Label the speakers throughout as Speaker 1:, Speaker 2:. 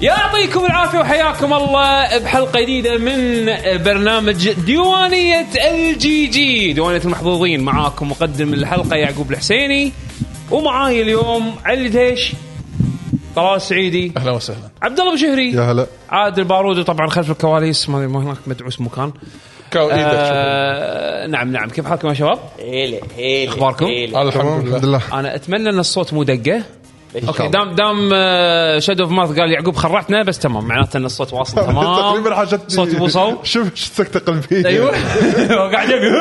Speaker 1: يعطيكم العافيه وحياكم الله بحلقه جديده من برنامج ديوانيه الجي جي ديوانيه المحظوظين معاكم مقدم الحلقه يعقوب الحسيني ومعاي اليوم علي ديش طلال سعيدي
Speaker 2: اهلا وسهلا
Speaker 1: عبد الله بشهري
Speaker 3: يا هلا
Speaker 1: عادل بارودي طبعا خلف الكواليس ما ما هناك مدعوس مكان
Speaker 2: كاو
Speaker 3: طيب،
Speaker 2: ايدك
Speaker 1: آه نعم نعم كيف حالكم يا شباب؟
Speaker 4: هيلة هيلة
Speaker 1: أخباركم؟
Speaker 4: هيلة.
Speaker 2: على
Speaker 3: تمام
Speaker 2: الحمد
Speaker 3: الحمد
Speaker 2: لله
Speaker 3: لله
Speaker 1: انا اتمنى ان الصوت مو دقه اوكي
Speaker 3: الله.
Speaker 1: دام دام آه، شادو اوف ماث قال يعقوب خرعتنا بس تمام معناته ان الصوت واصل تمام
Speaker 3: تقريبا حاجتني أيوه.
Speaker 1: صوت ابو صو
Speaker 3: شوف ايش سكتة قلبية
Speaker 1: ايوه هو قاعد يبي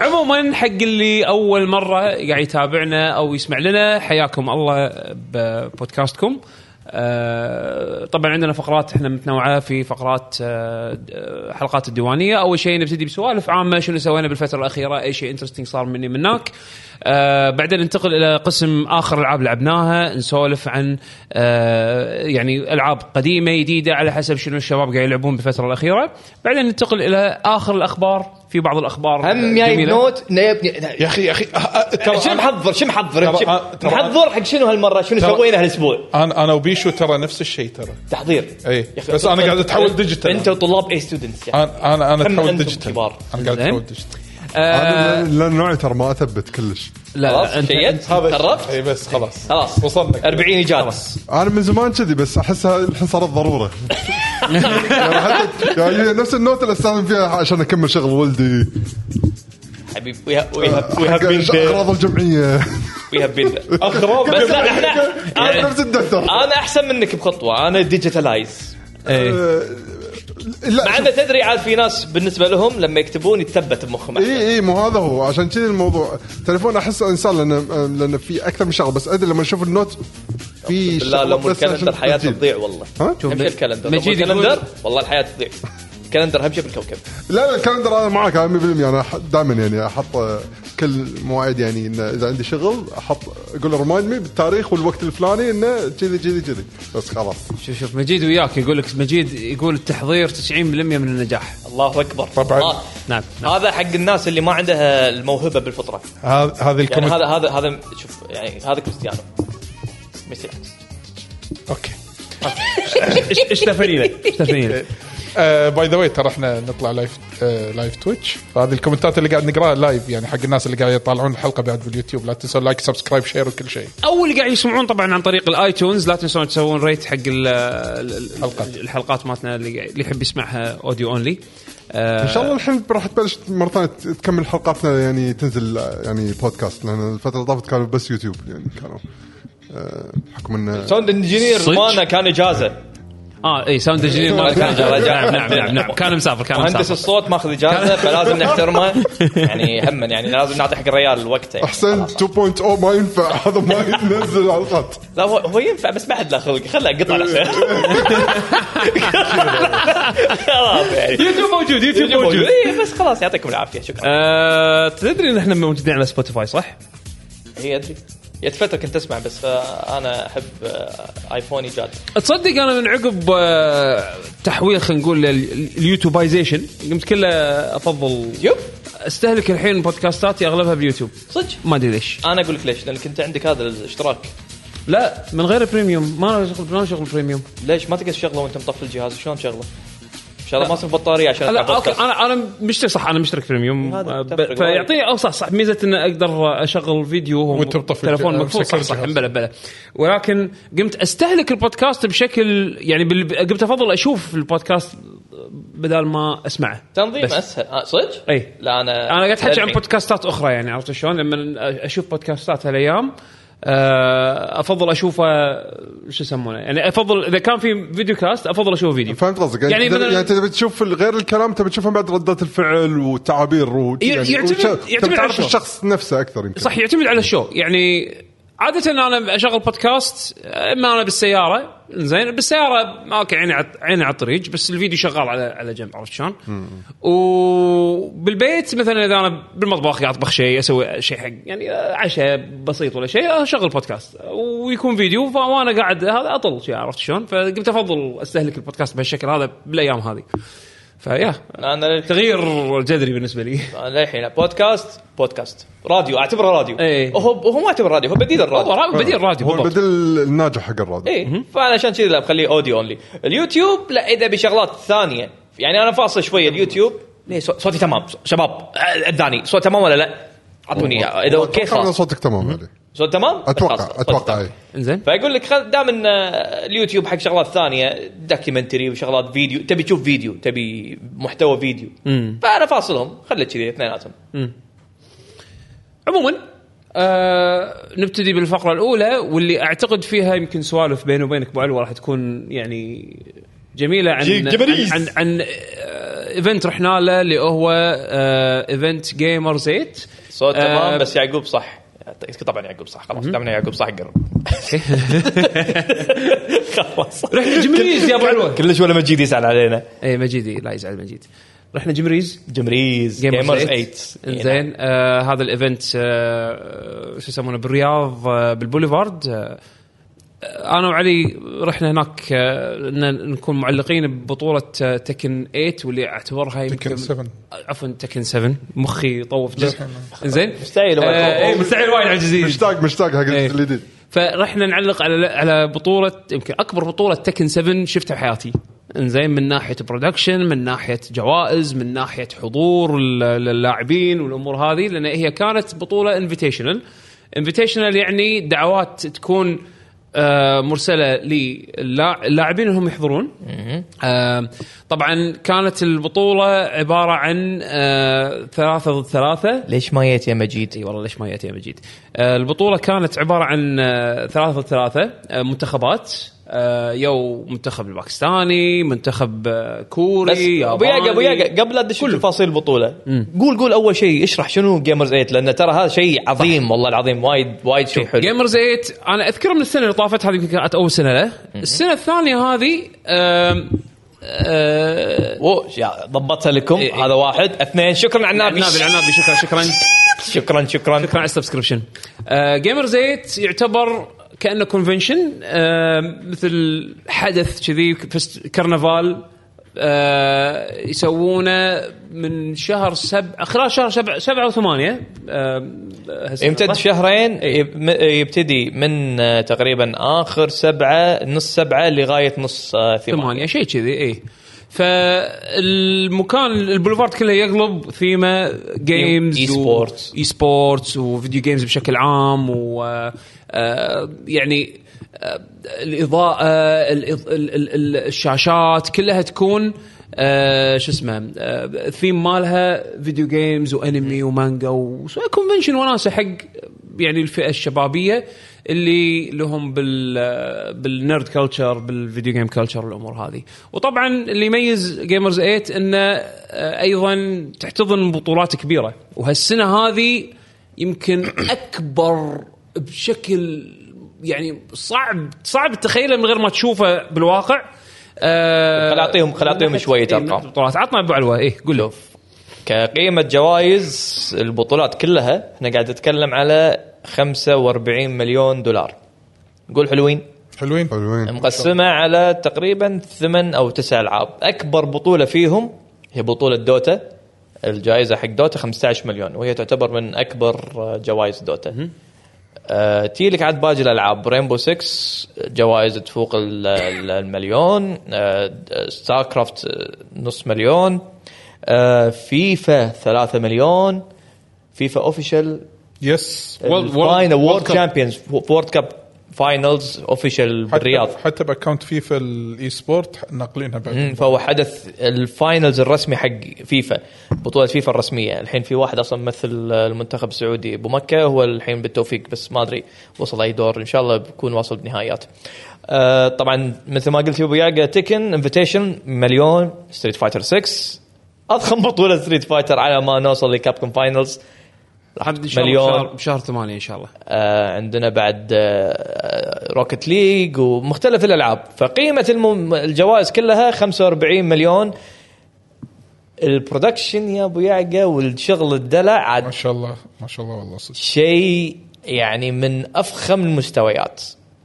Speaker 1: عموما حق اللي اول مره قاعد يتابعنا او يسمع لنا حياكم الله ببودكاستكم آه، طبعا عندنا فقرات احنا متنوعه في فقرات آه، د- حلقات الديوانيه اول شيء نبتدي بسوالف عامه شنو سوينا بالفتره الاخيره اي شيء انترستنج صار مني منك آه، بعدين ننتقل الى قسم اخر العاب لعبناها نسولف عن آه، يعني العاب قديمه جديده على حسب شنو الشباب قاعد يلعبون بالفتره الاخيره بعدين ننتقل الى اخر الاخبار في بعض الاخبار
Speaker 4: هم جايب
Speaker 1: جميلة.
Speaker 4: نوت نيبني
Speaker 2: يا اخي يا اخي أه، ترى
Speaker 4: شو
Speaker 2: أنا-
Speaker 4: محضر شو محضر
Speaker 2: ترى- أه،
Speaker 4: شو-
Speaker 2: ترى-
Speaker 4: محضر حق شنو هالمره شنو
Speaker 2: ترى-
Speaker 4: سوينا هالاسبوع
Speaker 2: انا انا وبيشو ترى نفس الشيء ترى
Speaker 4: تحضير
Speaker 2: اي
Speaker 4: يا أخي،
Speaker 2: بس انا قاعد أه، اتحول
Speaker 4: انت
Speaker 2: ديجيتال
Speaker 4: وطلاب اي ستودنتس يعني
Speaker 2: انا انا انا
Speaker 4: هم
Speaker 2: اتحول
Speaker 4: أنتم
Speaker 2: ديجيتال
Speaker 4: كبار.
Speaker 2: انا قاعد
Speaker 1: زين.
Speaker 2: اتحول ديجيتال
Speaker 1: آه،
Speaker 3: أنا لان نوعي ترى ما اثبت كلش
Speaker 1: لا
Speaker 4: خلاص
Speaker 1: انت
Speaker 4: شيت قربت
Speaker 2: اي إيه، بس خلاص
Speaker 4: خلاص
Speaker 2: وصلنا
Speaker 4: 40 اجابه
Speaker 3: انا من زمان كذي بس احس الحين صارت ضروره يعني حتى يعني نفس النوت اللي استخدم فيها عشان اكمل شغل ولدي يعني
Speaker 4: حبيب وي هاف
Speaker 3: حق
Speaker 4: بين
Speaker 3: اغراض الجمعيه
Speaker 4: وي هاف بين اخرب بس لا احنا
Speaker 3: أنا
Speaker 4: أنا-
Speaker 3: نفس الدفتر
Speaker 4: انا احسن منك بخطوه انا ديجيتالايز
Speaker 1: إيه.
Speaker 4: مع
Speaker 3: لا
Speaker 4: انه تدري عاد في ناس بالنسبه لهم لما يكتبون يتثبت بمخهم
Speaker 2: إيه،
Speaker 4: أحسن.
Speaker 3: اي اي مو هذا هو عشان كذي الموضوع تليفون احسه انسان لان لان في اكثر من شغله بس ادري لما اشوف النوت في
Speaker 4: لا لا
Speaker 3: شغلة
Speaker 4: مو
Speaker 3: بس عشان
Speaker 4: الكالندر حياته
Speaker 3: تجيب.
Speaker 4: تضيع والله
Speaker 3: ها؟
Speaker 1: شوف،
Speaker 4: همشي الكالندر لو مو
Speaker 1: مجيد يقول-
Speaker 4: الكالندر والله الحياه تضيع الكالندر همشي بالكوكب
Speaker 3: لا لا الكالندر انا معك أنا 100% انا أح- دائما يعني احط آه، كل مواعيد يعني إن اذا عندي شغل احط اقول ريمايند مي بالتاريخ والوقت الفلاني انه كذي كذي كذي بس خلاص
Speaker 1: شوف شوف مجيد وياك يقول لك مجيد يقول التحضير 90% من النجاح
Speaker 4: الله اكبر
Speaker 2: طبعاً.
Speaker 4: الله.
Speaker 1: نعم نعم
Speaker 4: هذا حق الناس اللي ما عندها الموهبه بالفطره
Speaker 2: هذا هذه
Speaker 4: يعني
Speaker 2: الكومنت
Speaker 4: هذا هذا هذا شوف يعني هذا كريستيانو ميسي العكس.
Speaker 2: اوكي
Speaker 1: إيش- ايش تفنينا ايش تفنينا
Speaker 2: باي ذا واي ترى احنا نطلع لايف آه، لايف تويتش فهذه الكومنتات اللي قاعد نقراها لايف يعني حق الناس اللي قاعد يطالعون الحلقه بعد باليوتيوب لا تنسوا لايك سبسكرايب شير وكل شيء
Speaker 1: او اللي قاعد يسمعون طبعا عن طريق الايتونز لا تنسون تسوون ريت حق ال- ال-
Speaker 2: الحلقات.
Speaker 1: ال- الحلقات مالتنا اللي اللي يحب يسمعها اوديو اونلي
Speaker 3: ان شاء الله الحين راح تبلش مره ثانيه ت- تكمل حلقاتنا يعني تنزل آه، يعني بودكاست لان الفتره اللي طافت كانوا بس يوتيوب يعني كانوا آه، بحكم انه
Speaker 4: ساوند انجينير
Speaker 1: صدق؟
Speaker 4: مالنا كان اجازه
Speaker 1: اه اي ساوند انجينير مالك كان جاي. نعم نعم نعم نعم كان مسافر كان
Speaker 4: مهندس
Speaker 1: مسافر
Speaker 4: الصوت ماخذ اجازه فلازم نحترمه يعني هما يعني لازم نعطي حق الريال وقته يعني.
Speaker 3: احسن 2.0 ما ينفع هذا ما ينزل حلقات
Speaker 4: لا هو هو ينفع بس ما حد له خلق خله قطع نفسه خلاص يعني
Speaker 1: يوتيوب موجود يوتيوب موجود
Speaker 4: إيه، بس خلاص يعطيكم العافيه شكرا
Speaker 1: آه، تدري ان احنا موجودين على سبوتيفاي صح؟
Speaker 4: هي ادري جت فتره كنت اسمع بس آه، انا احب آه، ايفوني جاد
Speaker 1: تصدق انا من عقب آه، تحويل خلينا نقول لل- اليوتيوبايزيشن قمت كله افضل
Speaker 4: يب
Speaker 1: استهلك الحين بودكاستاتي اغلبها باليوتيوب
Speaker 4: صدق
Speaker 1: ما ادري ليش
Speaker 4: انا اقول لك ليش لان كنت عندك هذا الاشتراك
Speaker 1: لا من غير بريميوم ما أنا شغل ما أنا شغل بريميوم
Speaker 4: ليش ما تقدر تشغله وانت مطفي الجهاز شلون تشغله؟ ان شاء الله ما اصرف بطاريه عشان
Speaker 1: لا
Speaker 4: أسمع
Speaker 1: اوكي
Speaker 4: بودكاست.
Speaker 1: انا انا مشترك صح انا مشترك بريميوم
Speaker 4: هذا
Speaker 1: آه،
Speaker 4: تفرق
Speaker 1: ب- فيعطيني او صح صح ميزه ان اقدر اشغل فيديو وهو
Speaker 2: وأنت مطفي
Speaker 1: تلفون
Speaker 3: آه،
Speaker 2: الج-
Speaker 1: مقفول صح صح
Speaker 2: مسكر الجهاز.
Speaker 1: بلا بلا ولكن قمت استهلك البودكاست بشكل يعني بال- قمت افضل اشوف البودكاست بدل ما اسمعه
Speaker 4: تنظيم
Speaker 1: بس.
Speaker 4: اسهل آه صدق؟
Speaker 1: أي.
Speaker 4: لا انا
Speaker 1: انا قاعد احكي عن
Speaker 4: للحين.
Speaker 1: بودكاستات اخرى يعني عرفت شلون؟ لما اشوف بودكاستات هالايام آه، افضل اشوفه شو يسمونه يعني افضل اذا كان في فيديو كاست افضل اشوف فيديو
Speaker 3: فهمت قصدك يعني
Speaker 1: يعني
Speaker 3: يعني, تبي-
Speaker 1: مثلاً-
Speaker 3: يعني تبي تشوف ال- غير الكلام تبي تشوفهم بعد ردات الفعل والتعابير و يعني
Speaker 1: يعتمد-
Speaker 3: وش- تبي
Speaker 1: يعتمد على
Speaker 3: تعرف
Speaker 1: الشخص.
Speaker 3: الشخص نفسه اكثر يمكن
Speaker 1: صح يعتمد على الشو يعني عادة انا اشغل بودكاست اما انا بالسيارة زين بالسيارة اوكي عيني على- عيني على الطريق بس الفيديو شغال على على جنب عرفت شلون؟ وبالبيت مثلا اذا انا بالمطبخ قاعد اطبخ شيء اسوي شيء حق يعني عشاء بسيط ولا شيء اشغل بودكاست ويكون فيديو ف- وانا قاعد هذا اطل شيء عرفت شلون؟ فقمت افضل استهلك البودكاست بهالشكل هذا بالايام هذه. فيا
Speaker 4: انا للحين-
Speaker 1: تغيير جذري بالنسبه لي
Speaker 4: أنا للحين بودكاست بودكاست راديو اعتبره راديو
Speaker 1: إيه.
Speaker 4: وهو هو ما اعتبره راديو هو بديل
Speaker 1: هو
Speaker 4: الراديو
Speaker 1: را- بديل راديو
Speaker 3: هو
Speaker 1: بالضبط. إيه،
Speaker 3: البديل الناجح حق الراديو
Speaker 4: اي فانا إيه، عشان كذا لا بخليه اوديو اونلي اليوتيوب لا اذا بشغلات ثانيه يعني انا فاصل شويه اليوتيوب ليه صو- صوتي تمام شباب اذاني صوت تمام ولا لا؟ اعطوني اياه اذا
Speaker 1: إيه،
Speaker 4: اوكي
Speaker 3: أتوقع إن
Speaker 4: خلاص
Speaker 3: صوتك تمام علي إيه.
Speaker 4: صوت تمام
Speaker 3: اتوقع
Speaker 4: خلاص، صوت
Speaker 3: اتوقع
Speaker 4: تمام.
Speaker 3: اي
Speaker 1: انزين
Speaker 4: فاقول لك خل- دام ان آه، اليوتيوب حق شغلات ثانيه دوكيومنتري وشغلات فيديو تبي تشوف فيديو تبي محتوى فيديو فانا فاصلهم خليك كذي اثنيناتهم
Speaker 1: عموما آه نبتدي بالفقره الاولى واللي اعتقد فيها يمكن سوالف بيني وبينك ابو علي راح تكون يعني جميله عن
Speaker 4: جي- جبريز.
Speaker 1: عن, عن, عن آه ايفنت رحنا له اللي هو آه ايفنت جيمر زيت
Speaker 4: صوت تمام
Speaker 1: آه،
Speaker 4: بس يعقوب صح طبعا يعقوب صح خلاص دام إن يعقوب صح قرب خلاص
Speaker 1: رحنا جمريز يا أبو علوة.
Speaker 4: كلش ولا مجيد يزعل علينا
Speaker 1: اي مجيدي لا يزعل إيه، مجيد رحنا جمريز
Speaker 4: جمريز جيمرز 8
Speaker 1: زين آه هذا الايفنت آه شو يسمونه بالرياض آه بالبوليفارد آه انا وعلي رحنا هناك آه إن نكون معلقين ببطوله آه تكن 8 واللي اعتبرها يمكن
Speaker 2: تكن 7.
Speaker 1: عفوا تكن 7 مخي طوف جزء زين
Speaker 4: مستحيل وايد.
Speaker 1: آه إيه، مستحيل وايد على الجزيره
Speaker 3: مشتاق مشتاق حق
Speaker 1: إيه.
Speaker 3: الجديد
Speaker 1: فرحنا نعلق على على بطوله يمكن اكبر بطوله تكن 7 شفتها بحياتي انزين من ناحيه برودكشن من ناحيه جوائز من ناحيه حضور ال- اللاعبين والامور هذه لان هي كانت بطوله انفيتيشنال انفيتيشنال يعني دعوات تكون آه، مرسله للاعبين انهم يحضرون آه، طبعا كانت البطوله عباره عن آه، ثلاثه ضد ثلاثه
Speaker 4: ليش ما جيت يا مجيد؟
Speaker 1: اي والله ليش ما ياتي يا مجيد آه، البطوله كانت عباره عن آه، ثلاثة ضد ثلاثة آه، منتخبات آه، يو منتخب الباكستاني منتخب آه،
Speaker 4: بس
Speaker 1: كوري
Speaker 4: ابو ياقا ابو
Speaker 1: ياباني.
Speaker 4: ياقا قبل لا تدش تفاصيل البطوله قول قول اول شيء اشرح شنو جيمرز 8 لان ترى هذا شيء عظيم والله العظيم وايد وايد شيء حلو
Speaker 1: جيمرز 8 انا اذكره من السنه اللي طافت هذه يمكن كانت اول سنه له السنه الثانيه هذه آم، آه،
Speaker 4: أوه، يا ضبطها لكم
Speaker 1: إيه.
Speaker 4: هذا واحد اثنين شكرا على النابي
Speaker 1: العنابي العنابي شكرا شكرا
Speaker 4: شكرا شكرا
Speaker 1: شكرا على السبسكربشن جيمر زيت يعتبر كانه كونفنشن مثل حدث كذي فست- كرنفال آه، يسوونه من شهر سبعة خلال شهر سبعة سبعة وثمانية آه، هالسنة.
Speaker 4: يمتد شهرين يب- يبتدي من آه، تقريبا اخر سبعه نص سبعه لغايه نص آه، ثمانيه
Speaker 1: ثمانية شيء كذي اي فالمكان البوليفارد كله يقلب ثيمه جيمز
Speaker 4: إي سبورتس.
Speaker 1: اي سبورتس وفيديو جيمز بشكل عام و آه، يعني آه، الاضاءه الإض- ال- ال- ال- الشاشات كلها تكون آه، شو اسمه آه، الثيم مالها فيديو جيمز وانمي ومانجا وكونفنشن وناسه حق يعني الفئه الشبابيه اللي لهم بال بالنيرد كلتشر بالفيديو جيم كلتشر والامور هذه وطبعا اللي يميز جيمرز 8 انه آه، ايضا تحتضن بطولات كبيره وهالسنه هذه يمكن اكبر بشكل يعني صعب صعب تتخيله من غير ما تشوفه بالواقع آه،
Speaker 4: خل أعطيهم- خل أعطيهم
Speaker 1: من ناحية-
Speaker 4: شوية
Speaker 1: إيه، من
Speaker 4: أرقام.
Speaker 1: ناحية بطولات عطنا ابو علوه ايه قول له
Speaker 4: كقيمه جوائز البطولات كلها احنا قاعد نتكلم على 45 مليون دولار نقول حلوين
Speaker 2: حلوين
Speaker 3: حلوين
Speaker 4: مقسمه على تقريبا ثمان او تسع العاب اكبر بطوله فيهم هي بطوله دوتا الجائزه حق دوتا 15 مليون وهي تعتبر من اكبر آه، جوائز دوتا آه، تي لك عاد باقي الالعاب رينبو 6 جوائز تفوق ال- ال- المليون ستار كرافت نص مليون آه، فيفا 3 مليون فيفا اوفيشال
Speaker 2: يس
Speaker 4: الفاينل وورد
Speaker 2: كاب.
Speaker 4: تشامبيونز وورد كاب فاينلز اوفيشال
Speaker 2: حتى-
Speaker 4: بالرياض
Speaker 2: حتى باكونت فيفا الاي سبورت ناقلينها
Speaker 4: مم،
Speaker 2: بعد
Speaker 4: فهو حدث الفاينلز الرسمي حق فيفا بطوله فيفا الرسميه الحين في واحد اصلا مثل المنتخب السعودي ابو مكه هو الحين بالتوفيق بس ما ادري وصل اي دور ان شاء الله بيكون واصل بنهائيات آه طبعا مثل ما قلت يا ابو ياقا تكن انفيتيشن مليون ستريت فايتر 6 اضخم بطوله ستريت فايتر على ما نوصل لكابكم فاينلز
Speaker 1: عبد إن شاء الله
Speaker 4: مليون
Speaker 1: بشهر- بشهر ثمانية ان شاء الله
Speaker 4: آه، عندنا بعد آه، روكت ليج ومختلف الالعاب فقيمه الم- الجوائز كلها 45 مليون البرودكشن يا ابو يعقا والشغل الدلع
Speaker 2: ما
Speaker 4: عاد
Speaker 2: شاء الله ما شاء الله والله صدق
Speaker 4: شيء يعني من افخم المستويات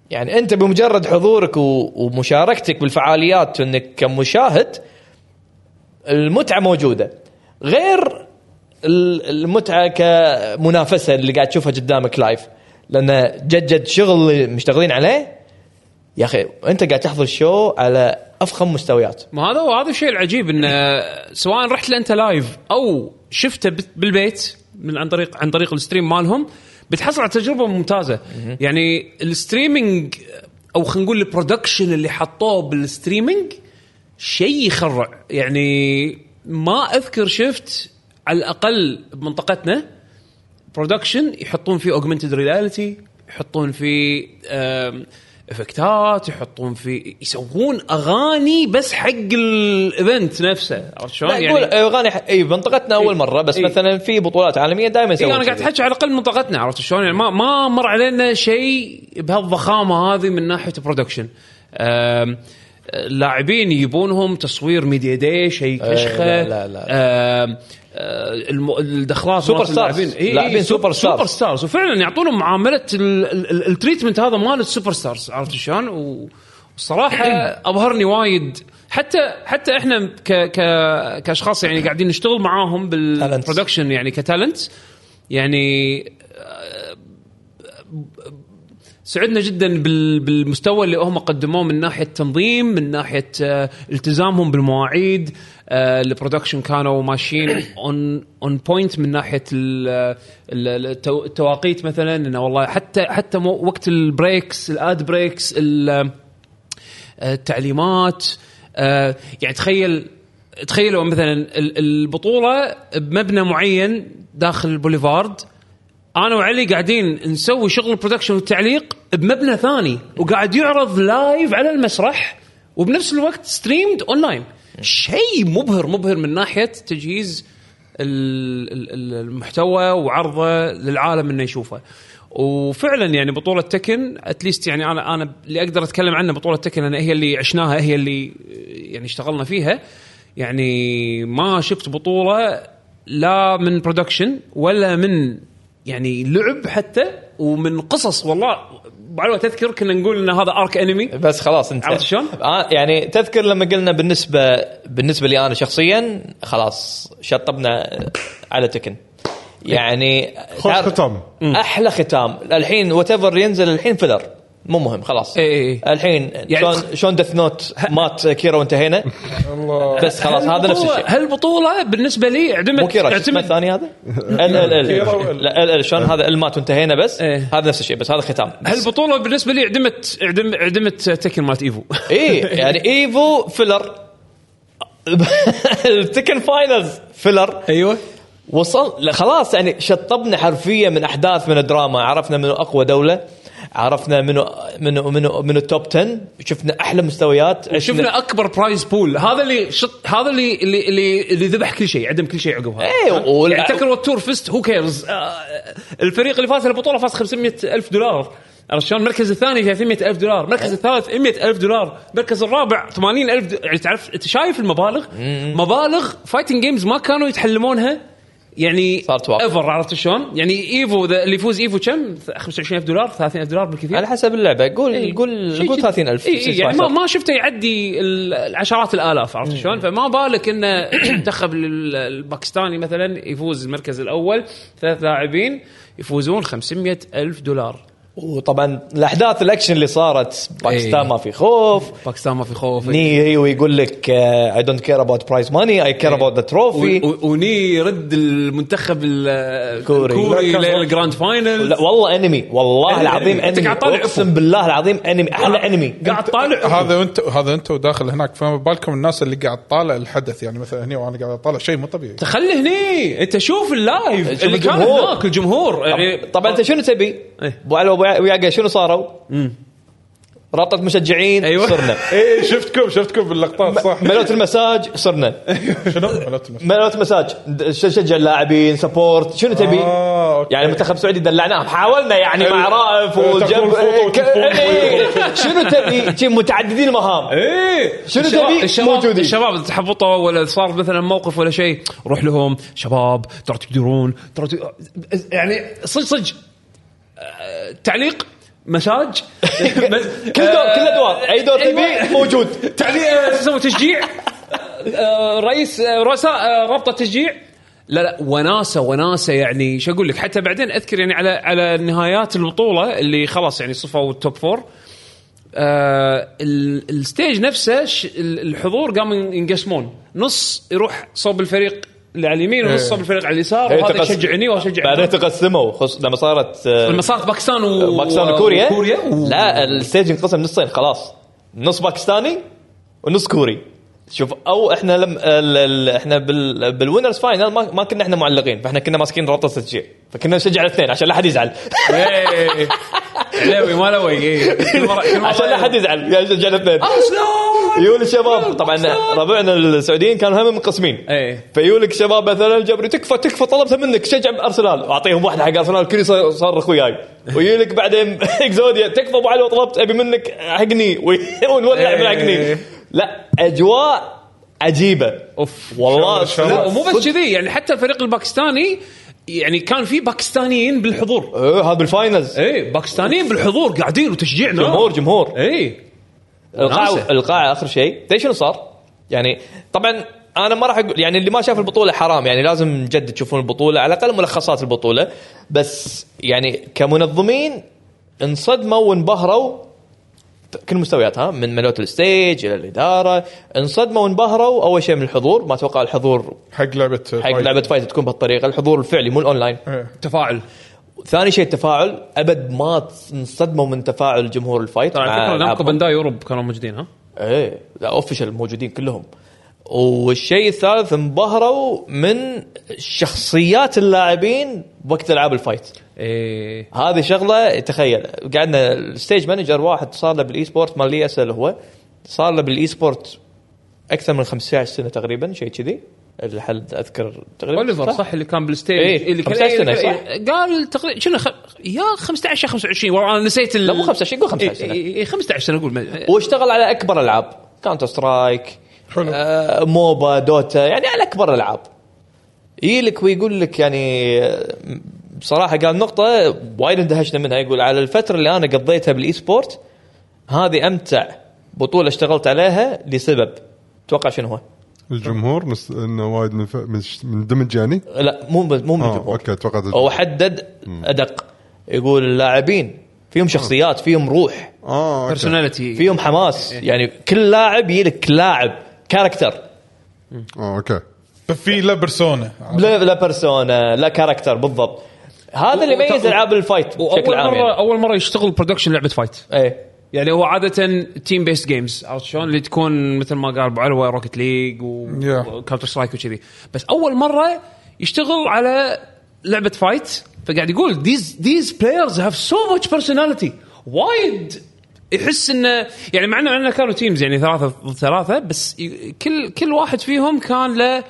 Speaker 4: يعني انت بمجرد حضورك و- ومشاركتك بالفعاليات انك كمشاهد المتعه موجوده غير ال- المتعه كمنافسه اللي قاعد تشوفها قدامك لايف لان جد جد شغل اللي مشتغلين عليه يا اخي انت قاعد تحضر شو على افخم مستويات
Speaker 1: ما هذا هو هذا الشيء العجيب انه سواء رحت له انت لايف او شفته بت- بالبيت من عن طريق عن طريق الستريم مالهم بتحصل على تجربه ممتازه يعني الستريمينج او خلينا نقول البرودكشن اللي حطوه بالستريمينج شيء يخرع يعني ما اذكر شفت على الاقل بمنطقتنا برودكشن يحطون فيه اوجمنتد رياليتي يحطون فيه آم، افكتات يحطون فيه يسوون اغاني بس حق الايفنت نفسه عرفت شلون؟
Speaker 4: لا يقول
Speaker 1: يعني
Speaker 4: اغاني ح- اي منطقتنا
Speaker 1: إي.
Speaker 4: اول مره بس
Speaker 1: إي.
Speaker 4: مثلا في بطولات عالميه دائما
Speaker 1: إيه
Speaker 4: يسوون
Speaker 1: انا قاعد
Speaker 4: كذي.
Speaker 1: احكي على الاقل منطقتنا عرفت شلون؟ يعني ما ما مر علينا شيء بهالضخامه هذه من ناحيه برودكشن. اللاعبين يبونهم تصوير ميديا داي شيء
Speaker 4: إيه،
Speaker 1: كشخه
Speaker 4: لا، لا، لا.
Speaker 1: آم، آه، الم- الدخلات
Speaker 4: سوبر
Speaker 1: مالت
Speaker 4: ستارز.
Speaker 1: اللاعبين. إيه، إيه،
Speaker 4: لاعبين
Speaker 1: سوب-
Speaker 4: سوبر ستارز.
Speaker 1: سوبر ستارز وفعلا يعطونهم معامله ال- ال- التريتمنت هذا مال السوبر ستارز عرفت شلون؟ و- والصراحه ابهرني وايد حتى حتى احنا ك ك كاشخاص يعني قاعدين نشتغل معاهم
Speaker 4: Talents.
Speaker 1: بالبرودكشن يعني كتالنت يعني آه، سعدنا جدا بال- بالمستوى اللي هم قدموه من ناحيه تنظيم من ناحيه آه، التزامهم بالمواعيد آه، البرودكشن كانوا ماشيين اون اون بوينت من ناحيه ال- آه، ال- التو- التواقيت مثلا انه والله حتى حتى مو- وقت البريكس الاد بريكس ال- آه، التعليمات آه، يعني تخيل تخيلوا مثلا ال- البطوله بمبنى معين داخل البوليفارد انا وعلي قاعدين نسوي شغل البرودكشن والتعليق بمبنى ثاني وقاعد يعرض لايف على المسرح وبنفس الوقت ستريمد اونلاين شيء مبهر مبهر من ناحيه تجهيز ال- ال- ال- المحتوى وعرضه للعالم انه يشوفه وفعلا يعني بطوله تكن اتليست يعني انا انا اللي اقدر اتكلم عنه بطوله تكن انا هي اللي عشناها هي اللي يعني اشتغلنا فيها يعني ما شفت بطوله لا من برودكشن ولا من يعني لعب حتى ومن قصص والله بعلوة تذكر كنا نقول ان هذا ارك انمي
Speaker 4: بس خلاص انت
Speaker 1: عرفت شلون؟
Speaker 4: آه يعني تذكر لما قلنا بالنسبه بالنسبه لي انا شخصيا خلاص شطبنا على تكن يعني
Speaker 3: خوش
Speaker 4: تعرف-
Speaker 3: ختام.
Speaker 4: احلى ختام الحين وات ايفر ينزل الحين فيلر مو مهم خلاص
Speaker 1: إي إي إي.
Speaker 4: الحين
Speaker 1: إيه، يعني-
Speaker 4: شلون شلون دث نوت مات كيرا وانتهينا
Speaker 2: الله
Speaker 4: بس خلاص هذا نفس الشيء
Speaker 1: هالبطولة بالنسبة لي
Speaker 4: مو
Speaker 1: اعتمد
Speaker 4: كيرا شو اسمه الثاني هذا؟ ال ال
Speaker 2: كيرا
Speaker 4: ال
Speaker 2: وال-
Speaker 4: لا، ال ال شلون هذا ال مات وانتهينا بس
Speaker 1: إيه.
Speaker 4: هذا نفس الشيء بس هذا ختام بس.
Speaker 1: هالبطولة بالنسبة لي اعدمت اعدم اعدمت تكن مالت ايفو
Speaker 4: اي يعني ايفو فيلر التكن فاينلز فيلر
Speaker 1: ايوه
Speaker 4: وصل لا، خلاص يعني شطبنا حرفيا من احداث من الدراما عرفنا منو اقوى دوله عرفنا منو منو منو منو التوب 10 شفنا احلى مستويات عشنا-
Speaker 1: شفنا اكبر برايز بول هذا اللي شط هذا اللي اللي اللي, اللي ذبح كل شيء عدم كل شيء عقبها
Speaker 4: إيه، وال-
Speaker 1: يعني تكر والتور فست هو كيرز آه، الفريق اللي فاز البطولة فاز 500 ألف دولار عرفت شلون؟ المركز الثاني 300 ألف دولار،
Speaker 4: إيه.
Speaker 1: المركز الثالث 100 ألف دولار، المركز الرابع 80 ألف د- يعني تعرف أنت شايف المبالغ؟ مبالغ فايتنج جيمز ما كانوا يتحلمونها يعني
Speaker 4: صارت واقع.
Speaker 1: ايفر عرفت شلون؟ يعني ايفو ذا- اللي يفوز ايفو كم؟ 25000 دولار 30000 دولار بالكثير
Speaker 4: على حسب اللعبه قول
Speaker 1: إيه.
Speaker 4: قول
Speaker 1: شيء
Speaker 4: قول
Speaker 1: كذي.
Speaker 4: 30000
Speaker 1: إيه، إيه، يعني ما, ما شفته يعدي ال- العشرات الالاف عرفت شلون؟ فما بالك انه منتخب ال- الباكستاني مثلا يفوز المركز الاول ثلاث لاعبين يفوزون 500 الف دولار
Speaker 4: وطبعا الاحداث الاكشن اللي صارت باكستان
Speaker 1: إيه.
Speaker 4: ما في خوف
Speaker 1: باكستان ما في خوف
Speaker 4: ني هي ويقول لك آه، اي دونت كير اباوت برايز ماني اي كير اباوت ذا تروفي
Speaker 1: إيه. و- و- وني يرد المنتخب ال-
Speaker 4: كوري.
Speaker 1: الكوري للجراند فاينل
Speaker 4: لا والله انمي والله
Speaker 1: أنمي.
Speaker 4: العظيم
Speaker 1: أنت
Speaker 4: انمي
Speaker 1: قاعد تطالع
Speaker 4: اقسم بالله العظيم انمي
Speaker 1: أه.
Speaker 4: احلى انمي
Speaker 1: قاعد طالع
Speaker 2: هذا انت هذا انت وداخل هناك فما بالكم الناس اللي قاعد طالع الحدث يعني مثلا هنا وانا قاعد اطالع شيء مو طبيعي
Speaker 1: تخلي هني انت شوف اللايف
Speaker 4: شوف
Speaker 1: اللي كان
Speaker 4: الجمهور.
Speaker 1: هناك الجمهور يعني
Speaker 4: طبعا انت شنو تبي؟
Speaker 1: إيه.
Speaker 4: ابو علي وابو يعقوب شنو صاروا؟ رابطه مشجعين
Speaker 1: أيوة.
Speaker 4: صرنا
Speaker 2: اي إيه، شفتكم شفتكم باللقطات صح
Speaker 4: ملوت المساج صرنا
Speaker 1: أيوة.
Speaker 2: شنو ملوت المس-
Speaker 4: ملوت مساج د- شجع اللاعبين سبورت شنو تبي؟
Speaker 2: آه، أوكي.
Speaker 4: يعني منتخب سعودي دلعناهم حاولنا يعني مع
Speaker 2: أيوة.
Speaker 4: رائف
Speaker 2: أيوة،
Speaker 4: وجنب
Speaker 2: تاكلون فوطة
Speaker 4: ك-
Speaker 2: وتدفون.
Speaker 4: إيه. شنو تبي؟ شي متعددين المهام
Speaker 1: ايه
Speaker 4: شنو
Speaker 1: الشباب-
Speaker 4: تبي؟
Speaker 1: الشباب
Speaker 4: موجودين.
Speaker 1: الشباب اللي تحبطوا ولا صار مثلا موقف ولا شيء روح لهم شباب ترى تقدرون ترى ت- يعني صج صج آه، تعليق مساج آه، أيوة.
Speaker 4: كل دور كل ادوار اي دور تبي موجود
Speaker 1: تعليق آه، سوي تشجيع آه، رئيس آه، رؤساء آه، رابطه تشجيع لا لا وناسه وناسه يعني شو اقول لك حتى بعدين اذكر يعني على على نهايات البطوله اللي خلاص يعني صفوا التوب فور آه ال- الستيج نفسه ش- ال- الحضور قاموا ين- ينقسمون نص يروح صوب الفريق اللي على اليمين ونص
Speaker 2: إيه.
Speaker 1: صوب الفريق على اليسار وهذا يشجعني واشجع
Speaker 4: بعدين تقسموا خص... لما صارت آه،
Speaker 1: لما صارت باكستان و...
Speaker 4: باكستان وكوريا
Speaker 1: وكوريا و...
Speaker 4: لا الستيج انقسم نصين خلاص نص باكستاني ونص كوري شوف او احنا لم ال... ال... احنا بال... بالوينرز فاينل ما... ما كنا احنا معلقين فاحنا كنا ماسكين رابطه تشجيع فكنا نشجع الاثنين عشان لا حد يزعل
Speaker 1: إيه. علاوي ما لوي إيه. كل مرة- كل مرة-
Speaker 4: عشان لا حد يزعل يعني نشجع الاثنين
Speaker 1: آه، شلون؟
Speaker 4: يقول الشباب طبعا ربعنا السعوديين كانوا هم منقسمين
Speaker 1: ايه
Speaker 4: فيقول لك شباب مثلا جبري تكفى تكفى طلبتها منك شجع ارسنال اعطيهم واحده حق ارسنال الكل صار صار اخوياي ويقول لك بعدين اكزوديا تكفى ابو علي طلبت ابي منك حقني وي- ونولع من حقني لا اجواء عجيبه
Speaker 1: اوف
Speaker 4: والله
Speaker 1: آه، لا
Speaker 4: صدق-
Speaker 1: ومو بس كذي يعني حتى الفريق الباكستاني يعني كان في باكستانيين بالحضور
Speaker 4: إيه، هذا بالفاينلز
Speaker 1: ايه باكستانيين بالحضور قاعدين وتشجيعنا
Speaker 4: جمهور جمهور
Speaker 1: ايه
Speaker 4: القاعه
Speaker 1: وناسة.
Speaker 4: القاعه اخر شيء تدري شنو صار؟ يعني طبعا انا ما راح اقول يعني اللي ما شاف البطوله حرام يعني لازم جد تشوفون البطوله على الاقل ملخصات البطوله بس يعني كمنظمين انصدموا وانبهروا كل المستويات ها من ملوت الستيج الى الاداره انصدموا وانبهروا اول شيء من الحضور ما اتوقع الحضور
Speaker 2: حق لعبه
Speaker 4: حق لعبه فايت تكون بهالطريقه الحضور الفعلي مو الاونلاين
Speaker 1: تفاعل
Speaker 4: ثاني شيء التفاعل ابد ما انصدموا من تفاعل جمهور الفايت مع
Speaker 1: طبعا فكره نامكو
Speaker 4: ألعابهم.
Speaker 1: بنداي اوروب نعم، كانوا موجودين ها
Speaker 4: ايه لا اوفشل موجودين كلهم والشيء الثالث انبهروا من شخصيات اللاعبين وقت العاب الفايت
Speaker 1: ايه
Speaker 4: هذه شغله تخيل قعدنا الستيج مانجر واحد صار له بالاي سبورت مال لي اسال هو صار له بالاي سبورت اكثر من 15 سنه تقريبا شيء كذي الحد اذكر تقريبا
Speaker 1: اوليفر صح اللي كان بالستيج
Speaker 4: إيه،
Speaker 1: اللي كان
Speaker 4: 15 سنة، صح؟
Speaker 1: إيه، قال تقريبا شنو خ... يا 15 يا 25 والله انا نسيت ال...
Speaker 4: لا مو 15 قول 15 سنة.
Speaker 1: إيه، إيه، 15 سنه اقول ما-
Speaker 4: واشتغل على اكبر العاب كاونتر سترايك
Speaker 2: حلو.
Speaker 4: آه موبا دوتا يعني على اكبر العاب يجيلك ويقول لك يعني آه، بصراحه قال نقطه وايد اندهشنا منها يقول على الفتره اللي انا قضيتها بالاي سبورت هذه امتع بطوله اشتغلت عليها لسبب توقع شنو هو؟
Speaker 3: الجمهور مس... انه وايد من, ف... من, ش... من دمج يعني
Speaker 4: لا مو مو من
Speaker 3: آه،
Speaker 4: الجمهور.
Speaker 3: أوكي، توقعت
Speaker 4: هو حدد ادق يقول اللاعبين
Speaker 3: آه.
Speaker 4: فيهم شخصيات فيهم روح
Speaker 3: اه أوكي.
Speaker 1: بيرسوناليتي
Speaker 4: فيهم حماس يعني كل لاعب يجيلك لاعب كاركتر
Speaker 3: اه اوكي
Speaker 2: في لا بيرسونا
Speaker 4: لا لا بيرسونا لا كاركتر بالضبط هذا اللي يميز العاب الفايت بشكل
Speaker 1: واول
Speaker 4: عام
Speaker 1: مره
Speaker 4: يعني.
Speaker 1: اول مره يشتغل برودكشن لعبه فايت
Speaker 4: ايه
Speaker 1: يعني هو عاده تيم بيست جيمز عرفت شلون اللي تكون مثل ما قال ابو علوه روكت ليج
Speaker 2: Yeah.
Speaker 1: وكاونتر سترايك وكذي بس اول مره يشتغل على لعبه فايت فقاعد يقول these these players have so much personality وايد يحس انه يعني مع انه مع إنه كانوا تيمز يعني ثلاثه ضد ثلاثه بس ي- كل كل واحد فيهم كان له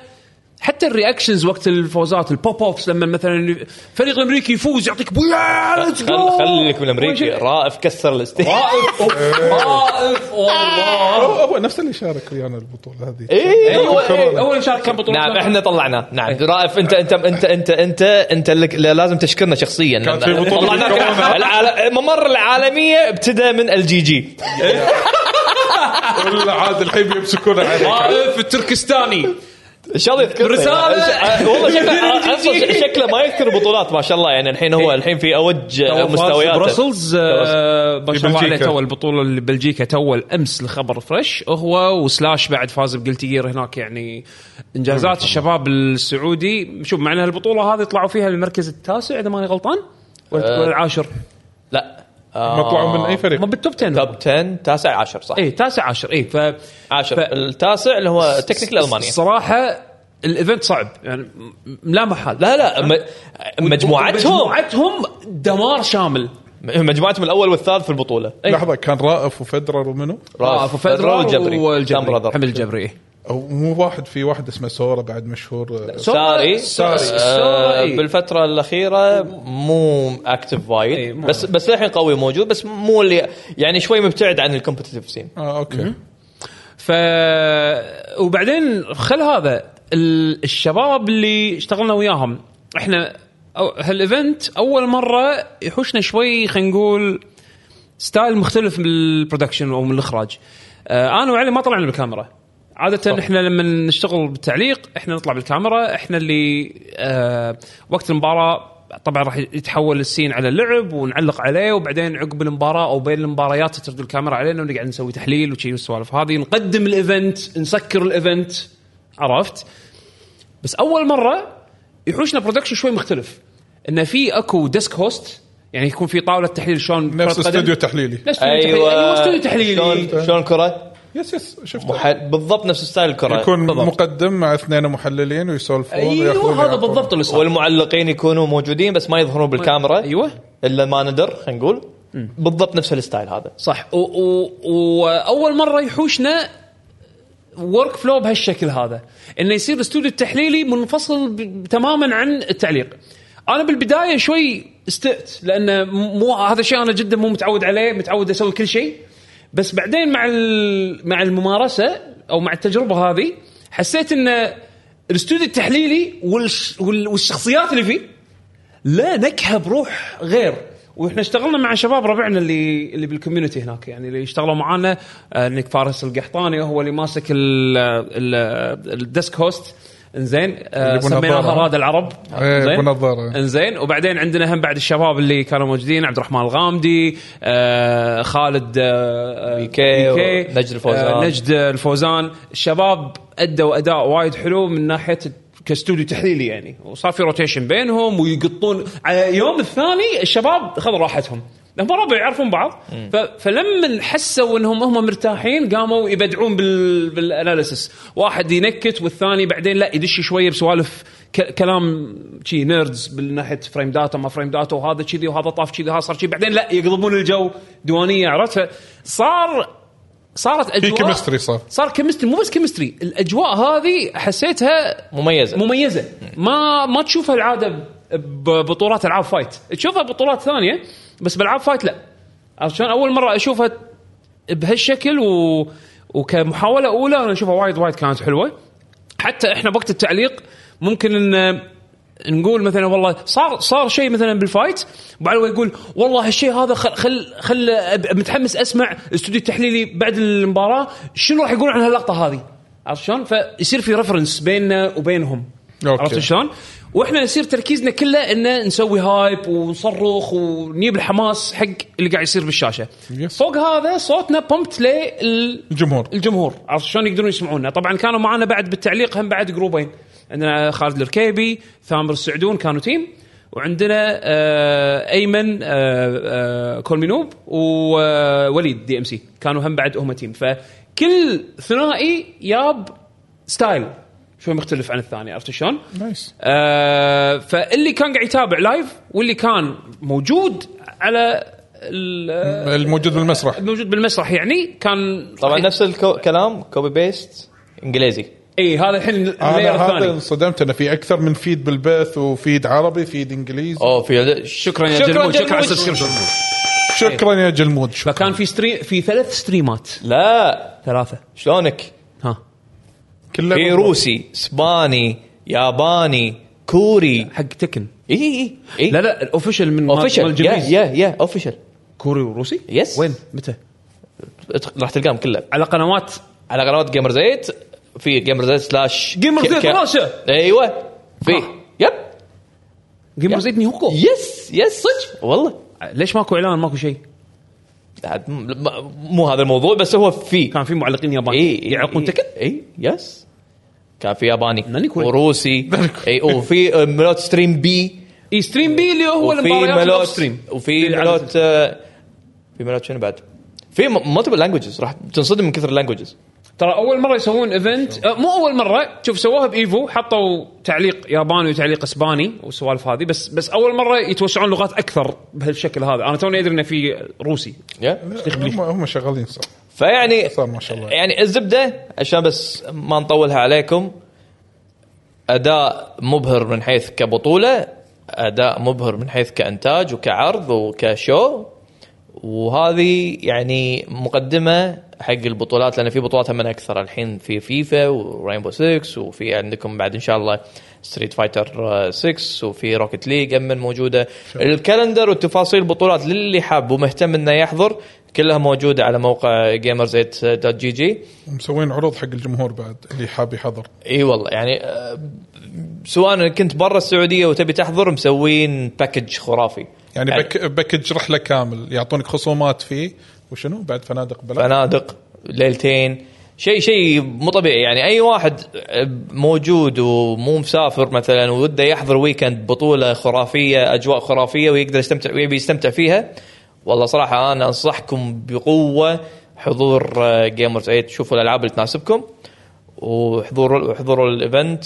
Speaker 1: حتى الرياكشنز وقت الفوزات البوب اوبس لما مثلا الفريق الامريكي يفوز يعطيك بويا ليتس جو
Speaker 4: خل- خليك من الامريكي رائف كسر الاستيج
Speaker 1: رائف رائف والله
Speaker 2: هو هو نفس اللي شارك ويانا البطوله هذه
Speaker 4: ايه
Speaker 1: أيوة، إيه،
Speaker 4: هو-
Speaker 1: اول شارك كان بطوله
Speaker 4: نعم احنا طلعناه نعم رائف انت انت انت انت انت انت اللي لا- لازم تشكرنا شخصيا
Speaker 2: كانت في بطولة
Speaker 4: طلعناك
Speaker 2: كورونا.
Speaker 4: العال- الممر العالميه ابتدى من الجي جي
Speaker 2: ولا عاد الحين بيمسكونه عليك
Speaker 1: رائف التركستاني
Speaker 4: ان شاء الله يذكر
Speaker 1: رسالة.
Speaker 4: أه، والله شكله اصلا شكله ما يذكر بطولات ما شاء الله يعني الحين هو الحين في اوج مستوياته
Speaker 1: بروسلز آه، ما شاء الله عليه
Speaker 2: ببلجيكا.
Speaker 1: تو البطوله اللي بلجيكا تو امس الخبر فريش هو وسلاش بعد فاز بقلتي جير هناك يعني انجازات الشباب السعودي شوف مع ان البطوله هذه طلعوا فيها المركز التاسع اذا ماني غلطان ولا ولا العاشر
Speaker 4: لا
Speaker 2: ما طلعوا من اي
Speaker 4: آه،
Speaker 2: فريق
Speaker 1: ما بالتوب 10
Speaker 4: توب 10 تاسع عشر صح
Speaker 1: اي تاسع عشر اي ف
Speaker 4: عاشر التاسع اللي هو تكنيكال المانيا
Speaker 1: الصراحه الايفنت صعب يعني م- لا محال
Speaker 4: لا لا م- مجموعتهم
Speaker 1: مجموعتهم دمار شامل
Speaker 4: مجموعتهم الاول والثالث في البطوله
Speaker 1: إيه.
Speaker 2: لحظه كان رائف وفدرر ومنو؟
Speaker 1: رائف وفدرر
Speaker 4: والجبري سام
Speaker 1: آه، والجبري
Speaker 4: براذر.
Speaker 1: حمل الجبري
Speaker 2: او مو واحد في واحد اسمه سورا بعد مشهور
Speaker 4: ساري
Speaker 1: ساري.
Speaker 4: آه،
Speaker 1: ساري.
Speaker 4: بالفتره الاخيره مو اكتف
Speaker 1: إيه،
Speaker 4: وايد
Speaker 1: مو
Speaker 4: بس بس للحين قوي موجود بس مو اللي يعني شوي مبتعد عن الكومبتتف سين
Speaker 2: اه اوكي
Speaker 1: ف وبعدين خل هذا ال- الشباب اللي اشتغلنا وياهم احنا أو- هالايفنت اول مره يحوشنا شوي خلينا نقول ستايل مختلف من البرودكشن او من الاخراج آه، انا وعلي ما طلعنا بالكاميرا عاده احنا لما نشتغل بالتعليق احنا نطلع بالكاميرا احنا اللي آه وقت المباراه طبعا راح يتحول السين على اللعب ونعلق عليه وبعدين عقب المباراه او بين المباريات ترد الكاميرا علينا ونقعد نسوي تحليل وشي والسوالف هذه نقدم الايفنت نسكر الايفنت عرفت بس اول مره يحوشنا برودكشن شوي مختلف انه في اكو ديسك هوست يعني يكون في طاوله تحليل شلون
Speaker 2: نفس
Speaker 1: كرة قدم.
Speaker 2: استوديو تحليلي
Speaker 1: نفس
Speaker 4: ايوه
Speaker 1: استوديو إيه، أيوة، تحليلي
Speaker 4: شلون شلون كره؟
Speaker 2: يس يس شفته
Speaker 4: مح- بالضبط نفس ستايل الكره
Speaker 2: يكون
Speaker 4: بالضبط. أيوة،
Speaker 2: مقدم مع اثنين محللين ويسولفون وياخذون
Speaker 1: ايوه هذا
Speaker 2: ويعطون.
Speaker 1: بالضبط اللي صار
Speaker 4: والمعلقين يكونوا موجودين بس ما يظهرون بالكاميرا
Speaker 1: ايوه
Speaker 4: الا ما ندر خلينا نقول بالضبط نفس الستايل هذا
Speaker 1: صح و- و- واول مره يحوشنا ورك فلو بهالشكل هذا انه يصير الاستوديو التحليلي منفصل ب- تماما عن التعليق انا بالبدايه شوي استئت لان مو هذا شيء انا جدا مو متعود عليه متعود اسوي كل شيء بس بعدين مع ال- مع الممارسه او مع التجربه هذه حسيت ان الاستوديو التحليلي والش- وال- والشخصيات اللي فيه لا نكهه بروح غير واحنا اشتغلنا مع شباب ربعنا اللي اللي بالكوميونتي هناك يعني اللي اشتغلوا معانا آه، نيك فارس القحطاني هو اللي ماسك ال- ال- الديسك هوست انزين آه،
Speaker 2: اللي بنظارة.
Speaker 1: سميناها راد العرب
Speaker 2: إيه،
Speaker 1: إنزين؟
Speaker 2: بنظارة.
Speaker 1: انزين وبعدين عندنا هم بعد الشباب اللي كانوا موجودين عبد الرحمن الغامدي آه، خالد آه، آه،
Speaker 4: بيكي
Speaker 1: بيكي،
Speaker 4: ونجد الفوزان.
Speaker 1: آه، نجد الفوزان الشباب ادوا اداء وايد حلو من ناحيه كاستوديو تحليلي يعني وصار في روتيشن بينهم ويقطون على يوم الثاني الشباب خذوا راحتهم هم ربع يعرفون بعض ف... فلما حسوا انهم هم مرتاحين قاموا يبدعون بال... بالاناليسس واحد ينكت والثاني بعدين لا يدش شويه بسوالف ك... كلام شي نيردز من ناحيه فريم داتا ما فريم داتا وهذا كذي وهذا طاف كذي هذا صار كذي بعدين لا يقلبون الجو ديوانيه عرفت فصار صارت
Speaker 2: في
Speaker 1: اجواء
Speaker 2: كيمستري صار
Speaker 1: صار كيمستري مو بس كيمستري الاجواء هذه حسيتها
Speaker 4: مميزه
Speaker 1: مميزه ما ما تشوفها العاده ب- ببطولات العاب فايت تشوفها ببطولات ثانيه بس بالعاب فايت لا عرفت شلون اول مره اشوفها بهالشكل و... وكمحاوله اولى انا اشوفها وايد وايد كانت حلوه حتى احنا بوقت التعليق ممكن ان نقول مثلا والله صار صار شيء مثلا بالفايت ابو علوي يقول والله هالشيء هذا خل خل, خل أب- متحمس اسمع استوديو التحليلي بعد المباراه شنو راح يقولون عن هاللقطه هذه عرفت شلون؟ فيصير في ريفرنس بيننا وبينهم
Speaker 2: أوكي.
Speaker 1: عرفت شلون؟ واحنا يصير تركيزنا كله ان نسوي هايب ونصرخ ونجيب الحماس حق اللي قاعد يصير بالشاشه.
Speaker 2: يس.
Speaker 1: فوق هذا صوتنا بومبت لل
Speaker 2: الجمهور
Speaker 1: الجمهور عرفت شلون يقدرون يسمعونا طبعا كانوا معنا بعد بالتعليق هم بعد جروبين عندنا خالد الركيبي ثامر السعدون كانوا تيم وعندنا آه ايمن آه آه كولمينوب ووليد دي ام سي كانوا هم بعد هم تيم فكل ثنائي ياب ستايل شوي مختلف عن الثاني عرفت شلون؟
Speaker 2: نايس
Speaker 1: آه فاللي كان قاعد يتابع لايف واللي كان موجود على ال- آه،
Speaker 2: الموجود بالمسرح
Speaker 1: موجود بالمسرح يعني كان
Speaker 4: طبعا نفس الكلام كوبي بيست انجليزي
Speaker 1: اي هذا الحين
Speaker 2: انا
Speaker 1: اللاير
Speaker 2: هذا
Speaker 1: الثاني
Speaker 2: انصدمت انه في اكثر من فيد بالبث وفيد عربي فيد انجليزي
Speaker 4: اوه في
Speaker 1: شكرا يا
Speaker 4: شكراً
Speaker 1: جلمود شكرا على
Speaker 4: جلمود.
Speaker 1: السبسكربشن
Speaker 2: شكرا يا جلمود شكرا
Speaker 1: فكان في ستري... في ثلاث ستريمات
Speaker 4: لا
Speaker 1: ثلاثه
Speaker 4: شلونك
Speaker 1: ها
Speaker 2: كله
Speaker 4: في روسي اسباني ياباني كوري
Speaker 1: حق تكن
Speaker 4: اي اي اي
Speaker 1: لا لا الاوفيشال من مال- مال
Speaker 4: اوفيشال يا
Speaker 1: الجميز.
Speaker 4: يا يا اوفيشال
Speaker 1: كوري وروسي
Speaker 4: يس.
Speaker 1: وين متى
Speaker 4: راح تلقاهم كله
Speaker 1: على قنوات
Speaker 4: على قنوات جيمر زيت في جيمر زيت سلاش
Speaker 1: Gamer آه.
Speaker 4: ك-
Speaker 1: Zed
Speaker 4: ك-
Speaker 1: راشا.
Speaker 4: ايوه في يب
Speaker 1: جيمر زيت نيوكو
Speaker 4: يس يس صدق والله
Speaker 1: ليش ماكو اعلان ماكو شيء
Speaker 4: عاد م- م- مو هذا الموضوع بس هو في
Speaker 1: كان في معلقين يابانيين
Speaker 4: اي
Speaker 1: يعلقون تكن
Speaker 4: اي يس إيه، كان في ياباني
Speaker 1: ناني كوري.
Speaker 4: وروسي اي وفي آه، ملوت ستريم بي
Speaker 1: اي ستريم بي اللي هو
Speaker 4: وفي
Speaker 1: المباريات
Speaker 4: ملوت
Speaker 1: الأوف ستريم
Speaker 4: وفي
Speaker 1: اللي على
Speaker 4: ملوت آه، في ملوت شنو بعد؟ في مالتيبل لانجوجز راح تنصدم من كثر اللانجوجز
Speaker 1: ترى اول مره يسوون ايفنت آه، مو اول مره شوف سووها بايفو حطوا تعليق ياباني وتعليق اسباني والسوالف هذه بس بس اول مره يتوسعون لغات اكثر بهالشكل هذا انا توني ادري انه في روسي
Speaker 2: هم هم شغالين صح
Speaker 4: فيعني
Speaker 2: صار ما شاء الله.
Speaker 4: يعني الزبده عشان بس ما نطولها عليكم اداء مبهر من حيث كبطوله اداء مبهر من حيث كانتاج وكعرض وكشو وهذه يعني مقدمه حق البطولات لان في بطولات من اكثر الحين في فيفا وراينبو 6 وفي عندكم بعد ان شاء الله ستريت فايتر 6 وفي روكت ليج امن موجوده الكالندر والتفاصيل البطولات للي حاب ومهتم انه يحضر كلها موجوده على موقع جيمرز 8 دوت جي جي
Speaker 2: مسوين عروض حق الجمهور بعد اللي حاب يحضر
Speaker 4: اي والله يعني آه، سواء كنت برا السعوديه وتبي تحضر مسوين باكج خرافي
Speaker 2: يعني بك باكج رحله كامل يعطونك خصومات فيه وشنو بعد فنادق بلا
Speaker 4: فنادق ليلتين شيء شيء مو طبيعي يعني اي واحد موجود ومو مسافر مثلا وده يحضر ويكند بطوله خرافيه اجواء خرافيه ويقدر يستمتع ويبي يستمتع فيها والله صراحه انا انصحكم بقوه حضور جيمرز 8 شوفوا الالعاب اللي تناسبكم وحضور حضور الايفنت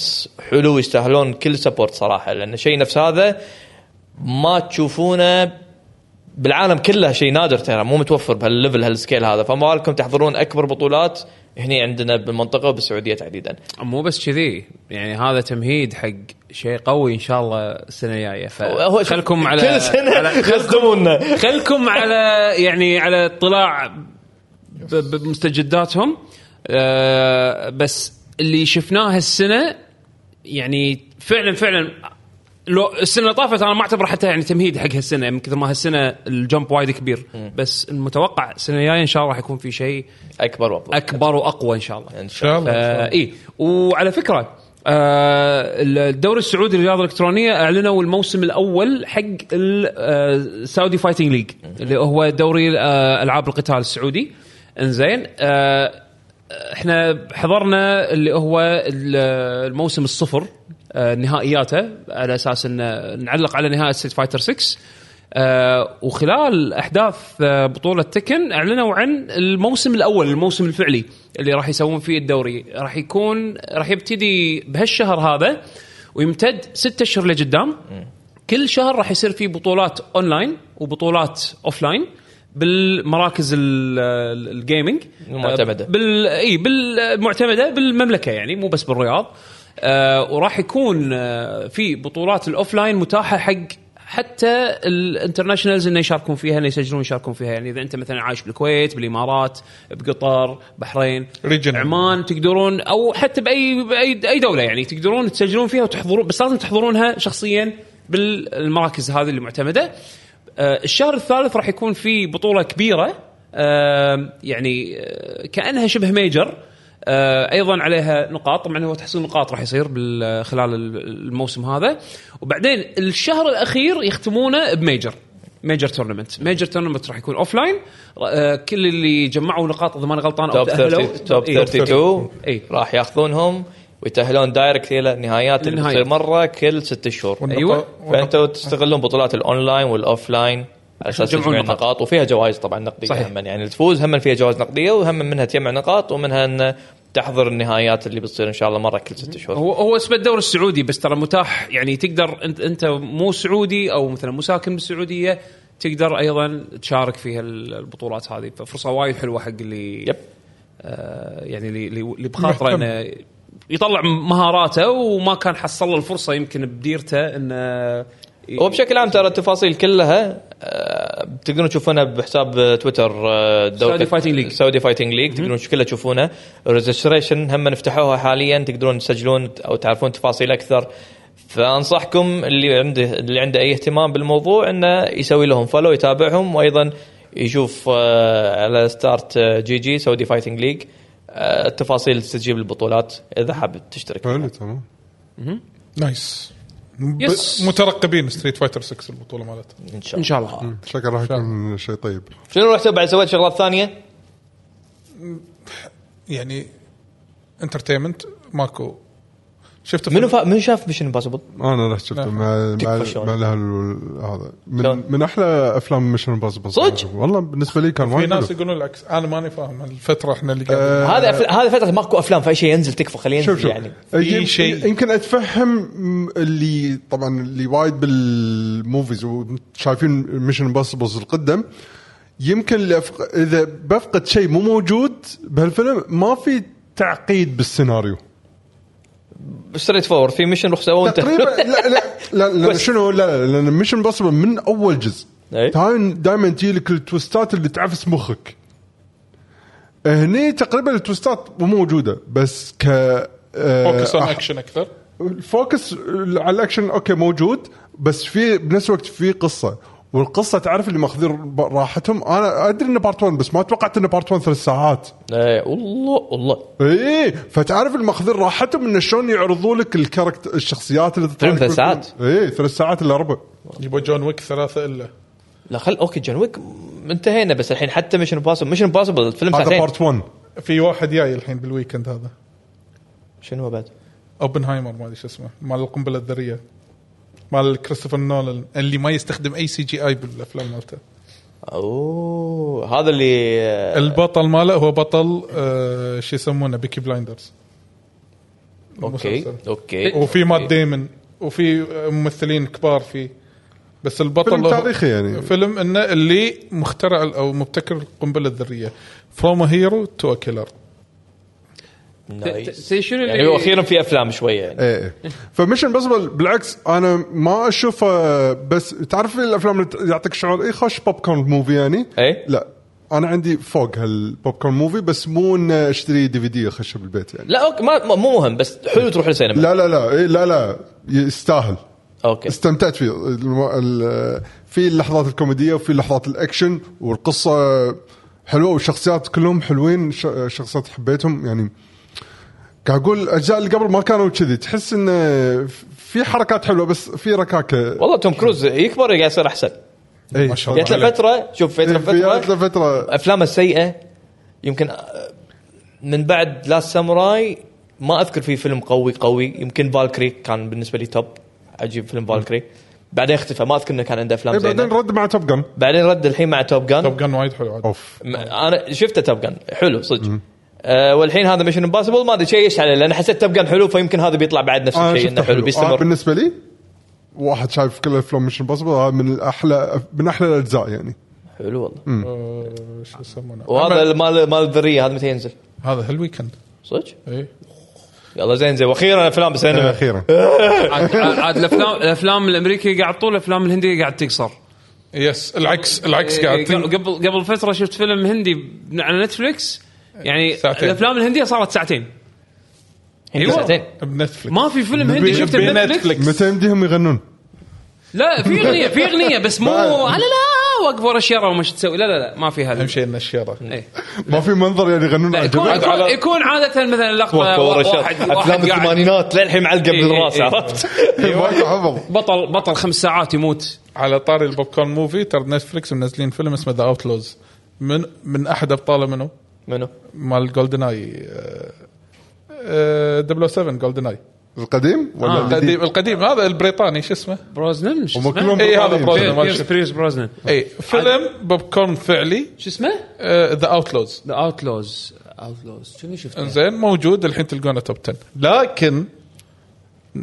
Speaker 4: حلو يستاهلون كل سبورت صراحه لان شيء نفس هذا ما تشوفونه بالعالم كله شيء نادر ترى مو متوفر بهالليفل هالسكيل هذا فما بالكم تحضرون اكبر بطولات هنا عندنا بالمنطقه وبالسعوديه تحديدا
Speaker 1: مو بس كذي يعني هذا تمهيد حق شيء قوي ان شاء الله السنه الجايه
Speaker 4: هو-
Speaker 1: فخلكم على
Speaker 4: كل سنه
Speaker 1: على-
Speaker 4: يصدمونا
Speaker 1: خلكم على يعني على اطلاع ب- بمستجداتهم آه، بس اللي شفناه هالسنه يعني فعلا فعلا لو السنه اللي طافت انا ما اعتبره حتى يعني تمهيد حق هالسنه من كثر ما هالسنه الجمب وايد كبير بس المتوقع السنه الجايه ان شاء الله راح يكون في شيء
Speaker 4: اكبر وافضل
Speaker 1: اكبر واقوى ان شاء الله
Speaker 2: ان
Speaker 4: ان شاء
Speaker 2: شاء
Speaker 4: الله
Speaker 2: الله
Speaker 1: آه اي وعلى فكره آه الدوري السعودي للرياضه الالكترونيه اعلنوا الموسم الاول حق آه، السعودي فايتنج ليج اللي هو دوري آه، العاب القتال السعودي انزين آه احنا حضرنا اللي هو ال- الموسم الصفر آه نهائياته على اساس ان نعلق على نهائي ستيت فايتر 6 آه وخلال احداث آه بطوله تكن اعلنوا عن الموسم الاول الموسم الفعلي اللي راح يسوون فيه الدوري راح يكون راح يبتدي بهالشهر هذا ويمتد ستة اشهر لقدام كل شهر راح يصير فيه بطولات اونلاين وبطولات اوفلاين بالمراكز ال- ال- الجيمنج
Speaker 4: المعتمدة.
Speaker 1: آه، بال اي بالمعتمده بالمملكه يعني مو بس بالرياض آه وراح يكون آه في بطولات الاوفلاين متاحه حق حتى الانترناشونالز انه يشاركون فيها انه يسجلون يشاركون فيها يعني اذا انت مثلا عايش بالكويت بالامارات بقطر بحرين
Speaker 2: Regional.
Speaker 1: عمان تقدرون او حتى باي باي اي دوله يعني تقدرون تسجلون فيها وتحضرون بس لازم تحضرونها شخصيا بالمراكز هذه اللي معتمده آه، الشهر الثالث راح يكون في بطوله كبيره آم، يعني آه، كانها شبه ميجر آه، ايضا عليها نقاط طبعا هو تحصيل نقاط راح يصير بال- خلال ال- الموسم هذا وبعدين الشهر الاخير يختمونه بميجر ميجر تورنمنت ميجر تورنمنت راح يكون اوف لاين كل اللي جمعوا نقاط اذا ماني غلطان او
Speaker 4: توب
Speaker 1: تاهلوا
Speaker 4: 30 توب
Speaker 1: إيه،
Speaker 4: 32
Speaker 1: اي
Speaker 4: راح ياخذونهم ويتاهلون دايركت الى النهايات اللي
Speaker 1: للنهايات.
Speaker 4: بتصير مره كل ست شهور
Speaker 2: والنقاط-
Speaker 1: أيوة.
Speaker 2: والنقاط-
Speaker 4: فانتوا تستغلون بطولات الاونلاين والاوفلاين على اساس
Speaker 1: تجمعون
Speaker 4: تجمع
Speaker 1: نقاط.
Speaker 4: النقاط وفيها جوائز طبعا نقديه
Speaker 1: صحيح.
Speaker 4: صحيح. هم يعني تفوز هم فيها جوائز نقديه وهم منها تجمع نقاط ومنها ان تحضر النهايات اللي بتصير ان شاء الله مره كل ست شهور
Speaker 1: هو هو اسمه الدوري السعودي بس ترى متاح يعني تقدر انت انت مو سعودي او مثلا مو ساكن بالسعوديه تقدر ايضا تشارك في هال- البطولات هذه ففرصه وايد حلوه حق اللي
Speaker 4: يب.
Speaker 1: آه يعني اللي اللي- اللي بخاطره انه يطلع مهاراته وما كان حصل له الفرصه يمكن بديرته انه ي-
Speaker 4: وبشكل عام ترى التفاصيل كلها آه، تقدرون تشوفونها بحساب آه، تويتر آه، دوري-
Speaker 1: سعودي فايتنج ليج.
Speaker 4: سعودي فايتنج ليج تقدرون كلها تشوفونها الريجستريشن هم نفتحوها حاليا تقدرون تسجلون او تعرفون تفاصيل اكثر فانصحكم اللي عنده اللي عنده اي اهتمام بالموضوع انه يسوي لهم فولو يتابعهم وايضا يشوف آه، على ستارت آه، جي جي سعودي فايتنج ليج آه، التفاصيل اللي تستجيب البطولات اذا حابب تشترك
Speaker 3: حلو تمام
Speaker 2: نايس ب-
Speaker 1: يس.
Speaker 2: مترقبين ستريت فايتر 6 البطوله مالتها
Speaker 4: ان شاء
Speaker 1: ان
Speaker 4: الله
Speaker 1: شاء الله
Speaker 3: شكله راح يكون شيء طيب
Speaker 4: شنو رحت بعد سويت شغلات ثانيه؟
Speaker 2: يعني انترتينمنت ماكو شفت
Speaker 4: منو
Speaker 2: فيلم-
Speaker 4: فا... منو شاف ميشن امبوسيبل؟
Speaker 3: انا رحت شفته
Speaker 2: لا.
Speaker 3: مع مع
Speaker 4: تكفى شلون.
Speaker 3: مع الاهل هذا
Speaker 4: شلون.
Speaker 3: من, من احلى افلام ميشن امبوسيبل
Speaker 4: صدق؟
Speaker 3: والله بالنسبه لي كان
Speaker 2: في
Speaker 3: وايد
Speaker 2: ناس
Speaker 3: حلو
Speaker 2: يقولون العكس انا ماني فاهم الفتره احنا اللي قاعدين
Speaker 3: آه،
Speaker 4: هذا أفل... هذا فتره ماكو افلام فاي شيء ينزل تكفى خليه
Speaker 3: شوف
Speaker 4: ينزل
Speaker 3: شوف
Speaker 4: يعني
Speaker 2: في
Speaker 3: يم-
Speaker 2: شيء.
Speaker 3: يمكن اتفهم اللي طبعا اللي وايد بالموفيز وشايفين ميشن امبوسيبلز القدم يمكن اللي أفق... اذا بفقد شيء مو موجود بهالفيلم ما في تعقيد بالسيناريو
Speaker 4: ستريت فورد في ميشن رخصه وانت
Speaker 3: تقريبا لا لا لا لأن شنو لا لا لان ميشن امبوسيبل من اول جزء
Speaker 4: أي.
Speaker 3: دائما تجي لك التوستات اللي تعفس مخك هني تقريبا التوستات مو موجوده بس ك آه،
Speaker 2: فوكس اون
Speaker 3: أح-
Speaker 2: اكشن اكثر
Speaker 3: الفوكس على الاكشن اوكي موجود بس في بنفس الوقت في قصه والقصه تعرف اللي ماخذين راحتهم انا ادري انه بارت 1 بس ما توقعت انه بارت 1 ثلاث ساعات
Speaker 4: ايه والله والله
Speaker 3: اي فتعرف اللي ماخذين راحتهم انه شلون يعرضوا لك الكاركتر الشخصيات اللي تطلع
Speaker 4: فيلم ثلاث ساعات.
Speaker 3: اي ثلاث ساعات الا ربع
Speaker 2: يبغى جون ويك ثلاثه الا
Speaker 4: لا خل اوكي جون ويك انتهينا بس الحين حتى مش امبوسيبل مش امبوسيبل الفيلم
Speaker 3: هذا
Speaker 4: ساعتين
Speaker 3: بارت 1
Speaker 2: في واحد جاي الحين بالويكند هذا
Speaker 4: شنو هو بعد؟
Speaker 2: اوبنهايمر ما ادري شو اسمه مال القنبله الذريه مال كريستوفر نولان اللي ما يستخدم اي سي جي اي بالافلام مالته
Speaker 4: اوه هذا اللي
Speaker 2: البطل ماله هو بطل آه شو يسمونه بيكي بلايندرز
Speaker 4: اوكي
Speaker 2: المسلسل.
Speaker 4: اوكي
Speaker 3: إيه.
Speaker 2: وفي مات ديمن وفي ممثلين كبار فيه بس البطل
Speaker 3: فيلم
Speaker 2: هو-
Speaker 3: تاريخي يعني.
Speaker 2: فيلم انه اللي مخترع او مبتكر القنبله الذريه فروم هيرو تو كيلر
Speaker 4: نايس.
Speaker 1: ت- ت- شنو اللي-
Speaker 4: يعني هو اخيرا في افلام شويه يعني
Speaker 3: ايه إيه. فمشن بسبل بالعكس انا ما اشوفه بس تعرف الافلام اللي يعطيك شعور إيه، اي خش بوب كورن موفي يعني
Speaker 4: إيه.
Speaker 3: لا انا عندي فوق هالبوب كورن موفي بس مو انه اشتري دي في دي اخشه بالبيت يعني
Speaker 4: لا اوكي ما ما- مو مهم بس حلو تروح للسينما
Speaker 3: لا لا لا إيه لا لا يستاهل
Speaker 4: اوكي
Speaker 3: استمتعت فيه الم- ال- في اللحظات الكوميديه وفي لحظات الاكشن والقصه حلوه والشخصيات كلهم حلوين ش- شخصيات حبيتهم يعني قاعد اقول الاجزاء اللي قبل ما كانوا كذي تحس ان في حركات حلوه بس في ركاكه
Speaker 4: والله توم كروز يكبر قاعد يصير احسن
Speaker 3: إيه.
Speaker 2: ما شاء الله
Speaker 4: جات له
Speaker 2: عليه.
Speaker 4: فتره شوف
Speaker 3: إيه،
Speaker 4: فتره
Speaker 3: في
Speaker 4: فتره
Speaker 3: جات له فتره
Speaker 4: افلامه السيئه يمكن آه، من بعد لاست ساموراي ما اذكر في فيلم قوي قوي يمكن فالكري كان بالنسبه لي توب عجيب فيلم فالكري بعدين اختفى ما اذكر انه كان عنده افلام
Speaker 3: إيه، بعدين
Speaker 4: زينه
Speaker 3: رد مع توب جن
Speaker 4: بعدين رد الحين مع توب جان
Speaker 2: توب جان وايد حلو عاد
Speaker 3: اوف
Speaker 4: م- انا شفته توب جان حلو صدق أه والحين هذا ميشن امبوسيبل ما ادري شيش عليه لان حسيت توب جان حلو فيمكن هذا بيطلع بعد نفس
Speaker 3: انا
Speaker 4: الشيء
Speaker 3: شفته
Speaker 4: انه حلو
Speaker 3: حلو آه،
Speaker 4: بيستمر
Speaker 3: بالنسبه لي واحد شايف كل افلام مش امبوسيبل من الاحلى من احلى الاجزاء يعني
Speaker 4: حلو والله
Speaker 2: آه، شو يسمونه
Speaker 4: وهذا
Speaker 2: عمل-
Speaker 4: مال مال الذريه هذا متى ينزل؟
Speaker 2: هذا هالويكند
Speaker 4: صدق؟
Speaker 2: ايه
Speaker 4: يلا زين زين واخيرا افلام بالسينما
Speaker 3: اخيرا
Speaker 1: عاد عاد الافلام الافلام الامريكيه قاعد طول الافلام الهنديه قاعد تقصر
Speaker 2: يس العكس العكس قاعد
Speaker 1: إيه،
Speaker 2: تن-
Speaker 1: قبل قبل فتره شفت فيلم هندي على نتفلكس يعني
Speaker 2: ساعتين.
Speaker 1: الافلام الهنديه صارت ساعتين
Speaker 4: هندي
Speaker 3: إيه،
Speaker 1: أيوة.
Speaker 4: ساعتين
Speaker 2: بنتفلكس
Speaker 1: ما في فيلم هندي شفته بنتفلكس
Speaker 3: متى يمديهم يغنون؟
Speaker 1: لا في اغنيه في اغنيه بس مو
Speaker 3: بعد.
Speaker 1: انا لا واقف ورا الشارع وما شو تسوي لا لا لا ما في هذا
Speaker 2: اهم شيء انه الشيره
Speaker 1: إيه.
Speaker 3: ما في منظر يعني يغنون
Speaker 1: لا
Speaker 3: على
Speaker 1: يكون
Speaker 3: الجبل
Speaker 2: عاد
Speaker 1: يكون,
Speaker 2: على-
Speaker 1: يكون عاده مثلا لقطه
Speaker 4: وقفه ورا
Speaker 1: واحد
Speaker 4: شر
Speaker 1: واحد
Speaker 4: افلام
Speaker 1: قاعد
Speaker 4: الثمانينات للحين معلقه
Speaker 1: إيه،
Speaker 4: بالراس
Speaker 1: إيه،
Speaker 4: عرفت؟
Speaker 3: ما حفظ
Speaker 1: بطل بطل خمس ساعات يموت
Speaker 2: على طاري البوب كورن موفي ترى نتفلكس منزلين فيلم اسمه ذا اوتلوز من من احد ابطاله منه
Speaker 4: منو؟
Speaker 2: مال جولدن اي 007 جولدن اي
Speaker 3: القديم ولا
Speaker 1: آه.
Speaker 3: الجديد؟
Speaker 2: القديم القديم هذا البريطاني شو اسمه؟
Speaker 1: بروزنن شو
Speaker 3: هم كلهم
Speaker 1: اسمه؟
Speaker 2: إيه، هذا برازيل.
Speaker 3: بريطانيين.
Speaker 1: بير- بيرس بيرس بروزنن
Speaker 2: اي إيه، فيلم بوب كورن فعلي آه،
Speaker 1: شو اسمه؟
Speaker 2: ذا اوتلوز
Speaker 1: ذا اوتلوز اوتلوز شنو شفته؟
Speaker 2: انزين موجود الحين تلقونه توب 10 لكن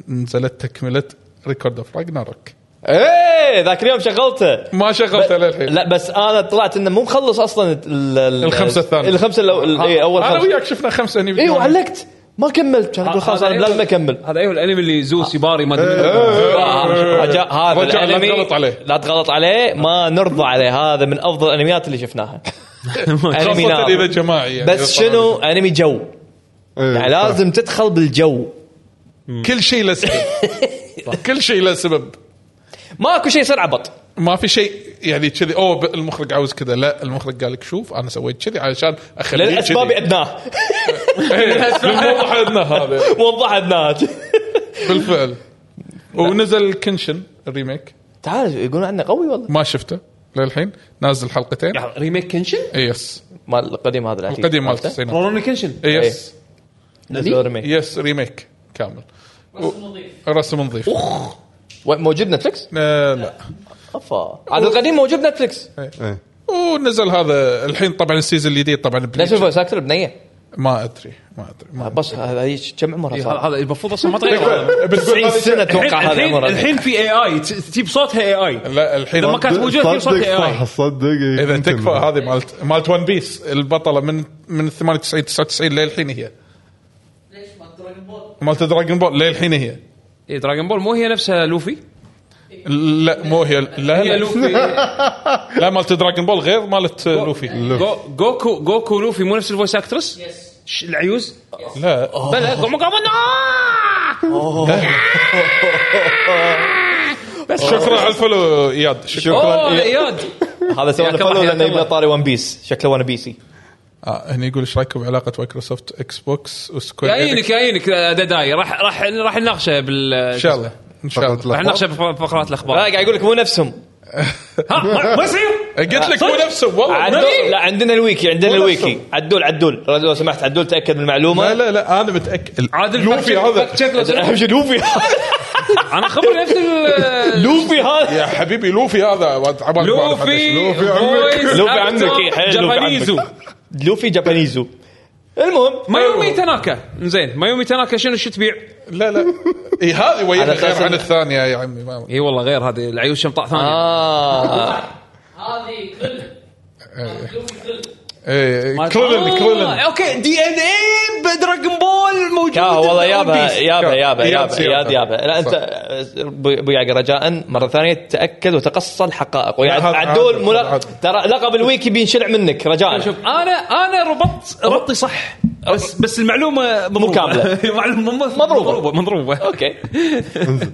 Speaker 2: نزلت تكمله ريكورد اوف راجناروك
Speaker 4: ايه ذاك اليوم شغلته
Speaker 2: ما شغلته للحين
Speaker 4: لا بس انا طلعت انه مو مخلص اصلا ال- ال-
Speaker 2: الخمسة الثانية.
Speaker 4: الخمسه الأو- ال- إيه، اول
Speaker 2: انا
Speaker 4: خمسه
Speaker 2: وياك شفنا خمسه هني
Speaker 4: ايوه
Speaker 2: بالدوام.
Speaker 4: علقت ما كملت كان اقول خلاص
Speaker 1: هذا
Speaker 4: انا
Speaker 1: أيوه-
Speaker 4: لازم اكمل
Speaker 1: هذا ايوه الانمي اللي زوس يباري ما ادري
Speaker 2: إيه.
Speaker 4: آه، رجاء هذا
Speaker 2: رجاء لا
Speaker 4: الانمي
Speaker 2: تغلط عليه.
Speaker 4: لا تغلط عليه ما نرضى عليه هذا من افضل الانميات اللي شفناها انمي
Speaker 2: خاصه
Speaker 4: نار.
Speaker 2: اذا جماعي يعني
Speaker 4: بس شنو انمي جو
Speaker 3: إيه،
Speaker 4: يعني
Speaker 3: صح.
Speaker 4: لازم تدخل بالجو
Speaker 2: كل شيء له سبب كل شيء له سبب
Speaker 4: ماكو شيء يصير عبط
Speaker 2: ما في شيء يعني كذي اوه ب- المخرج عاوز كذا لا المخرج قال لك شوف انا سويت كذي علشان اخليه
Speaker 4: للاسباب
Speaker 2: كذي.
Speaker 4: ادناه
Speaker 2: إيه، بالموضوع عندنا هذا
Speaker 4: موضح ادناه
Speaker 2: بالفعل ونزل كنشن الريميك
Speaker 4: تعال يقولون عنه قوي والله
Speaker 2: ما شفته للحين نازل حلقتين
Speaker 1: ريميك كنشن؟
Speaker 2: إيه، يس
Speaker 4: مال القديم هذا العتيق.
Speaker 2: القديم مال
Speaker 4: عرفته؟
Speaker 2: التسعينات
Speaker 1: روني كنشن
Speaker 2: إيه، يس إيه،
Speaker 4: نزلوا
Speaker 1: إيه.
Speaker 4: ريميك
Speaker 2: يس ريميك كامل رسم نظيف
Speaker 4: و- موجود نتفلكس؟
Speaker 2: آه، لا
Speaker 4: افا عاد القديم موجود نتفلكس
Speaker 3: إيه.
Speaker 2: ونزل هذا الحين طبعا السيزون الجديد طبعا
Speaker 4: ليش
Speaker 2: بليتش.
Speaker 4: الفويس اكتر بنيه؟
Speaker 2: ما ادري ما ادري ما
Speaker 4: بس هذا هيك كم عمره
Speaker 1: إيه، هذا
Speaker 4: صار؟
Speaker 1: هذا المفروض اصلا ما تغير
Speaker 2: بتقول
Speaker 4: 90
Speaker 2: هذا
Speaker 4: سنه
Speaker 1: الحين
Speaker 4: اتوقع هذا
Speaker 1: الحين-
Speaker 4: عمره
Speaker 1: الحين في اي اي تجيب صوتها اي اي
Speaker 2: لا الحين
Speaker 1: لما كانت موجوده في إيه. صوت
Speaker 3: صدق
Speaker 1: اي
Speaker 3: صح
Speaker 1: اي
Speaker 3: صدق
Speaker 2: اذا تكفى هذه مالت مالت ون بيس البطله من من 98 99 للحين هي
Speaker 5: ليش ما دراجون بول؟
Speaker 2: مالت دراجون بول للحين هي
Speaker 1: إيه دراجون بول مو هي نفسها لوفي
Speaker 2: لا مو هي لا
Speaker 1: هي
Speaker 2: لا,
Speaker 1: لوفي
Speaker 2: لا مالت دراجون بول غير مالت لوفي
Speaker 1: جو- جوكو جوكو لوفي مو نفس الفويس اكترس
Speaker 5: يس
Speaker 1: ش- العيوز
Speaker 2: لا
Speaker 1: بلا قوم قوم آه! بس
Speaker 2: شكرا على الفولو اياد شكرا
Speaker 1: اوه
Speaker 4: إي-
Speaker 1: اياد
Speaker 4: هذا سوى
Speaker 1: ياك
Speaker 4: له
Speaker 1: الله،
Speaker 4: فولو
Speaker 1: ياك
Speaker 4: لانه يبغى
Speaker 1: الله.
Speaker 4: طاري ون بيس شكله ون بيسي
Speaker 2: آه هنا يقول ايش رايكم بعلاقه مايكروسوفت اكس بوكس وسكوير
Speaker 1: يعينك يعينك دداي راح راح راح نناقشه بال
Speaker 2: ان شاء الله ان شاء
Speaker 3: فقط
Speaker 2: الله
Speaker 1: راح
Speaker 3: لا.
Speaker 1: نناقشه بفقرات
Speaker 4: لا
Speaker 1: الاخبار
Speaker 4: آه، قاعد اقول لك مو نفسهم
Speaker 1: ها ما- ما يصير
Speaker 2: قلت لك مو
Speaker 1: صدق؟
Speaker 2: نفسه والله
Speaker 1: عاد-
Speaker 4: عدول لا عندنا الويكي عندنا
Speaker 2: مو
Speaker 4: الويكي
Speaker 2: نفسهم.
Speaker 4: عدول عدول لو سمحت عدول تاكد من
Speaker 2: لا
Speaker 4: المعلومه
Speaker 2: لا لا انا متاكد
Speaker 1: عادل
Speaker 2: لوفي
Speaker 1: فك-
Speaker 2: هذا
Speaker 1: فك- شكله شنو؟
Speaker 4: اهم شيء لوفي
Speaker 1: انا خبر نفس ال-
Speaker 4: لوفي هذا
Speaker 2: يا حبيبي لوفي هذا عبالك بعرف
Speaker 1: لوفي
Speaker 2: أدش.
Speaker 3: لوفي عمك.
Speaker 1: فويس
Speaker 4: لوفي
Speaker 1: أكتر
Speaker 4: عمك، إي، حلو، لوفي عمك.
Speaker 1: جابانيزو
Speaker 4: لوفي جابانيزو المهم
Speaker 1: مايومي تناكا زين مايومي تناكا شنو شو تبيع؟
Speaker 2: لا لا اي هذه وين
Speaker 4: على
Speaker 2: غير
Speaker 4: أساس
Speaker 2: عن
Speaker 4: إن-
Speaker 2: الثانيه يا عمي ما
Speaker 1: اي والله غير هذه العيوش شمطاء
Speaker 4: آه.
Speaker 1: ثانيه
Speaker 4: اه
Speaker 5: هذه كل هذه كل
Speaker 2: ايه
Speaker 1: ما-
Speaker 2: كرولن
Speaker 1: آه،
Speaker 2: كرولن
Speaker 1: اوكي دي ان اي بدراجون بول موجود
Speaker 4: يا آه، والله
Speaker 1: ب One
Speaker 4: يابا
Speaker 1: Piece.
Speaker 4: يابا يابا
Speaker 2: إياد
Speaker 4: يابا
Speaker 2: سيرته.
Speaker 4: يابا يابا لا أه، انت
Speaker 2: صح.
Speaker 4: ابو أبو يعقوب رجاء مره ثانيه تاكد وتقصى الحقائق ويا
Speaker 2: لا، هذا-
Speaker 4: عدول
Speaker 2: هذا-
Speaker 4: مو-
Speaker 2: هذا-
Speaker 4: ترى لقب الويكي بينشلع منك رجاء
Speaker 1: شوف انا انا ربطت ربطي صح بس بس المعلومه مضروبة.
Speaker 4: كاملة.
Speaker 1: معلومه مضروبه مضروبه
Speaker 4: مضروبة.
Speaker 1: مضروبه
Speaker 4: اوكي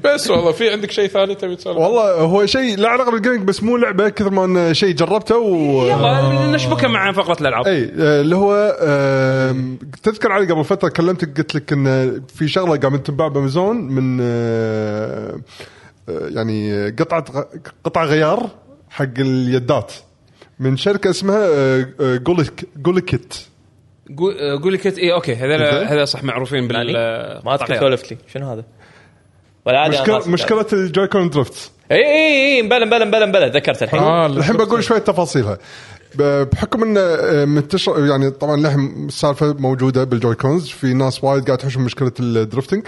Speaker 2: بس والله في عندك شيء ثاني تبي تسولف
Speaker 3: والله هو شيء له علاقه بالجيمنج بس مو لعبه كثر ما انه شيء جربته و
Speaker 1: يلا نشبكها مع فقره الالعاب
Speaker 3: اي آه، اللي هو آم، تذكر علي قبل فتره كلمتك قلت لك ان في شغله قامت تنباع بامازون من آه، آه، يعني قطعه غ- قطع غيار حق اليدات من شركه اسمها آه، آه، جولك جولكيت
Speaker 1: قول لك اي اوكي هذول
Speaker 3: إنزين.
Speaker 1: هذول صح معروفين بال
Speaker 4: ما اذكر سولفت لي شنو هذا؟ ولا عادي أنا
Speaker 3: مشكله
Speaker 4: خلاص.
Speaker 3: مشكله الجويكون درفت
Speaker 4: اي اي اي مبلا مبلا مبلا مبلا ذكرت الحين
Speaker 2: آه، اللي
Speaker 3: الحين
Speaker 2: شفته.
Speaker 3: بقول شويه تفاصيلها ب- بحكم انه آه، منتشر يعني طبعا لهم السالفه موجوده بالجويكونز في ناس وايد قاعد تحوش من مشكله الدرفتنج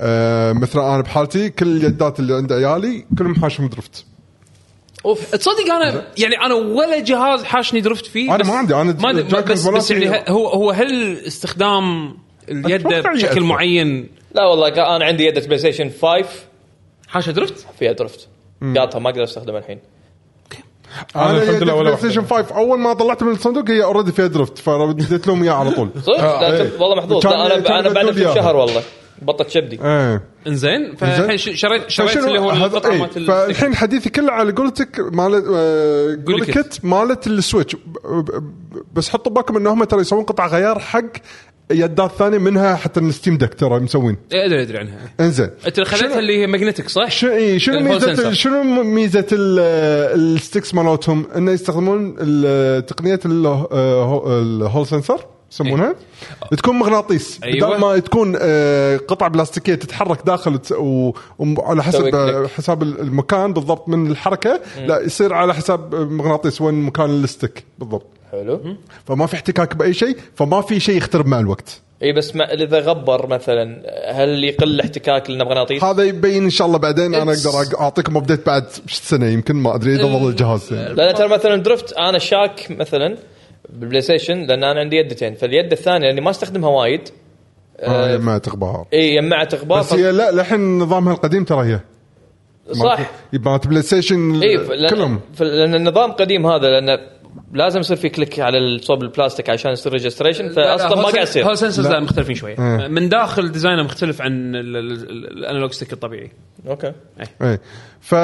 Speaker 3: آه مثلا انا بحالتي كل اليدات اللي عند عيالي كلهم حاشهم درفت
Speaker 1: اوف تصدق انا يعني انا ولا جهاز حاشني درفت فيه
Speaker 3: أنا
Speaker 1: بس-
Speaker 3: ما عندي، أنا
Speaker 1: ما أدري،
Speaker 3: جايكنز
Speaker 1: بس, بس
Speaker 3: مالتي-
Speaker 1: يعني ه- هو هو هل استخدام اليد
Speaker 3: أتوقع يأثر.
Speaker 1: بشكل معين
Speaker 4: لا والله كا- انا عندي يد بلاي ستيشن 5
Speaker 1: حاشه درفت؟
Speaker 4: فيها درفت قاطها ما اقدر استخدمها الحين
Speaker 2: أنا
Speaker 3: انا
Speaker 2: الحمد
Speaker 3: الحمد
Speaker 2: لله ولا
Speaker 3: بلاي
Speaker 2: واحدة.
Speaker 3: ستيشن 5 اول ما طلعت من الصندوق هي اوريدي فيها درفت فرديت لهم اياها على طول
Speaker 4: صدق لا،
Speaker 3: إيه.
Speaker 4: طيب، شوف، والله محظوظ
Speaker 3: كان-
Speaker 4: لا،
Speaker 3: كان
Speaker 4: انا انا بعد
Speaker 3: بدول إياها.
Speaker 4: شهر والله بطت شبدي
Speaker 3: ايه
Speaker 1: انزين فالحين ش- شريت شريت
Speaker 3: فشنو
Speaker 1: اللي هو
Speaker 3: هذا-
Speaker 1: القطعه
Speaker 3: إيه،
Speaker 1: مالت ال-
Speaker 3: فالحين حديثي كله على قولتك مالت آه،
Speaker 1: قولكت.
Speaker 3: قولكت مالت السويتش ب- ب- بس حطوا بالكم انهم ترى يسوون قطع غيار حق يدات ثانيه منها حتى الستيم دك ترى مسوين
Speaker 1: إيه، ادري ادري عنها
Speaker 3: انزين
Speaker 1: انت خذيتها اللي هي ماجنتيك صح؟
Speaker 3: شنو إيه، شنو
Speaker 1: الهول
Speaker 3: ميزه
Speaker 1: سنسر.
Speaker 3: شنو ميزه ال- الستكس مالتهم انه يستخدمون ال- تقنيه ال- آه، الهول سنسر يسمونها تكون مغناطيس
Speaker 1: إيه. أيوة.
Speaker 3: بدل ما تكون آه، قطع بلاستيكيه تتحرك داخل وت- و- وعلى
Speaker 4: تسوي
Speaker 3: حسب آه،
Speaker 4: كليك.
Speaker 3: حساب المكان بالضبط من الحركه لا يصير على حساب مغناطيس وين مكان الستيك بالضبط
Speaker 4: حلو
Speaker 3: فما في احتكاك باي شيء فما في شيء يخترب مع الوقت
Speaker 4: اي إيه، بس ما اذا غبر مثلا هل يقل احتكاك لنا مغناطيس؟
Speaker 3: هذا يبين ان شاء الله بعدين انا
Speaker 1: It's-
Speaker 3: اقدر اعطيكم ابديت بعد سنه يمكن ما ادري
Speaker 1: إيه.
Speaker 3: اذا ظل الجهاز
Speaker 4: لان ترى مثلا درفت انا شاك مثلا بالبلاي ستيشن لان انا عندي يدتين فاليد الثانيه لاني ما استخدمها وايد إيه،
Speaker 3: ما يمعت غبار
Speaker 4: اي يمعت اخبار
Speaker 3: آه، بس هي لا للحين نظامها القديم ترى هي
Speaker 4: صح إيه،
Speaker 3: مالت بلاي ستيشن
Speaker 4: اي فل-
Speaker 3: كلهم
Speaker 4: فل- لان النظام قديم هذا لان لازم يصير في كليك على صوب البلاستيك عشان يصير ريجستريشن فاصلا ما قاعد يصير
Speaker 1: هول سنسرز لا مختلفين شويه
Speaker 3: إيه.
Speaker 1: من داخل ديزاينه مختلف عن ال- ال- ال- الانالوج ستيك الطبيعي
Speaker 4: اوكي
Speaker 3: اي إيه. ف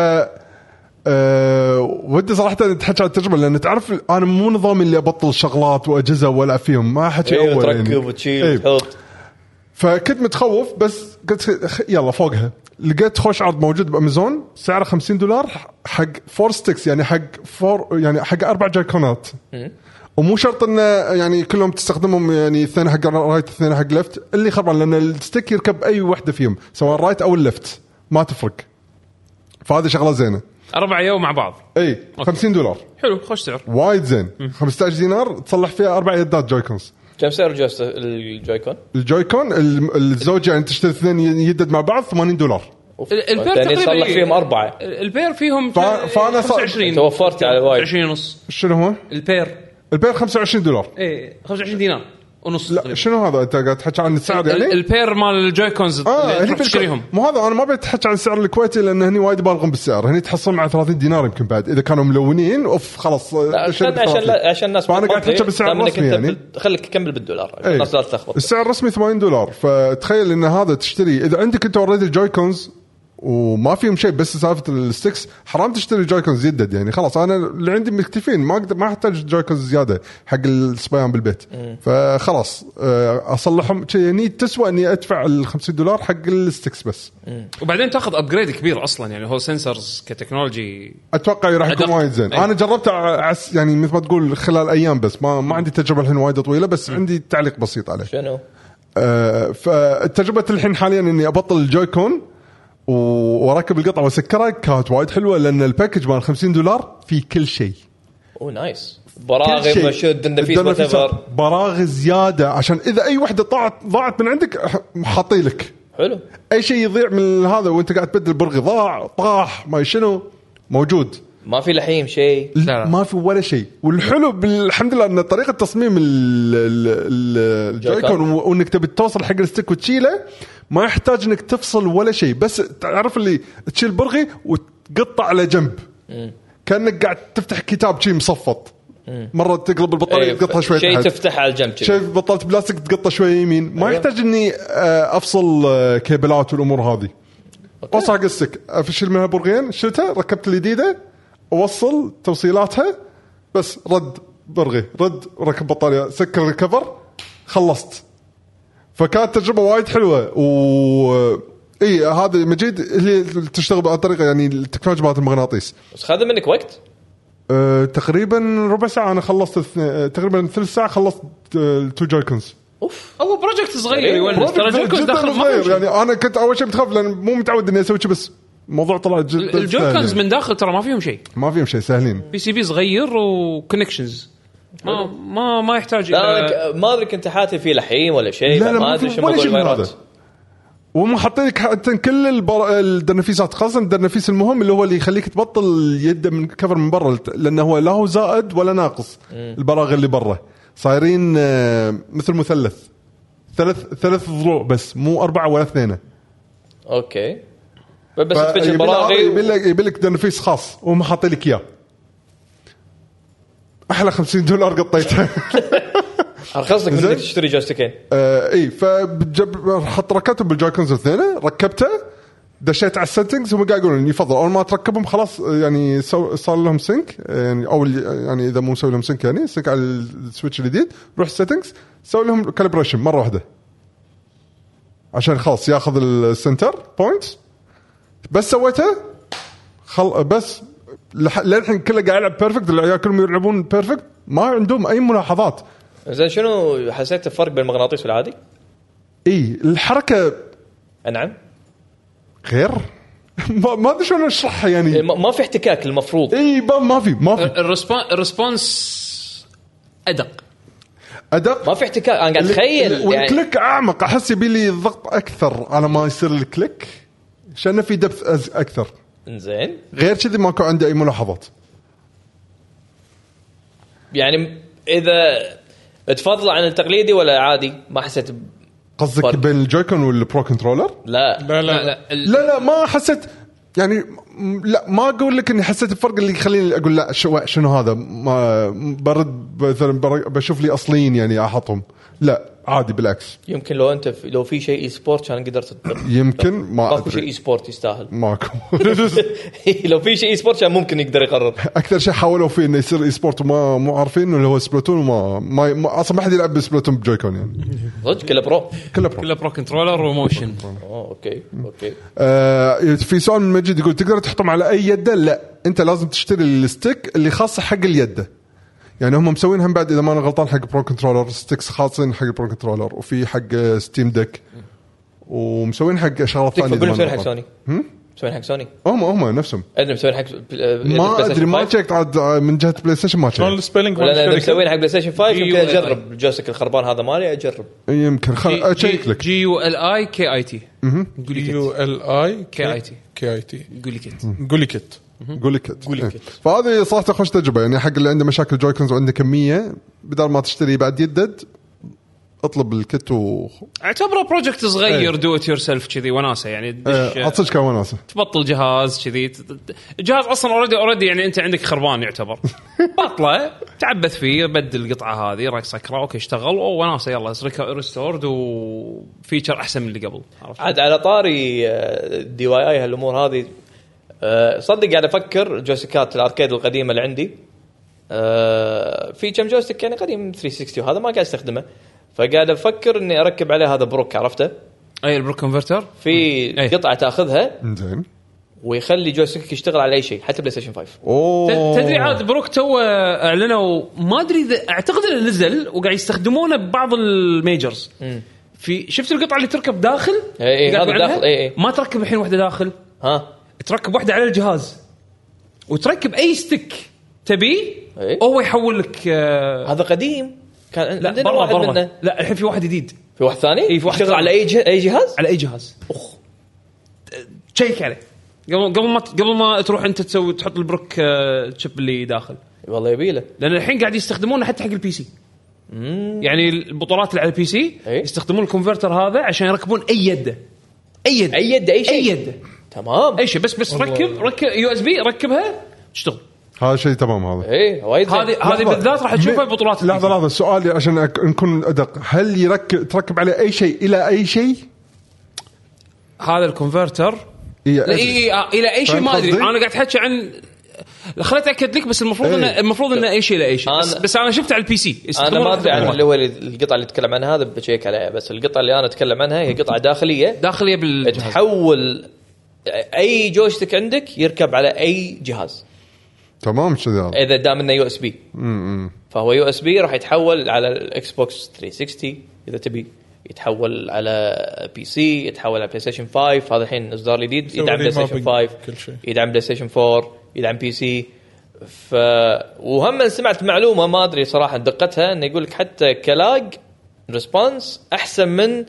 Speaker 3: أه ودي صراحه نتحكى عن التجربه لان تعرف انا مو نظامي اللي ابطل شغلات واجهزه والعب فيهم ما حكي
Speaker 4: إيه،
Speaker 3: اول يعني.
Speaker 4: تركب وتشيل
Speaker 3: إيه.
Speaker 4: وتحط
Speaker 3: فكنت متخوف بس قلت خ- يلا فوقها لقيت خوش عرض موجود بامازون سعره 50 دولار حق فور ستكس يعني حق فور يعني حق اربع جايكونات ومو شرط انه يعني كلهم تستخدمهم يعني اثنين حق رايت اثنين حق ليفت اللي خربان لان الستيك يركب اي وحده فيهم سواء الرايت او الليفت ما تفرق فهذه شغله زينه
Speaker 1: اربع يوم مع بعض
Speaker 3: اي 50 دولار
Speaker 1: حلو خوش سعر
Speaker 3: وايد زين 15 دينار تصلح فيها اربع يدات جويكونز
Speaker 4: كم سعر الجوست- الجويكون؟
Speaker 3: الجويكون ال- الزوجه يعني تشتري اثنين يدد مع بعض 80 دولار
Speaker 4: اوف
Speaker 1: ال- البير
Speaker 4: الثاني
Speaker 1: تقريباً
Speaker 4: صلح يعني فيهم اربعه
Speaker 1: البير فيهم
Speaker 3: فا- فأنا صار-
Speaker 1: 25
Speaker 4: توفرت على وايد.
Speaker 1: 25 ونص
Speaker 3: شنو هو؟
Speaker 1: البير
Speaker 3: البير 25 دولار
Speaker 1: اي 25 دينار ونص
Speaker 3: لا
Speaker 1: تقريباً.
Speaker 3: شنو هذا انت قاعد تحكي عن السعر يعني؟
Speaker 1: ال- البير مال الجويكونز
Speaker 3: اه
Speaker 1: اللي
Speaker 3: هني
Speaker 1: تروح
Speaker 3: بالك-
Speaker 1: تشتريهم
Speaker 3: مو هذا انا ما بتحكي عن السعر الكويتي لان هني وايد يبالغون بالسعر هني تحصل مع 30 دينار يمكن بعد اذا كانوا ملونين اوف خلاص
Speaker 4: لا، عشان عشان لا- عشان الناس
Speaker 3: فانا قاعد
Speaker 4: تطلع.
Speaker 3: احكي بالسعر
Speaker 4: دام إنك
Speaker 3: الرسمي
Speaker 4: أنت
Speaker 3: يعني
Speaker 4: بال- خليك كمل بالدولار عشان
Speaker 3: إيه.
Speaker 4: الناس لا تلخبط
Speaker 3: السعر الرسمي 80 دولار فتخيل ان هذا تشتري اذا عندك انت اوريدي الجويكونز وما فيهم شيء بس سالفه الستكس حرام تشتري جويكونز جدد يعني خلاص انا اللي عندي مكتفين ما اقدر ما احتاج جويكونز زياده حق الصبيان بالبيت فخلاص آه، اصلحهم شي يعني تسوى اني ادفع ال 50 دولار حق الستكس بس
Speaker 1: وبعدين تاخذ ابجريد كبير اصلا يعني هو سنسرز كتكنولوجي
Speaker 3: اتوقع راح يكون
Speaker 1: أدق.
Speaker 3: وايد زين
Speaker 4: إيه.
Speaker 1: أي.
Speaker 3: انا جربته عس يعني مثل ما تقول خلال ايام بس ما ما عندي تجربه الحين وايد طويله بس عندي تعليق بسيط عليه
Speaker 4: شنو؟
Speaker 3: آه، فتجربه الحين حاليا اني ابطل الجويكون و- واركب القطعه واسكرها كانت وايد حلوه لان الباكج مال 50 دولار في كل شيء
Speaker 4: اوه نايس
Speaker 3: كل
Speaker 4: براغي
Speaker 3: شيء.
Speaker 4: مشود دنفيس وات
Speaker 3: الدنفيس
Speaker 4: ايفر
Speaker 3: براغي زياده عشان اذا اي وحده ضاعت ضاعت من عندك أح- حاطي لك
Speaker 4: حلو
Speaker 3: اي شيء يضيع من هذا وانت قاعد تبدل برغي ضاع طاح ما شنو موجود
Speaker 4: ما في لحيم شيء
Speaker 1: لا.
Speaker 3: لا. ما في ولا شيء والحلو بال- الحمد لله ان طريقه تصميم ال- ال- ال- الجويكون
Speaker 4: جويكون.
Speaker 3: و- وانك تبي توصل حق الستيك وتشيله ما يحتاج انك تفصل ولا شيء بس تعرف اللي تشيل برغي وتقطع على جنب كانك قاعد تفتح كتاب شيء مصفط مره تقلب البطاريه
Speaker 4: إيه،
Speaker 3: تقطها طيب، شوي
Speaker 4: شيء
Speaker 3: تحت.
Speaker 4: تفتح على الجنب كذي.
Speaker 3: شيء بطلت بلاستيك تقطه شوي يمين ما
Speaker 4: أيوة.
Speaker 3: يحتاج اني آه، افصل آه، كيبلات والامور هذه اوصل حق السك افشل منها برغين شلتها ركبت الجديده اوصل توصيلاتها بس رد برغي رد ركب بطاريه سكر الكفر خلصت فكانت تجربه وايد حلوه و اي هذا مجيد اللي تشتغل عن طريقه يعني التكنولوجيا مالت المغناطيس
Speaker 4: بس خذ منك وقت
Speaker 3: أه تقريبا ربع ساعه انا خلصت الث- أه، تقريبا ثلث ساعه خلصت أه، التو جويكونز
Speaker 4: اوف
Speaker 1: هو بروجكت صغير
Speaker 4: أي،
Speaker 1: يونس ترى جويكونز
Speaker 3: جداً
Speaker 1: داخل
Speaker 3: صغير،
Speaker 1: ما يعني
Speaker 3: يعني انا كنت اول شيء بتخاف لان مو متعود اني اسوي شيء بس الموضوع طلع جدا سهل
Speaker 1: الجويكونز
Speaker 3: يعني.
Speaker 1: من داخل ترى ما فيهم شيء
Speaker 3: ما فيهم شيء سهلين
Speaker 1: بي سي بي صغير وكونكشنز ما ما ما يحتاج
Speaker 4: لا
Speaker 1: إلى-
Speaker 4: أنا ك- ما ادري كنت حاتي فيه لحيم ولا شيء
Speaker 3: لا لا
Speaker 4: ما
Speaker 3: ما
Speaker 4: ادري
Speaker 3: في
Speaker 4: شو
Speaker 3: ولا
Speaker 4: موضوع
Speaker 3: شيء من
Speaker 4: الفيروس
Speaker 3: هذا وهم حاطين لك حتى كل البر... الدنفيسات خاصه الدنفيس المهم اللي هو اللي يخليك تبطل يده من كفر من برا لت- لانه هو لا هو زائد ولا ناقص البراغي اللي برا صايرين آه، مثل مثلث ثلاث ثلاث ضلوع بس مو اربعه ولا اثنين
Speaker 4: اوكي بس
Speaker 3: ف-
Speaker 4: تفتش
Speaker 3: يبي لك-
Speaker 4: البراغي
Speaker 3: يبي لك يبي لك تنفيس خاص وهم حاطين لك اياه احلى 50 دولار قطيتها
Speaker 4: ارخص لك من
Speaker 3: زين.
Speaker 4: إنك تشتري جوستيكين
Speaker 3: آه اي فجب حط ركبتهم بالجويكونز الاثنين ركبته دشيت على السيتنجز هم قاعد يقولون يفضل اول ما تركبهم خلاص آه، يعني سو- صار لهم سينك يعني او ال- يعني اذا مو مسوي لهم سينك يعني سينك على السويتش الجديد روح السيتنجز سوي لهم كالبريشن مره واحده عشان خلاص ياخذ السنتر بوينت بس سويته خل بس لح- للحين كله قاعد يلعب بيرفكت العيال كلهم يلعبون بيرفكت ما عندهم اي ملاحظات
Speaker 4: زين شنو حسيت الفرق بين المغناطيس والعادي؟
Speaker 3: اي الحركه
Speaker 4: نعم
Speaker 3: غير ما ما ادري شلون اشرحها يعني
Speaker 4: إيه، ما ما في احتكاك المفروض
Speaker 3: اي ما ما في ما في
Speaker 1: الرسبون- الرسبونس ادق
Speaker 3: ادق
Speaker 4: ما في احتكاك انا قاعد اتخيل يعني
Speaker 3: والكليك اعمق احس يبي لي ضغط اكثر على ما يصير الكليك عشان في دبث أز- اكثر
Speaker 4: زين
Speaker 3: غير كذي ما كان عندي اي ملاحظات
Speaker 4: يعني اذا تفضل عن التقليدي ولا عادي ما حسيت ب...
Speaker 3: قصدك
Speaker 4: فرق.
Speaker 3: بين الجويكون والبرو كنترولر؟
Speaker 4: لا
Speaker 2: لا
Speaker 1: لا
Speaker 2: لا, لا.
Speaker 1: لا ال-
Speaker 3: لا لا ما حسيت يعني م- لا ما اقول لك اني حسيت الفرق اللي يخليني اقول لا شو شنو هذا ما برد مثلا بر- بشوف لي اصليين يعني احطهم لا عادي بالعكس
Speaker 4: يمكن لو انت في... لو في شيء اي سبورت كان قدرت تطبق.
Speaker 3: يمكن ما
Speaker 4: ماكو شيء اي
Speaker 3: ادري
Speaker 4: سبورت يستاهل
Speaker 3: ماكو
Speaker 4: لو في شيء اي سبورت كان ممكن يقدر يقرر
Speaker 3: اكثر شيء حاولوا فيه انه يصير اي سبورت وما مو عارفين اللي هو سبلاتون وما ما, ما اصلا ما حد يلعب بسبلاتون بجويكون يعني
Speaker 4: صدق كله برو
Speaker 3: كله برو
Speaker 1: كله برو كنترولر وموشن
Speaker 4: اوه اوكي
Speaker 3: طيب،
Speaker 4: اوكي
Speaker 3: آه في سؤال من مجيد يقول تقدر تحطهم على اي يده لا انت لازم تشتري الستيك اللي خاصه حق اليده يعني هم مسوين هم بعد اذا ما انا غلطان حق برو كنترولر ستيكس خاصين حق برو كنترولر وفي حق ستيم ديك ومسوين حق شغلات ثانيه
Speaker 4: تكفى
Speaker 3: إذا ما أنا
Speaker 4: مسوين حق
Speaker 3: غلطان.
Speaker 4: سوني مسوين حق سوني
Speaker 3: هم هم نفسهم
Speaker 4: ادري مسوين حق
Speaker 3: ما ادري ما شيكت عاد آه، من جهه بلاي ستيشن ما
Speaker 2: شلون
Speaker 3: شيكت
Speaker 2: السبيلنج مال
Speaker 4: ولا انا
Speaker 2: الشركة؟
Speaker 4: مسوين حق بلاي ستيشن 5 يمكن
Speaker 1: GUI.
Speaker 4: اجرب جوسك الخربان هذا مالي اجرب
Speaker 3: يمكن خل اشيك لك
Speaker 1: جي يو ال اي كي اي تي قول لي
Speaker 2: يو
Speaker 1: كت.
Speaker 2: ال اي
Speaker 1: كي آي تي.
Speaker 2: كي اي تي
Speaker 1: قول لي كت
Speaker 2: قولي كت
Speaker 3: جوليكت
Speaker 2: جوليكت.
Speaker 3: إيه. فهذه صراحه خوش تجربه يعني حق اللي عنده مشاكل جويكونز وعنده كميه بدل ما تشتري بعد يدد اطلب الكت و
Speaker 1: اعتبره بروجكت صغير
Speaker 3: إيه.
Speaker 1: دو ات يور سيلف كذي وناسه يعني تدش-
Speaker 3: آه، عاد صدق كان وناسه
Speaker 1: تبطل جهاز كذي ت- ت- الجهاز اصلا اوريدي اوريدي يعني انت عندك خربان يعتبر بطله تعبث فيه بدل القطعه هذه رايك سكره اوكي اشتغل او وناسه يلا ريستورد وفيتشر احسن من اللي قبل عرفت؟
Speaker 4: عاد على طاري آه، دي واي اي هالامور هذه آه، صدق قاعد افكر جويستيكات الاركيد القديمه اللي عندي آه، في كم جويستيك يعني قديم 360 وهذا ما قاعد استخدمه فقاعد افكر اني اركب عليه هذا بروك عرفته
Speaker 1: اي البروك كونفرتر
Speaker 4: في
Speaker 1: أي.
Speaker 4: قطعه تاخذها
Speaker 3: زين
Speaker 4: ويخلي جويستيكك يشتغل على اي شيء حتى بلاي ستيشن 5
Speaker 3: اوه
Speaker 1: تدري عاد بروك تو اعلنوا ما ادري اذا اعتقد انه نزل وقاعد يستخدمونه ببعض الميجرز في شفت القطعه اللي تركب داخل؟
Speaker 4: إي إي،
Speaker 1: قاعد
Speaker 4: إيه، هذا
Speaker 1: عنها؟
Speaker 4: داخل، إيه. إي إي.
Speaker 1: ما تركب الحين واحده داخل
Speaker 4: ها
Speaker 1: تركب واحده على الجهاز وتركب اي ستيك تبيه
Speaker 4: إي.
Speaker 1: هو يحول لك آه،
Speaker 4: هذا قديم كان
Speaker 1: لا
Speaker 4: عندنا
Speaker 1: برا
Speaker 4: واحد
Speaker 1: برا
Speaker 4: منه.
Speaker 1: لا الحين في واحد جديد
Speaker 4: في واحد ثاني
Speaker 1: إي، في واحد
Speaker 4: يشتغل
Speaker 1: ثاني.
Speaker 4: على اي جه- اي جهاز
Speaker 1: على اي جهاز اخ تشيك عليه قبل قبل ما قبل ما تروح انت تسوي تحط البروك آه، تشيب اللي داخل
Speaker 4: والله يبيله
Speaker 1: لان الحين قاعد يستخدمونه حتى حق البي سي يعني البطولات اللي على البي سي
Speaker 4: إي.
Speaker 1: يستخدمون الكونفرتر هذا عشان يركبون اي يده اي يده
Speaker 4: اي يد اي شيء
Speaker 1: اي يده
Speaker 4: تمام
Speaker 1: اي شيء بس بس ركب ركب يو اس بي ركبها تشتغل
Speaker 3: هذا شيء تمام هذا
Speaker 4: اي إيه، وايد زين.
Speaker 1: هذه هذه بالذات راح تشوفها ببطولات
Speaker 3: لحظه
Speaker 1: البي سي.
Speaker 3: لحظه سؤالي عشان أك- نكون ادق هل يركب تركب عليه اي شيء الى اي شيء؟
Speaker 1: هذا الكونفرتر
Speaker 3: إي،
Speaker 1: لا،
Speaker 4: إيه،
Speaker 3: أدري.
Speaker 1: اي اي آه، الى اي شيء
Speaker 3: فاهم
Speaker 1: ما ادري
Speaker 3: قصدي؟
Speaker 1: انا قاعد احكي عن خليت اكد لك بس المفروض
Speaker 3: إيه.
Speaker 1: انه المفروض انه اي شيء لا اي شيء بس,
Speaker 4: أنا-
Speaker 1: بس انا شفت على البي سي
Speaker 4: انا
Speaker 1: يستخدمون
Speaker 4: ما ادري عن
Speaker 1: الكونفرتر.
Speaker 4: اللي هو القطعه اللي اتكلم عنها هذا بشيك عليها بس القطعه اللي انا اتكلم عنها هي قطعه داخليه
Speaker 1: داخليه بالجهاز
Speaker 4: تحول اي جويستيك عندك يركب على اي جهاز
Speaker 3: تمام كذي
Speaker 1: إيه.
Speaker 3: هذا
Speaker 4: اذا دام انه يو اس بي فهو يو اس بي راح يتحول على الاكس بوكس 360 اذا تبي يتحول على بي سي يتحول على بلاي ستيشن 5 هذا الحين اصدار جديد
Speaker 2: يسوي
Speaker 4: يدعم بلاي
Speaker 2: ريمابينج
Speaker 4: ستيشن 5
Speaker 2: كل شيء.
Speaker 4: يدعم بلاي ستيشن 4 يدعم بي سي ف وهم سمعت معلومه ما ادري صراحه دقتها انه يقول لك حتى كلاج ريسبونس احسن من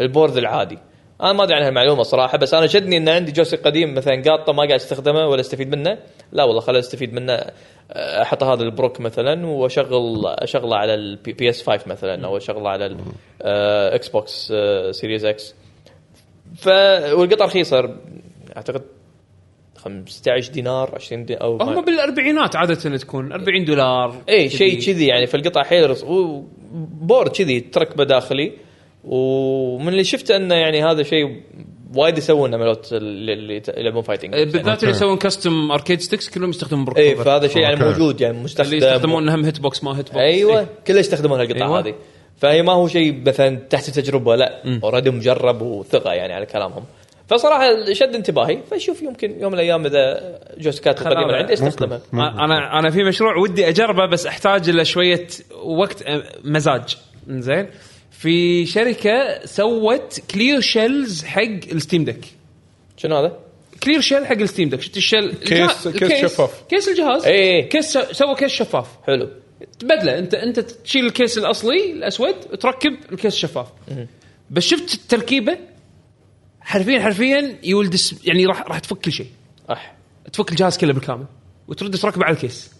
Speaker 4: البورد العادي انا ما ادري عن هالمعلومه صراحه بس انا شدني ان عندي جوسي قديم مثلا قاطه ما قاعد استخدمه ولا استفيد منه لا والله خليني استفيد منه احط هذا البروك مثلا واشغل اشغله على البي اس 5 مثلا او اشغله على آه، الاكس بوكس سيريز اكس ف والقطع رخيصه اعتقد 15 دينار 20 دينار او ما-
Speaker 1: هم بالاربعينات عاده تكون 40 دولار
Speaker 4: اي شيء كذي يعني في القطع حيل رص- و- بورد كذي تركبه داخلي ومن اللي شفته انه يعني هذا شيء وايد يسوونه ملوت اللي اللي يت- يلعبون فايتنج
Speaker 2: إيه،
Speaker 1: إيه، بالذات اللي
Speaker 3: أوكي.
Speaker 1: يسوون كاستم اركيد ستكس كلهم يستخدمون بروك
Speaker 4: اي
Speaker 1: كونفرتر.
Speaker 4: فهذا شيء يعني
Speaker 3: أوكي.
Speaker 4: موجود يعني مستخدم
Speaker 1: اللي يستخدمون هم هيت بوكس ما هيت بوكس
Speaker 2: أيوة.
Speaker 4: ايوه
Speaker 1: إيه.
Speaker 4: كله يستخدمون هالقطع
Speaker 1: أيوة.
Speaker 4: أيوة. هذه فهي ما هو شيء مثلا تحت التجربه لا اوريدي مجرب وثقه يعني على كلامهم فصراحه شد انتباهي فشوف يمكن يوم من الايام اذا جوستيكات
Speaker 1: خلاص.
Speaker 4: القديمه عندي استخدمها
Speaker 1: انا انا في مشروع ودي اجربه بس احتاج الى شويه وقت أه، مزاج زين في شركه سوت كلير شيلز حق الستيم دك
Speaker 4: شنو هذا؟
Speaker 1: كلير شيل حق الستيم دك شفت الشيل
Speaker 2: كيس-
Speaker 1: الجهاز-
Speaker 2: كيس
Speaker 1: الكيس-
Speaker 2: شفاف. إيه.
Speaker 1: كيس الجهاز
Speaker 4: إي إي.
Speaker 1: كيس سو- سووا كيس شفاف
Speaker 4: حلو
Speaker 1: تبدله انت انت تشيل الكيس الاصلي الاسود وتركب الكيس الشفاف بس شفت التركيبه حرفيا حرفيا يولد الس- يعني راح راح تفك كل شيء
Speaker 4: اح
Speaker 1: تفك الجهاز كله بالكامل وترد تركبه على الكيس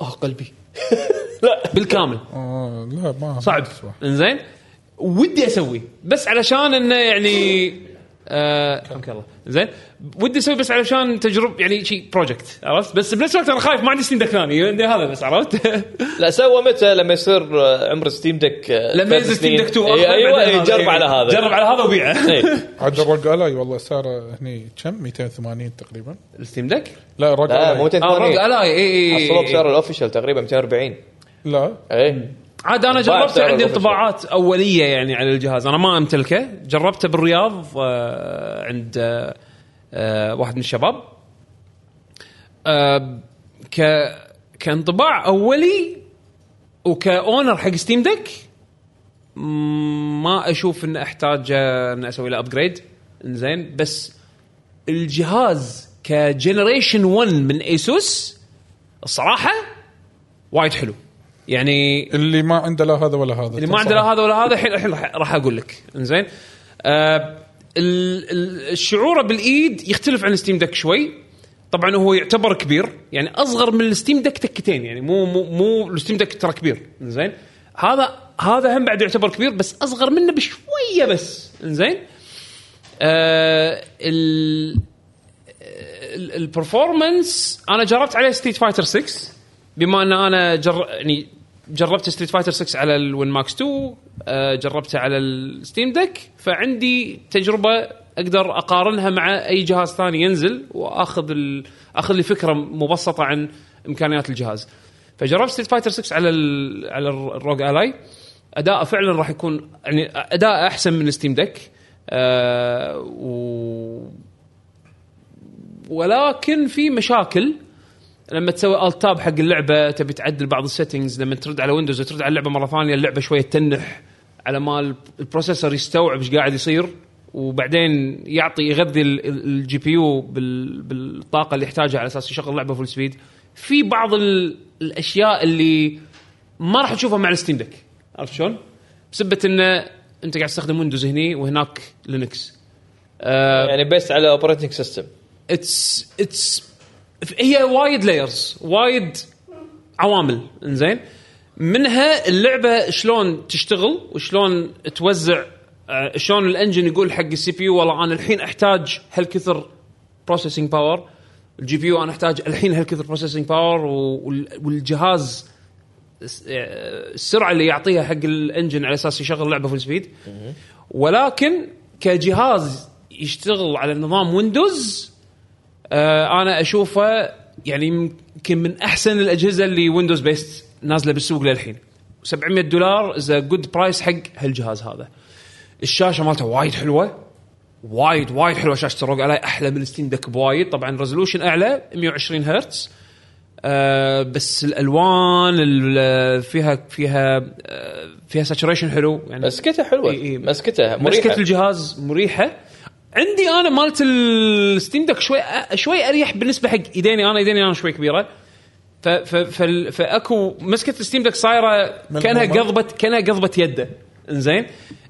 Speaker 1: اه قلبي
Speaker 4: لا
Speaker 1: بالكامل
Speaker 2: آه، لا ما
Speaker 1: صعب انزين ودي اسوي بس علشان انه يعني آه، حمك الله زين ودي اسوي بس علشان تجرب يعني شيء بروجكت عرفت بس بنفس الوقت انا خايف ما عندي ستيم دك ثاني عندي هذا بس عرفت
Speaker 4: لا سوى متى لما يصير آه، عمر ستيم دك آه،
Speaker 1: لما
Speaker 4: ثلاث
Speaker 1: ينزل ستيم
Speaker 4: سنين.
Speaker 1: دك 2
Speaker 4: إيه،
Speaker 1: آخر،
Speaker 4: ايوه
Speaker 1: بعدين
Speaker 4: إيه،
Speaker 1: هذا.
Speaker 4: جرب
Speaker 1: إيه. طيب.
Speaker 4: على هذا
Speaker 1: جرب على هذا وبيعه
Speaker 4: إيه.
Speaker 2: عاد الرق الاي والله سعره هني كم 280 تقريبا
Speaker 1: الستيم دك؟
Speaker 2: لا الرق
Speaker 4: لا مو
Speaker 2: الاي
Speaker 1: اه رق
Speaker 4: 280
Speaker 1: الاي اي
Speaker 4: حصلوه بسعر
Speaker 1: اي
Speaker 4: الاوفيشال تقريبا 240
Speaker 2: لا
Speaker 4: اي
Speaker 1: عاد انا
Speaker 4: طباعة
Speaker 1: جربت
Speaker 4: سعر
Speaker 1: عندي
Speaker 4: الأوفيشال.
Speaker 1: انطباعات اوليه يعني على الجهاز انا ما امتلكه جربته بالرياض آه، عند آه، آه، واحد من الشباب آه، ك كانطباع اولي وكاونر حق ستيم دك مم، ما اشوف ان احتاج آه، ان اسوي له ابجريد زين بس الجهاز كجنريشن 1 من ايسوس الصراحه وايد حلو يعني
Speaker 2: اللي ما عنده لا هذا ولا هذا
Speaker 1: اللي ما عنده لا هذا ولا هذا الحين الحين راح- راح اقول لك انزين آه ال- ال- الشعور بالايد يختلف عن الستيم دك شوي طبعا هو يعتبر كبير يعني اصغر من الستيم دك تكتين يعني مو مو مو الستيم دك ترى كبير زين هذا هذا هم بعد يعتبر كبير بس اصغر منه بشويه بس انزين آه ال ال- البرفورمانس انا جربت عليه ستريت فايتر 6 بما ان انا جر... يعني جربت ستريت فايتر 6 على الون ماكس 2 آه، جربته على الستيم دك فعندي تجربه اقدر اقارنها مع اي جهاز ثاني ينزل واخذ ال... اخذ لي فكره مبسطه عن امكانيات الجهاز فجربت ستريت فايتر 6 على ال... على الروج الاي اداءه فعلا راح يكون يعني اداءه احسن من ستيم دك آه و... ولكن في مشاكل لما تسوي الت تاب حق اللعبه تبي تعدل بعض السيتنجز لما ترد على ويندوز وترد على اللعبه مره ثانيه اللعبه شويه تنح على ما البروسيسور يستوعب ايش قاعد يصير وبعدين يعطي يغذي الجي بي يو بالطاقه اللي يحتاجها على اساس يشغل اللعبه فول سبيد في بعض ال- الاشياء اللي ما راح تشوفها مع الستيم دك عرفت شلون؟ بسبه انه انت قاعد تستخدم ويندوز هني وهناك لينكس آه،
Speaker 4: يعني بس على اوبريتنج سيستم
Speaker 1: اتس اتس هي وايد لايرز وايد عوامل انزين منها اللعبه شلون تشتغل وشلون توزع آه، شلون الانجن يقول حق السي بي يو والله انا الحين احتاج هالكثر بروسيسنج باور الجي بي يو انا احتاج الحين هالكثر بروسيسنج باور والجهاز الس- آه، السرعه اللي يعطيها حق الانجن على اساس يشغل اللعبه فول سبيد ولكن كجهاز يشتغل على نظام ويندوز آه، انا اشوفه يعني يمكن من احسن الاجهزه اللي ويندوز بيست نازله بالسوق للحين 700 دولار از جود برايس حق هالجهاز هذا الشاشه مالته وايد حلوه وايد وايد حلوه شاشه الروج علي احلى من ستيم دك بوايد طبعا ريزولوشن اعلى 120 هرتز آه بس الالوان ال- فيها فيها آه فيها ساتوريشن حلو يعني
Speaker 4: مسكته حلوه
Speaker 1: إي إي.
Speaker 4: مسكته مريحه
Speaker 1: مسكه الجهاز مريحه عندي انا مالت الستيم دك شوي شوي اريح بالنسبه حق ايديني انا ايديني انا شوي كبيره ف ف فال- فاكو مسكه الستيم دك صايره كانها
Speaker 6: ملمومة.
Speaker 1: قضبه كانها قضبه يده انزين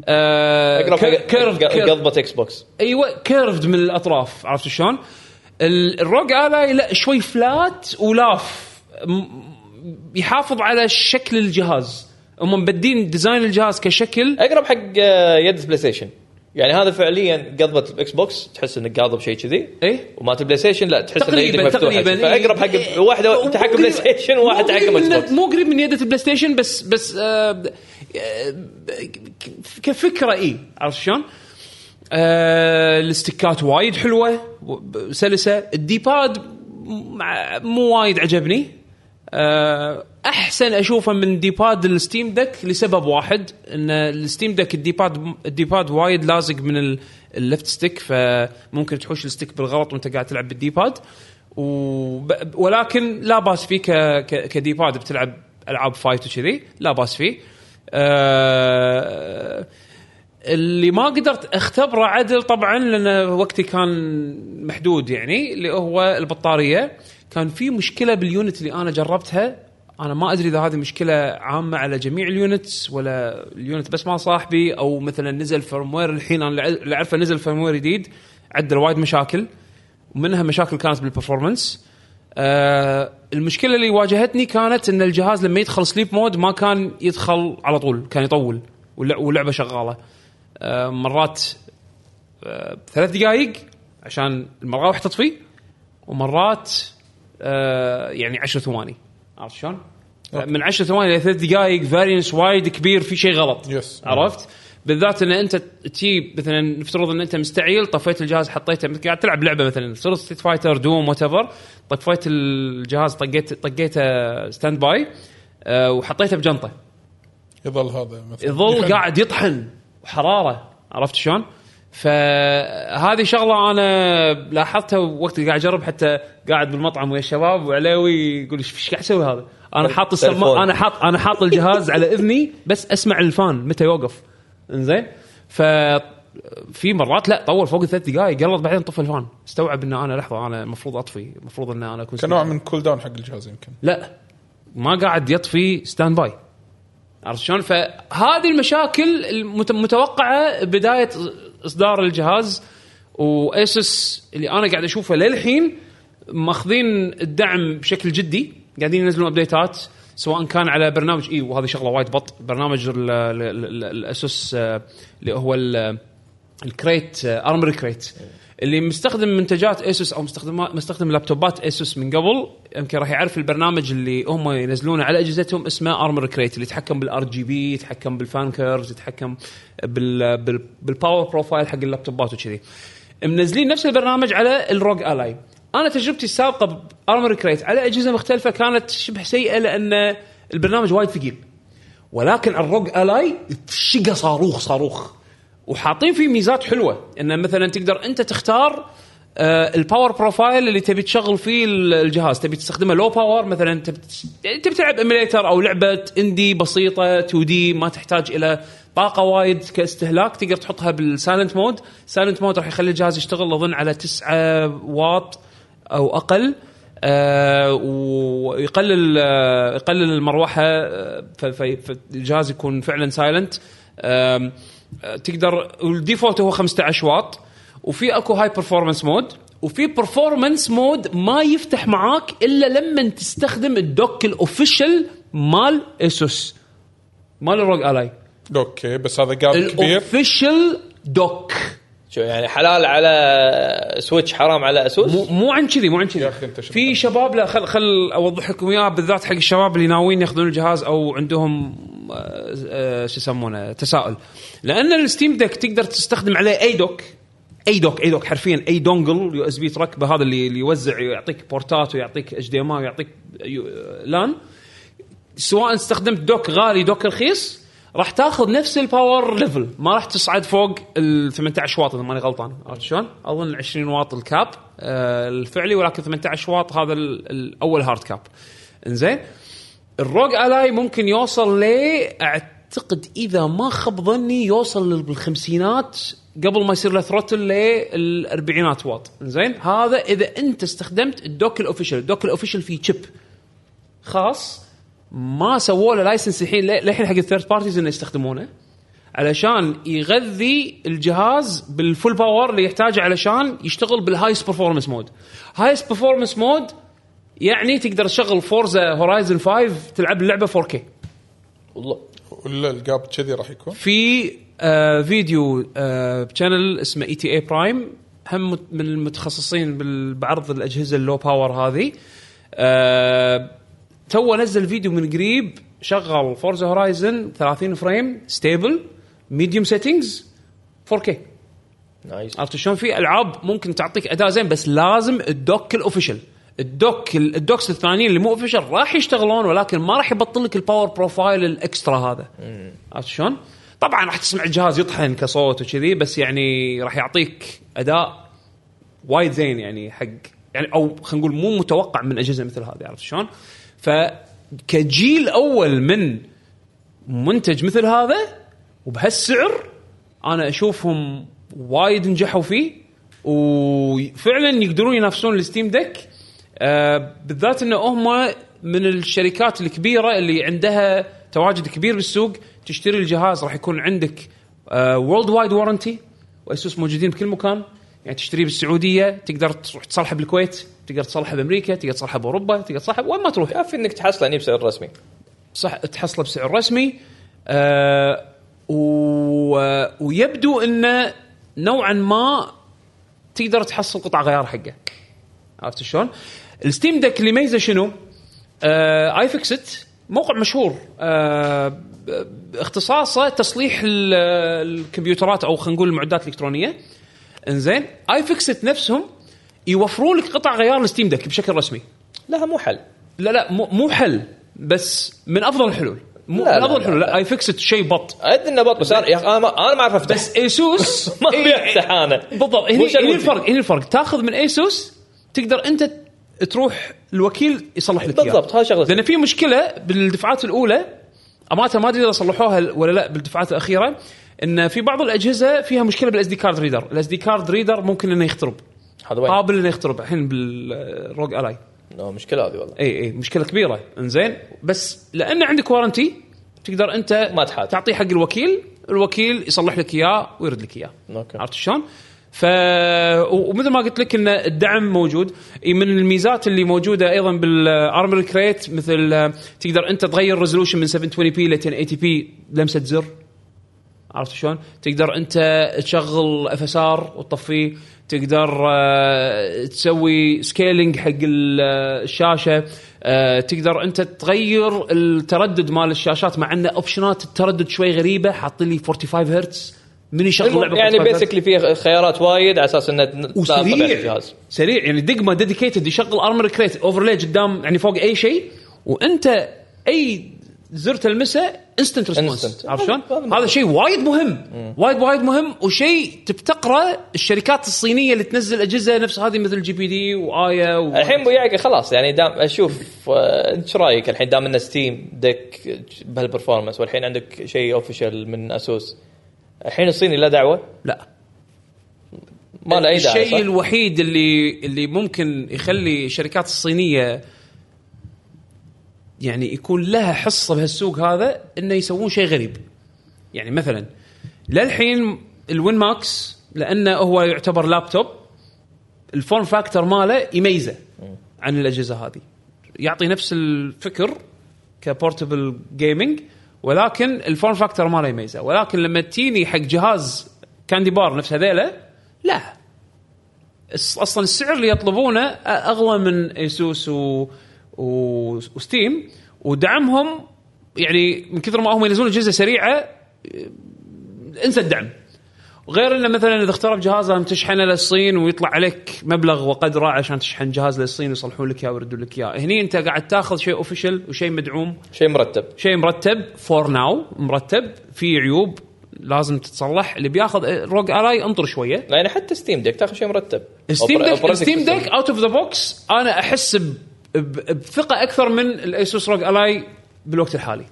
Speaker 1: آه
Speaker 4: اقرب
Speaker 1: كير-
Speaker 4: حق-
Speaker 1: كيرف-
Speaker 4: ق-
Speaker 1: كيرف.
Speaker 4: قضبه اكس بوكس
Speaker 1: ايوه كيرفد من الاطراف عرفت شلون؟ ال- الروج الاي لا شوي فلات ولاف م- يحافظ على شكل الجهاز هم مبدين ديزاين الجهاز كشكل
Speaker 4: اقرب حق آه، يد بلاي ستيشن يعني هذا فعليا قضبه الاكس بوكس تحس انك قاضب شيء كذي
Speaker 1: ايه
Speaker 4: ومالت البلاي ستيشن لا تحس ان يدك
Speaker 1: تقريبا
Speaker 4: مفتوحه
Speaker 1: تقريبا
Speaker 4: فاقرب
Speaker 1: إيه.
Speaker 4: حق واحد
Speaker 1: مو
Speaker 4: تحكم بلاي
Speaker 1: قريب-
Speaker 4: ستيشن وواحد
Speaker 1: مو قريب
Speaker 4: تحكم اكس
Speaker 1: من-
Speaker 4: بوكس
Speaker 1: مو قريب من يده البلاي ستيشن بس بس آه، آه، ك- كفكره اي عرفت شلون؟ آه، الاستكات وايد حلوه و- سلسه الديباد مع- مو وايد عجبني آه، احسن اشوفه من ديباد الستيم دك لسبب واحد ان الستيم دك الديباد الديباد وايد لازق من ال- اللفت ستيك فممكن تحوش الستيك بالغلط وانت قاعد تلعب بالديباد وب- ولكن لا باس فيه ك... ك... كديباد بتلعب العاب فايت وكذي لا باس فيه آه... اللي ما قدرت اختبره عدل طبعا لان وقتي كان محدود يعني اللي هو البطاريه كان في مشكله باليونت اللي انا جربتها انا ما ادري اذا هذه مشكله عامه على جميع اليونتس ولا اليونت بس ما صاحبي او مثلا نزل فيرموير الحين انا اللي اعرفه نزل فيرموير جديد عدل وايد مشاكل ومنها مشاكل كانت بالبرفورمانس آه المشكله اللي واجهتني كانت ان الجهاز لما يدخل سليب مود ما كان يدخل على طول كان يطول واللع- واللعبه شغاله آه مرات آه ثلاث دقائق عشان المراوح تطفي ومرات آه يعني عشر ثواني عرفت شلون؟ من عشر ثواني الى ثلاث دقائق فارينس وايد كبير في شيء غلط
Speaker 2: يس.
Speaker 1: عرفت؟ بالذات ان انت تجي مثلا نفترض ان انت مستعيل طفيت الجهاز حطيته مثل قاعد تلعب لعبه مثلا نفترض ستيت فايتر دوم وات ايفر طفيت الجهاز طقيت طقيته ستاند باي آه، وحطيته بجنطه
Speaker 2: يظل هذا يعني مثلا
Speaker 1: يظل
Speaker 2: يخلي-
Speaker 1: قاعد يطحن وحراره عرفت شلون؟ فهذه شغله انا لاحظتها وقت اللي قاعد اجرب حتى قاعد بالمطعم ويا الشباب وعلاوي يقول ايش إيش قاعد اسوي هذا؟ انا حاط السماعه
Speaker 4: تلفون.
Speaker 1: انا حاط انا حاط الجهاز على اذني بس اسمع الفان متى يوقف انزين ف في مرات لا طول فوق الثلاث دقائق قلت بعدين طفى الفان استوعب ان انا لحظه انا المفروض اطفي المفروض ان انا اكون
Speaker 2: كنوع من كول داون حق الجهاز يمكن
Speaker 1: لا ما قاعد يطفي ستاند باي عرفت شلون؟ فهذه المشاكل المت- متوقعه بدايه اصدار الجهاز واسس اللي انا قاعد اشوفه للحين ماخذين الدعم بشكل جدي قاعدين ينزلون ابديتات سواء كان على برنامج اي وهذه شغله وايد بط برنامج ال- ال- ال- الاسوس آه، اللي هو ال- الكريت ارمر كريت اللي مستخدم منتجات اسوس او مستخدم مستخدم لابتوبات اسوس من قبل يمكن راح يعرف البرنامج اللي هم ينزلونه على اجهزتهم اسمه ارمر كريت اللي يتحكم بالار جي بي يتحكم بالفان كيرفز يتحكم بال بال بالباور بروفايل حق اللابتوبات وكذي منزلين نفس البرنامج على الروج الاي انا تجربتي السابقه بارمر كريت على اجهزه مختلفه كانت شبه سيئه لان البرنامج وايد ثقيل ولكن على الروج الاي شقه صاروخ صاروخ وحاطين فيه ميزات حلوه انه مثلا تقدر انت تختار آه، الباور بروفايل اللي تبي تشغل فيه ال- الجهاز تبي تستخدمه لو باور مثلا تبي تس- تبي تلعب ايميليتر او لعبه اندي بسيطه 2 دي ما تحتاج الى طاقه وايد كاستهلاك تقدر تحطها بالسايلنت مود سايلنت مود راح يخلي الجهاز يشتغل اظن على 9 واط او اقل آه، ويقلل آه، يقلل المروحه آه، ف- ف- فالجهاز يكون فعلا سايلنت آه، تقدر الديفولت هو 15 واط وفي اكو هاي برفورمانس مود وفي برفورمانس مود ما يفتح معاك الا لما تستخدم الدوك الاوفيشال مال اسوس مال الروج الاي
Speaker 2: اوكي بس هذا جاب كبير
Speaker 1: الاوفيشال دوك
Speaker 4: شو يعني حلال على سويتش حرام على اسوس
Speaker 1: مو مو عن كذي مو عن
Speaker 2: يا
Speaker 1: كذي
Speaker 2: أخي أنت شو
Speaker 1: في شباب لا خل خل اوضح لكم اياها بالذات حق الشباب اللي ناويين ياخذون الجهاز او عندهم آه، آه، شو يسمونه تساؤل لان الستيم ديك تقدر تستخدم عليه اي دوك اي دوك اي دوك حرفيا اي دونجل يو اس بي تركبه هذا اللي اللي يوزع يعطيك بورتات ويعطيك اتش دي ام اي ويعطيك يو- آه، لان سواء استخدمت دوك غالي دوك رخيص راح تاخذ نفس الباور ليفل ما راح تصعد فوق ال 18 واط اذا ماني غلطان عرفت شلون؟ اظن 20 واط الكاب آه الفعلي ولكن 18 واط هذا ال- الاول هارد كاب انزين الروج الاي ممكن يوصل ل اعتقد اذا ما خاب ظني يوصل لل- بالخمسينات قبل ما يصير له ثروتل للاربعينات واط زين هذا اذا انت استخدمت الدوك الاوفيشال الدوك الاوفيشال فيه تشيب خاص ما سووا له لايسنس الحين ل- للحين حق الثيرد بارتيز انه يستخدمونه علشان يغذي الجهاز بالفول باور اللي يحتاجه علشان يشتغل بالهايست برفورمانس مود هايست برفورمانس مود يعني تقدر تشغل فورزا هورايزن 5 تلعب اللعبه 4K
Speaker 4: والله
Speaker 2: ولا الجاب كذي راح يكون
Speaker 1: في آه فيديو آه بشانل اسمه اي تي اي برايم هم مت- من المتخصصين بال- بعرض الاجهزه اللو باور هذه آه تو نزل فيديو من قريب شغل فورزا هورايزن 30 فريم ستيبل ميديوم سيتنجز 4K
Speaker 4: نايس
Speaker 1: عرفت شلون في العاب ممكن تعطيك اداء زين بس لازم الدوك الاوفيشال الدوك الدوكس الثانيين اللي مو اوفيشال راح يشتغلون ولكن ما راح يبطل لك الباور بروفايل الاكسترا هذا عرفت شلون؟ طبعا راح تسمع الجهاز يطحن كصوت وكذي بس يعني راح يعطيك اداء وايد زين يعني حق يعني او خلينا نقول مو متوقع من اجهزه مثل هذه عرفت شلون؟ فكجيل اول من منتج مثل هذا وبهالسعر انا اشوفهم وايد نجحوا فيه وفعلا يقدرون ينافسون الستيم ديك آه بالذات انه هم من الشركات الكبيره اللي عندها تواجد كبير بالسوق تشتري الجهاز راح يكون عندك آه، وورلد وايد وارنتي واسوس موجودين بكل مكان يعني تشتريه بالسعوديه تقدر تروح تصلحه بالكويت تقدر تصلحه بامريكا تقدر تصلحه باوروبا تقدر تصلحه وين ما تروح
Speaker 4: كافي انك تحصله يعني بسعر رسمي
Speaker 1: صح تحصله بسعر رسمي آه و... ويبدو انه نوعا ما تقدر تحصل قطع غيار حقه عرفت شلون؟ الستيم دك اللي ميزه شنو؟ آه اي فيكسيت موقع مشهور آه اختصاصه تصليح ال- الكمبيوترات او خلينا نقول المعدات الالكترونيه انزين اي فيكسيت نفسهم يوفروا لك قطع غيار الستيم دك بشكل رسمي
Speaker 4: لها مو حل
Speaker 1: لا لا مو مو حل بس من افضل الحلول مو
Speaker 4: لا،
Speaker 1: من
Speaker 4: لا،
Speaker 1: افضل
Speaker 4: لا،
Speaker 1: الحلول
Speaker 4: لا.
Speaker 1: لا اي فيكسد شيء بط
Speaker 4: ادري انه بط بس انا يا أخي انا ما انا ما اعرف افتح
Speaker 1: بس ايسوس
Speaker 4: ما ابي
Speaker 1: إيه،
Speaker 4: افتح انا
Speaker 1: بالضبط هني,
Speaker 4: وش
Speaker 1: هني
Speaker 4: الودي؟
Speaker 1: الفرق هني الفرق تاخذ من ايسوس تقدر انت تروح الوكيل يصلح لك إياه.
Speaker 4: بالضبط، هاي شغلتي.
Speaker 1: لان في مشكله بالدفعات الاولى امانه ما ادري اذا صلحوها ولا لا بالدفعات الاخيره ان في بعض الاجهزه فيها مشكله بالاس دي كارد ريدر الاس دي كارد ريدر ممكن انه يخترب
Speaker 4: هذا وين؟
Speaker 1: قابل انه يخترب الحين بالروج الاي
Speaker 4: لا، مشكله هذه والله
Speaker 1: اي اي مشكله كبيره انزين بس لان عندك وارنتي تقدر انت
Speaker 4: ما تحاتي.
Speaker 1: تعطيه حق الوكيل الوكيل يصلح لك اياه ويرد لك اياه
Speaker 4: اوكي
Speaker 1: عرفت شلون؟ ف و- ومثل ما قلت لك ان الدعم موجود إيه، من الميزات اللي موجوده ايضا بالارمر كريت مثل آه، تقدر انت تغير ريزولوشن من 720 بي ل 1080 بي لمسه زر عرفت شلون؟ تقدر انت تشغل اف اس ار وتطفيه، تقدر آه، تسوي سكيلينج حق ال- آه، الشاشه، آه، تقدر انت تغير التردد مال الشاشات مع ان اوبشنات التردد شوي غريبه حاطين لي 45 هرتز من يشغل لعبه
Speaker 4: يعني
Speaker 1: 45 هرتز؟
Speaker 4: بيسكلي فيه خيارات وايد على اساس انه تطابق
Speaker 1: وسريع
Speaker 4: الجهاز
Speaker 1: سريع يعني دقمه ديديكيتد يشغل ارمر كريت اوفرلاي قدام يعني فوق اي شيء وانت اي زر تلمسه انستنت ريسبونس
Speaker 4: Instant.
Speaker 1: عرفت شلون؟
Speaker 4: هذا
Speaker 1: هذا شيء وايد مهم وايد وايد مهم وشيء تفتقره الشركات الصينيه اللي تنزل اجهزه نفس هذه مثل جي بي دي وايا و...
Speaker 4: الحين ابو يعقي خلاص يعني دام اشوف آه، انت ايش رايك الحين دام ان ستيم دك بهالبرفورمانس والحين عندك شيء اوفيشال من اسوس الحين الصيني لا دعوه
Speaker 1: لا
Speaker 4: ما له اي داعي
Speaker 1: الشيء
Speaker 4: الشيء
Speaker 1: الوحيد اللي اللي ممكن يخلي الشركات الصينيه يعني يكون لها حصه بهالسوق هذا انه يسوون شيء غريب يعني مثلا للحين الوين ماكس لانه هو يعتبر لابتوب الفون فاكتور ماله يميزه عن الاجهزه هذه يعطي نفس الفكر كبورتبل جيمنج ولكن الفون فاكتور ماله يميزه ولكن لما تجيني حق جهاز كاندي بار نفس هذيله لا الس- اصلا السعر اللي يطلبونه أ- اغلى من ايسوس و... و... وستيم ودعمهم يعني من كثر ما هم ينزلون اجهزه سريعه انسى الدعم غير انه مثلا اذا اخترب جهاز لازم تشحنه للصين ويطلع عليك مبلغ وقدره عشان تشحن جهاز للصين ويصلحون لك اياه ويردون لك اياه، هني انت قاعد تاخذ شيء اوفيشل وشيء مدعوم
Speaker 4: شيء مرتب
Speaker 1: شيء مرتب فور ناو مرتب في عيوب لازم تتصلح اللي بياخذ روج الاي انطر شويه
Speaker 4: يعني حتى ستيم دك تاخذ شيء مرتب
Speaker 1: ستيم
Speaker 4: Opera-
Speaker 1: ديك
Speaker 4: Operating
Speaker 1: ستيم
Speaker 4: System.
Speaker 1: ديك اوت اوف ذا بوكس انا احس ب- ب- بثقه اكثر من الايسوس روج الاي بالوقت الحالي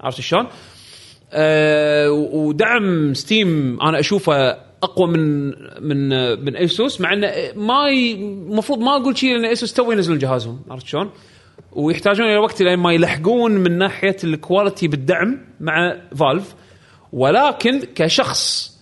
Speaker 1: عرفت شلون؟ أه ودعم ستيم انا اشوفه اقوى من من من ايسوس مع انه ما ي- المفروض ما اقول شيء لان ايسوس تو ينزلون جهازهم عرفت شلون؟ ويحتاجون الى وقت لين ما يلحقون من ناحيه الكواليتي بالدعم مع فالف ولكن كشخص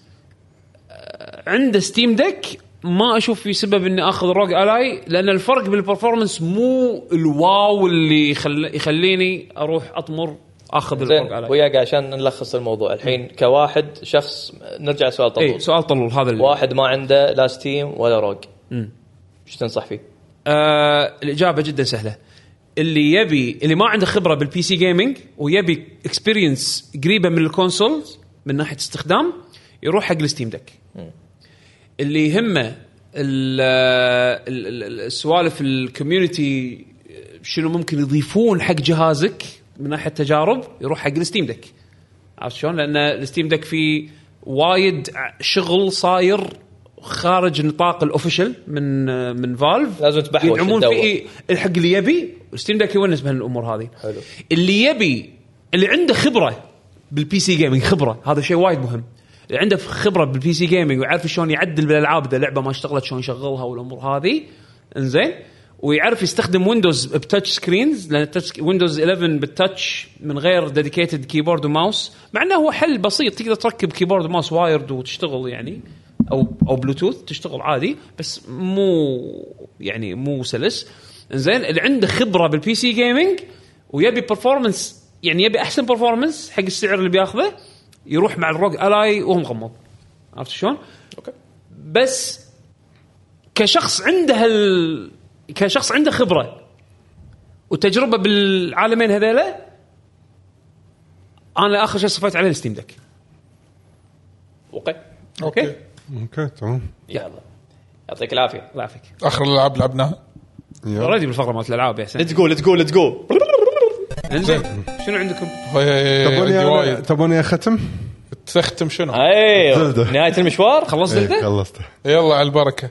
Speaker 1: عنده ستيم ديك ما اشوف في سبب اني اخذ روج الاي لان الفرق بالبرفورمانس مو الواو اللي يخل... يخليني اروح اطمر اخذ الروج
Speaker 4: زين
Speaker 1: الاي
Speaker 4: وياك عشان نلخص الموضوع الحين كواحد شخص نرجع لسؤال
Speaker 1: اي
Speaker 4: طلول
Speaker 1: إيه، سؤال طلول هذا اللي.
Speaker 4: واحد ما عنده لا ستيم ولا روج ايش تنصح فيه؟
Speaker 1: آه الاجابه جدا سهله اللي يبي اللي ما عنده خبره بالبي سي جيمنج ويبي اكسبيرينس قريبه من الكونسولز من ناحيه استخدام يروح حق الستيم ديك اللي يهمه ال- ال- ال- ال- السوالف الكوميونتي شنو ممكن يضيفون حق جهازك من ناحيه تجارب يروح حق الستيم دك عرفت شلون؟ لان الستيم دك فيه وايد شغل صاير خارج نطاق الاوفيشل من من فالف
Speaker 4: لازم تبحوش
Speaker 1: يدعمون
Speaker 4: تدور.
Speaker 1: فيه الحق اللي يبي ستيم دك يونس بهالامور هذه
Speaker 4: حلو.
Speaker 1: اللي يبي اللي عنده خبره بالبي سي جيمنج خبره هذا شيء وايد مهم اللي عنده خبره بالبي سي جيمنج ويعرف شلون يعدل بالالعاب اذا لعبه ما اشتغلت شلون يشغلها والامور هذه انزين ويعرف يستخدم ويندوز بتاتش سكرينز لان التاتش ويندوز 11 بالتاتش من غير ديديكيتد كيبورد وماوس مع انه هو حل بسيط تقدر تركب كيبورد وماوس وايرد وتشتغل يعني او او بلوتوث تشتغل عادي بس مو يعني مو سلس زين اللي عنده خبره بالبي سي جيمنج ويبي برفورمنس يعني يبي احسن برفورمنس حق السعر اللي بياخذه يروح مع الروج الاي وهو مغمض عرفت شلون؟
Speaker 4: اوكي
Speaker 1: بس كشخص عنده هال... كشخص عنده خبره وتجربه بالعالمين هذيلا انا اخر شيء صفيت عليه الستيم دك
Speaker 4: اوكي
Speaker 1: اوكي
Speaker 3: اوكي تمام
Speaker 4: يلا يعطيك العافيه
Speaker 1: الله يعافيك
Speaker 2: اخر الالعاب لعبناها
Speaker 3: يلا.
Speaker 1: اوريدي بالفقره مالت الالعاب يا حسين
Speaker 4: ليتس جو ليتس جو ليتس جو
Speaker 1: انزين شنو عندكم؟
Speaker 2: هي-
Speaker 1: إيه،
Speaker 2: هي- هي-
Speaker 3: تبوني
Speaker 2: عندي
Speaker 3: أنا-
Speaker 2: وايد
Speaker 3: تبوني اختم؟
Speaker 2: تختم شنو؟
Speaker 4: ايوه
Speaker 3: زلدة.
Speaker 4: نهايه المشوار خلاص
Speaker 1: خلصت
Speaker 3: إيه،
Speaker 1: انت؟
Speaker 3: خلصت
Speaker 2: يلا على البركه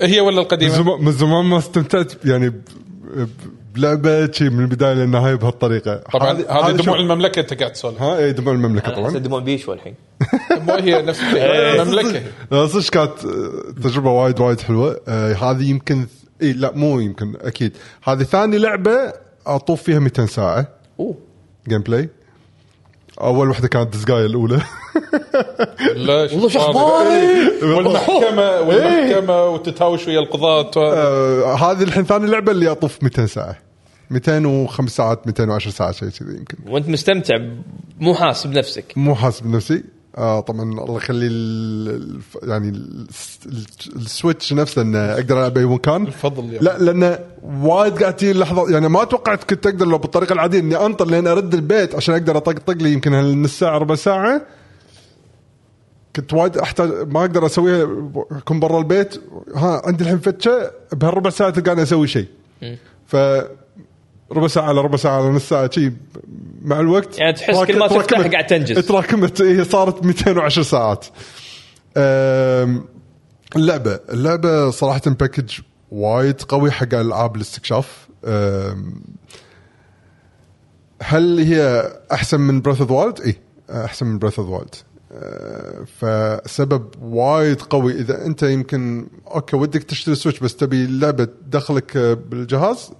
Speaker 2: هي ولا
Speaker 3: من
Speaker 2: القديمه؟
Speaker 3: زمان- من زمان ما استمتعت يعني ب- ب- بلعبه شي من البدايه للنهايه بهالطريقه
Speaker 2: طبعا هذه دموع
Speaker 3: شوف-
Speaker 2: المملكه انت قاعد تسولف
Speaker 3: ها اي دموع المملكه طبعا
Speaker 4: تدمون بيشو الحين
Speaker 2: مو هي نفس
Speaker 3: إيه،
Speaker 2: المملكه
Speaker 3: صدق- صدق كانت آه، تجربه وايد وايد حلوه آه، هذه يمكن اي لا مو يمكن اكيد هذه ثاني لعبه اطوف فيها 200 ساعه
Speaker 4: اوه
Speaker 3: جيم بلاي اول وحده كانت دزقاية الاولى
Speaker 2: لا
Speaker 4: والله شو اخبارك؟
Speaker 2: والمحكمه والمحكمه وتتهاوش ويا القضاة
Speaker 3: إيه. آه، هذه الحين ثاني لعبه اللي اطوف 200 ساعه 205 ساعات 210 ساعه شيء كذي يمكن
Speaker 4: وانت مستمتع مو حاسب نفسك
Speaker 3: مو حاسب نفسي آه طبعا الله يخلي ال- الف- يعني ال- ال- السويتش نفسه انه اقدر العب باي مكان
Speaker 2: الفضل يعني.
Speaker 3: لا لانه وايد قاعد تجي اللحظه يعني ما توقعت كنت اقدر لو بالطريقه العاديه اني انطر لين ارد البيت عشان اقدر اطقطق لي يمكن هالنص ساعه ربع ساعه كنت وايد احتاج ما اقدر اسويها اكون برا البيت ها عندي الحين فتشه بهالربع ساعه تلقاني اسوي شيء ف ربع ساعه على ربع ساعه على نص ساعه شي مع الوقت
Speaker 4: يعني تحس كل ما
Speaker 3: تراك-
Speaker 4: تفتح
Speaker 3: تراكمت-
Speaker 4: قاعد تنجز.
Speaker 3: تراكمت هي صارت 210 ساعات أم، اللعبه اللعبه صراحه باكج وايد قوي حق العاب الاستكشاف أم، هل هي احسن من براث اوف وايلد؟ اي احسن إيه، من براث اوف وايلد فسبب وايد قوي اذا انت يمكن اوكي ودك تشتري سويتش بس تبي لعبه تدخلك آه، بالجهاز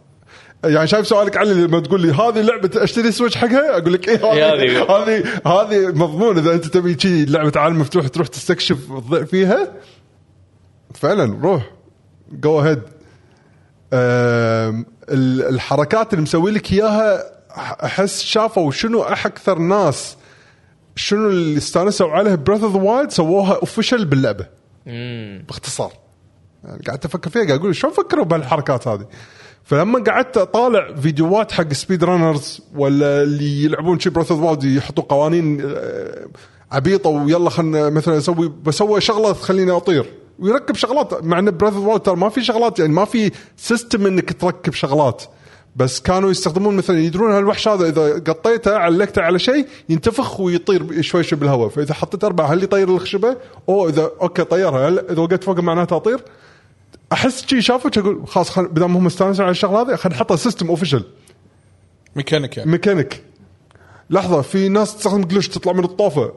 Speaker 3: يعني شايف سؤالك علي لما تقول لي هذه لعبه اشتري سويتش حقها اقول لك ايه
Speaker 4: إي
Speaker 3: هذه
Speaker 4: هذه.
Speaker 3: هذه هذه مضمون اذا انت تبي شي لعبه عالم مفتوح تروح تستكشف الضيء فيها فعلا روح جو اهيد الحركات اللي مسوي لك اياها احس شافوا شنو اكثر ناس شنو اللي استانسوا عليه براذ اوف وايلد سووها اوفشل باللعبه باختصار يعني قعدت افكر فيها قاعد اقول شلون فكروا بهالحركات هذه فلما قعدت اطالع فيديوهات حق سبيد رانرز ولا اللي يلعبون شي براث اوف وايلد يحطوا قوانين آه، عبيطه ويلا خلنا مثلا اسوي بسوي شغله تخليني اطير ويركب شغلات مع ان براث اوف وايلد ما في شغلات يعني ما في سيستم انك تركب شغلات بس كانوا يستخدمون مثلا يدرون هالوحش هذا اذا قطيته علقته على شيء ينتفخ ويطير شوي شوي بالهواء فاذا حطيت اربعه هل يطير الخشبه؟ او اذا اوكي طيرها هل اذا وقفت فوق معناته اطير؟ احس شي شافت اقول خلاص خل... بدل ما هم مستانسين على الشغله هذه خلينا نحطها سيستم اوفيشال
Speaker 2: ميكانيك يعني
Speaker 3: ميكانيك لحظه في ناس تستخدم جلوش تطلع من الطوفه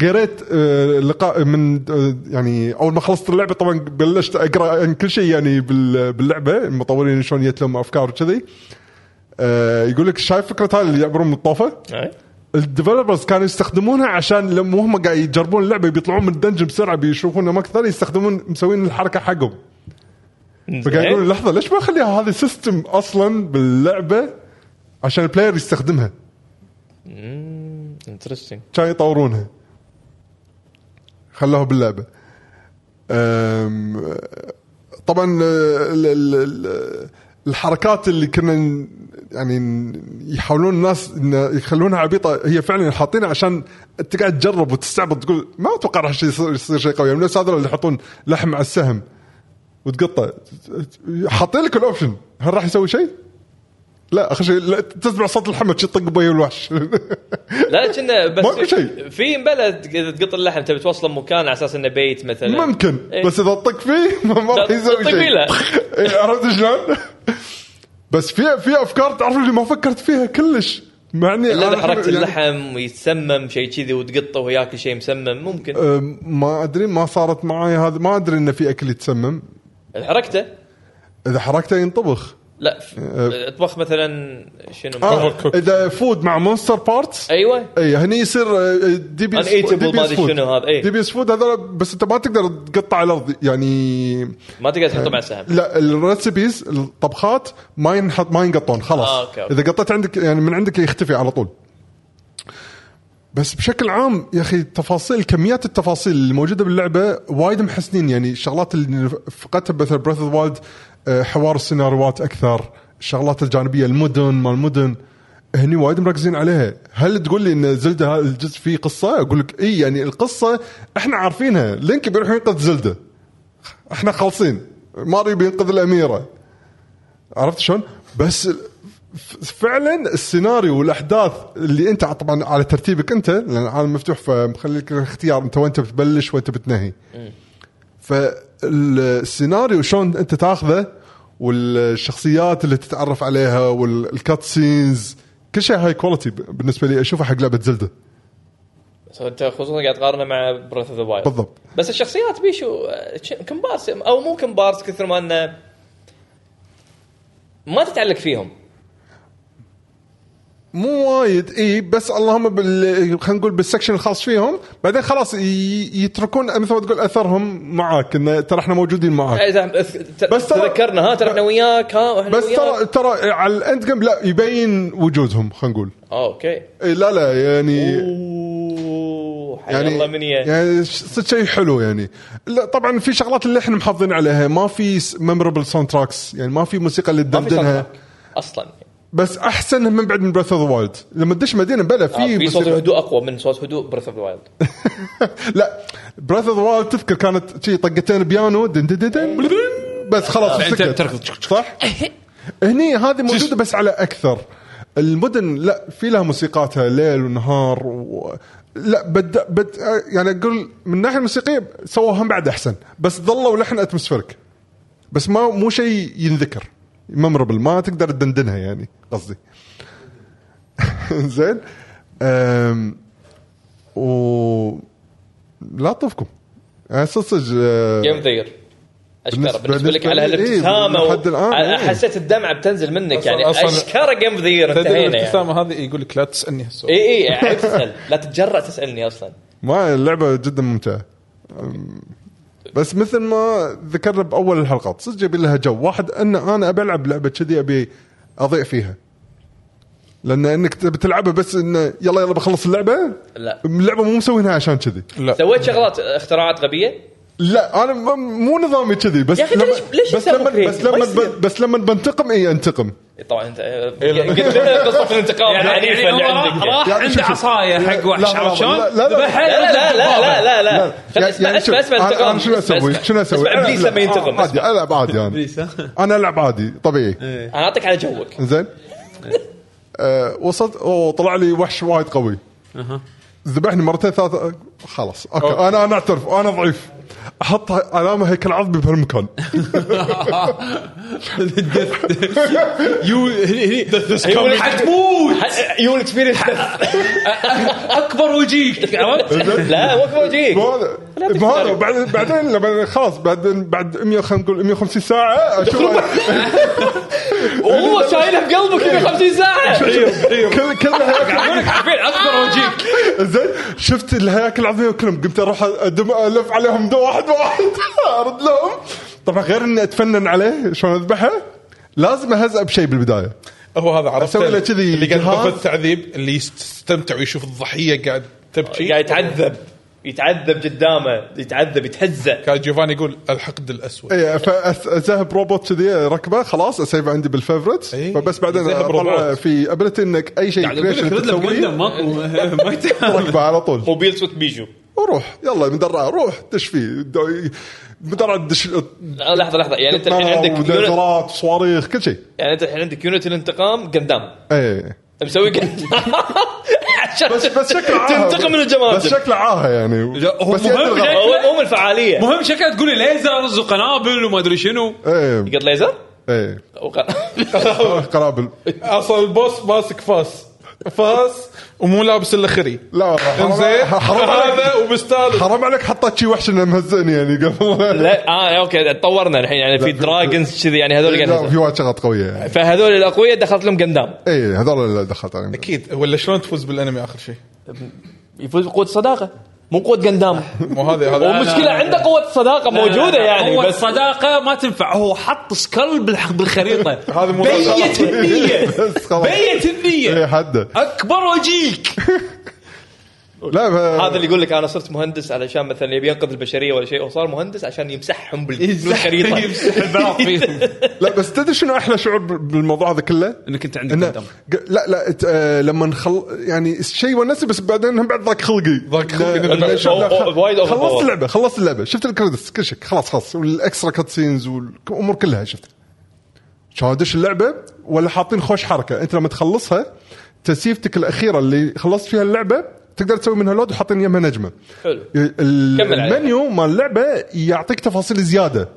Speaker 3: قريت آه، لقاء من آه، يعني اول ما خلصت اللعبه طبعا بلشت اقرا عن كل شيء يعني بال- باللعبه المطورين شلون جت لهم افكار وكذي آه، يقول لك شايف فكره هاي اللي يعبرون من الطوفه
Speaker 4: أي.
Speaker 3: الديفلوبرز كانوا يستخدمونها عشان لما هم قاعد يجربون اللعبه بيطلعون من الدنجن بسرعه بيشوفون ما اكثر يستخدمون مسوين الحركه حقهم فقاعد يقول لحظه ليش ما اخليها هذا سيستم اصلا باللعبه عشان البلاير يستخدمها
Speaker 4: انترستنج
Speaker 3: كانوا يطورونها خلوها باللعبه أم، طبعا آه، ال- ال- ال- الحركات اللي كنا ن- يعني ن- يحاولون الناس إن يخلونها عبيطه هي فعلا حاطينها عشان انت قاعد تجرب وتستعبط تقول ما اتوقع راح شي يصير يصير شيء قوي من الناس هذول اللي يحطون لحم على السهم وتقطه حاطين لك الاوبشن هل راح يسوي شيء؟ لا اخر شيء لا، تسمع صوت اللحمه تشي طق بي الوحش
Speaker 4: لا لا كنا بس
Speaker 3: ماكو شيء.
Speaker 4: في مبلا اذا تقط اللحم تبي توصله مكان على اساس انه بيت مثلا
Speaker 3: ممكن
Speaker 4: إيه.
Speaker 3: بس اذا طق فيه ما- ما راح
Speaker 4: لا،
Speaker 3: يسوي
Speaker 4: طق
Speaker 3: شيء
Speaker 4: فيه لا.
Speaker 3: إيه، عرفت شلون؟ بس في في افكار تعرف اللي ما فكرت فيها كلش مع اني
Speaker 4: الا اذا
Speaker 3: أنا-
Speaker 4: حركت
Speaker 3: يعني-
Speaker 4: اللحم ويتسمم شيء كذي وتقطه وياكل شيء مسمم ممكن
Speaker 3: أم، ما ادري ما صارت معي هذا ما ادري انه في اكل يتسمم
Speaker 4: حركته
Speaker 3: اذا حركته ينطبخ
Speaker 4: لا ف- اطبخ مثلا شنو
Speaker 3: أه. آه
Speaker 2: Overcooked.
Speaker 3: اذا فود مع مونستر بارتس
Speaker 4: ايوه
Speaker 3: اي هني يصير آه، دي بي
Speaker 4: Uneatable ما أدري شنو هذا، إيه.
Speaker 3: دي بي فود هذول بس انت ما تقدر تقطع على الارض يعني
Speaker 4: ما تقدر تحطه مع السهم
Speaker 3: لا الريسبيز الطبخات ما ينحط ما ينقطون خلاص
Speaker 4: آه، أوكي، أوكي.
Speaker 3: اذا قطيت عندك يعني من عندك يختفي على طول بس بشكل عام يا اخي تفاصيل كميات التفاصيل اللي موجوده باللعبه وايد محسنين يعني الشغلات اللي فقدتها مثل براث اوف وايلد آه، حوار السيناريوهات اكثر الشغلات الجانبيه المدن ما المدن هني وايد مركزين عليها هل تقول لي ان زلده هذا الجزء فيه قصه اقول لك اي يعني القصه احنا عارفينها لينك بيروح ينقذ زلده احنا خالصين ماريو بينقذ الاميره عرفت شلون؟ بس ف- فعلا السيناريو والاحداث اللي انت طبعا على ترتيبك انت لان العالم مفتوح فمخلي لك الاختيار انت وانت بتبلش وانت بتنهي. فالسيناريو شلون انت تاخذه والشخصيات اللي تتعرف عليها والكات سينز كل شيء هاي كواليتي بالنسبه لي اشوفه حق لعبه زلده
Speaker 4: بس انت خصوصا قاعد تقارنه مع براث اوف ذا وايلد
Speaker 3: بالضبط.
Speaker 4: بس الشخصيات بيشو آه، ش- كمبارس او مو كمبارس كثر ما انه ما تتعلق فيهم
Speaker 3: مو وايد اي بس اللهم بال خلينا نقول بالسكشن الخاص فيهم بعدين خلاص ي- يتركون مثل ما تقول اثرهم معاك انه ترى احنا موجودين معاك
Speaker 4: إيه، إذا- ت-
Speaker 3: بس ترى-
Speaker 4: تذكرنا ها ترى احنا وياك ها واحنا
Speaker 3: بس
Speaker 4: وياك.
Speaker 3: ترى ترى على الاند جيم لا يبين وجودهم خلينا نقول
Speaker 4: اوكي
Speaker 3: إي لا لا يعني
Speaker 4: اوه حي
Speaker 3: يعني
Speaker 4: الله من يه.
Speaker 3: يعني صدق شيء حلو يعني لا طبعا في شغلات اللي احنا محافظين عليها ما في ميموربل ساوند تراكس يعني ما في موسيقى اللي
Speaker 4: ما في
Speaker 3: تدندنها
Speaker 4: soundtrack اصلا
Speaker 3: بس احسن من بعد من بريث اوف ذا وايلد لما تدش مدينه بلا في
Speaker 4: آه، في صوت
Speaker 3: موسيقى.
Speaker 4: هدوء اقوى من صوت هدوء بريث اوف وايلد
Speaker 3: لا بريث اوف ذا وايلد تذكر كانت شي طقتين بيانو دن دن دن دن بلدن، بس خلاص
Speaker 1: بعدين
Speaker 3: سكت.
Speaker 1: تركض.
Speaker 3: صح؟ هني هذه موجوده بس على اكثر المدن لا في لها موسيقاتها ليل ونهار و... لا بد... بد... يعني اقول من الناحيه الموسيقيه سووها بعد احسن بس ظلوا لحن اتموسفيرك بس ما مو شيء ينذكر ممربل ما تقدر تدندنها يعني قصدي زين أم... و لا اطوفكم أنا صدق صدق أه،
Speaker 4: جيم ذير اشكره
Speaker 3: بالنسبة-
Speaker 4: بالنسبه لك
Speaker 3: بالنسبة
Speaker 4: على
Speaker 3: لي- إيه،
Speaker 4: هالابتسامه
Speaker 3: لحد الآن،
Speaker 4: و-
Speaker 3: إيه.
Speaker 4: حسيت الدمعه بتنزل منك
Speaker 2: أصلاً-
Speaker 4: يعني
Speaker 2: أصلاً-
Speaker 4: اشكره جيم ذير
Speaker 2: تدري
Speaker 4: انتهينا يعني إيه،
Speaker 2: الابتسامه هذه يقول لك لا تسالني هالسؤال
Speaker 4: اي اي عيب تسال لا تتجرأ تسالني اصلا
Speaker 3: ما اللعبه جدا ممتعه أم، بس مثل ما ذكرنا باول الحلقات صدق يبي لها جو واحد ان انا ابي العب لعبه كذي ابي اضيع فيها لان انك تبي تلعبها بس انه يلا يلا بخلص اللعبه
Speaker 4: لا.
Speaker 3: اللعبه مو مسوينها عشان كذي
Speaker 2: لا
Speaker 4: سويت شغلات اختراعات غبيه
Speaker 3: لا انا م- مو نظامي كذي بس
Speaker 4: يا أخي ليش- ليش
Speaker 3: بس
Speaker 4: يسوي
Speaker 3: لما
Speaker 4: creative؟
Speaker 3: بس لما
Speaker 4: ما يصير.
Speaker 3: ب- بس لما بنتقم اي انتقم
Speaker 4: طبعا انت قلت لنا قصه الانتقام
Speaker 1: يعني
Speaker 4: العنيفه
Speaker 1: يعني
Speaker 4: اللي
Speaker 1: هو راح-
Speaker 4: عندك
Speaker 1: راح
Speaker 3: يعني
Speaker 1: عنده
Speaker 3: شوف-
Speaker 1: عصايه حق
Speaker 3: لا،
Speaker 1: وحش
Speaker 3: لا،
Speaker 1: عرفت شلون؟
Speaker 3: لا، لا، لا.
Speaker 1: ذبحها،
Speaker 4: لا لا لا لا لا لا
Speaker 3: يعني-
Speaker 4: خل- اسمع
Speaker 3: يعني شوف،
Speaker 4: اسمع اسمع
Speaker 3: أنا-
Speaker 4: انتقام
Speaker 3: أنا شنو اسوي؟
Speaker 4: اسمع.
Speaker 3: شنو اسوي؟
Speaker 4: اسمع ابليس لما ينتقم
Speaker 3: آه، عادي
Speaker 4: اسمع.
Speaker 3: العب عادي انا انا العب عادي طبيعي
Speaker 4: انا اعطيك على جوك
Speaker 3: زين آه وصلت اوه طلع لي وحش وايد قوي ذبحني مرتين ثلاثة خلاص اوكي انا انا اعترف انا ضعيف احط علامه هيكل عظمي بهالمكان
Speaker 6: يو هني هني
Speaker 4: يقول لك-
Speaker 1: حتموت
Speaker 4: ح- يو اكسبيرينس
Speaker 1: اكبر وجيك عرفت؟
Speaker 4: لا مو اكبر جيك
Speaker 3: مو هذا مو هذا بعد- بعدين لما خلاص بعدين بعد 100 خلينا نقول 150 ساعه اشوف
Speaker 4: وهو شايله بقلبه
Speaker 3: إيه.
Speaker 4: كذا 50 ساعه
Speaker 3: كل كل هياكل
Speaker 1: عارفين اكبر وجيك
Speaker 3: زين شفت الهياكل العظميه كلهم قمت اروح أدم الف عليهم دو واحد واحد ارد لهم طبعا غير اني اتفنن عليه شلون اذبحه لازم اهزأ بشيء بالبدايه
Speaker 2: هو هذا عرفت
Speaker 3: أسوي له كذي
Speaker 2: اللي قاعد
Speaker 3: جهاز.
Speaker 2: ياخذ التعذيب اللي يستمتع ويشوف الضحيه قاعد تبكي
Speaker 4: قاعد يتعذب يتعذب قدامه يتعذب يتهزأ
Speaker 2: كان جوفاني يقول الحقد الاسود
Speaker 3: اي فازهب روبوت كذي ركبه خلاص اسيف عندي بالفيفرت
Speaker 2: إي،
Speaker 3: فبس بعدين
Speaker 2: يذهب
Speaker 3: اطلع
Speaker 2: روبوت.
Speaker 3: في ابيلتي انك اي شيء
Speaker 1: قاعد اقول يعني لك
Speaker 3: creation
Speaker 1: رد له بقلم
Speaker 3: تسويه
Speaker 1: ماكو ما يتعامل
Speaker 3: ركبه على طول
Speaker 4: موبيل صوت بيجو
Speaker 3: وروح يلا مدرعه روح دش فيه دو- مدرعه دش
Speaker 4: لا، لحظه لحظه يعني انت الحين عندك يونت
Speaker 3: وديزرات صواريخ كل شيء إيه.
Speaker 4: يعني انت الحين عندك يونت الانتقام قدام
Speaker 3: اي
Speaker 4: مسوي قدام عشان
Speaker 3: بس بس شكله عاهة. يعني.
Speaker 4: تنتقم من
Speaker 3: بس
Speaker 4: الجماجم
Speaker 3: شكله عاهه يعني
Speaker 1: لا، هو
Speaker 3: بس
Speaker 1: مهم
Speaker 3: يأثر
Speaker 1: يعني.
Speaker 3: غلط.
Speaker 4: هو مو من الفعاليه
Speaker 1: مهم شكلها تقول لي ليزرز وقنابل وما ادري شنو
Speaker 3: ايه
Speaker 4: قط ليزر
Speaker 3: ايه
Speaker 4: وق-
Speaker 3: قنابل
Speaker 2: اصلا البوس ماسك فاس فاس ومو لابس الا خري
Speaker 3: لا حرام
Speaker 2: انزين
Speaker 3: عليك- حرام عليك
Speaker 2: هذا وبستال
Speaker 3: حرام عليك حطيت شي وحش انه مهزني يعني قبل
Speaker 4: لا اه اوكي تطورنا الحين يعني في
Speaker 3: لا،
Speaker 4: دراجونز كذي يعني هذول
Speaker 3: لا في
Speaker 4: قاعد-
Speaker 3: وايد شغلات قويه يعني
Speaker 4: فهذول الاقوياء دخلت لهم قندام
Speaker 3: اي هذول اللي دخلت عليهم
Speaker 2: اكيد ولا شلون تفوز بالانمي اخر شيء
Speaker 4: يفوز بقوه الصداقه مو قوه قندام
Speaker 2: مو هذا هذا
Speaker 4: ومشكله عنده قوه الصداقه موجوده يعني
Speaker 1: هو
Speaker 4: بس
Speaker 1: الصداقه ما تنفع هو حط سكال بالح- بالخريطه
Speaker 3: هذا مو
Speaker 1: بيت النيه
Speaker 3: بس خلاص إيه،
Speaker 1: بيت النيه
Speaker 3: اي حده
Speaker 1: اكبر وجيك
Speaker 3: لا
Speaker 4: هذا
Speaker 3: هذا
Speaker 4: اللي يقول لك انا صرت مهندس علشان مثلا يبي ينقذ البشريه ولا شيء وصار مهندس عشان يمسحهم بالخريطه
Speaker 3: لا بس تدري شنو احلى شعور بال- بالموضوع هذا كله؟
Speaker 1: انك انت عندك
Speaker 3: إنه-
Speaker 1: قدام
Speaker 3: ق- لا لا ت- آه، لما نخل يعني شيء ونسي بس بعدين هم بعد ضاق خلقي
Speaker 2: ضاق خلقي.
Speaker 3: لا- لا-
Speaker 4: أو- أو- وايد
Speaker 3: لا-
Speaker 4: أوفر
Speaker 3: خلصت
Speaker 4: باور.
Speaker 3: اللعبه خلصت اللعبه شفت الكريدتس كل شيء خلاص خلاص والاكسترا كات سينز والامور كلها شفت شلون ادش اللعبه ولا حاطين خوش حركه انت لما تخلصها تسيفتك الاخيره اللي خلصت فيها اللعبه تقدر تسوي منها لود وحاطين يمها نجمه
Speaker 4: حلو
Speaker 3: ال-
Speaker 4: كمل عليه.
Speaker 3: المنيو مال اللعبه يعطيك تفاصيل زياده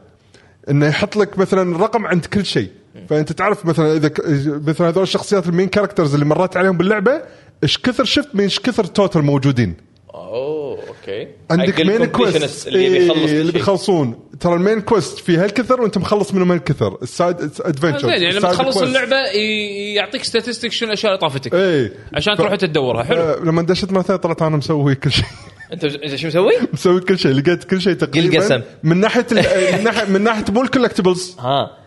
Speaker 3: انه يحط لك مثلا رقم عند كل شيء فانت تعرف مثلا اذا ك- مثلا هذول الشخصيات المين كاركترز اللي مرت عليهم باللعبه ايش كثر شفت من ايش كثر توتال موجودين
Speaker 4: اوه اوكي
Speaker 3: عندك
Speaker 4: حق
Speaker 3: مين
Speaker 4: الcompletionist
Speaker 3: كويست
Speaker 4: اللي يبي يخلص
Speaker 3: اللي
Speaker 4: كل شيء.
Speaker 3: بيخلصون ترى المين كويست في هالكثر وانت مخلص منهم هالكثر السايد ادفنشر
Speaker 1: زين يعني لما تخلص اللعبه ي- يعطيك ستاتستيك شنو الاشياء اللي طافتك
Speaker 3: اي
Speaker 1: عشان تروح تدورها حلو
Speaker 3: إيه. آه، لما دشت مرة ثانية طلعت انا مسوي كل شيء
Speaker 4: انت انت شو مسوي؟
Speaker 3: مسوي كل شيء لقيت كل شيء تقريبا
Speaker 4: القسم.
Speaker 3: من ناحيه ال- من ناحيه من ناحيه مو الكولكتبلز
Speaker 4: ها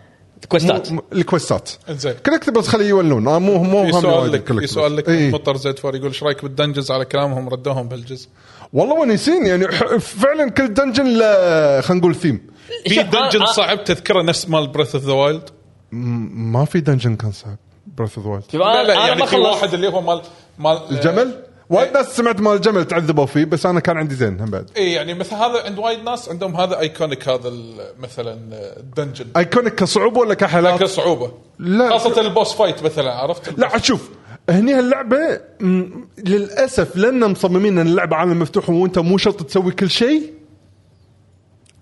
Speaker 4: كويستات
Speaker 3: الكوستات
Speaker 2: إنزين.
Speaker 3: كولكتبلز خليه يولون آه، مو مو
Speaker 2: في
Speaker 3: هم
Speaker 2: سؤال
Speaker 3: وايد
Speaker 2: لك في
Speaker 3: الcollectibles.
Speaker 2: سؤال لك
Speaker 3: إيه.
Speaker 2: مطر زد فور يقول ايش رايك بالدنجز على كلامهم ردوهم بهالجزء
Speaker 3: والله ونسين يعني ح- فعلا كل دنجن له خلينا نقول ثيم
Speaker 4: آه،
Speaker 2: في دنجن صعب تذكره نفس مال بريث اوف ذا وايلد
Speaker 3: ما في دنجن كان صعب بريث اوف وايلد
Speaker 2: لا لا
Speaker 4: انا آه، ما
Speaker 2: يعني في
Speaker 4: خلصت
Speaker 2: واحد اللي هو مال مال آه،
Speaker 3: الجمل وايد ناس سمعت مال الجمل تعذبوا فيه بس انا كان عندي زين هم بعد
Speaker 2: اي يعني مثل هذا عند وايد ناس عندهم هذا ايكونيك هذا ال- آه، مثلا الدنجن
Speaker 3: ايكونيك كصعوبه ولا كحلاك
Speaker 2: كصعوبه
Speaker 3: لا.
Speaker 2: خاصه البوس فايت مثلا عرفت
Speaker 3: لا عاد شوف هني هاللعبه م- للاسف لان مصممين ان اللعبه عالم مفتوح وانت مو شرط تسوي كل شيء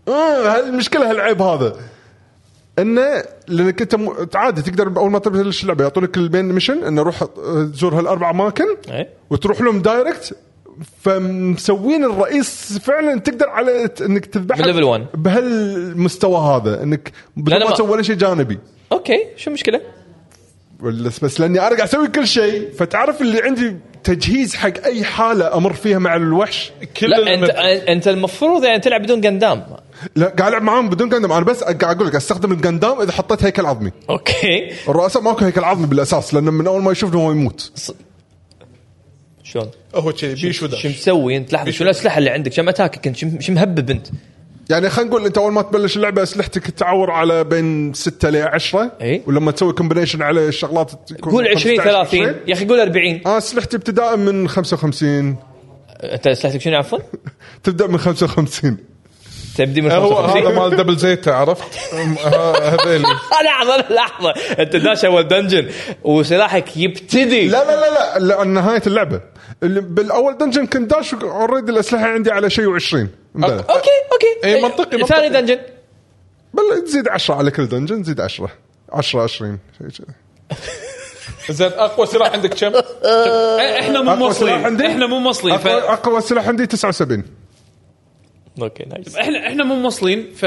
Speaker 3: آه المشكله هالعيب هذا انه لانك انت م- عادي تقدر اول ما تبلش اللعبه يعطونك البين ميشن انه روح آه، زور هالاربع اماكن
Speaker 4: إيه.
Speaker 3: وتروح لهم دايركت فمسوين الرئيس فعلا تقدر على ت- انك تذبحه
Speaker 4: بالليفل 1.
Speaker 3: بهالمستوى هذا انك بدون
Speaker 4: لا،
Speaker 3: ما
Speaker 4: ما-
Speaker 3: تسوي ولا شيء جانبي
Speaker 4: اوكي شو المشكله؟
Speaker 3: بس بس لاني انا قاعد اسوي كل شيء فتعرف اللي عندي تجهيز حق اي حاله امر فيها مع الوحش
Speaker 2: كل
Speaker 4: لا انت
Speaker 2: المب-
Speaker 4: انت المفروض يعني تلعب بدون قندام
Speaker 3: لا قاعد العب معاهم بدون قندم انا بس قاعد اقول لك استخدم القندام اذا حطيت هيكل عظمي
Speaker 4: اوكي
Speaker 3: الرؤساء ماكو هيكل عظمي بالاساس لانه من اول ما يشوفنا هو يموت
Speaker 4: شلون؟
Speaker 2: هو كذي بيشو داش
Speaker 4: شو مسوي انت لحظه شو الاسلحه اللي عندك كم اتاكك انت شو- شو مهبب انت؟
Speaker 3: يعني خلينا نقول انت اول ما تبلش اللعبه اسلحتك تعور على بين 6 ل 10
Speaker 4: إي.
Speaker 3: ولما تسوي كومبينيشن على الشغلات تكون
Speaker 4: قول 20
Speaker 3: 15
Speaker 4: 30 يا اخي قول 40
Speaker 3: انا اسلحتي ابتداء من 55
Speaker 4: انت اسلحتك شنو عفوا؟
Speaker 3: تبدا من 55
Speaker 4: تبدي من
Speaker 2: هو
Speaker 4: 55
Speaker 2: هذا مال دبل زيتا عرفت أم- ها- هذيلي
Speaker 4: لحظه لحظه انت داش اول دنجن وسلاحك يبتدي
Speaker 3: لا لا لا لا, لا نهايه اللعبه اللي بالاول دنجن كنت داش اوريدي الاسلحه عندي على شيء و20 بل
Speaker 1: أه.
Speaker 4: اوكي اوكي
Speaker 2: إيه، منطقي، منطقي.
Speaker 4: ثاني دنجن
Speaker 3: بل تزيد 10 على كل دنجن زيد 10 10 20 شيء كذا.
Speaker 2: زين اقوى سلاح عندك كم؟
Speaker 1: إيه، احنا مو
Speaker 3: أقوى سلاح
Speaker 1: موصلين
Speaker 3: عندي؟
Speaker 1: احنا مو موصلين ف...
Speaker 3: اقوى اقوى سلاح عندي 79
Speaker 4: اوكي نايس
Speaker 1: احنا احنا مو موصلين ف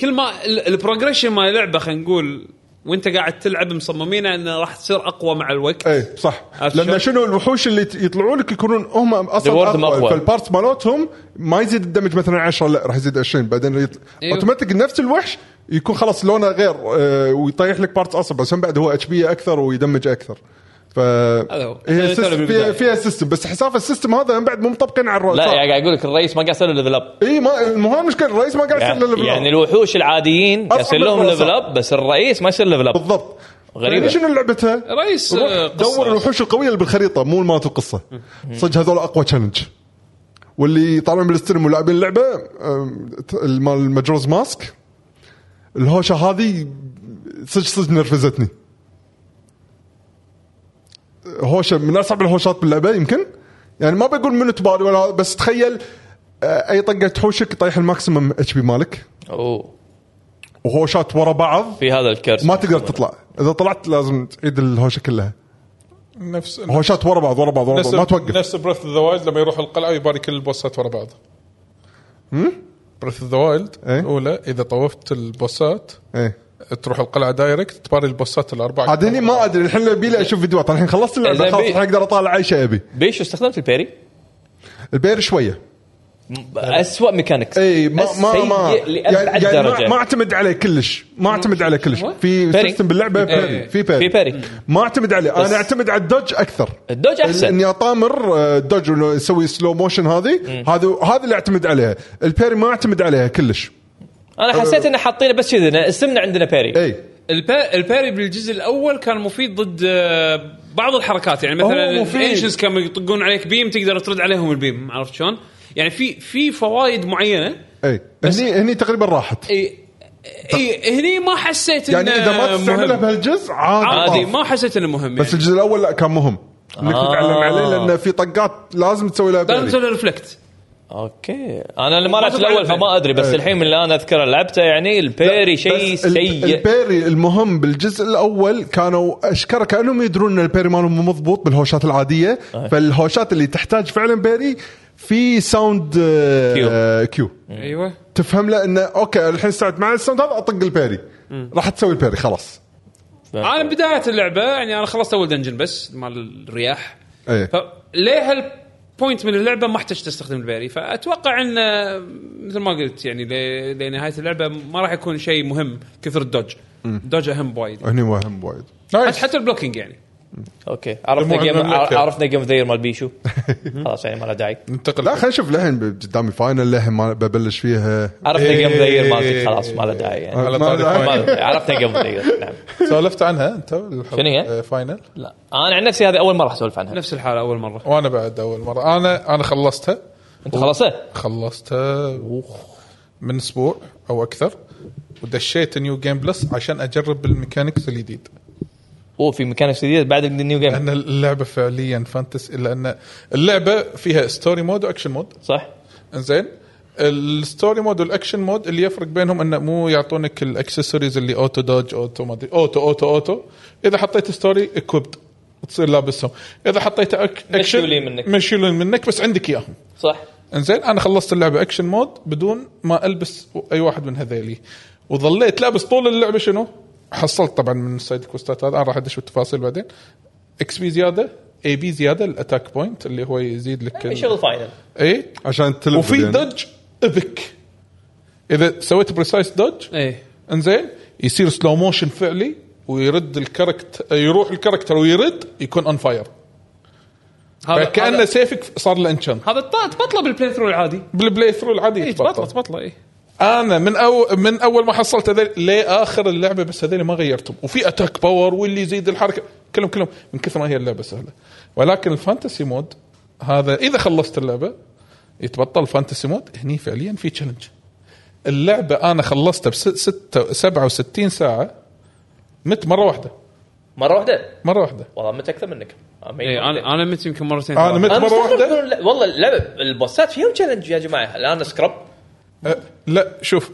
Speaker 1: كل ما ال- البروجريشن مال اللعبه خلينا نقول وانت قاعد تلعب مصممينه انه راح تصير اقوى مع الوقت
Speaker 3: اي إيه، صح
Speaker 1: عرفت
Speaker 3: لان
Speaker 1: شلون؟
Speaker 3: شنو الوحوش اللي ت- يطلعوا لك يكونون هم اصلا
Speaker 4: The world أقوى.
Speaker 3: فالبارت مالتهم ما يزيد الدمج مثلا 10 لا راح يزيد 20 بعدين يطل...
Speaker 1: أيوه.
Speaker 4: إيوه.
Speaker 3: اوتوماتيك نفس الوحش يكون خلاص لونه غير آه، ويطيح لك بارت اصعب بس هم بعد هو اتش بي اكثر ويدمج اكثر ف
Speaker 1: هو. خلينا نتكلم
Speaker 3: هي سيستم
Speaker 1: بالبداية.
Speaker 3: فيها, فيها سيستم بس حساب السيستم هذا هم بعد مو مطبقين على
Speaker 4: لا يعني
Speaker 3: الرؤساء
Speaker 4: قاعد اقول لك الرئيس ما قاعد يسوي ليفل اب
Speaker 3: اي ما مو هاي المشكله الرئيس ما قاعد يصير له
Speaker 4: يعني الوحوش العاديين قاعد يصير
Speaker 3: أصعب
Speaker 4: لهم
Speaker 3: الرؤساء.
Speaker 4: ليفل اب بس الرئيس ما يصير ليفل اب
Speaker 3: بالضبط
Speaker 4: غريبة.
Speaker 3: يعني شنو لعبتها؟
Speaker 1: رئيس
Speaker 3: روح
Speaker 1: آه، قصة.
Speaker 3: دور الوحوش القويه اللي بالخريطه مو مالت القصه صدق هذول اقوى تشالنج واللي طالعين بالستريم ولاعبين اللعبه أم، ت- مال المجروز ماسك الهوشه هذه صدق صدق نرفزتني هوشه من اصعب الهوشات باللعبه يمكن يعني ما بقول منو تباري ولا هذا، بس تخيل آه، اي طقه تحوشك يطيح الماكسيمم اتش بي مالك
Speaker 4: اوه
Speaker 3: وهوشات ورا بعض
Speaker 4: في هذا الكرسي
Speaker 3: ما تقدر تطلع اذا طلعت لازم تعيد الهوشه كلها
Speaker 2: نفس
Speaker 3: هوشات ورا بعض ورا بعض ورا
Speaker 2: نفس
Speaker 3: بعض ما توقف
Speaker 2: نفس بريث اوف ذا وايلد لما يروح القلعه ويباري كل البوسات ورا بعض بريث اوف ذا وايلد
Speaker 3: إيه؟
Speaker 2: الاولى اذا طوفت البوسات
Speaker 3: ايه
Speaker 2: تروح القلعه دايركت تباري البوسات الاربعه
Speaker 3: عاد هني ما ادري الحين ابي لي اشوف فيديوهات الحين خلصت اللعبه
Speaker 4: إذا
Speaker 3: خلاص
Speaker 4: بي-
Speaker 3: الحين اقدر اطالع اي شيء ابي
Speaker 4: بيشو استخدمت البيري
Speaker 3: البير شويه
Speaker 4: اسوء ميكانكس
Speaker 3: اي ما ما ما
Speaker 4: السيء لابعد
Speaker 3: يعني يعني ما-
Speaker 4: درجه
Speaker 3: ما اعتمد عليه كلش ما اعتمد عليه كلش في
Speaker 4: بيري.
Speaker 3: سيستم باللعبه بيري
Speaker 1: إيه.
Speaker 3: في
Speaker 4: في
Speaker 3: بيري
Speaker 4: بيري
Speaker 3: ما اعتمد عليه
Speaker 4: بس-
Speaker 3: انا اعتمد على الدوج اكثر
Speaker 4: الدوج
Speaker 3: ال-
Speaker 4: احسن
Speaker 3: اني اطامر آه، الدوج ولو اسوي سلو موشن هذه هذا هذا اللي اعتمد عليها البيري ما اعتمد عليها كلش
Speaker 4: انا حسيت انه حاطينه بس كذا إنه اسمنا عندنا بيري
Speaker 3: اي
Speaker 1: البا... الباري بالجزء الاول كان مفيد ضد آه، بعض الحركات يعني
Speaker 3: هو
Speaker 1: مثلا
Speaker 3: مفيد.
Speaker 1: الانشنز كانوا يطقون عليك بيم تقدر ترد عليهم البيم عرفت شلون؟ يعني في في فوائد معينه
Speaker 3: اي إيه. هني هني تقريبا راحت
Speaker 1: اي اي هني ما حسيت
Speaker 3: يعني
Speaker 1: إنه
Speaker 3: اذا ما تستعملها
Speaker 1: مهم.
Speaker 3: بهالجزء عادي,
Speaker 1: عادي
Speaker 3: طاف.
Speaker 1: ما حسيت انه مهم
Speaker 3: بس
Speaker 1: يعني.
Speaker 3: الجزء الاول لا كان مهم انك
Speaker 4: آه.
Speaker 3: تتعلم عليه لان في طقات لازم تسوي لها
Speaker 1: لازم
Speaker 3: بالي
Speaker 1: تسوي ريفلكت
Speaker 4: اوكي انا اللي ما لعبت الاول فما ادري بس الحين من اللي انا اذكره لعبته يعني البيري شيء
Speaker 3: بس ال-
Speaker 4: سيء
Speaker 3: البيري المهم بالجزء الاول كانوا اشكر كانهم يدرون ان البيري مالهم مو مضبوط بالهوشات العاديه فالهوشات اللي تحتاج فعلا بيري في ساوند آه،
Speaker 4: كيو.
Speaker 3: آه، كيو
Speaker 1: ايوه
Speaker 3: تفهم له انه اوكي الحين ساعد مع الساوند هذا اطق البيري راح تسوي البيري خلاص
Speaker 1: انا بدايه اللعبه يعني انا خلصت اول دنجن بس مال الرياح
Speaker 3: إيه.
Speaker 1: فليه هالبوينت من اللعبه ما احتاج تستخدم البيري فاتوقع ان آه، مثل ما قلت يعني ل- لنهايه اللعبه ما راح يكون شيء مهم كثر الدوج الدوج اهم بوايد
Speaker 3: هني مهم وايد
Speaker 1: حتى- حتى البلوكينج يعني
Speaker 4: اوكي عرفنا
Speaker 2: المهم
Speaker 4: جيم
Speaker 2: إنه
Speaker 4: عر-
Speaker 2: أكثر.
Speaker 4: عرفنا جيم اوف ذا يير مال بيشو خلاص يعني ما له داعي
Speaker 2: ننتقل
Speaker 3: لا خلينا نشوف للحين قدامي فاينل للحين ما ببلش فيها
Speaker 4: عرفنا جيم اوف ذا يير
Speaker 2: إيه.
Speaker 4: مالتك خلاص ما له داعي يعني
Speaker 2: على
Speaker 3: ما
Speaker 2: طاري
Speaker 3: داعي.
Speaker 4: ما
Speaker 2: فاينل.
Speaker 4: له داعي. عرفنا جيم اوف ذا يير نعم
Speaker 2: سولفت عنها آه، انت
Speaker 4: شنو هي؟
Speaker 2: فاينل
Speaker 4: لا انا عن نفسي هذه اول مره راح اسولف عنها
Speaker 1: نفس الحاله اول مره
Speaker 2: وانا بعد اول مره انا انا خلصتها
Speaker 4: انت خلصت
Speaker 2: خلصتها من اسبوع او اكثر ودشيت نيو جيم بلس عشان اجرب الميكانكس الجديد
Speaker 4: اوه في مكان جديد بعد النيو جيم
Speaker 2: لان اللعبه فعليا فانتس الا ان اللعبه فيها ستوري مود واكشن مود
Speaker 4: صح
Speaker 2: انزين الستوري مود والاكشن مود اللي يفرق بينهم انه مو يعطونك الاكسسوارز اللي اوتو دوج اوتو ما ادري اوتو اوتو اوتو اذا حطيت ستوري اكويبد تصير لابسهم اذا حطيت أك... اكشن
Speaker 4: مشيولين منك.
Speaker 2: مشيولين منك بس عندك اياهم
Speaker 4: صح
Speaker 2: انزين انا خلصت اللعبه اكشن مود بدون ما البس اي واحد من هذيلي وظليت لابس طول اللعبه شنو؟ حصلت طبعا من السايد كوستات هذا انا راح ادش بالتفاصيل بعدين اكس بي زياده اي بي زياده الاتاك بوينت اللي هو يزيد لك إيه؟
Speaker 4: في
Speaker 2: ال-
Speaker 4: شغل فاينل
Speaker 2: اي
Speaker 3: عشان تلف
Speaker 2: وفي
Speaker 3: بعدين.
Speaker 2: دج ابك اذا سويت بريسايس دج
Speaker 1: ايه
Speaker 2: انزين يصير سلو موشن فعلي ويرد الكاركتر يروح الكاركتر ويرد يكون اون فاير
Speaker 1: هذا
Speaker 2: فكانه
Speaker 1: هذا-
Speaker 2: سيفك صار له انشنت
Speaker 1: هذا الط- تبطله بالبلاي ثرو العادي
Speaker 2: بالبلاي ثرو العادي
Speaker 1: اي
Speaker 2: يتبطل.
Speaker 1: تبطله تبطله إيه. اي
Speaker 2: انا من اول من اول ما حصلت هذول لاخر اللعبه بس هذول ما غيرتهم وفي اتاك باور واللي يزيد الحركه كلهم كلهم من كثر ما هي اللعبه سهله ولكن الفانتسي مود هذا اذا خلصت اللعبه يتبطل فانتسي مود هني فعليا في تشالنج اللعبه انا خلصتها ب 67 ساعه مت مره واحده
Speaker 4: مره واحده
Speaker 2: مره واحده
Speaker 4: والله مت اكثر منك إيه،
Speaker 1: اي انا انا مت يمكن مرتين
Speaker 2: انا
Speaker 1: ثلاث.
Speaker 2: مت
Speaker 4: انا
Speaker 2: مره واحده
Speaker 4: مستغرب إنه- والله اللعبه البوسات فيهم تشالنج يا جماعه الان سكرب
Speaker 2: أه، لا شوف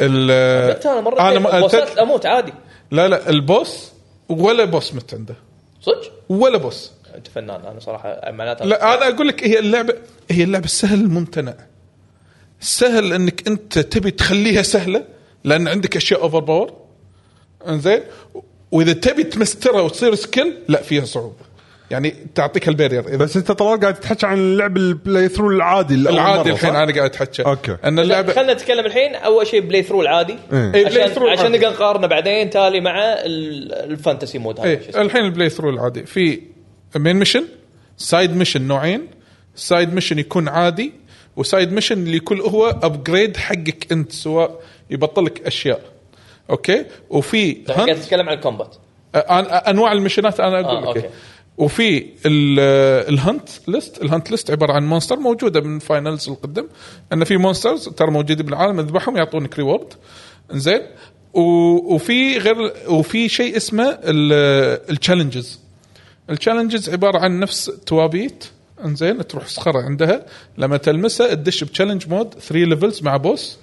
Speaker 2: ال-
Speaker 4: مت انا مره
Speaker 2: انا ما-
Speaker 4: بوسات اموت عادي
Speaker 2: لا لا البوس ولا بوس مت عنده
Speaker 4: صدق
Speaker 2: ولا بوس
Speaker 4: انت فنان انا صراحه معناته
Speaker 2: لا انا اقول لك هي اللعبه هي اللعبه السهل الممتنع سهل انك انت تبي تخليها سهله لان عندك اشياء اوفر باور انزين واذا تبي تمسترها وتصير سكيل لا فيها صعوبه يعني تعطيك البارير اذا
Speaker 3: بس انت طلال قاعد تحكي عن اللعب البلاي ثرو العادي الأول مرة،
Speaker 2: العادي
Speaker 3: صح؟
Speaker 2: الحين انا قاعد اتحكى
Speaker 3: أوكي.
Speaker 2: ان اللعبه
Speaker 4: خلينا نتكلم الحين اول شيء بلاي ثرو العادي
Speaker 3: إيه.
Speaker 2: بلاي
Speaker 4: عشان
Speaker 2: ثرو
Speaker 4: عشان
Speaker 2: العادي.
Speaker 4: نقدر نقارنه بعدين تالي مع ال- الفانتسي مود هذا شو
Speaker 2: ايه
Speaker 4: اسمه.
Speaker 2: الحين البلاي ثرو العادي في مين ميشن سايد ميشن نوعين سايد ميشن يكون عادي وسايد ميشن اللي يكون هو ابجريد حقك انت سواء يبطل لك اشياء اوكي وفي
Speaker 4: الحين قاعد
Speaker 2: hunt-
Speaker 4: تتكلم عن الكومبات
Speaker 2: أ- أن- انواع المشينات انا اقول
Speaker 4: آه،
Speaker 2: لك
Speaker 4: أوكي.
Speaker 2: إيه. وفي ال- الهنت ليست الهنت ليست عباره عن مونستر موجوده من فاينلز القدم ان في مونسترز ترى موجوده بالعالم اذبحهم يعطونك ريورد زين و- وفي غير وفي شيء اسمه التشالنجز التشالنجز عباره عن نفس توابيت انزين تروح صخره عندها لما تلمسها تدش بتشالنج مود 3 ليفلز مع بوس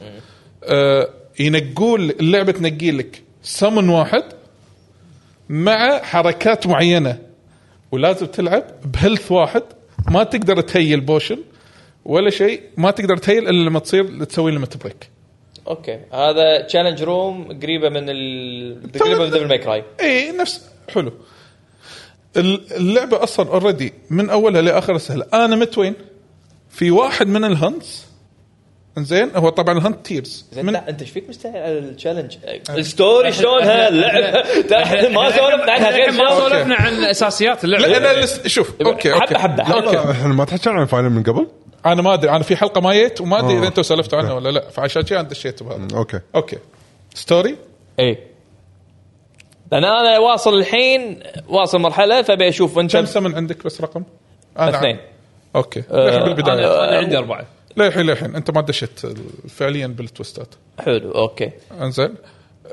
Speaker 2: آه ينقول اللعبه تنقي لك سمن واحد مع حركات معينه ولازم تلعب بهيلث واحد ما تقدر تهيل بوشن ولا شيء ما تقدر تهيل الا لما تصير تسوي ليمت بريك
Speaker 4: اوكي هذا تشالنج روم قريبه من ال
Speaker 2: طيب.
Speaker 4: قريبه من ديفل ماي كراي
Speaker 2: اي نفس حلو ال- اللعبه اصلا اوريدي من اولها لاخرها سهله انا مت وين؟ في واحد من الهنتس زين هو طبعا الهنت تيرز
Speaker 4: من...
Speaker 2: من آه.
Speaker 4: انت ايش فيك مستعجل على التشالنج الستوري شلونها اللعبه احنا ما سولفنا عنها غير
Speaker 1: الحين ما
Speaker 4: شيء.
Speaker 1: سولفنا عن اساسيات اللعبه
Speaker 2: لا انا لس... شوف اوكي اوكي
Speaker 4: حبه حبه
Speaker 2: لا،
Speaker 4: حبه
Speaker 2: أوكي.
Speaker 3: احنا ما تحكينا عن فاينل من قبل؟
Speaker 2: انا ما ادري انا في حلقه ما جيت وما ادري
Speaker 3: آه.
Speaker 2: اذا انتم سولفتوا عنها ولا لا فعشان كذا انا دشيت بهذا
Speaker 3: اوكي
Speaker 2: اوكي ستوري
Speaker 4: اي لان انا إيه. واصل الحين واصل مرحله فابي اشوف انت
Speaker 2: كم سمن عندك بس رقم؟ آه، نعم. انا
Speaker 4: اثنين آه،
Speaker 2: اوكي للحين بالبدايه
Speaker 1: انا عندي اربعه
Speaker 2: للحين للحين انت ما دشيت فعليا بالتوستات
Speaker 4: حلو اوكي
Speaker 2: انزين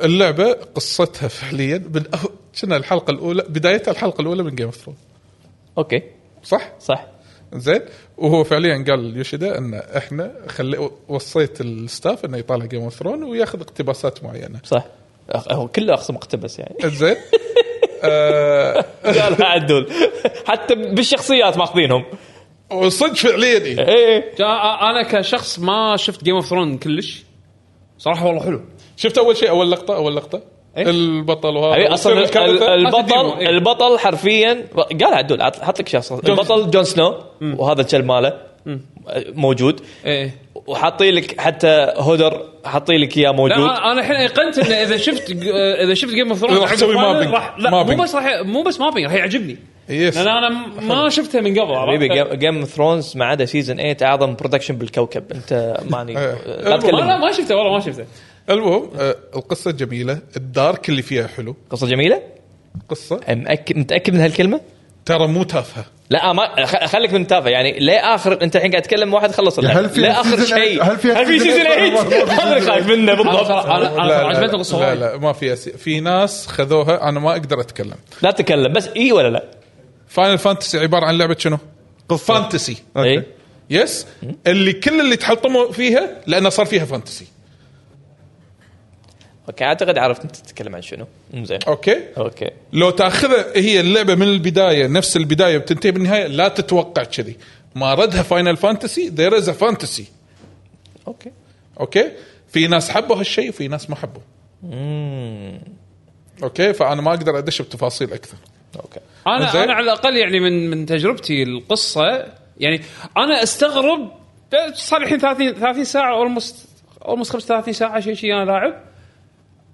Speaker 2: اللعبه قصتها فعليا من أه- كنا الحلقه الاولى بدايتها الحلقه الاولى من جيم اوف ثرون
Speaker 4: اوكي
Speaker 2: صح؟
Speaker 4: صح
Speaker 2: زين وهو فعليا قال يوشيدا ان احنا خلي وصيت الستاف انه يطالع جيم اوف ثرون وياخذ اقتباسات معينه
Speaker 4: صح أخ- هو كله اخصم اقتبس يعني
Speaker 2: زين آه،
Speaker 4: قال عدول حتى بالشخصيات ماخذينهم
Speaker 2: وصدق فعليا إيه.
Speaker 4: ايه
Speaker 1: جا- انا كشخص ما شفت جيم اوف ثرون كلش صراحه والله حلو
Speaker 2: شفت اول شيء اول لقطه اول لقطه
Speaker 1: إيه؟
Speaker 2: البطل
Speaker 4: أبي
Speaker 2: وهذا
Speaker 4: اصلا
Speaker 2: يصير
Speaker 4: ال-
Speaker 2: الكارثة.
Speaker 4: ال-
Speaker 2: ما في
Speaker 4: البطل
Speaker 2: ديمو، إيه.
Speaker 4: البطل حرفيا قال عدول عط- حط لك شخص البطل جون سنو وهذا الكلب ماله موجود
Speaker 1: ايه
Speaker 4: وحاطين لك حتى هودر حاطين لك اياه
Speaker 1: لا
Speaker 4: موجود
Speaker 1: انا أنا الحين ايقنت انه اذا شفت اذا شفت جيم اوف ثرونز
Speaker 2: راح تسوي مابينج.
Speaker 1: راح لا
Speaker 2: مابينج.
Speaker 1: مو بس راح مو بس مابينج راح يعجبني
Speaker 2: يس
Speaker 1: لان انا ما شفته من قبل
Speaker 4: حبيبي
Speaker 1: عرفت؟
Speaker 4: جيم- جيم اوف ثرونز ما عدا سيزون 8 اعظم برودكشن بالكوكب انت ماني لا
Speaker 2: المهم.
Speaker 1: ما لا
Speaker 4: تكلمني
Speaker 1: ما شفته والله ما شفته
Speaker 2: المهم آه، القصه جميله الدارك اللي فيها حلو
Speaker 4: قصه جميله
Speaker 2: قصه
Speaker 4: متاكد متاكد من هالكلمه؟
Speaker 2: ترى مو تافهه
Speaker 4: لا آه، ما خ- خليك من تافه يعني ليه اخر انت الحين قاعد تتكلم واحد خلص اللعبه
Speaker 3: هل في
Speaker 4: ليه اخر
Speaker 3: سيزن
Speaker 4: شيء
Speaker 3: eight؟ هل في سيزن
Speaker 4: سيزون
Speaker 3: eight؟
Speaker 4: 8 هذا اللي خايف منه
Speaker 1: انا
Speaker 4: بالضبط
Speaker 1: ترى- انا أنا
Speaker 2: لا،
Speaker 1: ترى
Speaker 2: لا،
Speaker 1: عجبتني القصه
Speaker 2: لا
Speaker 1: وايد
Speaker 2: لا ما في أس... في ناس خذوها انا ما اقدر اتكلم
Speaker 4: لا تتكلم بس اي ولا لا؟
Speaker 2: فاينل فانتسي عباره عن لعبه شنو؟ قصة. فانتسي
Speaker 4: اي
Speaker 2: يس اللي كل اللي تحطموا فيها لانه صار فيها فانتسي
Speaker 4: اوكي اعتقد عرفت انت تتكلم عن شنو زين
Speaker 2: اوكي
Speaker 4: اوكي
Speaker 2: لو تاخذها هي اللعبه من البدايه نفس البدايه بتنتهي بالنهايه لا تتوقع كذي ما ردها فاينل فانتسي ذير از فانتسي
Speaker 4: اوكي
Speaker 2: اوكي في ناس حبوا هالشيء وفي ناس ما حبوا اوكي فانا ما اقدر ادش بتفاصيل اكثر
Speaker 4: اوكي
Speaker 1: انا
Speaker 2: زين.
Speaker 1: انا على الاقل يعني من من تجربتي القصه يعني انا استغرب صار الحين 30 30 ساعه اولموست اولموست 35 ساعه شيء شيء انا لاعب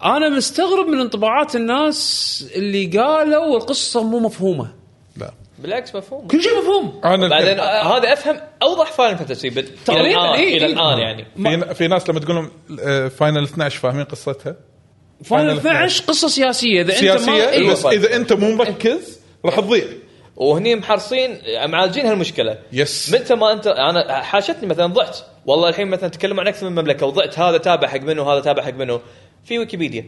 Speaker 1: انا مستغرب من انطباعات الناس اللي قالوا القصه مو مفهومه
Speaker 2: لا
Speaker 4: بالعكس مفهوم
Speaker 1: كل شيء مفهوم
Speaker 2: انا
Speaker 4: بعدين آه، هذا افهم اوضح فاينل فانتسي الى
Speaker 1: تقريباً،
Speaker 4: الان
Speaker 1: إي،
Speaker 4: الى
Speaker 1: إي.
Speaker 4: الان يعني
Speaker 2: في في ناس لما تقول لهم فاينل 12 فاهمين قصتها
Speaker 1: فاينل 12 قصه سياسيه اذا انت ما
Speaker 2: سياسيه
Speaker 1: إيه.
Speaker 2: بس اذا انت مو مركز راح تضيع
Speaker 4: وهني محرصين معالجين هالمشكله
Speaker 2: يس
Speaker 4: متى ما انت انا حاشتني مثلا ضعت والله الحين مثلا تكلموا عن اكثر من مملكه وضعت هذا تابع حق منه وهذا تابع حق منه في ويكيبيديا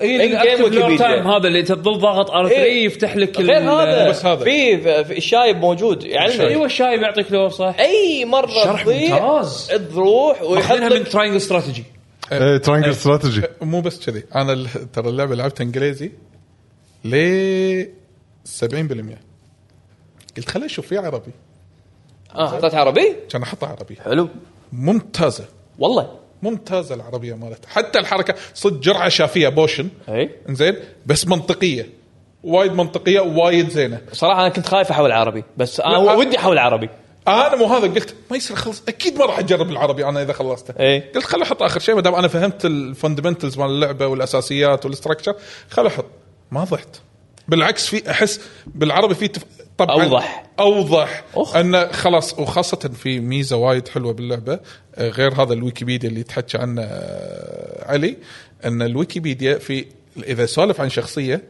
Speaker 1: إيه،
Speaker 4: إن-game
Speaker 1: الأكتف لور
Speaker 4: ويكيبيديا.
Speaker 1: تايم هذا اللي تظل ضاغط ار 3
Speaker 4: إيه.
Speaker 1: يفتح لك ال-
Speaker 4: غير هذا
Speaker 2: بس هذا.
Speaker 4: في في الشايب موجود يعني
Speaker 1: ايوه الشايب يعطيك لور صح
Speaker 4: اي مره
Speaker 1: شرح ممتاز.
Speaker 4: تروح ويحط
Speaker 1: اخذينها من
Speaker 4: أيوة، لك
Speaker 1: تراينجل استراتيجي
Speaker 2: إيه.
Speaker 3: ترانجل استراتيجي
Speaker 2: مو بس كذي انا ال- ترى اللعبه لعبتها انجليزي ل 70% قلت خليني اشوف فيها عربي
Speaker 4: اه حطيت عربي
Speaker 2: كان احطها عربي
Speaker 4: حلو
Speaker 2: ممتازه
Speaker 4: والله
Speaker 2: ممتازه العربيه مالتها حتى الحركه صدق جرعه شافيه بوشن
Speaker 4: اي
Speaker 2: زين بس منطقيه وايد منطقيه وايد زينه
Speaker 4: صراحه انا كنت خايف احول عربي بس
Speaker 2: لا،
Speaker 4: انا ودي احول عربي
Speaker 2: انا آه، مو هذا قلت ما يصير خلص اكيد ما راح اجرب العربي انا اذا خلصته
Speaker 4: إيه.
Speaker 2: قلت خليني احط اخر شيء ما دام انا فهمت الفندمنتلز مال اللعبه والاساسيات والاستراكشر خليني احط ما ضحت بالعكس في احس بالعربي في تف... طبعا
Speaker 4: أوضح.
Speaker 2: اوضح
Speaker 4: أخ.
Speaker 2: ان خلاص وخاصه في ميزه وايد حلوه باللعبه آه، غير هذا الويكيبيديا اللي تحكى عنه آه، علي ان الويكيبيديا في اذا يسولف عن شخصيه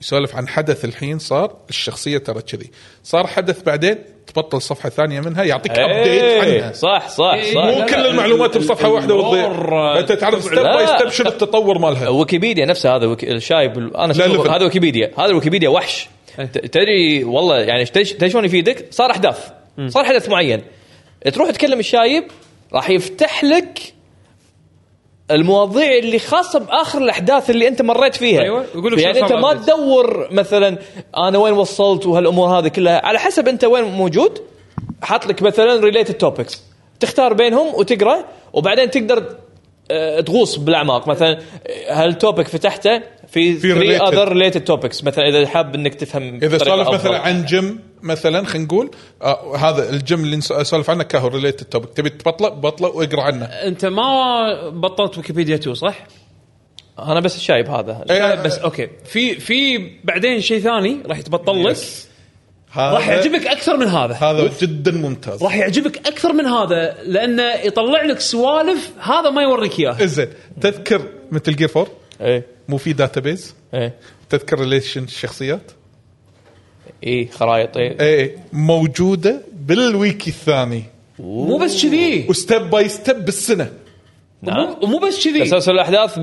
Speaker 2: يسولف عن حدث الحين صار الشخصيه ترى كذي صار حدث بعدين تبطل صفحه ثانيه منها يعطيك ابديت
Speaker 4: إيه،
Speaker 2: عنها
Speaker 4: صح صح
Speaker 1: إيه.
Speaker 4: صح
Speaker 2: مو
Speaker 1: لا،
Speaker 2: كل
Speaker 1: لا،
Speaker 2: المعلومات
Speaker 1: ال-
Speaker 2: بصفحه
Speaker 1: ال-
Speaker 2: واحده
Speaker 1: الور-
Speaker 2: وتضيع انت تعرف ستيب
Speaker 4: لا.
Speaker 2: باي ستيب شنو التطور مالها
Speaker 4: ويكيبيديا نفسه هذا ويك... الشايب ال- انا
Speaker 2: ليفل.
Speaker 4: شفته هذا ويكيبيديا هذا ويكيبيديا وحش
Speaker 1: إيه.
Speaker 4: ت- تدري والله يعني ش- تدري تدري شلون يفيدك صار احداث صار حدث معين تروح تكلم الشايب راح يفتح لك المواضيع اللي خاصه باخر الاحداث اللي انت مريت فيها
Speaker 1: أيوة، يقول لك
Speaker 4: يعني
Speaker 1: شنو
Speaker 4: انت
Speaker 1: صار
Speaker 4: ما
Speaker 1: update.
Speaker 4: تدور مثلا انا وين وصلت وهالامور هذه كلها على حسب انت وين موجود حاط لك مثلا ريليتد توبكس تختار بينهم وتقرا وبعدين تقدر آه، تغوص بالاعماق مثلا آه، هالتوبك فتحته في
Speaker 2: في
Speaker 4: 3
Speaker 2: related.
Speaker 4: اذر ريليتد توبكس مثلا اذا حاب انك تفهم
Speaker 2: اذا
Speaker 4: بطريقة
Speaker 2: سولف
Speaker 4: أفضل.
Speaker 2: مثلا عن جيم مثلا خلينا نقول آه هذا الجيم اللي نس- سولف عنه كهو ريليتد توبك تبي تبطله بطله واقرا عنه
Speaker 1: انت ما بطلت ويكيبيديا 2 صح؟
Speaker 4: انا بس الشايب هذا
Speaker 2: إيه.
Speaker 1: لا بس اوكي في في بعدين شيء ثاني راح يتبطل لك راح يعجبك اكثر من هذا
Speaker 2: هذا جدا ممتاز
Speaker 1: راح يعجبك اكثر من هذا لانه يطلع لك سوالف هذا ما يوريك اياها
Speaker 2: زين تذكر مثل جير 4
Speaker 4: اي
Speaker 2: مو في داتابيز
Speaker 4: اي
Speaker 2: تذكر ريليشن الشخصيات
Speaker 4: اي إيه، خرايط اي
Speaker 2: ايه موجوده بالويكي الثاني
Speaker 1: مو بس كذي
Speaker 2: وستيب باي ستيب بالسنه نعم.
Speaker 1: مو- مو بس كذي
Speaker 4: تسلسل الاحداث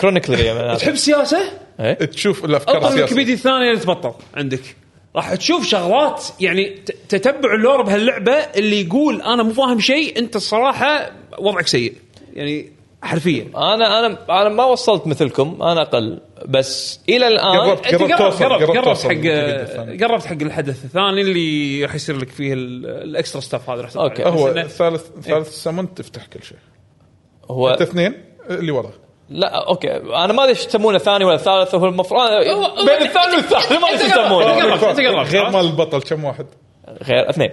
Speaker 4: كرونيكلي
Speaker 1: تحب سياسه؟
Speaker 2: تشوف الافكار
Speaker 1: اطلع
Speaker 2: السياسيه
Speaker 1: ويكيبيديا الثانيه اللي تبطل عندك راح تشوف شغلات يعني ت- تتبع اللور بهاللعبه اللي يقول انا مو فاهم شيء انت الصراحه وضعك سيء يعني حرفيا
Speaker 4: انا انا انا ما وصلت مثلكم انا اقل بس الى الان
Speaker 2: قربت.
Speaker 1: انت قربت
Speaker 2: توصل-
Speaker 1: قربت
Speaker 2: قربت
Speaker 1: قربت
Speaker 2: توصل
Speaker 1: حق
Speaker 2: للجديد الثاني.
Speaker 1: قربت حق الحدث الثاني اللي راح يصير لك فيه ال- الاكسترا ستاف هذا راح يصير
Speaker 4: أوكي.
Speaker 1: عليه. بس
Speaker 2: هو
Speaker 1: إنه-
Speaker 2: ثالث
Speaker 1: إيه.
Speaker 2: ثالث السمن تفتح كل شيء
Speaker 4: هو
Speaker 2: انت اثنين اللي وراه
Speaker 4: لا اوكي انا ما ادري ايش يسمونه ثاني ولا ثالث هو المفروض
Speaker 1: هو-
Speaker 4: بين الثاني والثالث ما ادري ايش يسمونه
Speaker 1: أنت قربت، أنت قربت.
Speaker 2: غير مال البطل كم واحد؟
Speaker 4: غير اثنين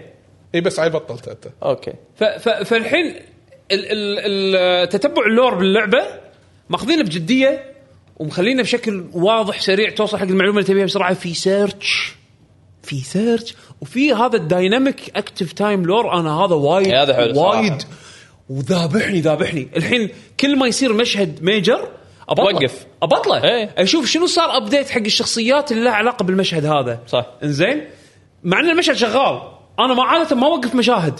Speaker 2: اي بس عيل بطلت انت
Speaker 4: اوكي
Speaker 1: ف- ف- فالحين ال- ال- ال- تتبع اللور باللعبه ماخذينه بجديه ومخلينه بشكل واضح سريع توصل حق المعلومه اللي تبيها بسرعه في سيرش في سيرش وفي هذا الدايناميك اكتف تايم لور انا هذا وايد
Speaker 4: إيه، هذا حلو صراحة.
Speaker 1: وايد وذابحني ذابحني الحين كل ما يصير مشهد ميجر ابطله
Speaker 4: وقف.
Speaker 1: ابطله
Speaker 4: إيه.
Speaker 1: اشوف شنو صار ابديت حق الشخصيات اللي لها علاقه بالمشهد هذا
Speaker 4: صح.
Speaker 1: انزين مع ان المشهد شغال انا ما عاده ما اوقف مشاهد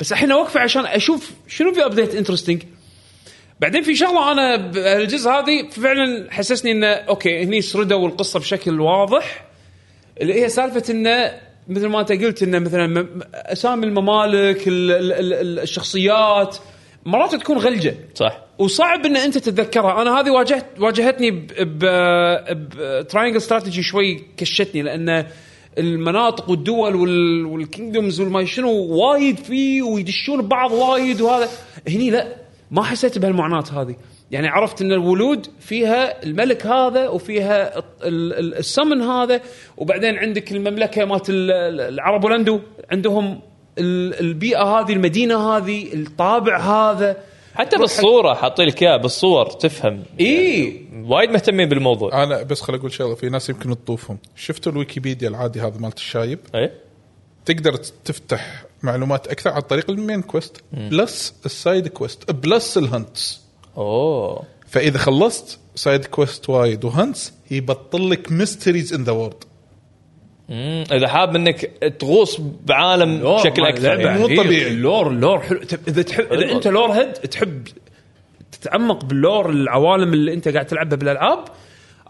Speaker 1: بس الحين اوقفه عشان اشوف شنو في ابديت انترستنج بعدين في شغله انا ب- الجزء هذه فعلا حسسني انه اوكي هني سردوا القصه بشكل واضح اللي هي سالفه انه مثل ما انت قلت انه مثلا م- اسامي الممالك ال ال ال ال- الشخصيات مرات تكون غلجه
Speaker 4: صح
Speaker 1: وصعب ان انت تتذكرها انا هذه واجهت واجهتني ب ب ب- triangle استراتيجي شوي كشتني لان المناطق والدول وال- والكينجدومز والما شنو وايد فيه ويدشون ببعض وايد وهذا هني لا ما حسيت بهالمعاناه هذه يعني عرفت ان الولود فيها الملك هذا وفيها ال- ال- السمن هذا وبعدين عندك المملكه مالت ال- ال- العرب ولندو عندهم ال- البيئه هذه المدينه هذه الطابع هذا
Speaker 4: حتى بالصوره حاطين لك اياها بالصور تفهم
Speaker 1: اي
Speaker 4: وايد مهتمين بالموضوع
Speaker 2: انا بس خل اقول شغله في ناس يمكن تطوفهم شفتوا الويكيبيديا العادي هذا مالت الشايب
Speaker 1: آه.
Speaker 4: ايه
Speaker 2: تقدر تفتح معلومات اكثر عن طريق المين كويست بلس السايد كويست بلس الهنتس
Speaker 4: اوه
Speaker 2: فاذا خلصت سايد كويست وايد وهنتس يبطل لك ميستريز ان ذا وورد
Speaker 4: مم. اذا حاب انك تغوص بعالم بشكل اكثر
Speaker 1: لعبة
Speaker 4: يعني.
Speaker 2: مو طبيعي.
Speaker 1: اللور اللور حلو تب- اذا تحب اذا
Speaker 4: حلو.
Speaker 1: انت لور هيد تحب تتعمق باللور العوالم اللي انت قاعد تلعبها بالالعاب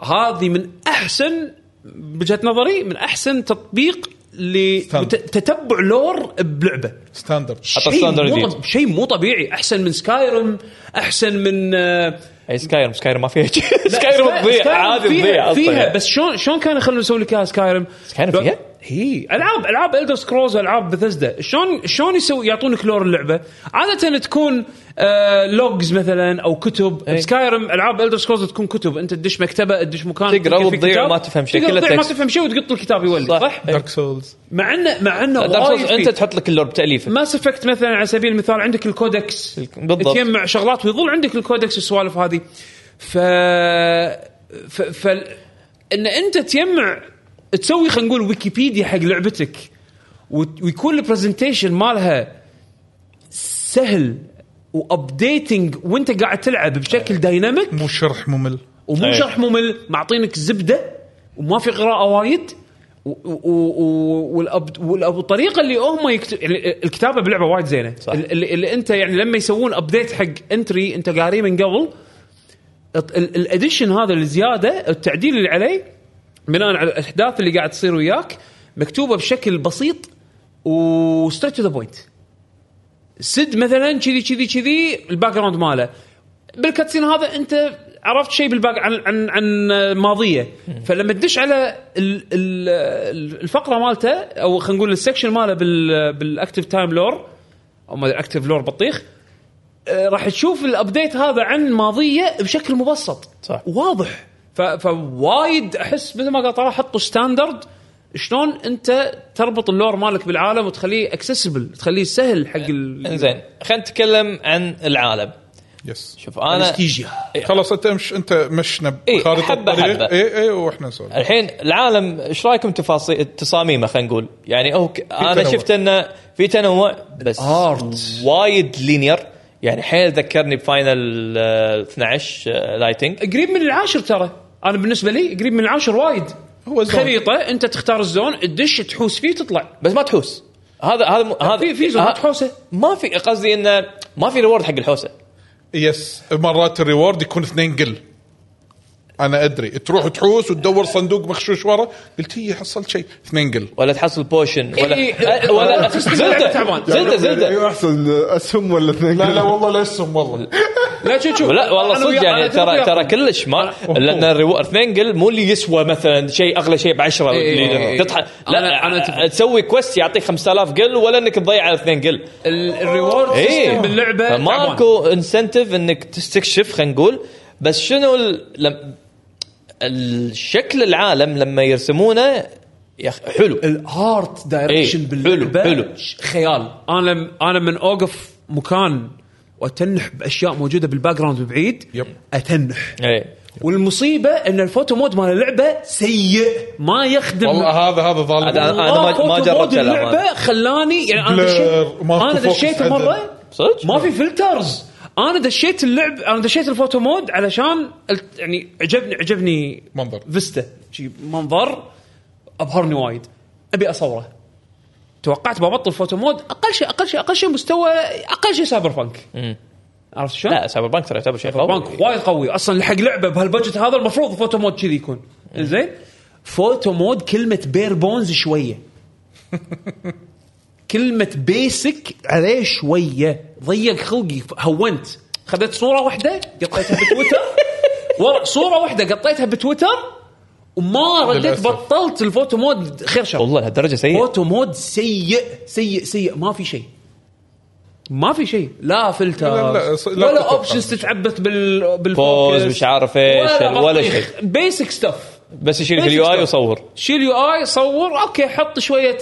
Speaker 1: هذه من احسن بوجهه نظري من احسن تطبيق
Speaker 2: ستاند.
Speaker 1: لتتبع لور بلعبه
Speaker 2: ستاندرد
Speaker 4: حتى
Speaker 1: شيء
Speaker 4: ستاندرد
Speaker 1: مو
Speaker 4: جديد.
Speaker 1: طب- شيء مو طبيعي احسن من سكايرم احسن من آه،
Speaker 4: اي سكايرم سكايرم ما فيها
Speaker 1: لا،
Speaker 4: سكايرم تضيع
Speaker 1: سكايرم
Speaker 4: عادي
Speaker 1: فيها-
Speaker 4: تضيع أصلاً
Speaker 1: فيها
Speaker 4: يعني.
Speaker 1: بس شلون شلون كانوا يخلون يسوون لك اياها سكايرم؟
Speaker 4: سكايرم
Speaker 1: لو-
Speaker 4: فيها؟
Speaker 1: هي العاب العاب الدر سكرولز العاب بثزدا شلون شلون يسوي يعطونك لور اللعبه؟ عاده تكون آه لوجز مثلا او كتب
Speaker 4: إي.
Speaker 1: سكايرم العاب الدر سكرولز تكون كتب انت تدش مكتبه تدش مكان
Speaker 4: تقرأ
Speaker 1: تلقى فيه
Speaker 4: وتضيع
Speaker 1: كتاب.
Speaker 4: وما تفهم شيء.
Speaker 1: تقرا
Speaker 4: كله
Speaker 1: وتضيع ما
Speaker 4: text.
Speaker 1: تفهم شيء وتقط الكتاب يولد صح,
Speaker 4: صح. إيه.
Speaker 2: دارك سولز
Speaker 1: مع انه مع انه
Speaker 4: دارك سولز
Speaker 1: وايد فيه.
Speaker 4: انت تحط لك اللور بتاليفه
Speaker 1: ماس افكت مثلا على سبيل المثال عندك الكودكس
Speaker 4: الك- بالضبط.
Speaker 1: تجمع شغلات ويظل عندك الكودكس السوالف هذه ف ف, ف... ان انت تجمع تسوي خلينا نقول ويكيبيديا حق لعبتك وت- ويكون البرزنتيشن مالها سهل وابديتنج وانت قاعد تلعب بشكل دايناميك
Speaker 2: مو شرح ممل
Speaker 1: ومو
Speaker 4: أي.
Speaker 1: شرح ممل معطينك زبده وما في قراءه وايد و- و- و- والأب- والأب- والطريقه اللي هم يكتب يعني الكتابه بلعبه وايد زينه
Speaker 4: صح.
Speaker 1: ال- ال- اللي انت يعني لما يسوون ابديت حق انتري انت قاري من قبل الط- ال- الاديشن هذا الزياده التعديل اللي عليه بناء على الاحداث اللي قاعد تصير وياك مكتوبه بشكل بسيط وستريت تو ذا بوينت سد مثلا كذي كذي كذي الباك جراوند ماله بالكاتسين هذا انت عرفت شيء بالباك عن عن عن ماضيه فلما تدش على ال- ال- الفقره مالته او خلينا نقول السكشن ماله بال- بالاكتف تايم لور او ما ادري اكتف لور بطيخ آه، راح تشوف الابديت هذا عن ماضيه بشكل مبسط
Speaker 4: صح.
Speaker 1: واضح ف- فوايد احس مثل ما قال طلال حطوا ستاندرد شلون انت تربط اللور مالك بالعالم وتخليه اكسسبل تخليه سهل حق ال-
Speaker 4: انزين خلينا نتكلم عن العالم
Speaker 2: يس
Speaker 4: شوف انا
Speaker 1: الاستيجيا
Speaker 2: خلاص انت مش انت مشنا
Speaker 4: إيه،
Speaker 2: بخارطه
Speaker 4: حبة حبة.
Speaker 2: اي اي واحنا إيه، نسولف
Speaker 4: الحين العالم ايش رايكم تفاصيل تصاميمه خلينا نقول يعني هو ك- انا
Speaker 2: تنوع.
Speaker 4: شفت انه في تنوع بس
Speaker 1: Art.
Speaker 4: وايد لينير يعني حيل ذكرني بفاينل آه، 12 آه، لايتنج
Speaker 1: قريب من العاشر ترى انا بالنسبه لي قريب من العاشر وايد
Speaker 2: هو زون.
Speaker 1: خريطه انت تختار الزون تدش تحوس فيه تطلع
Speaker 4: بس ما تحوس هذا هذا مو- هذا آه.
Speaker 1: في- في زون
Speaker 4: ها-
Speaker 1: تحوسه.
Speaker 4: ما في قصدي انه ما في ريورد حق الحوسه
Speaker 2: يس مرات الريورد يكون اثنين قل انا ادري تروح تحوس وتدور صندوق مخشوش ورا قلت هي حصلت شيء اثنين قل
Speaker 4: ولا تحصل بوشن ولا
Speaker 1: إيه.
Speaker 4: أه، ولا
Speaker 1: تعبان.
Speaker 4: زلده زلده زلده
Speaker 3: ايوه احسن اسهم ولا اثنين
Speaker 2: إيه. لا لا والله لا اسم والله
Speaker 1: لا شوف شوف
Speaker 4: لا والله
Speaker 1: أنا
Speaker 4: صدق
Speaker 1: وياك-
Speaker 4: يعني
Speaker 1: أنا ترى
Speaker 4: ترى
Speaker 1: وياك.
Speaker 4: ترى كلش ما لان الريو- ثمنقل مو اللي يسوى مثلا شيء اغلى شيء ب 10
Speaker 1: إي إي إي.
Speaker 4: تضحك
Speaker 1: إيه، أنا-
Speaker 4: لا
Speaker 1: أنا أتفق.
Speaker 4: تسوي كويست يعطيك 5000 قل ولا انك تضيع على 2 قل
Speaker 1: ال- الريورد
Speaker 4: اي
Speaker 1: سيستم باللعبه تعبان.
Speaker 4: ماكو انسنتيف انك تستكشف خلينا نقول بس شنو ال... لم... الشكل العالم لما يرسمونه يا أخ- حلو
Speaker 1: الارت دايركشن
Speaker 4: إيه،
Speaker 1: باللعبه
Speaker 4: حلو، حلو.
Speaker 1: ش- خيال انا لم- انا من اوقف مكان واتنح باشياء موجوده بالباك جراوند بعيد
Speaker 2: يب.
Speaker 1: اتنح
Speaker 4: اي
Speaker 1: والمصيبه ان الفوتو مود مال اللعبه سيء ما يخدم
Speaker 2: والله هذا هذا
Speaker 4: هذا-
Speaker 2: ظالم
Speaker 4: أنا ما- ما
Speaker 1: فوتو مود
Speaker 4: جربت ألعب
Speaker 1: اللعبه
Speaker 4: هذا.
Speaker 1: خلاني يعني انا
Speaker 2: بلر،
Speaker 1: دشيت
Speaker 2: ماكو
Speaker 1: انا
Speaker 2: فوكس
Speaker 1: دشيت
Speaker 2: عدل.
Speaker 1: مره
Speaker 4: صدق؟
Speaker 1: ما في فلترز انا دشيت اللعب انا دشيت الفوتو مود علشان الت- يعني عجبني عجبني
Speaker 2: منظر.
Speaker 1: فيستا شي منظر ابهرني وايد ابي اصوره توقعت ببطل فوتو مود اقل شيء اقل شيء اقل شيء مستوى اقل شيء سايبر بانك عرفت شلون؟
Speaker 4: لا سايبر بانك ترى يعتبر شيء قوي
Speaker 1: بانك وايد قوي اصلا حق لعبه بهالبجت هذا المفروض فوتو مود كذي يكون زين إيه. فوتو مود كلمه بير بونز شويه كلمه بيسك عليه شويه ضيق خلقي هونت خذت صوره واحده قطيتها بتويتر ورا صوره واحده قطيتها بتويتر وما رديت
Speaker 2: للأسف.
Speaker 1: بطلت الفوتو مود خير شر
Speaker 4: والله لهالدرجه سيء
Speaker 1: فوتو مود سيء سيء سيء ما في شيء ما في شيء لا فلتر
Speaker 2: لا- لا، ص- لا
Speaker 1: ولا
Speaker 2: تتوقع.
Speaker 1: اوبشنز تتعبث بال بالفوكس
Speaker 4: فوز مش عارف ايش ولا شيء
Speaker 1: بيسك ستاف
Speaker 4: بس يشيلك
Speaker 1: بيسك
Speaker 4: اليو اي
Speaker 1: stuff.
Speaker 4: وصور
Speaker 1: شيل يو اي صور اوكي حط شويه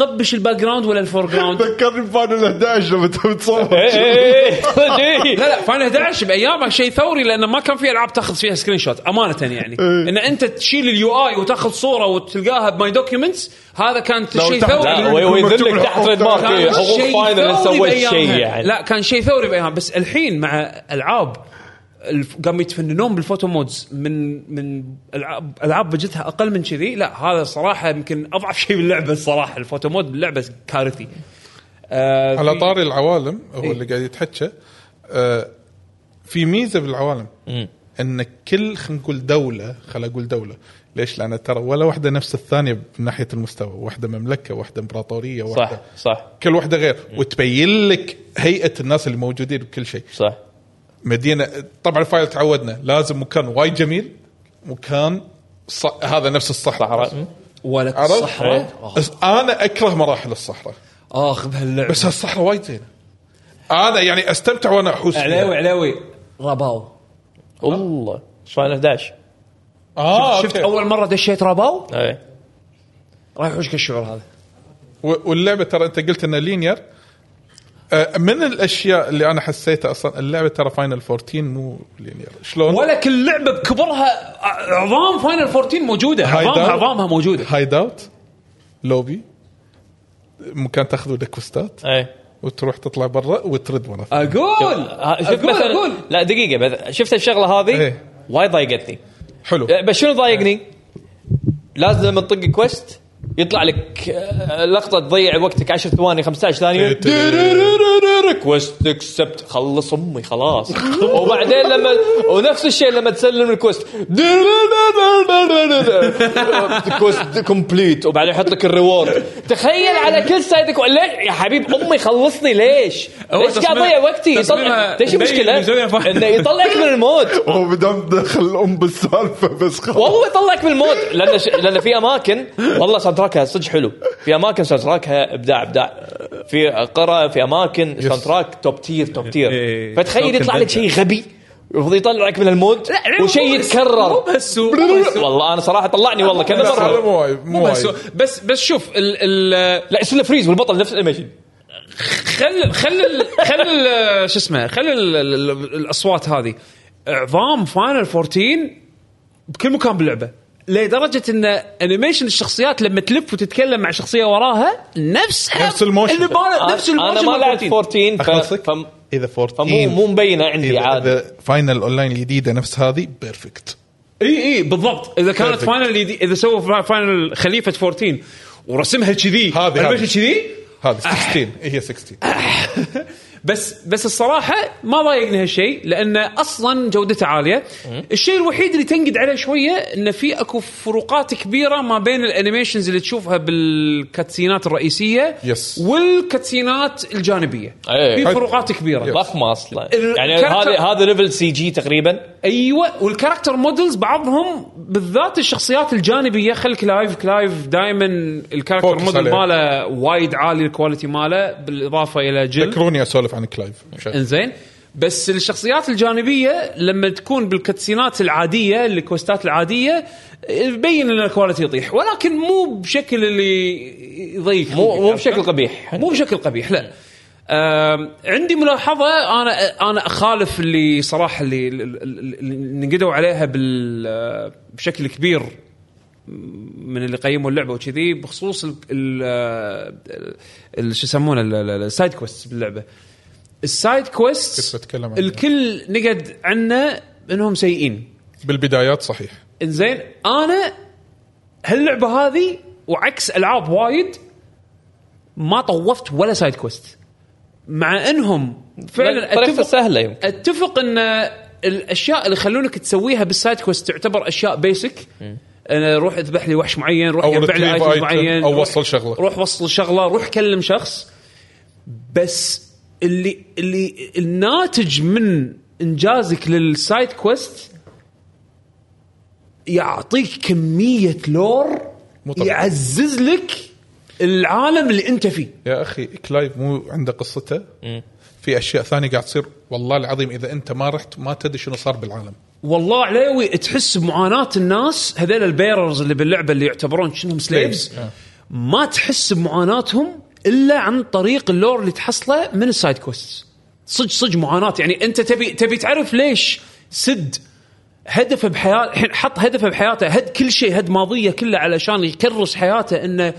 Speaker 1: غبش الباك جراوند ولا الفور جراوند
Speaker 3: ذكرني بفاينل 11 لما تبي
Speaker 4: إيه،
Speaker 3: تصور
Speaker 2: إيه،
Speaker 1: لا لا فاينل 11 بايامها شيء ثوري لانه ما كان في العاب تاخذ فيها سكرين شوت امانه يعني
Speaker 2: إيه.
Speaker 1: ان انت تشيل اليو اي وتاخذ صوره وتلقاها بماي دوكيومنتس هذا كان شيء
Speaker 3: تاخذ-
Speaker 1: ثوري
Speaker 4: لا وي- ويذلك تحت ريد مارك إيه،
Speaker 1: كان
Speaker 4: حقوق
Speaker 1: شيء
Speaker 4: فاينل إن
Speaker 1: ثوري
Speaker 4: سويت شيء
Speaker 1: بأيامها.
Speaker 4: يعني
Speaker 1: لا كان شيء ثوري بايامها بس الحين مع العاب الف- قاموا يتفننون بالفوتو مودز من من العاب العاب بجتها اقل من كذي لا هذا صراحه يمكن اضعف شيء باللعبه الصراحه الفوتو مود باللعبه كارثي آه
Speaker 2: على
Speaker 1: في-
Speaker 2: طاري العوالم هو
Speaker 1: إيه.
Speaker 2: اللي قاعد يتحكى آه، في ميزه بالعوالم ان كل خلينا نقول دوله خلينا اقول دوله ليش؟ لان ترى ولا واحده نفس الثانيه من ناحيه المستوى، واحده مملكه، واحده امبراطوريه،
Speaker 4: صح
Speaker 2: واحده
Speaker 4: صح
Speaker 2: كل واحده غير وتبين لك هيئه الناس اللي موجودين بكل شيء،
Speaker 4: صح
Speaker 2: مدينه طبعا فايل تعودنا لازم مكان وايد جميل مكان ص... هذا نفس الصحراء
Speaker 4: صحراء
Speaker 1: ولك
Speaker 2: عرفت؟
Speaker 1: الصحراء آه.
Speaker 2: بس انا اكره مراحل الصحراء
Speaker 1: اخ بهاللعبه
Speaker 2: بس هالصحراء وايد زينه انا يعني استمتع وانا احوس فيها.
Speaker 1: علاوي علاوي رباو
Speaker 4: والله فاينل 11
Speaker 2: اه
Speaker 1: شفت
Speaker 2: أوكي.
Speaker 1: اول مره دشيت رباو
Speaker 4: اي
Speaker 1: راح يحوشك الشعور هذا
Speaker 2: و- واللعبه ترى انت قلت انها لينير آه، من الاشياء اللي انا حسيتها اصلا اللعبه ترى فاينل 14 مو لينير شلون؟
Speaker 1: ولا كل لعبه بكبرها ع- عظام فاينل 14 موجوده
Speaker 2: هايد
Speaker 1: عظامها
Speaker 2: أوت.
Speaker 1: عظامها موجوده
Speaker 2: هايد اوت لوبي مكان تاخذ لك كوستات
Speaker 4: اي
Speaker 2: وتروح تطلع برا وترد مره ثانية.
Speaker 1: اقول
Speaker 4: ها- شوف
Speaker 1: اقول اقول
Speaker 4: مثلا لا دقيقه بس شفت الشغله هذه
Speaker 2: إيه.
Speaker 4: وايد ضايقتني
Speaker 2: حلو
Speaker 4: بس شنو ضايقني؟ لازم لما تطق كويست يطلع لك آه، لقطه تضيع وقتك 10 ثواني 15 ثانيه درررررر، كويست اكسبت خلص امي خلاص وبعدين لما ونفس الشيء لما تسلم الكويست دررررررر، كويست كومبليت وبعدين يحط لك الريورد تخيل على كل سايدك ليش يا حبيب امي خلصني ليش؟
Speaker 1: هو
Speaker 4: ليش قاعد
Speaker 1: تصميم-
Speaker 4: اضيع وقتي؟
Speaker 1: تصميمها
Speaker 4: يطلع- ليش
Speaker 1: مبين
Speaker 4: المشكله؟
Speaker 1: مسويها فاهم.
Speaker 4: انه يطلعك من المود
Speaker 3: هو مدام دخل الام بالسالفه بس خلاص
Speaker 4: والله يطلعك من المود لان ش... لان في اماكن والله ساوند تراكها صدق حلو في اماكن ساوند تراكها ابداع ابداع في قرى في اماكن ساوند تراك توب تير توب تير
Speaker 1: إيه.
Speaker 4: فتخيل يطلع لك شيء غبي يفضل يطلعك من المود وشيء
Speaker 1: مو
Speaker 4: يتكرر
Speaker 1: بهالسوء
Speaker 4: والله انا صراحه طلعني والله كذا
Speaker 2: بس هذا
Speaker 4: مره
Speaker 2: مو وايد
Speaker 1: مو
Speaker 2: مو
Speaker 1: بهالسوء
Speaker 2: وايد
Speaker 1: بس بس شوف ال ال
Speaker 4: لا يصير له فريز والبطل نفس الانيميشن
Speaker 1: خل خل ال- خل ال- شو اسمه خل ال- ال- ال- الاصوات هذه عظام فاينل 14 بكل مكان باللعبه لدرجه ان انيميشن الشخصيات لما تلف وتتكلم مع شخصيه وراها نفسها
Speaker 2: نفس الموشن.
Speaker 1: اللي مال- نفس الموشن
Speaker 4: انا ما
Speaker 1: مال
Speaker 4: لعبت
Speaker 1: 14.
Speaker 4: 14 ف...
Speaker 2: اخلصك
Speaker 4: فم...
Speaker 2: اذا 14
Speaker 4: فمو مو مبينه عندي
Speaker 2: اذا
Speaker 4: عاد
Speaker 2: إذا فاينل اونلاين الجديده نفس هذه بيرفكت
Speaker 1: اي اي بالضبط اذا كانت
Speaker 2: Perfect.
Speaker 1: فاينل اذا سووا فاينل خليفه 14 ورسمها كذي
Speaker 2: هذه- هذه.
Speaker 1: animation كذي
Speaker 2: هذه 16 هي 16
Speaker 1: بس بس الصراحه ما ضايقني هالشيء لانه اصلا جودته عاليه الشيء الوحيد اللي تنقد عليه شويه انه في اكو فروقات كبيره ما بين الانيميشنز اللي تشوفها بالكاتسينات الرئيسيه
Speaker 2: Yes. إيه.
Speaker 1: والكاتسينات الجانبيه
Speaker 4: أي.
Speaker 1: في فروقات كبيره
Speaker 4: ضخمه اصلا
Speaker 1: ال-
Speaker 4: يعني
Speaker 1: character-
Speaker 4: هذا هذا ليفل سي جي تقريبا
Speaker 1: ايوه والكاركتر مودلز بعضهم بالذات الشخصيات الجانبيه خل كلايف كلايف دائما الكاركتر
Speaker 2: فوكس
Speaker 1: مودل
Speaker 2: عليه.
Speaker 1: ماله وايد عالي الكواليتي ماله بالاضافه الى جيل
Speaker 2: ذكروني اسولف عن كلايف شيء.
Speaker 1: انزين بس الشخصيات الجانبيه لما تكون بالكاتسينات العاديه الكوستات العاديه يبين ان الكواليتي يطيح ولكن مو بشكل اللي يضيق
Speaker 4: مو مو
Speaker 1: خلقك.
Speaker 4: بشكل قبيح
Speaker 1: مو بشكل قبيح لا أم، عندي ملاحظه انا انا اخالف اللي صراحه اللي اللي- اللي نقدوا عليها بال بشكل كبير من اللي قيموا اللعبه وكذي بخصوص ال- ال- ال- شو يسمونه ال- ال- السايد كويست باللعبه السايد
Speaker 2: كنت
Speaker 1: كويست
Speaker 2: بتكلم عنها.
Speaker 1: الكل نقد عنه انهم سيئين
Speaker 2: بالبدايات صحيح
Speaker 1: انزين انا هاللعبه هذه وعكس العاب وايد ما طوفت ولا سايد كويست مع انهم فعلا
Speaker 4: طريقته
Speaker 1: اتفق
Speaker 4: سهله يمكن
Speaker 1: اتفق ان الاشياء اللي يخلونك تسويها بالسايد كويست تعتبر اشياء بيسك أنا روح اذبح لي وحش معين روح
Speaker 2: أو
Speaker 1: يبع لي
Speaker 2: retrieve
Speaker 1: ايتم
Speaker 2: item،
Speaker 1: معين
Speaker 2: أو
Speaker 1: روح-
Speaker 2: وصل شغلة.
Speaker 1: روح وصل شغله روح كلم شخص بس اللي اللي الناتج من انجازك للسايد كويست يعطيك كميه لور
Speaker 2: مو طبيعي.
Speaker 1: يعزز لك العالم اللي انت فيه
Speaker 2: يا اخي كلايف مو عنده قصته في اشياء ثانيه قاعد تصير والله العظيم اذا انت ما رحت ما تدري شنو صار بالعالم
Speaker 1: والله عليوي تحس بمعاناه الناس هذول البيررز اللي باللعبه اللي يعتبرون شنهم سليفز ما تحس بمعاناتهم الا عن طريق اللور اللي تحصله من السايد كويست صدق صدق معاناه يعني انت تبي تبي تعرف ليش سد هدفه بحياته الحين حط هدفه بحياته هد كل شيء هد ماضيه كله علشان يكرس حياته انه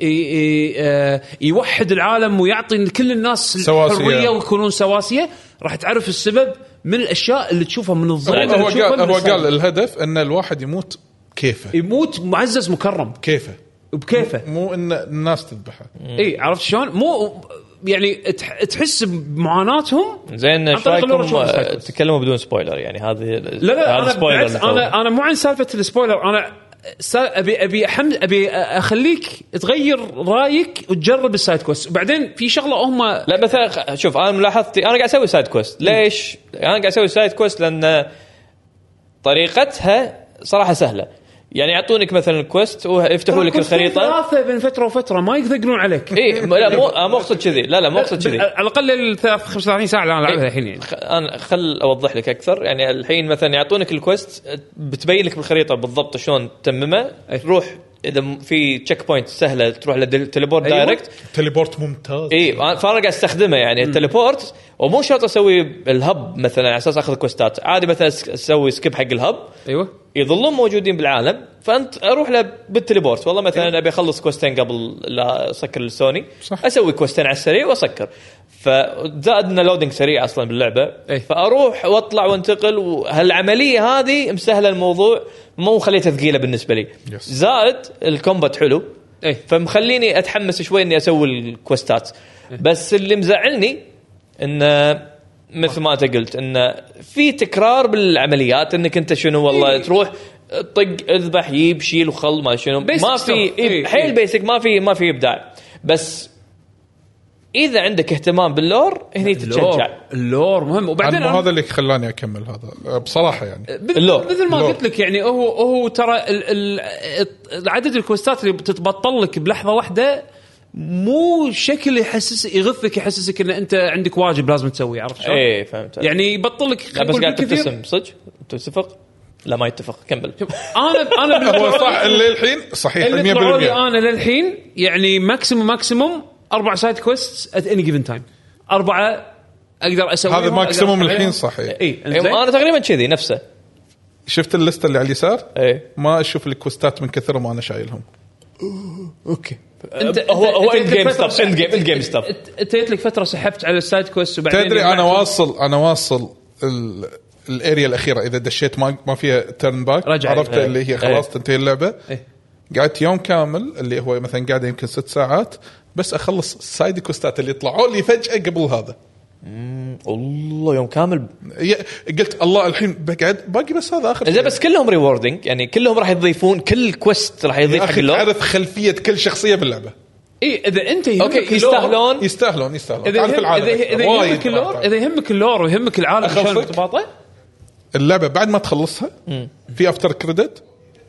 Speaker 1: ي- ي- آه، يوحد العالم ويعطي كل الناس
Speaker 2: سواسية.
Speaker 1: الحريه ويكونون سواسيه راح تعرف السبب من الاشياء اللي تشوفها من الظل
Speaker 2: هو
Speaker 4: طيب،
Speaker 1: اللي
Speaker 2: هو
Speaker 1: تشوفها
Speaker 2: قال
Speaker 1: من
Speaker 2: هو
Speaker 1: السلبي.
Speaker 2: قال الهدف ان الواحد يموت كيفه
Speaker 1: يموت معزز مكرم
Speaker 2: كيفه
Speaker 1: بكيفه
Speaker 2: مو ان الناس تذبحه
Speaker 1: اي عرفت شلون مو يعني تح- تحس بمعاناتهم
Speaker 4: زين
Speaker 1: عن
Speaker 4: ايش
Speaker 1: طريق اللور
Speaker 4: رايكم
Speaker 1: شلون
Speaker 4: آه،
Speaker 1: السايكوس؟
Speaker 4: تكلموا بدون سبويلر يعني هذه
Speaker 1: لا لا انا
Speaker 4: سبويلر
Speaker 1: بالعكس
Speaker 4: مثلاً.
Speaker 1: انا انا مو عن سالفه السبويلر انا سا- ابي ابي أحمل ابي اخليك تغير رايك وتجرب السايد كويست وبعدين في شغله هم
Speaker 4: لا مثلا خ- شوف انا ملاحظتي انا قاعد اسوي سايد كويست ليش؟ انا قاعد اسوي سايد كويست لان طريقتها صراحه سهله يعني يعطونك مثلا كويست ويفتحوا لك الخريطه
Speaker 1: ثلاثه بين فتره وفتره ما يقدرون عليك
Speaker 4: اي م- لا مو أنا مو اقصد كذي لا لا مو اقصد كذي إيه.
Speaker 1: على الاقل الثلاث 35 ساعه اللي انا العبها الحين يعني
Speaker 4: خ- انا خل اوضح لك اكثر يعني الحين مثلا يعطونك الكويست بتبين لك بالخريطه بالضبط شلون تتممه
Speaker 1: أي.
Speaker 4: روح اذا م- في تشيك بوينت سهله تروح للتليبورت
Speaker 1: أيوة.
Speaker 4: دايركت
Speaker 2: تليبورت ممتاز
Speaker 4: اي فانا إيه، قاعد استخدمه يعني التليبورت ومو شرط اسوي الهب مثلا على اساس اخذ كوستات عادي مثلا أس- اسوي سكيب حق الهب
Speaker 1: ايوه
Speaker 4: يظلون موجودين بالعالم فانت اروح له بالتليبورت والله مثلا ابي اخلص كوستين قبل لا اسكر السوني
Speaker 2: إيه. صح.
Speaker 4: اسوي كوستين على السريع واسكر فزائد انه لودنج سريع اصلا باللعبه
Speaker 1: إيه.
Speaker 4: فاروح واطلع وانتقل وهالعمليه هذه مسهله الموضوع مو خليتها ثقيله بالنسبه لي
Speaker 2: Yes.
Speaker 4: زائد الكومبات حلو
Speaker 1: إيه.
Speaker 4: فمخليني اتحمس شوي اني اسوي الكوستات
Speaker 1: إيه.
Speaker 4: بس اللي مزعلني انه مثل ما انت قلت انه في تكرار بالعمليات انك انت شنو والله
Speaker 1: إيه.
Speaker 4: تروح طق اذبح جيب شيل وخل ما شنو
Speaker 1: Basic
Speaker 4: ما في
Speaker 1: stuff.
Speaker 4: إيه
Speaker 1: إيه، إيه.
Speaker 4: حيل بيسك ما في ما في ابداع بس اذا عندك اهتمام باللور هني تتشجع
Speaker 1: اللور اللور مهم وبعدين
Speaker 2: بعدين
Speaker 1: أنا-
Speaker 2: هذا اللي خلاني اكمل هذا بصراحه يعني
Speaker 1: بذ-
Speaker 4: اللور.
Speaker 1: مثل ما
Speaker 2: اللور.
Speaker 1: قلت لك يعني هو هو ترى ال- ال- عدد الكوستات اللي بتتبطل لك بلحظه واحده مو شكل يحسس يغثك يحسسك ان انت عندك واجب لازم تسويه عرفت شلون؟
Speaker 4: ايه فهمت عليك.
Speaker 1: يعني يبطل لك
Speaker 4: لا،
Speaker 1: خلينا
Speaker 4: بس
Speaker 1: نقول
Speaker 4: قاعد
Speaker 1: بالكثير-
Speaker 4: تبتسم صدق تتفق؟ لا ما يتفق كمل
Speaker 1: انا انا
Speaker 2: هو
Speaker 1: بالنسبة
Speaker 2: صح
Speaker 1: لي-
Speaker 2: اللي الحين صحيح
Speaker 1: اللي طلعوا
Speaker 2: 100%
Speaker 1: لي انا للحين يعني ماكسيموم ماكسيموم اربع سايد كويست ات اني جيفن تايم اربعه اقدر اسوي
Speaker 2: هذا الماكسيموم الحين صحيح
Speaker 4: إيه،
Speaker 1: اي
Speaker 4: انا تقريبا كذي نفسه
Speaker 2: شفت اللسته اللي على اليسار
Speaker 1: إيه.
Speaker 4: ايه
Speaker 2: ما اشوف الكوستات من كثر ما انا شايلهم
Speaker 4: اوكي هو هو اند جيم ستاف اند جيم اند جيم ستاف
Speaker 1: انت جت لك فتره سحبت على السايد كويست وبعدين
Speaker 2: تدري انا
Speaker 1: جمعت-
Speaker 2: واصل انا واصل ال- الاريا الاخيره اذا دشيت ما ما فيها ترن باك
Speaker 1: رجع.
Speaker 2: عرفت
Speaker 1: إيه.
Speaker 2: اللي هي خلاص
Speaker 4: إيه.
Speaker 2: تنتهي اللعبه
Speaker 1: إيه.
Speaker 2: قعدت يوم كامل اللي هو مثلا قاعد يمكن ست ساعات بس اخلص السايد كوستات اللي طلعوا لي فجاه قبل هذا
Speaker 4: والله يوم كامل
Speaker 2: ي- قلت الله الحين بقعد باقي بس هذا اخر
Speaker 4: زين بس كلهم ريوردنج يعني كلهم راح يضيفون كل كويست راح يضيف
Speaker 2: يا
Speaker 4: حق
Speaker 2: اخي
Speaker 4: اللور
Speaker 2: تعرف خلفيه كل شخصيه باللعبه
Speaker 1: اي اذا انت يهمك
Speaker 4: اوكي
Speaker 1: اللور-
Speaker 4: يستاهلون
Speaker 2: يستاهلون يستاهلون
Speaker 1: اذا
Speaker 2: تعرف
Speaker 1: يهم-
Speaker 2: العالم
Speaker 1: اذا اذا
Speaker 2: أكثر. وايد
Speaker 1: يهمك اللور
Speaker 2: تعرف.
Speaker 1: اذا يهمك اللور ويهمك العالم
Speaker 2: أخلصك.
Speaker 1: شلون متباطئ
Speaker 2: اللعبه بعد ما تخلصها في افتر كريدت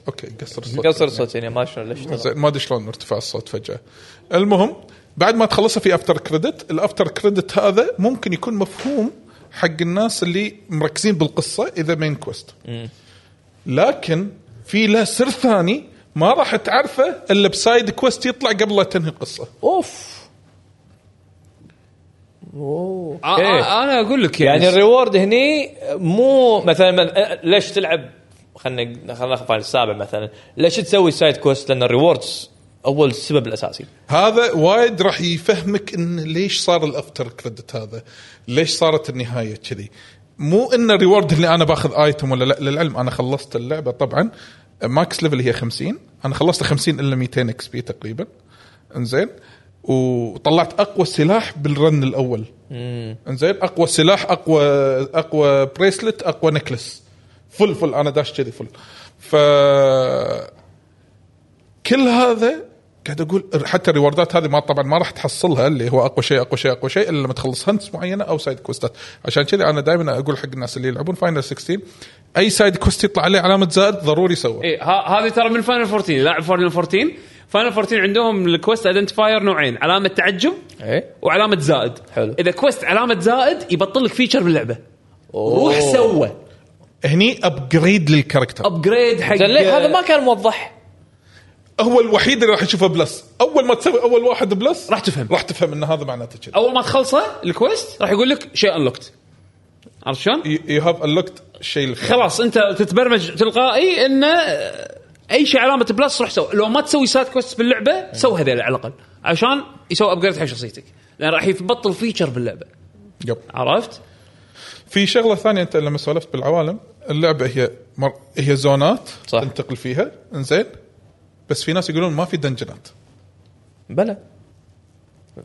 Speaker 2: اوكي قصر الصوت
Speaker 4: قصر صوت يعني ما شلون ليش
Speaker 2: زين ما ادري شلون ارتفع الصوت فجاه المهم بعد ما تخلصها في افتر كريدت الافتر كريدت هذا ممكن يكون مفهوم حق الناس اللي مركزين بالقصه اذا مين كويست لكن في له سر ثاني ما راح تعرفه الا بسايد كويست يطلع قبل لا تنهي القصه
Speaker 4: اوف
Speaker 1: آه، آه، انا اقول لك يعني,
Speaker 4: يعني الريورد هني مو مثلا من- ليش تلعب خلينا خلينا ناخذ فاينل السابع مثلا ليش تسوي سايد كويست لان الريوردز اول السبب الاساسي
Speaker 2: هذا وايد راح يفهمك ان ليش صار الافتر كريدت هذا ليش صارت النهايه كذي مو ان الريورد اللي انا باخذ ايتم ولا لا للعلم انا خلصت اللعبه طبعا ماكس ليفل هي 50 انا خلصت 50 الا 200 اكس بي تقريبا انزين وطلعت اقوى سلاح بالرن الاول انزين اقوى سلاح اقوى اقوى بريسلت اقوى نكلس فل فل انا داش كذي فل ف كل هذا قاعد اقول حتى الريوردات هذه ما طبعا ما راح تحصلها اللي هو اقوى شيء اقوى شيء اقوى شيء الا لما تخلص هنتس معينه او سايد كوستات عشان كذا انا دائما اقول حق الناس اللي يلعبون فاينل 16 اي سايد كوست يطلع عليه علامه زائد ضروري يسوي
Speaker 1: إيه، ها- هذه ترى من فاينل 14 لاعب فاينل 14 فاينل 14 عندهم الكويست ايدنتفاير نوعين علامه تعجب
Speaker 4: ايه
Speaker 1: وعلامه زائد
Speaker 4: حلو.
Speaker 1: اذا كويست علامه زائد يبطل لك فيتشر باللعبه روح
Speaker 4: أوه.
Speaker 1: سوى
Speaker 2: هني ابجريد للكاركتر
Speaker 1: ابجريد حق
Speaker 4: زين ليه هذا ما كان موضح
Speaker 2: هو الوحيد اللي راح يشوفه بلس اول ما تسوي اول واحد بلس
Speaker 1: راح تفهم.
Speaker 2: راح تفهم ان هذا معناته كذا
Speaker 1: اول ما تخلصه الكويست راح يقول لك شيء انلوكت عرفت شلون؟
Speaker 2: يو هاف انلوكت شيء اللي-
Speaker 1: خلاص انت تتبرمج تلقائي انه اي شيء علامه بلس روح سوي لو ما تسوي سايد كويست باللعبه سو هذيل على الاقل عشان يسوي ابجريد حق شخصيتك لان راح يبطل فيتشر باللعبه
Speaker 2: يب.
Speaker 1: عرفت؟
Speaker 2: في شغله ثانيه انت لما سولفت بالعوالم اللعبه هي مر... هي زونات
Speaker 4: صح.
Speaker 2: تنتقل فيها انزين بس في ناس يقولون ما في دنجنات
Speaker 4: بلى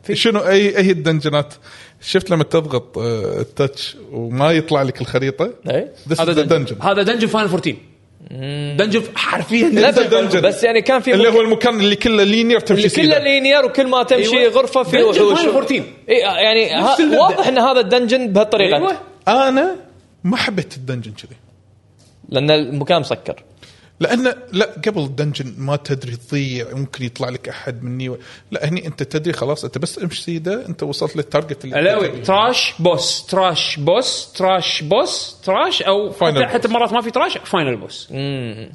Speaker 4: في-
Speaker 2: شنو اي اي الدنجنات شفت لما تضغط آه، التاتش وما يطلع لك الخريطه
Speaker 4: ايه
Speaker 2: This
Speaker 1: هذا
Speaker 2: is the
Speaker 1: دنجن
Speaker 2: dungeon.
Speaker 1: هذا دنجن فاينل 14 دنجن حرفيا
Speaker 4: لا
Speaker 2: It's a dungeon.
Speaker 4: بس- بس يعني كان في
Speaker 2: اللي
Speaker 4: ممكن-
Speaker 2: هو المكان اللي كله لينير تمشي
Speaker 4: اللي كله
Speaker 2: سيدا
Speaker 4: لينير وكل ما تمشي
Speaker 1: أيوة.
Speaker 4: غرفه في
Speaker 1: Dungeon
Speaker 4: وحوش
Speaker 1: Final 14.
Speaker 4: اي يعني ها-
Speaker 1: نفس المبدأ.
Speaker 4: واضح ان هذا الدنجن بهالطريقه
Speaker 1: ايوه
Speaker 2: انا ما حبيت الدنجن كذي
Speaker 4: لان المكان مسكر
Speaker 2: لان لا قبل الدنجن ما تدري تضيع ممكن يطلع لك احد مني و... لا هني انت تدري خلاص انت بس امشي سيدا انت وصلت للتارجت اللي
Speaker 1: علاوي
Speaker 4: أيوة.
Speaker 1: تراش بوس تراش بوس تراش بوس تراش او
Speaker 2: Final
Speaker 1: حتى, حتى
Speaker 2: boss.
Speaker 1: مرات ما في تراش فاينل بوس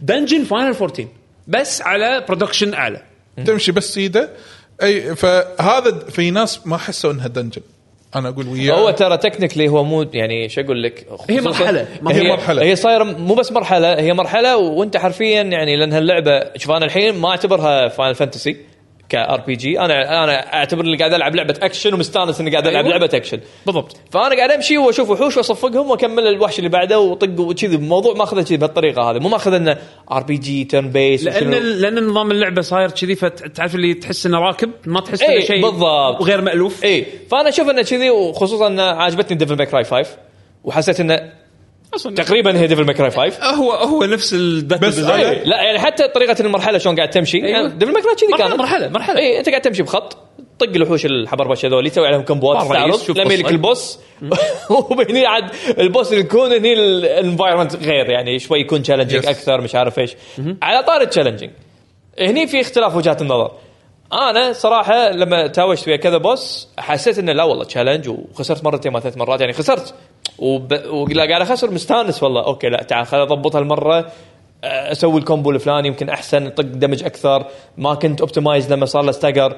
Speaker 1: دنجن فاينل 14 بس على برودكشن اعلى
Speaker 2: تمشي بس سيدا اي فهذا في ناس ما حسوا انها دنجن انا اقول وياه
Speaker 4: هو ترى تكنيكلي هو مو يعني شو اقول لك خصوصاً-
Speaker 1: مرحلة.
Speaker 2: هي مرحلة.
Speaker 4: هي صايره مو بس مرحله هي مرحله وانت حرفيا يعني لان هاللعبه شوف انا الحين ما اعتبرها فاينل فانتسي كار بي جي انا انا اعتبر اني قاعد العب لعبه اكشن ومستانس اني قاعد العب
Speaker 1: أيوة.
Speaker 4: لعبه اكشن
Speaker 1: بالضبط
Speaker 4: فانا قاعد امشي واشوف وحوش واصفقهم واكمل الوحش اللي بعده واطق وكذي الموضوع ماخذه كذي بهالطريقه هذه مو ماخذ انه ار بي جي تيرن بيس
Speaker 1: لان لان نظام اللعبه صاير كذي فتعرف اللي تحس انه راكب ما تحس انه
Speaker 4: إيه،
Speaker 1: شيء
Speaker 4: بالضبط. إيه،
Speaker 1: وغير مالوف
Speaker 4: اي فانا اشوف انه كذي وخصوصا انه عجبتني ديفل ماي كراي 5 وحسيت انه
Speaker 1: أصلاً
Speaker 4: تقريبا هي ديفل ماي كراي 5
Speaker 1: هو هو نفس الداتا
Speaker 2: بس
Speaker 1: design.
Speaker 2: أنا-
Speaker 4: لا يعني حتى طريقه المرحله شلون قاعد تمشي
Speaker 1: أيوة.
Speaker 4: يعني ديفل ماي كراي كذي
Speaker 1: مرحلة-
Speaker 4: كانت
Speaker 1: مرحلة- مرحلة.
Speaker 4: اي انت قاعد تمشي بخط طق الوحوش الحبربش هذول تسوي عليهم كمبوات
Speaker 1: مرة يس،
Speaker 4: تعرض
Speaker 1: شوف
Speaker 4: لمي لك
Speaker 1: قصة.
Speaker 4: البوس وهني عاد البوس يكون هني الانفايرمنت غير يعني شوي يكون تشالنجينج
Speaker 2: Yes.
Speaker 4: اكثر مش عارف ايش على طار التشالنجينج هني في اختلاف وجهات النظر انا صراحه لما تاوشت ويا كذا بوس حسيت انه لا والله تشالنج وخسرت مرتين ما ثلاث مرات يعني خسرت وب... ولا قاعد اخسر مستانس والله اوكي لا تعال خل اضبط هالمره أه، اسوي الكومبو الفلاني يمكن احسن طق دمج اكثر ما كنت اوبتمايز لما صار له ستاجر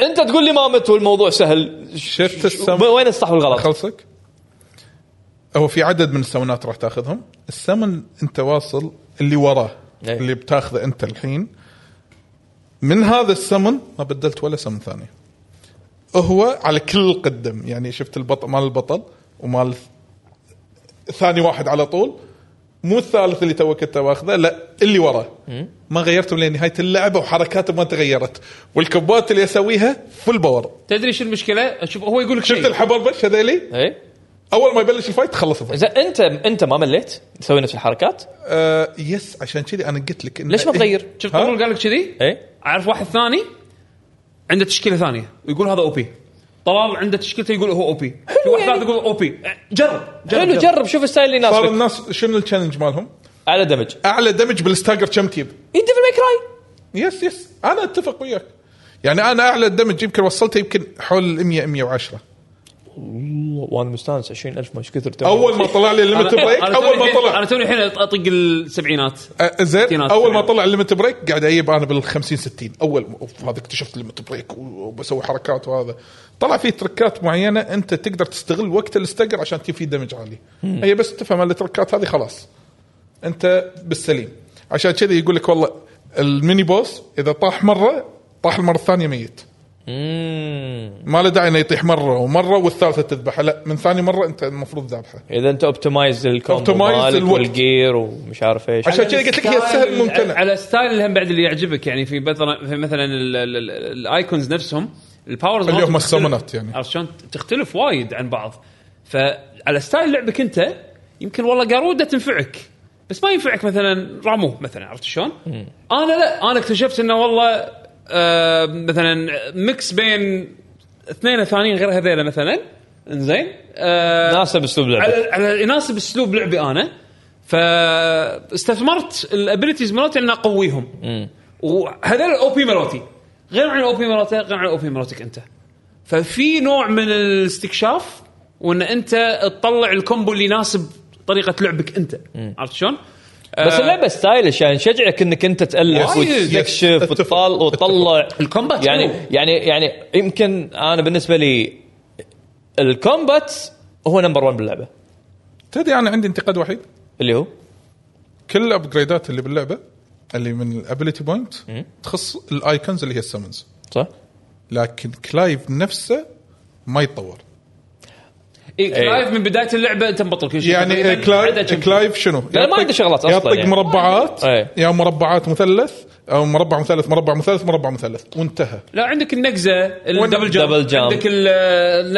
Speaker 4: انت تقول لي ما مت والموضوع سهل
Speaker 2: شفت السم
Speaker 4: وين الصح والغلط؟
Speaker 2: خلصك هو في عدد من السمنات راح تاخذهم السمن انت واصل اللي وراه
Speaker 4: أي.
Speaker 2: اللي بتاخذه انت الحين من هذا السمن ما بدلت ولا سمن ثاني هو على كل قدم يعني شفت البطل مال البطل ومال ثاني واحد على طول مو الثالث اللي توك انت ماخذه لا اللي وراه ما غيرتهم لنهايه اللعبه وحركاتهم ما تغيرت والكبات اللي اسويها فل باور
Speaker 1: تدري شو المشكله؟ شوف هو يقول لك
Speaker 2: شفت
Speaker 1: شيء
Speaker 2: الحبربش هذيلي
Speaker 4: اي
Speaker 2: اول ما يبلش الفايت خلص الفايت
Speaker 4: زين انت انت ما مليت تسوي نفس الحركات؟
Speaker 2: آه يس عشان كذي انا قلت لك إيه، إن
Speaker 4: ليش ما تغير؟
Speaker 1: شفت
Speaker 2: ها؟
Speaker 1: قبل قال لك كذي؟
Speaker 4: اي
Speaker 1: اعرف واحد ثاني عنده تشكيله ثانيه يقول هذا او بي طلال عنده تشكيلته يقول هو او بي في واحد
Speaker 4: يعني.
Speaker 1: ثالث يقول او بي جرب
Speaker 4: حلو جرب شوف الستايل اللي
Speaker 2: صار
Speaker 4: يناسبك
Speaker 2: الناس شنو التشالنج مالهم؟
Speaker 4: على دمج
Speaker 2: اعلى دمج بالستاجر كم تجيب؟
Speaker 4: اي ديفل ماي كراي
Speaker 2: يس يس انا اتفق وياك يعني انا اعلى دمج يمكن وصلته يمكن حول 100 110
Speaker 4: وانا مستانس 20000 مش كثر
Speaker 2: اول ما طلع لي الليمت بريك اول ما طلع
Speaker 1: انا توني الحين اطق السبعينات
Speaker 2: آه، زين
Speaker 1: ستينات
Speaker 2: اول ما
Speaker 1: تقريباً.
Speaker 2: طلع الليمت بريك قاعد اجيب انا بال 50 60 اول ما- اوف هذا اكتشفت الليمت بريك و- وبسوي حركات وهذا طلع في تركات معينه انت تقدر تستغل وقت الاستقر عشان تجيب فيه دمج عالي هي بس تفهم التركات هذه خلاص انت بالسليم عشان كذا يقول لك والله الميني بوس اذا طاح مره طاح المره الثانيه ميت ما له داعي انه يطيح مره ومره والثالثه تذبحه لا من ثاني مره انت المفروض ذابحه
Speaker 4: اذا انت اوبتمايز الكومبو
Speaker 2: Optimize
Speaker 4: مالك
Speaker 2: الوقت.
Speaker 4: والجير ومش عارف ايش
Speaker 2: عشان كذا قلت لك هي سهل ممتنه
Speaker 1: على ستايل الهم بعد اللي يعجبك يعني في مثلا في مثلا ال- ال- ال- الايكونز نفسهم الباورز
Speaker 2: اللي
Speaker 1: مالتهم
Speaker 2: هم
Speaker 1: تختلف-
Speaker 2: السمنات يعني.
Speaker 1: عرفت شلون تختلف وايد عن بعض فعلى ستايل لعبك انت يمكن والله قاروده تنفعك بس ما ينفعك مثلا رامو مثلا عرفت شلون؟ انا لا انا اكتشفت انه والله آه مثلا ميكس بين اثنين ثانيين غير هذيلا مثلا انزين آه
Speaker 4: ناسب اسلوب لعبه
Speaker 1: على على يناسب اسلوب لعبي انا فاستثمرت الابيلتيز مالتي ان اقويهم وهذول الاو بي مالتي غير عن الاو بي مالتي غير عن الاو بي مالتك انت ففي نوع من الاستكشاف وان انت تطلع الكومبو اللي يناسب طريقه لعبك انت عرفت شلون؟
Speaker 4: بس
Speaker 1: آه،
Speaker 4: اللعبه ستايلش يعني تشجعك انك انت تالف
Speaker 2: وايد.
Speaker 4: وتكشف
Speaker 2: أتفق.
Speaker 4: وتطل وتطلع
Speaker 1: الكومبات
Speaker 4: يعني
Speaker 1: حلو.
Speaker 4: يعني يعني يمكن انا بالنسبه لي الكومبات هو نمبر 1 باللعبه
Speaker 2: تدري انا عندي انتقاد وحيد
Speaker 4: اللي هو
Speaker 2: كل الابجريدات اللي باللعبه اللي من الابيلتي بوينت تخص الايكونز اللي هي السمنز
Speaker 4: صح؟
Speaker 2: لكن كلايف نفسه ما يتطور
Speaker 1: إيه كلايف من بدايه اللعبه انت مبطل كل شيء
Speaker 2: يعني
Speaker 1: تقريباً عدا
Speaker 2: كلايف
Speaker 1: كم-
Speaker 2: كلايف شنو؟
Speaker 4: لا، ما عنده شغلات أصلاً
Speaker 2: يعطيك
Speaker 4: يعني.
Speaker 2: مربعات
Speaker 4: إيه.
Speaker 2: يا مربعات مثلث او مربع مثلث مربع مثلث مربع مثلث وانتهى
Speaker 1: لا عندك النقزه الدبل جامب
Speaker 4: دبل جامب.
Speaker 1: عندك ال-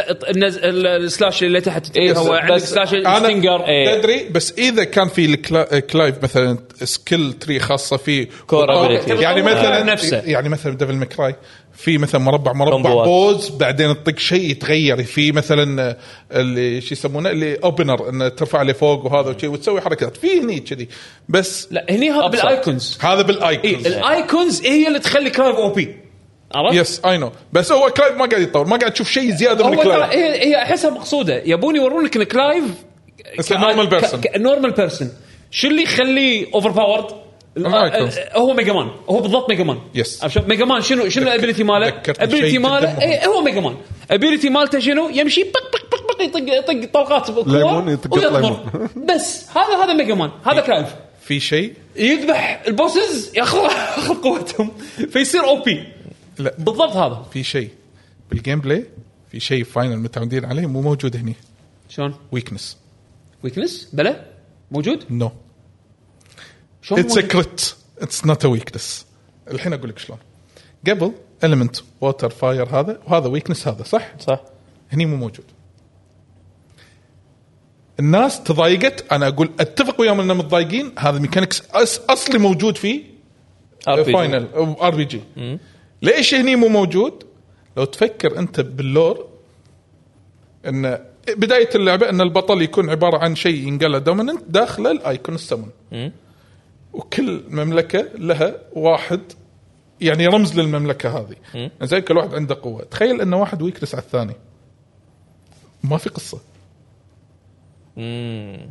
Speaker 1: ال- النز- ال- السلاش اللي تحت تتقهوى
Speaker 4: بس-
Speaker 1: عندك إيه.
Speaker 4: بس
Speaker 1: سلاش الستنجر
Speaker 2: انا تدري بس اذا كان في آه، الكلا- كلايف مثلا سكيل تري خاصه فيه
Speaker 4: ability.
Speaker 2: يعني مثلا
Speaker 1: نفسه.
Speaker 2: يعني مثلا ديفل مكراي في مثلا مربع مربع
Speaker 4: كومبوات.
Speaker 2: بوز بعدين تطق شيء يتغير في مثلا اللي شو يسمونه اللي اوبنر انه ترفع لفوق وهذا وشي وتسوي حركات في هني كذي بس
Speaker 1: لا إيه، هني هذا
Speaker 4: أبسط.
Speaker 1: بالايكونز
Speaker 2: هذا
Speaker 1: اي
Speaker 2: بالايكونز
Speaker 1: الايكونز هي اللي تخلي كلايف او بي عرفت؟
Speaker 2: يس اي نو بس هو كلايف ما قاعد يتطور ما قاعد تشوف شيء زياده من
Speaker 1: هو ترى
Speaker 2: كلايف
Speaker 1: هي هي احسها مقصوده يبون يورونك ان كلايف
Speaker 2: It's a normal person.
Speaker 1: نورمال بيرسون شو اللي يخليه اوفر باورد؟
Speaker 2: الأيكونز.
Speaker 1: هو ميجا مان هو بالضبط ميجا مان
Speaker 2: Yes.
Speaker 1: عرفت شلون؟ ميجا مان شنو شنو
Speaker 2: ذكرت-
Speaker 1: الابيلتي ماله؟
Speaker 2: ذكرتني بشيء
Speaker 1: ابيلتي ماله
Speaker 2: جداً
Speaker 1: إيه، هو ميجا مان ابيلتي مالته شنو؟ يمشي بق بق بق بق يطق يطق طلقات بالكور
Speaker 3: ليمون، يطق
Speaker 1: ويطمر.
Speaker 3: ليمون.
Speaker 1: بس هذا هذا ميجا مان هذا
Speaker 2: إيه.
Speaker 1: كلايف
Speaker 2: في شيء
Speaker 1: يذبح البوسز ياخذ ياخذ قوتهم فيصير او بي
Speaker 2: لا
Speaker 1: بالضبط هذا
Speaker 2: في شيء بالجيم بلاي في شيء فاينل متعودين عليه مو موجود هني
Speaker 1: شلون؟
Speaker 2: ويكنس
Speaker 1: ويكنس بلا موجود؟
Speaker 2: نو
Speaker 1: شلون
Speaker 2: اتس
Speaker 1: موجود؟
Speaker 2: كريت اتس نوت ا ويكنس الحين اقول لك شلون قبل المنت ووتر فاير هذا وهذا ويكنس هذا صح؟
Speaker 4: صح
Speaker 2: هني مو موجود الناس تضايقت انا اقول اتفق وياهم انهم متضايقين هذا ميكانكس أس اصلي موجود فيه
Speaker 4: RPG.
Speaker 2: فاينل ار بي جي ليش هني مو موجود؟ لو تفكر انت باللور ان بدايه اللعبه ان البطل يكون عباره عن شيء ينقله دوميننت داخله الايكون السمن وكل مملكه لها واحد يعني رمز للمملكه هذه زين كل واحد عنده قوه تخيل ان واحد ويكنس على الثاني ما في قصه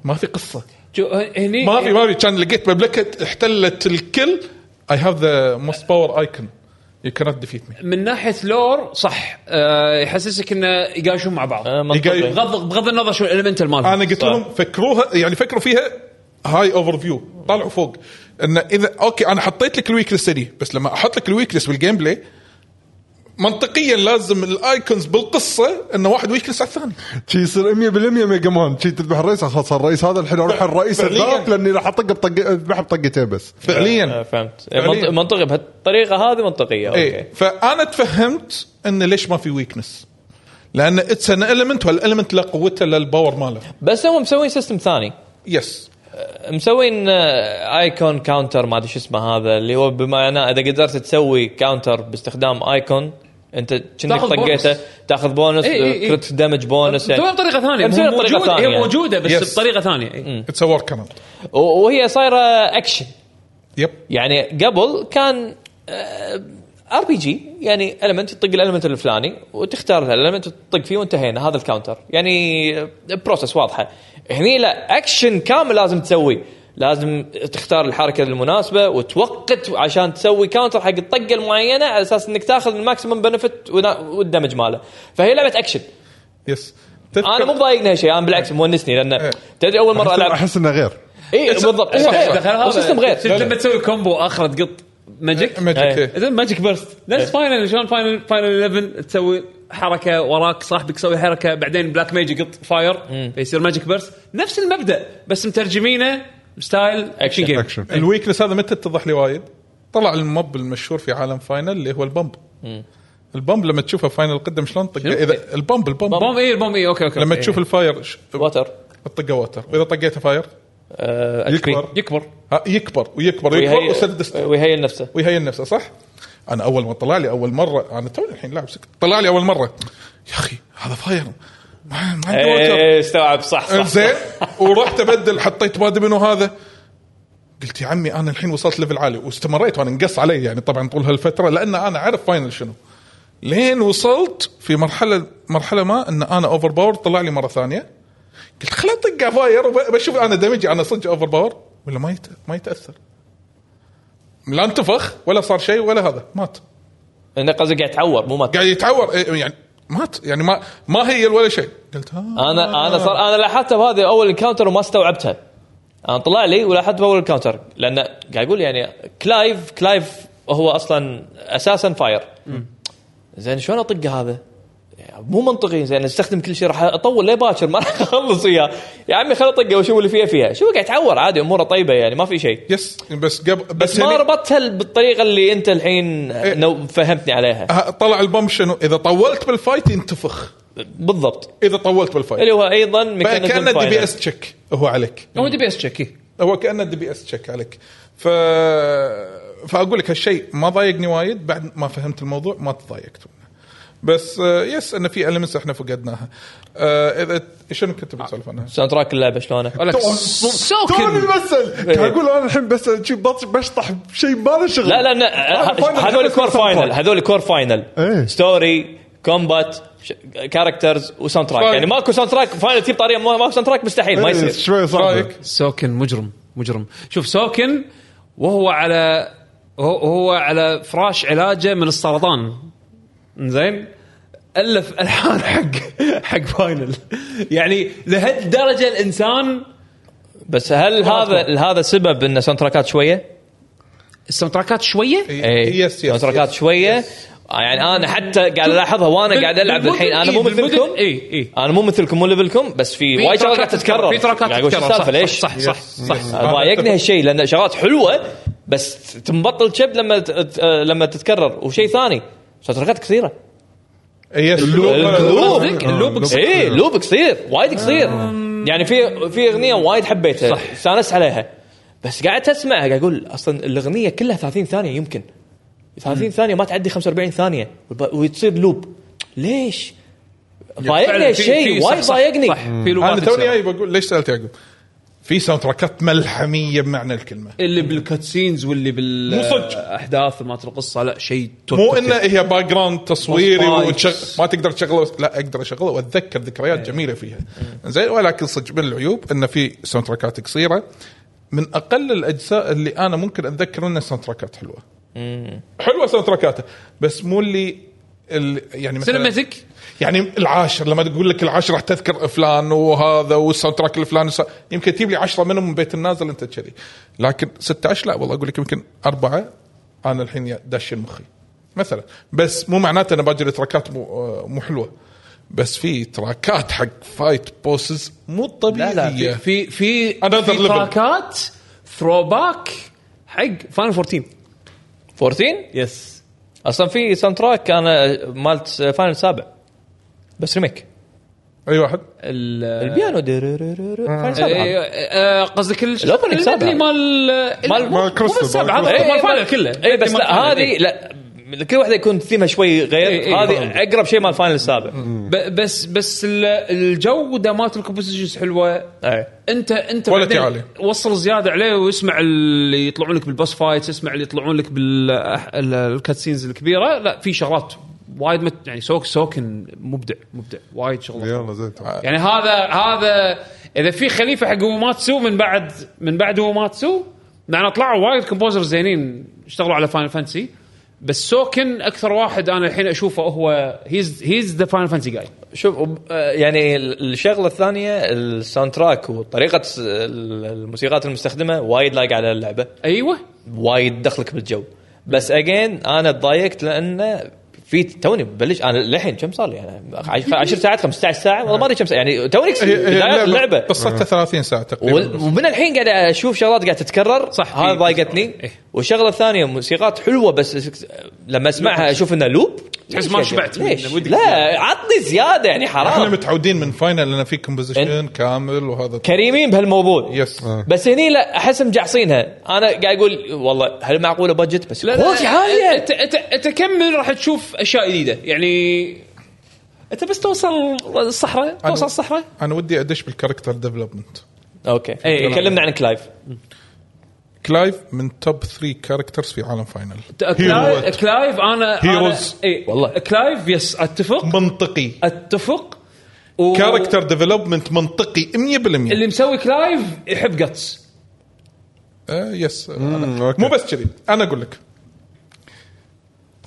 Speaker 2: ما في قصه
Speaker 1: جو- هني
Speaker 2: ما في ما في كان لقيت مملكه احتلت الكل اي هاف ذا موست باور ايكون يو كانت ديفيت مي
Speaker 1: من ناحيه لور صح آه، يحسسك انه يقاشون مع بعض
Speaker 4: آه، منطقي.
Speaker 2: يقايل.
Speaker 1: بغض بغض النظر شو الالمنتال مالهم
Speaker 2: انا قلت لهم فكروها يعني فكروا فيها هاي اوفر فيو طلعوا فوق ان اذا اوكي انا حطيت لك الويكنس هني بس لما احط لك الويكنس بالجيم بلاي منطقيا لازم الايكونز بالقصه انه واحد ويكنس على الثاني
Speaker 3: شي يصير 100% ميجا مان شي تذبح الرئيس خلاص الرئيس هذا الحين اروح الرئيس
Speaker 2: فعلياً.
Speaker 3: الذاك لاني راح اطق بطقه اذبحه بطقتين بس
Speaker 2: فعليا
Speaker 4: آه، فهمت
Speaker 2: فعلياً.
Speaker 4: منط- منطقي بهالطريقه هذه منطقيه اوكي
Speaker 2: ايه فانا تفهمت انه ليش ما في ويكنس لان اتس ان المنت والالمنت لا قوته لا الباور ماله
Speaker 4: بس هم مسوين سيستم ثاني
Speaker 2: يس
Speaker 4: مسوين آه، ايكون كاونتر ما ادري شو اسمه هذا اللي هو بمعنى اذا قدرت تسوي كاونتر باستخدام ايكون انت كأنك
Speaker 1: تاخذ بونص.
Speaker 4: طقيته تاخذ بونس
Speaker 1: إي إي إي.
Speaker 4: كريت دمج بونس يعني.
Speaker 1: مسويها بطريقه ثانيه
Speaker 4: مسويها
Speaker 1: هو
Speaker 4: بطريقه
Speaker 1: موجود-
Speaker 4: ثانيه
Speaker 1: هي
Speaker 4: يعني.
Speaker 1: موجوده بس
Speaker 2: Yes.
Speaker 1: بطريقه ثانيه
Speaker 4: إيه.
Speaker 1: إي.
Speaker 2: اتس ورك كمان
Speaker 4: و- وهي صايره اكشن
Speaker 2: يب
Speaker 4: يعني قبل كان آه، ار بي جي يعني المنت تطق الالمنت الفلاني وتختار الالمنت تطق فيه وانتهينا هذا الكاونتر يعني بروسس واضحه هني لا اكشن كامل لازم تسويه لازم تختار الحركه المناسبه وتوقت عشان تسوي كاونتر حق الطقه المعينه على اساس انك تاخذ الماكسيمم بنفت والدمج ماله فهي لعبه اكشن
Speaker 2: يس
Speaker 4: انا مو ضايقني شيء انا بالعكس مونسني لان تدري اول مره
Speaker 3: أحس-
Speaker 4: العب
Speaker 3: احس انه غير
Speaker 4: اي إيه، بالضبط هو غير.
Speaker 1: إيه، دخل هذا.
Speaker 4: هو سيستم غير
Speaker 1: شفت لما تسوي كومبو اخر تقط إيه. ماجيك
Speaker 2: ماجيك
Speaker 1: زين ماجيك بيرست
Speaker 4: إيه.
Speaker 1: نفس فاينل شلون فاينل فاينل 11 تسوي حركه وراك صاحبك يسوي حركه بعدين بلاك ميج يقط فاير فيصير ماجيك بيرست نفس المبدا بس مترجمينه ستايل اكشن جيم
Speaker 3: اكشن
Speaker 2: الويكنس هذا متى اتضح لي وايد؟ طلع الموب المشهور في عالم فاينل اللي هو البمب البمب لما تشوفه فاينل قدم شلون طق اذا البمب البمب
Speaker 1: بوم اي البوم اي اوكي اوكي
Speaker 2: لما
Speaker 1: أوكي.
Speaker 2: تشوف
Speaker 4: إيه.
Speaker 2: الفاير ش-
Speaker 4: واتر
Speaker 2: تطقه واتر واذا طقيته فاير
Speaker 1: إيه،
Speaker 4: آه، HP.
Speaker 2: يكبر
Speaker 1: يكبر
Speaker 2: ها، يكبر ويكبر ويكبر ويصير
Speaker 4: ويهيئ
Speaker 2: دست-
Speaker 4: ويهيئ نفسه
Speaker 2: ويهين نفسه صح؟ انا اول ما طلع لي اول مره انا توني الحين لاعب سكت طلع لي اول مره يا اخي هذا فاير ما ما عنده واتر
Speaker 4: إيه، استوعب صح صح
Speaker 2: زين ورحت ابدل حطيت ما ادري منو هذا قلت يا عمي انا الحين وصلت ليفل عالي واستمريت وانا انقص علي يعني طبعا طول هالفتره لان انا عارف فاينل شنو لين وصلت في مرحله مرحله ما ان انا اوفر باور طلع لي مره ثانيه قلت خل اطق فاير وبشوف انا دمجي انا صدق اوفر باور ولا ما يت... ما يتاثر لا انتفخ ولا صار شيء ولا هذا مات
Speaker 4: انه قصدي قاعد يتعور مو مات
Speaker 2: قاعد يتعور إيه، يعني مات يعني ما ما هي ولا شيء قلت آه. ها
Speaker 4: انا انا صار انا لاحظتها بهذه اول انكاونتر وما استوعبتها انا طلع لي ولاحظت باول انكاونتر لان قاعد اقول يعني كلايف كلايف هو اصلا اساسا فاير زين شلون اطقه هذا؟ يعني مو منطقي زين استخدم كل شيء راح اطول ليه باكر ما راح اخلص اياه يا عمي خل اطقه واشوف اللي فيها فيها شوف قاعد يتعور عادي اموره طيبه يعني ما في شيء
Speaker 2: يس بس قبل
Speaker 4: بس يعني إيه. ما
Speaker 2: هني-
Speaker 4: ربطتها بالطريقه اللي انت الحين نو- فهمتني عليها
Speaker 2: ها- طلع البمب شنو اذا طولت بالفايت ينتفخ
Speaker 4: بالضبط
Speaker 2: اذا طولت بالفايت
Speaker 4: اللي هو ايضا
Speaker 2: بقى
Speaker 4: ميكانيزم
Speaker 2: كانه دي بي
Speaker 4: فاينل.
Speaker 2: اس تشيك هو عليك
Speaker 1: هو دي بي اس تشيك
Speaker 2: هو كانه دي بي اس تشيك عليك ف فاقول لك هالشيء ما ضايقني وايد بعد ما فهمت الموضوع ما تضايقت منه. بس آه، يس انه في المنس احنا فقدناها آه، اذا شنو كنت بتسولف عنها؟
Speaker 4: ساوند تراك اللعبه شلونه؟
Speaker 3: توني
Speaker 1: سوكن
Speaker 3: بسال
Speaker 4: إيه.
Speaker 3: قاعد اقول انا الحين بسال شي بط- بشطح بشيء ما له شغل
Speaker 4: لا لا لا
Speaker 1: آه،
Speaker 4: آه،
Speaker 3: أنا فاينل
Speaker 4: هذول
Speaker 3: أحب
Speaker 4: كور
Speaker 3: الساوند تراك.
Speaker 4: فاينل هذول كور فاينل
Speaker 3: إيه.
Speaker 4: ستوري كومبات ش- كاركترز وساوند تراك
Speaker 2: فاينل.
Speaker 4: يعني ماكو ساوند تراك فاينل تجيب طريقه ما- ماكو ساوند تراك مستحيل ما
Speaker 3: إيه،
Speaker 4: يصير
Speaker 3: شوي صعب
Speaker 2: رايك؟
Speaker 1: أه، سوكن مجرم مجرم شوف سوكن وهو على هو- هو على فراش علاجه من السرطان زين الف الحان حق حق فاينل يعني لهالدرجه الانسان
Speaker 4: بس هل هذا هذا سبب ان ساوند تراكات شويه؟
Speaker 1: الساوند تراكات شويه
Speaker 4: إيه،
Speaker 2: يس
Speaker 4: ساوند
Speaker 2: يس
Speaker 4: تراكات شويه يعني انا حتى قاعد الاحظها وانا قاعد العب
Speaker 1: بالمدن-
Speaker 4: الحين انا مو
Speaker 1: إيه، بالمدن-
Speaker 4: مثلكم
Speaker 1: إيه، إيه.
Speaker 4: انا مو مثلكم مو ليفلكم بس في
Speaker 1: في
Speaker 4: وايد شغلات
Speaker 1: تراكات
Speaker 4: قاعد تتكرر
Speaker 1: في تراكات
Speaker 4: قاعد أقول شو
Speaker 1: تتكرر
Speaker 4: السالفة،
Speaker 1: صح
Speaker 4: ليش؟
Speaker 1: صح صح صح, صح.
Speaker 4: أنا ضايقني هالشيء لان شغلات حلوه بس تنبطل شب لما تت- لما تتكرر وشيء ثاني شطرقات كثيره
Speaker 2: يس
Speaker 4: اللوب
Speaker 1: قصدك اللوب قصير.
Speaker 4: ايه لوب قصير وايد قصير
Speaker 1: آه.
Speaker 4: يعني في في اغنيه وايد حبيتها صح استانست عليها بس قعدت اسمعها قاعد اقول اصلا الاغنيه كلها 30 ثانيه يمكن 30 ثانيه ما تعدي 45 ثانيه وب- وتصير لوب ليش؟ ضايقني
Speaker 1: فعلاً في- في-
Speaker 4: هالشيء
Speaker 1: صح-
Speaker 4: وايد
Speaker 1: صح-
Speaker 4: ضايقني
Speaker 1: صح. في
Speaker 2: انا
Speaker 1: لوبات
Speaker 2: توني
Speaker 1: تصير.
Speaker 2: جاي بقول ليش سالت يعقوب؟ في ساوند تراكات ملحميه بمعنى الكلمه
Speaker 1: اللي بالكاتسينز واللي بال
Speaker 2: مو صدق.
Speaker 1: احداث مالت القصه لا شيء
Speaker 2: مو انه هي باك جراوند تصويري
Speaker 1: Nice.
Speaker 2: وتشغ... ما تقدر تشغله لا اقدر اشغله واتذكر ذكريات جميله فيها زين ولكن صدق من العيوب انه في ساوند تراكات قصيره من اقل الاجزاء اللي انا ممكن اتذكر انها ساوند تراكات حلوه حلوه ساوند تراكاته بس مو اللي ال... يعني مثلا
Speaker 1: سينماتيك
Speaker 2: يعني العاشر لما تقول لك العاشر راح تذكر فلان وهذا والساوند تراك الفلان والسا- يمكن تجيب لي 10 منهم من بيت النازل انت كذي لكن 16 لا والله اقول لك يمكن اربعه انا الحين داشين مخي مثلا بس مو معناته انا باجي تراكات مو آه، مو حلوه بس في تراكات حق فايت بوسز مو
Speaker 1: لا
Speaker 2: طبيعيه
Speaker 1: لا في في في,
Speaker 2: Another
Speaker 1: في
Speaker 2: level.
Speaker 1: تراكات ثرو باك حق فاينل 14
Speaker 4: 14
Speaker 1: يس
Speaker 4: اصلا في آه، ساوند تراك انا مالت فاينل السابع بس ريميك
Speaker 2: اي واحد
Speaker 4: البيانو دررررر، فاينل
Speaker 1: إيه.
Speaker 4: السابع
Speaker 1: قصدك ال-
Speaker 4: الأوبننج
Speaker 1: اللي
Speaker 4: سابع.
Speaker 1: مال
Speaker 4: مال-
Speaker 1: مو- مو
Speaker 3: مال كريستال،
Speaker 1: بس سابع،
Speaker 3: مال
Speaker 1: هذا
Speaker 4: كريستال.
Speaker 1: مال فاينل كله
Speaker 4: اي بس
Speaker 1: مال
Speaker 4: لا
Speaker 1: فاينل،
Speaker 4: هذه
Speaker 1: إيه.
Speaker 4: لا كل واحده يكون ثيمها شوي
Speaker 1: إي،
Speaker 4: غير
Speaker 1: إي،
Speaker 4: هذه اقرب شيء مال فاينل السابع
Speaker 1: ب- بس بس ال- الجوده مالت الكومبوزيشنز حلوه
Speaker 4: إي.
Speaker 1: انت انت
Speaker 2: Quality
Speaker 1: بعدين
Speaker 2: عالي.
Speaker 1: وصل زياده عليه واسمع اللي يطلعون لك بالبوس فايتس اسمع اللي يطلعون لك بالكاتسينز الكبيره لا في شغلات وايد مت يعني سوك سوكن مبدع مبدع وايد شغلات
Speaker 3: يلا زين تعال.
Speaker 1: يعني هذا هذا اذا في خليفه حق اوماتسو من بعد من بعد اوماتسو يعني طلعوا وايد كومبوزر زينين اشتغلوا على فاينل فانتسي بس سوكن اكثر واحد انا الحين اشوفه هو هيز هيز ذا فاينل فانتسي جاي
Speaker 4: شوف وب- آه، يعني ال- الشغله الثانيه الساوند تراك وطريقه س- ال- الموسيقات المستخدمه وايد لايقه على اللعبه
Speaker 1: ايوه
Speaker 4: وايد دخلك بالجو بس اجين انا تضايقت لانه في توني ببلش انا للحين كم صار لي انا 10 ساعات 15 ساعه والله ما ادري كم ساعه يعني توني بداية اللعبه
Speaker 2: قصتها 30 ساعه
Speaker 4: وال-
Speaker 2: تقريبا
Speaker 4: ومن الحين قاعد اشوف شغلات قاعد تتكرر
Speaker 1: صح،
Speaker 4: هذا
Speaker 1: في-
Speaker 4: ضايقتني
Speaker 1: إيه.
Speaker 4: والشغله الثانيه موسيقات حلوه بس اس- لما اسمعها اشوف انها لوب
Speaker 1: تحس ما
Speaker 4: ليش يا
Speaker 1: شبعت
Speaker 4: جماعة؟ ليش؟
Speaker 1: منه، ودك
Speaker 4: لا عطني زياده يعني
Speaker 1: آه.
Speaker 2: احنا
Speaker 4: حرام
Speaker 2: متعودين من فاينل لان في كومبوزيشن كامل وهذا
Speaker 4: كريمين بهالموضوع
Speaker 2: يس
Speaker 4: بس هني لا احس مجعصينها انا قاعد اقول والله هل معقوله بادجت بس
Speaker 1: لا
Speaker 4: كواليتي عاليه
Speaker 1: انت انت انت كمل راح تشوف اشياء جديده يعني انت بس توصل الصحراء توصل الصحراء
Speaker 2: انا ودي ادش بالكاركتر ديفلوبمنت
Speaker 4: اوكي
Speaker 1: إيه.
Speaker 4: تكلمنا عن كلايف
Speaker 2: كلايف من توب 3 كاركترز في عالم فاينل
Speaker 1: كلايف كلايف انا
Speaker 2: Heroes.
Speaker 1: اي
Speaker 4: والله.
Speaker 1: إيه، والله كلايف يس اتفق
Speaker 2: منطقي
Speaker 1: اتفق و...
Speaker 2: كاركتر ديفلوبمنت منطقي 100%
Speaker 1: اللي مسوي كلايف يحب جاتس
Speaker 2: آه يس
Speaker 3: مم،
Speaker 2: أنا.
Speaker 3: أوكي.
Speaker 2: مو بس كذي انا اقول لك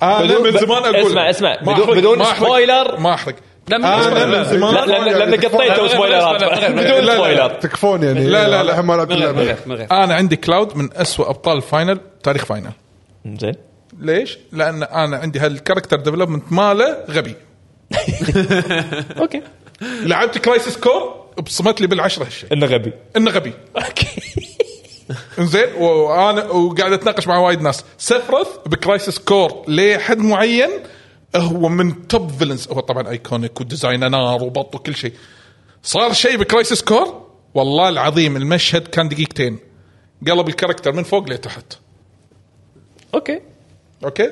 Speaker 2: انا من زمان اقول
Speaker 4: اسمع اسمع
Speaker 2: ما
Speaker 4: بدون,
Speaker 2: أحرق،
Speaker 4: بدون
Speaker 2: ما أحرق،
Speaker 4: سبويلر
Speaker 2: ما احرق
Speaker 1: لا، من-
Speaker 3: آه.
Speaker 2: انا
Speaker 1: لا،
Speaker 2: من
Speaker 1: لا،
Speaker 2: زمان
Speaker 4: لا لا لا لأن
Speaker 1: لا،
Speaker 4: قطيتوا سبويلرات
Speaker 1: لا، لا، لا، لا،
Speaker 4: بدون
Speaker 2: لا، لا.
Speaker 4: سبويلر
Speaker 3: تكفون يعني
Speaker 2: لا، لا، لا.
Speaker 3: الحين ما لعبت اللعبه
Speaker 1: من غير
Speaker 2: انا عندي كلاود من أسوأ ابطال فاينل تاريخ فاينل
Speaker 4: زين
Speaker 2: ليش؟ لان انا عندي هالكاركتر ديفلوبمنت ماله غبي
Speaker 4: اوكي
Speaker 2: لعبت كرايسيس كور بصمت لي بالعشره هالشيء
Speaker 4: انه غبي
Speaker 2: انه غبي
Speaker 4: اوكي
Speaker 2: انزين وانا وقاعد اتناقش مع وايد ناس سفرث بكرايسيس كور لحد معين هو من توب فيلنز هو طبعا ايكونيك وديزاينه نار وبط وكل شيء صار شيء بكرايسيس كور والله العظيم المشهد كان دقيقتين قلب الكاركتر من فوق لتحت
Speaker 4: اوكي
Speaker 2: اوكي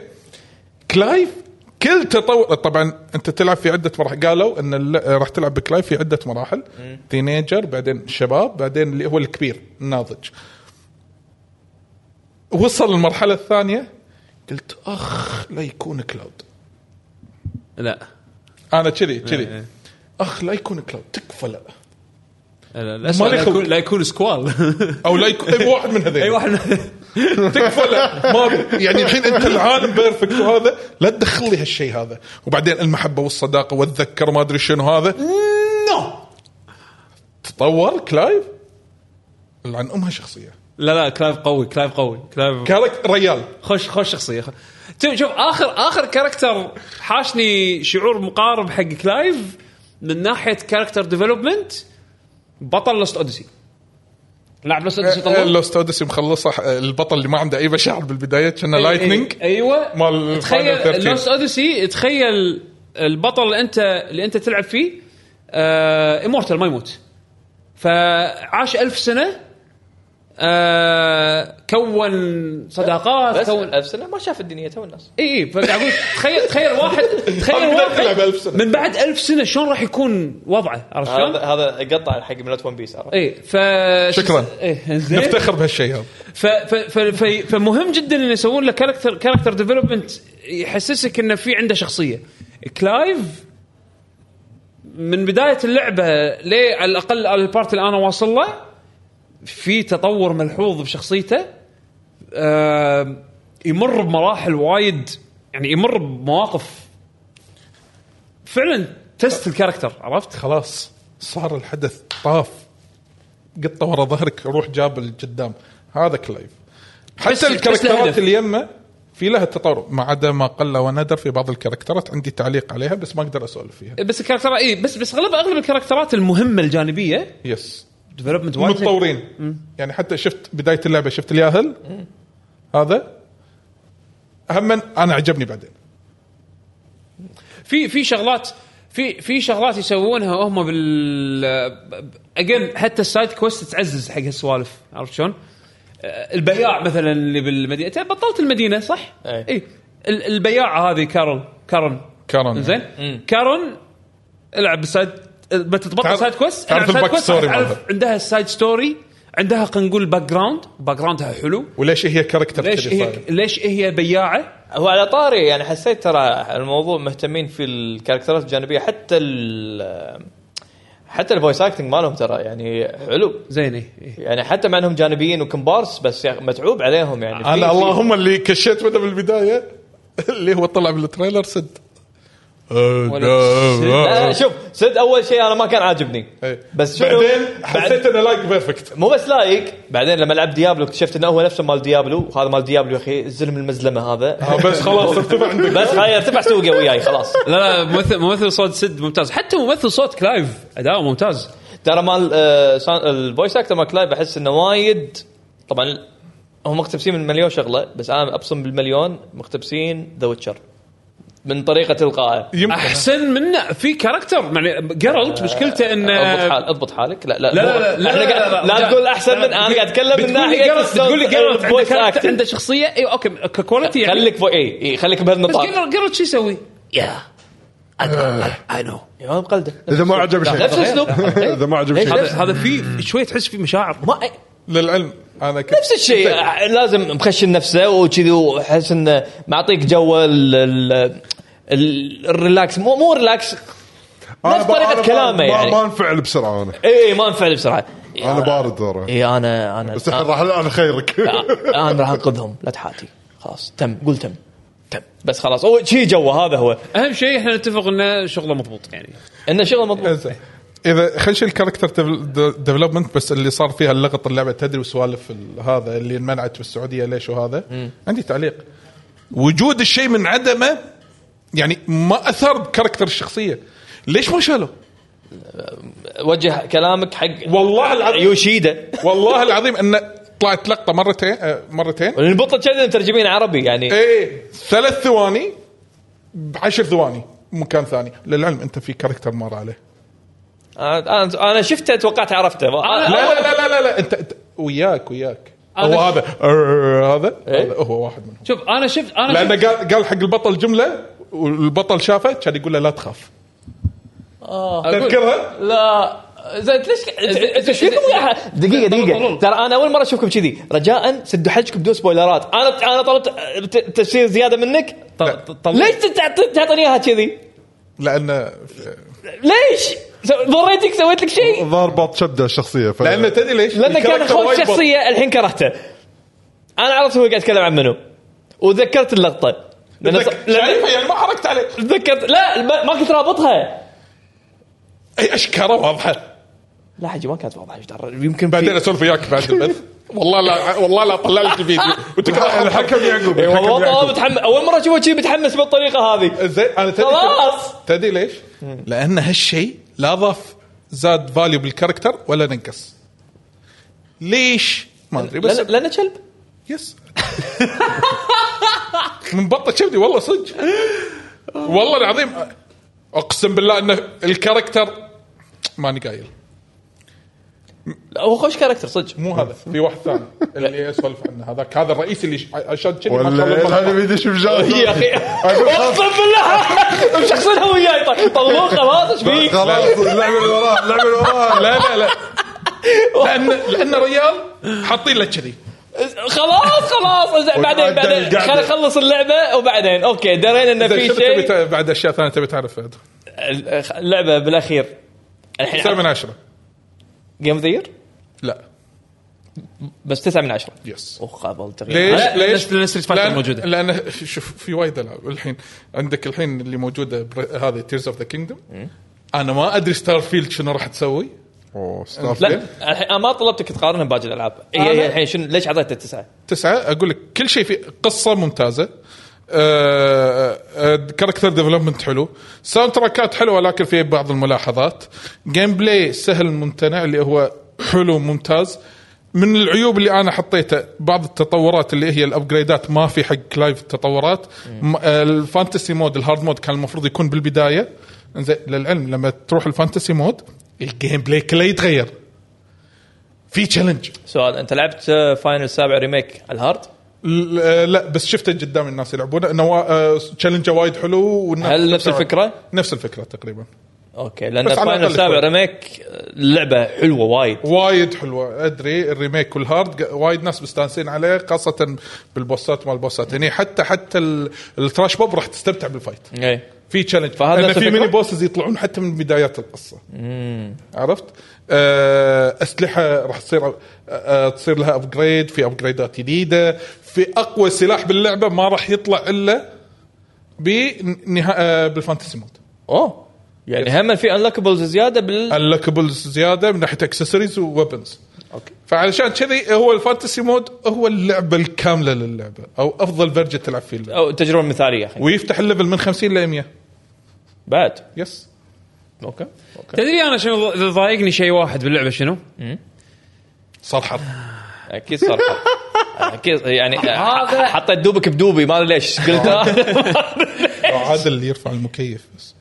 Speaker 2: كلايف كل تطور طبعا انت تلعب في عده مراحل قالوا ان ال- راح تلعب بكلايف في عده مراحل تينيجر بعدين شباب بعدين اللي هو الكبير الناضج وصل المرحله الثانيه قلت اخ لا يكون كلاود
Speaker 1: لا
Speaker 2: انا كذي كذي اخ لا يكون كلاود تكفى لا
Speaker 1: لا
Speaker 2: ما لي
Speaker 1: لا
Speaker 2: خلق.
Speaker 1: يكون- لا يكون سكوال
Speaker 2: او لا يكون اي واحد من هذين
Speaker 4: إيه،
Speaker 1: اي واحد
Speaker 2: تكفى لا ما أبي. يعني الحين انت العالم بيرفكت وهذا لا تدخل لي هالشيء هذا وبعدين المحبه والصداقه واتذكر ما ادري شنو هذا نو تطور كلايف لعن امها شخصيه
Speaker 1: لا لا كلايف قوي كلايف قوي كلايف
Speaker 2: كاركتر ريال
Speaker 1: خوش خوش شخصيه خ- شوف شوف اخر اخر كاركتر حاشني شعور مقارب حق كلايف من ناحيه كاركتر ديفلوبمنت بطل لوست اوديسي لاعب لوست اوديسي طلع
Speaker 2: لوست اوديسي مخلصه البطل اللي ما عنده اي مشاعر بالبدايه كنا لايتنينج
Speaker 1: ايوه
Speaker 2: مال Final 13.
Speaker 1: إيه، تخيل لوست اوديسي تخيل البطل اللي انت اللي انت تلعب فيه امورتال ما يموت فعاش ألف سنه آه كون صداقات
Speaker 4: بس
Speaker 1: كون
Speaker 4: ألف سنه ما شاف الدنيا تو الناس
Speaker 1: اي اي إيه، فقاعد اقول تخيل تخيل واحد تخيل
Speaker 2: أقدر ألعب ألف
Speaker 1: واحد
Speaker 2: سنة.
Speaker 1: من بعد ألف سنه شلون راح يكون وضعه عرفت شلون؟
Speaker 4: هذا هذا قطع حق ملات ون بيس عرفت؟
Speaker 1: اي ف إيه،
Speaker 2: شكراً.
Speaker 1: اي زين
Speaker 2: نفتخر بهالشيء هذا
Speaker 1: ف... ف... ف... ف... فمهم جدا انه يسوون له كاركتر كاركتر ديفلوبمنت يحسسك انه في عنده شخصيه كلايف من بدايه اللعبه ليه على الاقل على البارت اللي انا واصل له في تطور ملحوظ بشخصيته آه يمر بمراحل وايد يعني يمر بمواقف فعلا تست الكاركتر عرفت؟
Speaker 2: خلاص صار الحدث طاف قطه ورا ظهرك روح جاب القدام هذا كلايف
Speaker 1: بس-
Speaker 2: حتى
Speaker 1: بس له
Speaker 2: الكاركترات
Speaker 1: هدف.
Speaker 2: اللي يمه في لها تطور ما عدا ما قل وندر في بعض الكاركترات عندي تعليق عليها بس ما اقدر اسولف فيها
Speaker 1: بس الكاركتر اي بس بس اغلب اغلب الكاركترات المهمه الجانبيه
Speaker 2: يس
Speaker 1: ديفلوبمنت وايد
Speaker 2: متطورين يعني حتى شفت بدايه اللعبه شفت الياهل هذا هم انا عجبني بعدين
Speaker 1: في في شغلات في في شغلات يسوونها هم بال اجين حتى السايد كويست تعزز حق هالسوالف عرفت شلون؟ آه، البياع مثلا اللي بالمدينه ترى بطلت المدينه صح؟
Speaker 2: إيه.
Speaker 4: أي.
Speaker 1: اي ال- البياعه هذه كارون كارون
Speaker 2: كارون.
Speaker 1: زين كارون العب بالسايد بس تبطل
Speaker 2: تعرف-
Speaker 1: سايد كويست
Speaker 2: تعرف
Speaker 1: العب side
Speaker 2: الباك
Speaker 1: quest،
Speaker 2: ستوري
Speaker 1: تعرف
Speaker 2: مالها.
Speaker 1: عندها السايد ستوري عندها خلينا نقول باك جراوند باك جراوندها حلو
Speaker 2: وليش هي كاركتر
Speaker 1: ليش
Speaker 2: كذي
Speaker 1: هي
Speaker 2: صاير؟
Speaker 1: ليش هي بياعه
Speaker 4: هو على طاري يعني حسيت ترى الموضوع مهتمين في الكاركترات الجانبيه حتى ال حتى الفويس اكتنج مالهم ترى يعني حلو
Speaker 1: زين إيه، إيه.
Speaker 4: يعني حتى مع انهم جانبيين وكمبارس بس يا أخي متعوب عليهم يعني في-
Speaker 2: انا
Speaker 4: في-
Speaker 2: اللهم اللي كشيت منه بالبدايه اللي هو طلع بالتريلر سد
Speaker 4: لا، شوف صدق اول شيء انا ما كان عاجبني بس شنو
Speaker 2: إيه. بعدين حسيت انه لايك بيرفكت
Speaker 4: مو بس لايق بعدين لما لعبت ديابلو اكتشفت انه هو نفسه مال ديابلو وهذا مال ديابلو يا اخي الزلم المزلمه
Speaker 1: آه،
Speaker 4: هذا
Speaker 2: بس خلاص ارتفع عندك
Speaker 4: بس هاي ارتفع سوقه وياي خلاص
Speaker 1: لا لا ممثل ممثل صوت سد ممتاز حتى ممثل صوت كلايف اداؤه ممتاز
Speaker 4: ترى مال آه، سان- الفويس اكتر مال كلايف احس انه وايد طبعا هم مقتبسين من مليون شغله بس انا ابصم بالمليون مقتبسين ذا ويتشر من طريقه القائه
Speaker 2: يمكن
Speaker 1: احسن منه في كاركتر يعني جيرالت مشكلته انه
Speaker 4: اضبط حال اضبط حالك لا لا
Speaker 1: يعني لا لا لا لا
Speaker 4: احنا
Speaker 1: لا لا
Speaker 4: قاعد-
Speaker 1: لا
Speaker 4: لا
Speaker 1: لا.
Speaker 4: تقول احسن من انا قاعد اتكلم من
Speaker 1: بتقول لي
Speaker 4: ناحيه
Speaker 1: Geralt-
Speaker 4: الصوت-
Speaker 1: تقول لي Geralt عنده
Speaker 4: الفويس
Speaker 1: كاركتر-
Speaker 4: اكتنج
Speaker 1: عنده شخصيه اي اوكي ككواليتي يعني
Speaker 4: خليك فوق اي اي خليك
Speaker 1: بس
Speaker 4: بهالنطاق
Speaker 1: جيرالت شو يسوي؟ يا
Speaker 2: Uh.
Speaker 1: اي نو
Speaker 4: يا ما مقلده
Speaker 3: اذا ما عجب شيء
Speaker 4: نفس الاسلوب
Speaker 3: اذا ما عجب شيء
Speaker 1: هذا هذا في شوي تحس في مشاعر
Speaker 4: ما
Speaker 2: للعلم انا ك...
Speaker 4: نفس الشيء آه، لازم مخشن نفسه وكذي وحس انه معطيك جو ال- ال- ال- الريلاكس مو مو ريلاكس
Speaker 3: أنا
Speaker 4: نفس
Speaker 3: ب-
Speaker 4: طريقة
Speaker 3: أنا ب-
Speaker 4: كلامه
Speaker 3: ما-
Speaker 4: يعني.
Speaker 3: ما انفعل بسرعه انا
Speaker 4: اي إيه، ما انفعل بسرعه
Speaker 3: انا بارد ترى
Speaker 4: اي انا انا
Speaker 3: بس الحين راح انا خيرك
Speaker 4: آه، انا راح انقذهم لا تحاتي خلاص تم قول تم تم بس خلاص هو شي جوه هذا هو
Speaker 1: اهم شيء احنا نتفق انه شغله مضبوط يعني
Speaker 4: انه شغل مضبوط
Speaker 2: إنزين. اذا خلينا نشيل الكاركتر ديفلوبمنت بس اللي صار فيها اللغط اللعبه تدري وسوالف ال- هذا اللي انمنعت بالسعوديه ليش وهذا عندي تعليق وجود الشيء من عدمه يعني ما اثر بكاركتر الشخصيه ليش ما شالوا؟
Speaker 4: وجه كلامك حق
Speaker 2: والله العظيم.
Speaker 4: يوشيدا
Speaker 2: والله العظيم ان طلعت لقطه مرتين آه، مرتين
Speaker 4: البطل كذا مترجمين عربي يعني
Speaker 2: ايه ثلاث ثواني بعشر ثواني مكان ثاني للعلم انت في كاركتر مر عليه
Speaker 4: انا أنا- انا شفته توقعت عرفته
Speaker 2: لا لا لا لا لا, لا. انت, انت وياك وياك هو هذا آه، هذا
Speaker 4: إيه؟
Speaker 2: هذا هو واحد منهم
Speaker 1: شوف انا شفت انا شفت
Speaker 2: لانه قال قال حق البطل جمله والبطل شافه كان يقول له لا تخاف تذكرها
Speaker 4: لا زين ليش أنت- انت شو لكم يا- دقيقه دقيقه ترى انا اول مره اشوفكم كذي رجاء سدوا حجكم بدون سبويلرات انا انا طلبت ت- تفسير زياده منك ليش تعطي- تعطيني اياها كذي؟
Speaker 2: لانه
Speaker 4: ليش؟ سو- ضريتك سويت لك شيء
Speaker 3: ضاربط شبده الشخصيه ف...
Speaker 2: لانه تدري ليش
Speaker 4: لانه كان
Speaker 2: الكاركتر
Speaker 4: خوف
Speaker 2: وايد بط.
Speaker 4: شخصيه الحين كرهته انا عرفت هو قاعد يتكلم عن منو وتذكرت اللقطه لأن-
Speaker 2: تذك- شايفها
Speaker 4: لأن-
Speaker 2: يعني ما حركت عليه
Speaker 4: تذكرت لا ما- ما كنت رابطها
Speaker 2: اي اشكره واضحه
Speaker 4: لا حجي ما كانت واضحه إيش درى؟ يمكن في-
Speaker 2: بعدين اسولف وياك بعد البث والله لا والله لا طلع لك الفيديو إيه، وتقرا
Speaker 3: الحكم يعقوب الحكم
Speaker 4: والله والله
Speaker 3: يعقوب
Speaker 4: متحمس اول مره اشوفه كذي متحمس بالطريقه هذه
Speaker 2: زين انا تدري
Speaker 4: خلاص.
Speaker 2: شو- تدري ليش؟ لان هالشيء لا ضاف زاد فاليو بالكاركتر ولا نقص ليش؟ ما ادري بس
Speaker 4: لأن- لانه كلب
Speaker 2: يس من بطه كبدي والله صدق والله العظيم اقسم بالله انه الكاركتر ماني قايل
Speaker 4: لا، هو خوش كاركتر صدق
Speaker 2: مو هذا في واحد ثاني اللي اسولف عنه هذاك هذا الرئيس اللي ش- اشد كذي ما شاء
Speaker 3: ولا
Speaker 2: الله
Speaker 3: هذا بيدش
Speaker 4: هي يا
Speaker 3: بجاز
Speaker 4: اخي اقسم بالله مشخصنها وياي طيب، طلوه خلاص ايش فيك؟
Speaker 3: خلاص اللعبه اللي وراها اللعبه اللي وراها
Speaker 2: لا لا لا لان لان ريال حاطين له كذي
Speaker 4: خلاص خلاص زين، بعدين
Speaker 3: وقعد
Speaker 4: بعدين
Speaker 3: القعدة.
Speaker 4: خلينا نخلص اللعبه وبعدين اوكي درينا انه
Speaker 2: إذا
Speaker 4: في
Speaker 2: شنو تبي
Speaker 4: شيء يعني.
Speaker 2: ت- بعد اشياء ثانيه تبي تعرفها
Speaker 4: اللعبه بالاخير الحين
Speaker 2: تسعة من عشرة
Speaker 4: جيم ذير
Speaker 2: لا
Speaker 4: بس 9 من 10
Speaker 2: يس
Speaker 4: اخ هذا التغيير
Speaker 2: ليش
Speaker 1: لا،
Speaker 2: ليش
Speaker 1: لأن- لأن Street Fighter
Speaker 2: لأن-
Speaker 1: موجودة.
Speaker 2: لان شوف في وايد العاب الحين عندك الحين اللي موجوده بر- هذه تيرز اوف ذا كينجدوم انا ما ادري ستار فيلد شنو راح تسوي اوه ستار
Speaker 4: لا
Speaker 2: فيلد
Speaker 4: الحين أنا ما طلبتك تقارنها باقي الالعاب هي هي الحين شنو ليش اعطيته تسعه؟
Speaker 2: تسعه اقول لك كل شيء فيه قصه ممتازه آه، آه، كاركتر ديفلوبمنت حلو ساوند تراكات حلوه لكن فيه بعض الملاحظات جيم بلاي سهل ممتنع اللي هو حلو ممتاز من العيوب اللي انا حطيته بعض التطورات اللي هي الابجريدات ما في حق كلايف التطورات م- آه، الفانتسي مود الهارد مود كان المفروض يكون بالبدايه زين للعلم لما تروح الفانتسي مود الجيم بلاي كله يتغير في تشالنج
Speaker 4: سؤال انت لعبت فاينل سابع ريميك على الهارد؟
Speaker 2: ل- آه، لا بس شفته قدام الناس يلعبونه انه وا- آه، تشالنجه وايد حلو والناس
Speaker 4: هل نفس الفكرة؟
Speaker 2: نفس الفكره تقريبا
Speaker 4: اوكي لان
Speaker 2: بس على
Speaker 4: فاينل
Speaker 2: الأقل
Speaker 4: سابع
Speaker 2: شوي.
Speaker 4: ريميك اللعبه حلوه وايد
Speaker 2: وايد حلوه ادري الريميك والهارد ق- وايد ناس مستانسين عليه خاصه بالبوسات مال البوسات هني حتى حتى ال- التراش بوب راح تستمتع بالفايت
Speaker 4: ايه
Speaker 2: في تشالنج
Speaker 4: فهذا
Speaker 2: لان
Speaker 4: نفس
Speaker 2: في
Speaker 4: الفكرة؟
Speaker 2: ميني بوسز يطلعون حتى من بدايات القصه عرفت؟ آه، اسلحه راح تصير آه، آه، تصير لها ابجريد في ابجريدات جديده في اقوى سلاح باللعبه ما راح يطلع الا بنها... آه، بالفانتسي مود
Speaker 4: اوه يعني هم في انلوكبلز زياده بال
Speaker 2: اللوكبلز زياده من ناحيه اكسسوارز وويبنز
Speaker 4: اوكي
Speaker 2: فعلشان كذي هو الفانتسي مود هو اللعبه الكامله للعبه او افضل فيرجن تلعب فيه اللعبة.
Speaker 4: او التجربه المثاليه الحين
Speaker 2: ويفتح الليفل من 50 ل 100
Speaker 4: بعد
Speaker 2: يس
Speaker 4: اوكي اوكي
Speaker 1: تدري انا شنو ض- ضايقني شيء واحد باللعبه شنو؟
Speaker 2: صار حرب
Speaker 4: اكيد صار اكيد يعني ح- حطيت دوبك بدوبي ما ادري ليش قلت
Speaker 2: عاد اللي يرفع المكيف بس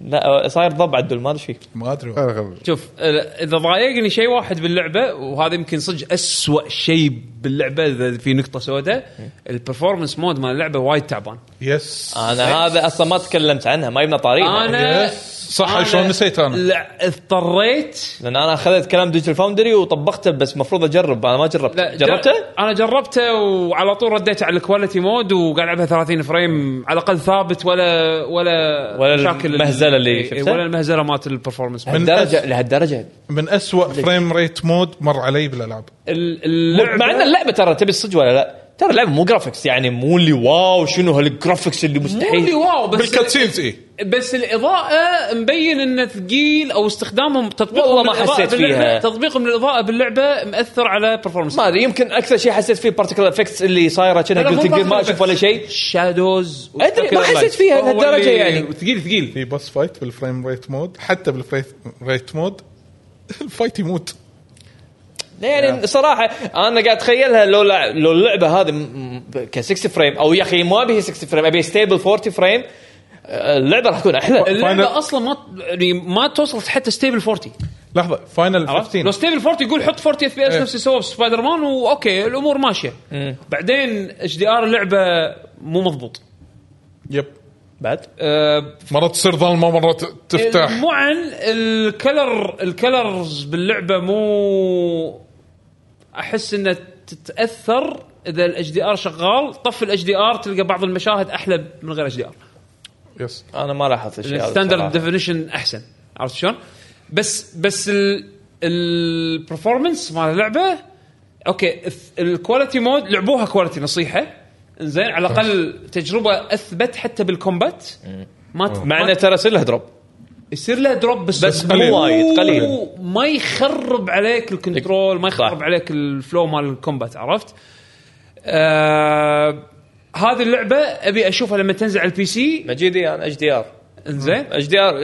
Speaker 4: لا صاير ضب عدل ما ادري شيء
Speaker 2: ما ادري
Speaker 3: أنا غير-
Speaker 1: شوف آه، اذا ضايقني شيء واحد باللعبه وهذا يمكن صدق أسوأ شيء باللعبه اذا في نقطه سوداء البرفورمنس مود مال اللعبه وايد تعبان
Speaker 2: يس
Speaker 4: انا هذا اصلا ما تكلمت عنها ما يبنى طريقها
Speaker 1: انا
Speaker 2: صح، شلون نسيت أنا؟
Speaker 1: لا اضطريت
Speaker 4: لان انا اخذت كلام ديجيتال فاوندري وطبقته بس المفروض اجرب انا ما
Speaker 1: لا
Speaker 4: جربته
Speaker 1: جر-
Speaker 4: جربته؟
Speaker 1: انا جربته وعلى طول رديت على الكواليتي مود وقاعد العبها 30 فريم على الاقل ثابت ولا ولا
Speaker 4: ولا
Speaker 1: مشاكل ال-
Speaker 4: المهزلة اللي
Speaker 1: إيه،
Speaker 4: شفتها؟
Speaker 1: ولا المهزله مالت البرفورمنس مود.
Speaker 4: لهالدرجه لهالدرجه
Speaker 2: من أسوأ فريم ريت مود مر علي بالالعاب
Speaker 1: ال-
Speaker 4: مع ان
Speaker 1: اللعبه
Speaker 4: اللعبه ترى تبي الصج ولا لا؟ ترى اللعبه مو جرافيكس يعني مو اللي واو شنو هالجرافيكس اللي
Speaker 1: مو اللي
Speaker 4: مستحيل
Speaker 1: واو بس
Speaker 2: بالكاتسينز اي
Speaker 1: بس الاضاءه مبين انه ثقيل او استخدامهم تطبيقهم
Speaker 4: والله ما
Speaker 1: للإضاءة
Speaker 4: حسيت
Speaker 1: باللعبة-
Speaker 4: فيها.
Speaker 1: تطبيقهم للاضاءه باللعبه مأثر على برفورمنس
Speaker 4: ما ادري يمكن اكثر شيء حسيت فيه بارتيكل افكتس اللي صايره كنا قلت جير ما اشوف ولا شيء
Speaker 1: شادوز
Speaker 4: أدري، ما حسيت فيها لهالدرجة يعني.
Speaker 1: ثقيل ثقيل
Speaker 2: في بوس فايت بالفريم ريت مود حتى بالفريم ريت مود الفايت يموت
Speaker 4: لا يعني صراحه انا قاعد اتخيلها لو لع- لو اللعبه هذه م- م- ك 60 فريم او يا اخي ما ابي 60 فريم ابي ستيبل 40 فريم اللعبه آه، راح تكون احلى
Speaker 1: اللعبه اصلا ما يعني ما توصلت حتى ستيبل 40
Speaker 2: لحظه فاينل
Speaker 1: عرفت؟ لو
Speaker 2: 15
Speaker 1: ستيبل 40 يقول حط 40 اف بي اس
Speaker 2: إيه.
Speaker 1: نفس اللي سووه بسبايدر مان واوكي الامور ماشيه
Speaker 4: إيه.
Speaker 1: بعدين اتش دي ار اللعبه مو مضبوط
Speaker 2: يب
Speaker 4: بعد آه،
Speaker 1: أه
Speaker 2: مرات تصير ظلمه مرات تفتح
Speaker 1: المعن الكلر الكلرز باللعبه مو احس انها تتاثر اذا الاتش دي ار شغال طف الاتش دي ار تلقى بعض المشاهد احلى من غير اتش دي ار
Speaker 2: يس
Speaker 4: انا ما لاحظت الشيء هذا
Speaker 1: الستاندرد
Speaker 4: صراحة.
Speaker 1: ديفينيشن احسن عرفت شلون؟ بس بس البرفورمنس مال اللعبه اوكي الث- الكواليتي مود لعبوها كواليتي نصيحه زين على الاقل تجربه اثبت حتى بالكومبات ما ت-
Speaker 4: مع
Speaker 1: ما
Speaker 4: انه ترى يصير لها دروب
Speaker 1: يصير له دروب بس
Speaker 4: بس مو وايد، قليل.
Speaker 1: ما يخرب عليك الكنترول ما يخرب
Speaker 4: صح.
Speaker 1: عليك الفلو مال الكومبات عرفت؟ آه هذه اللعبه ابي اشوفها لما تنزل على البي سي
Speaker 4: مجيدي انا اتش دي ار
Speaker 1: زين
Speaker 4: اتش دي ار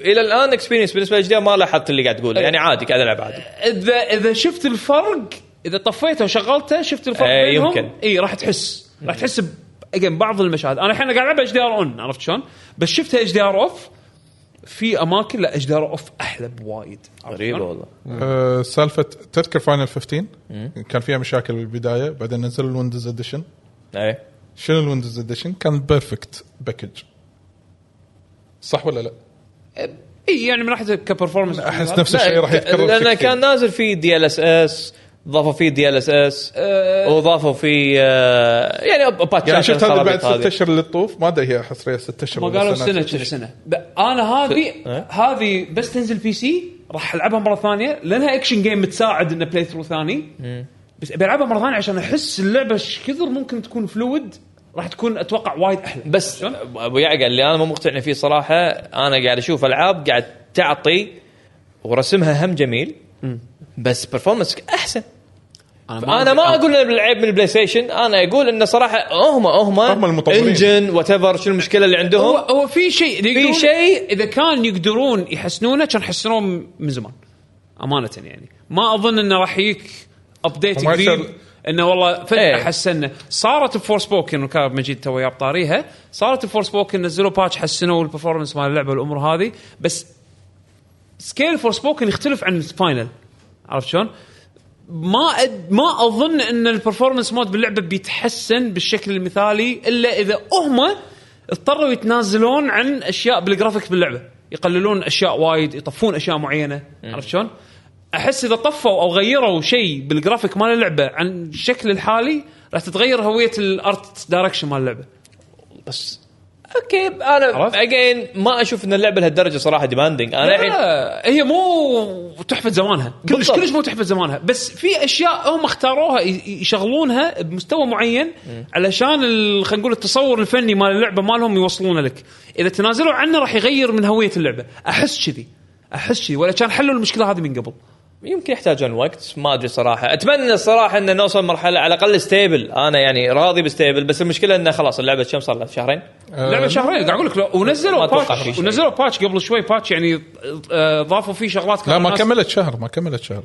Speaker 4: الى الان اكسبيرينس بالنسبه لاتش دي ار ما لاحظت اللي قاعد تقوله يعني عادي قاعد العب عادي
Speaker 1: اذا اذا شفت الفرق اذا طفيته وشغلته شفت الفرق
Speaker 4: إيه،
Speaker 1: بينهم
Speaker 4: يمكن.
Speaker 1: اي راح تحس راح تحس ب again بعض المشاهد انا الحين قاعد العب اتش دي ار اون عرفت شلون؟ بس شفتها اتش دي ار اوف في اماكن لا اتش دي ار اوف احلى بوايد عرفت
Speaker 4: غريبه
Speaker 1: شلون؟
Speaker 4: والله
Speaker 2: آه، سالفه تذكر فاينل 15 كان فيها مشاكل بالبدايه بعدين نزلوا الويندوز اديشن
Speaker 4: ايه
Speaker 2: شنو الويندوز اديشن كان بيرفكت باكج صح ولا لا؟
Speaker 1: اي يعني من ناحيه كبرفورمنس
Speaker 2: احس نفس الشيء راح يتكرر فيه
Speaker 4: لانه
Speaker 2: كثير.
Speaker 4: كان نازل في دي ال اس اس ضافوا فيه دي ال اس اس وضافوا فيه آه، يعني باتشات
Speaker 2: يعني شفت هذا بعد
Speaker 4: الخرابيط
Speaker 2: ست
Speaker 4: هذه.
Speaker 2: اشهر للطوف ما ادري هي حصريه ست اشهر
Speaker 1: ما
Speaker 2: ولا
Speaker 1: قالوا
Speaker 2: سنة.
Speaker 1: سنه كذا سنه ب- انا هذه
Speaker 4: إيه؟
Speaker 1: هذه بس تنزل بي سي راح العبها مره ثانيه لانها اكشن جيم تساعد انه بلاي ثرو ثاني بس ابي العبها مره ثانيه عشان احس اللعبه ايش كثر ممكن تكون فلويد راح تكون اتوقع وايد احلى
Speaker 4: بس
Speaker 1: شلون؟
Speaker 4: ابو يعقل اللي انا مو مقتنع فيه صراحه انا قاعد اشوف العاب قاعد تعطي ورسمها هم جميل بس برفورمانس احسن انا
Speaker 1: أدري.
Speaker 4: ما اقول ان العيب من البلاي ستيشن انا اقول انه صراحه هم هم
Speaker 2: هم المطورين.
Speaker 4: انجن وات ايفر شنو المشكله اللي
Speaker 1: هو
Speaker 4: عندهم
Speaker 1: هو في شيء إذا يقدرون-
Speaker 4: شيء-
Speaker 1: اذا كان يقدرون يحسنونه كان حسنوه من زمان امانه يعني ما اظن انه راح يجيك ابديت
Speaker 2: وما
Speaker 1: قريب
Speaker 2: يصير-
Speaker 1: انه والله فجاه
Speaker 4: إيه.
Speaker 1: حسنا صارت بفور سبوكن وكاب مجيد تو جاب طاريها صارت بفور سبوكن نزلوا باتش حسنوا البرفورمنس مال اللعبه والامور هذه بس سكيل فور سبوكن يختلف عن الفاينل عرفت شلون؟ ما أد... ما اظن ان البرفورمانس مود باللعبه بيتحسن بالشكل المثالي الا اذا هم اضطروا يتنازلون عن اشياء بالجرافيك باللعبه يقللون اشياء وايد يطفون اشياء معينه عرفت شلون؟ احس اذا طفوا او غيروا شيء بالجرافيك مال اللعبه عن الشكل الحالي راح تتغير هويه الارت دايركشن مال اللعبه
Speaker 4: بس اوكي انا
Speaker 1: عرفت؟
Speaker 4: اجين ما اشوف ان اللعبه لهالدرجه صراحه ديماندنج انا الحين
Speaker 1: لا، هي مو تحفه زمانها كلش
Speaker 4: بالضبط.
Speaker 1: كلش مو تحفه زمانها بس في اشياء هم اختاروها ي- يشغلونها بمستوى معين علشان ال- خلينا نقول التصور الفني مال اللعبه مالهم يوصلونه لك اذا تنازلوا عنه راح يغير من هويه اللعبه احس كذي احس كذي ولا كان حلوا المشكله هذه من قبل
Speaker 4: يمكن يحتاجون وقت ما ادري صراحه اتمنى الصراحه ان نوصل مرحله على الاقل ستيبل انا يعني راضي بستيبل بس المشكله انه خلاص اللعبه كم صار لها شهرين
Speaker 1: لعبه شهرين قاعد اقول لك لو- ونزلوا
Speaker 4: ما أتوقع في
Speaker 1: باتش
Speaker 4: شيء.
Speaker 1: ونزلوا باتش قبل شوي باتش يعني آه، ضافوا فيه شغلات
Speaker 2: لا
Speaker 1: كانوا
Speaker 2: ما
Speaker 1: الناس-
Speaker 2: كملت شهر ما كملت شهر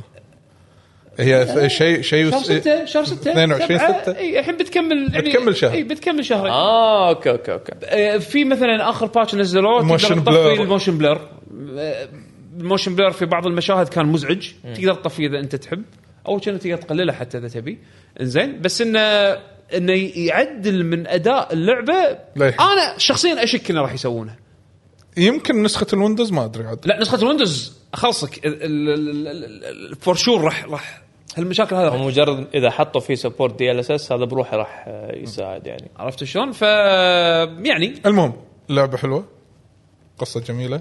Speaker 2: هي ف- شيء شيء
Speaker 1: شهر 6 شهر 6
Speaker 2: 22 6.
Speaker 1: الحين بتكمل يعني-
Speaker 2: بتكمل شهر.
Speaker 1: اي بتكمل شهرين
Speaker 4: اه اوكي اوكي اوكي
Speaker 1: آه، في مثلا اخر باتش نزلوه تقدر
Speaker 2: Motion
Speaker 1: تطفي
Speaker 2: blur.
Speaker 1: الموشن بلر آه، الموشن بلر في بعض المشاهد كان مزعج تقدر تطفيه اذا انت تحب او كأنه تقدر تقلله حتى اذا تبي انزين بس انه انه يعدل من اداء اللعبه
Speaker 2: لا يحب.
Speaker 1: انا شخصيا اشك انه راح يسوونه
Speaker 2: يمكن نسخه الويندوز ما ادري عاد
Speaker 1: لا نسخه الويندوز خلصك فور شور راح راح هالمشاكل هذه راح
Speaker 4: مجرد اذا حطوا فيه سبورت دي ال اس اس هذا بروحه راح آه، يساعد يعني
Speaker 1: عرفت شلون ف يعني
Speaker 2: المهم لعبه حلوه قصه جميله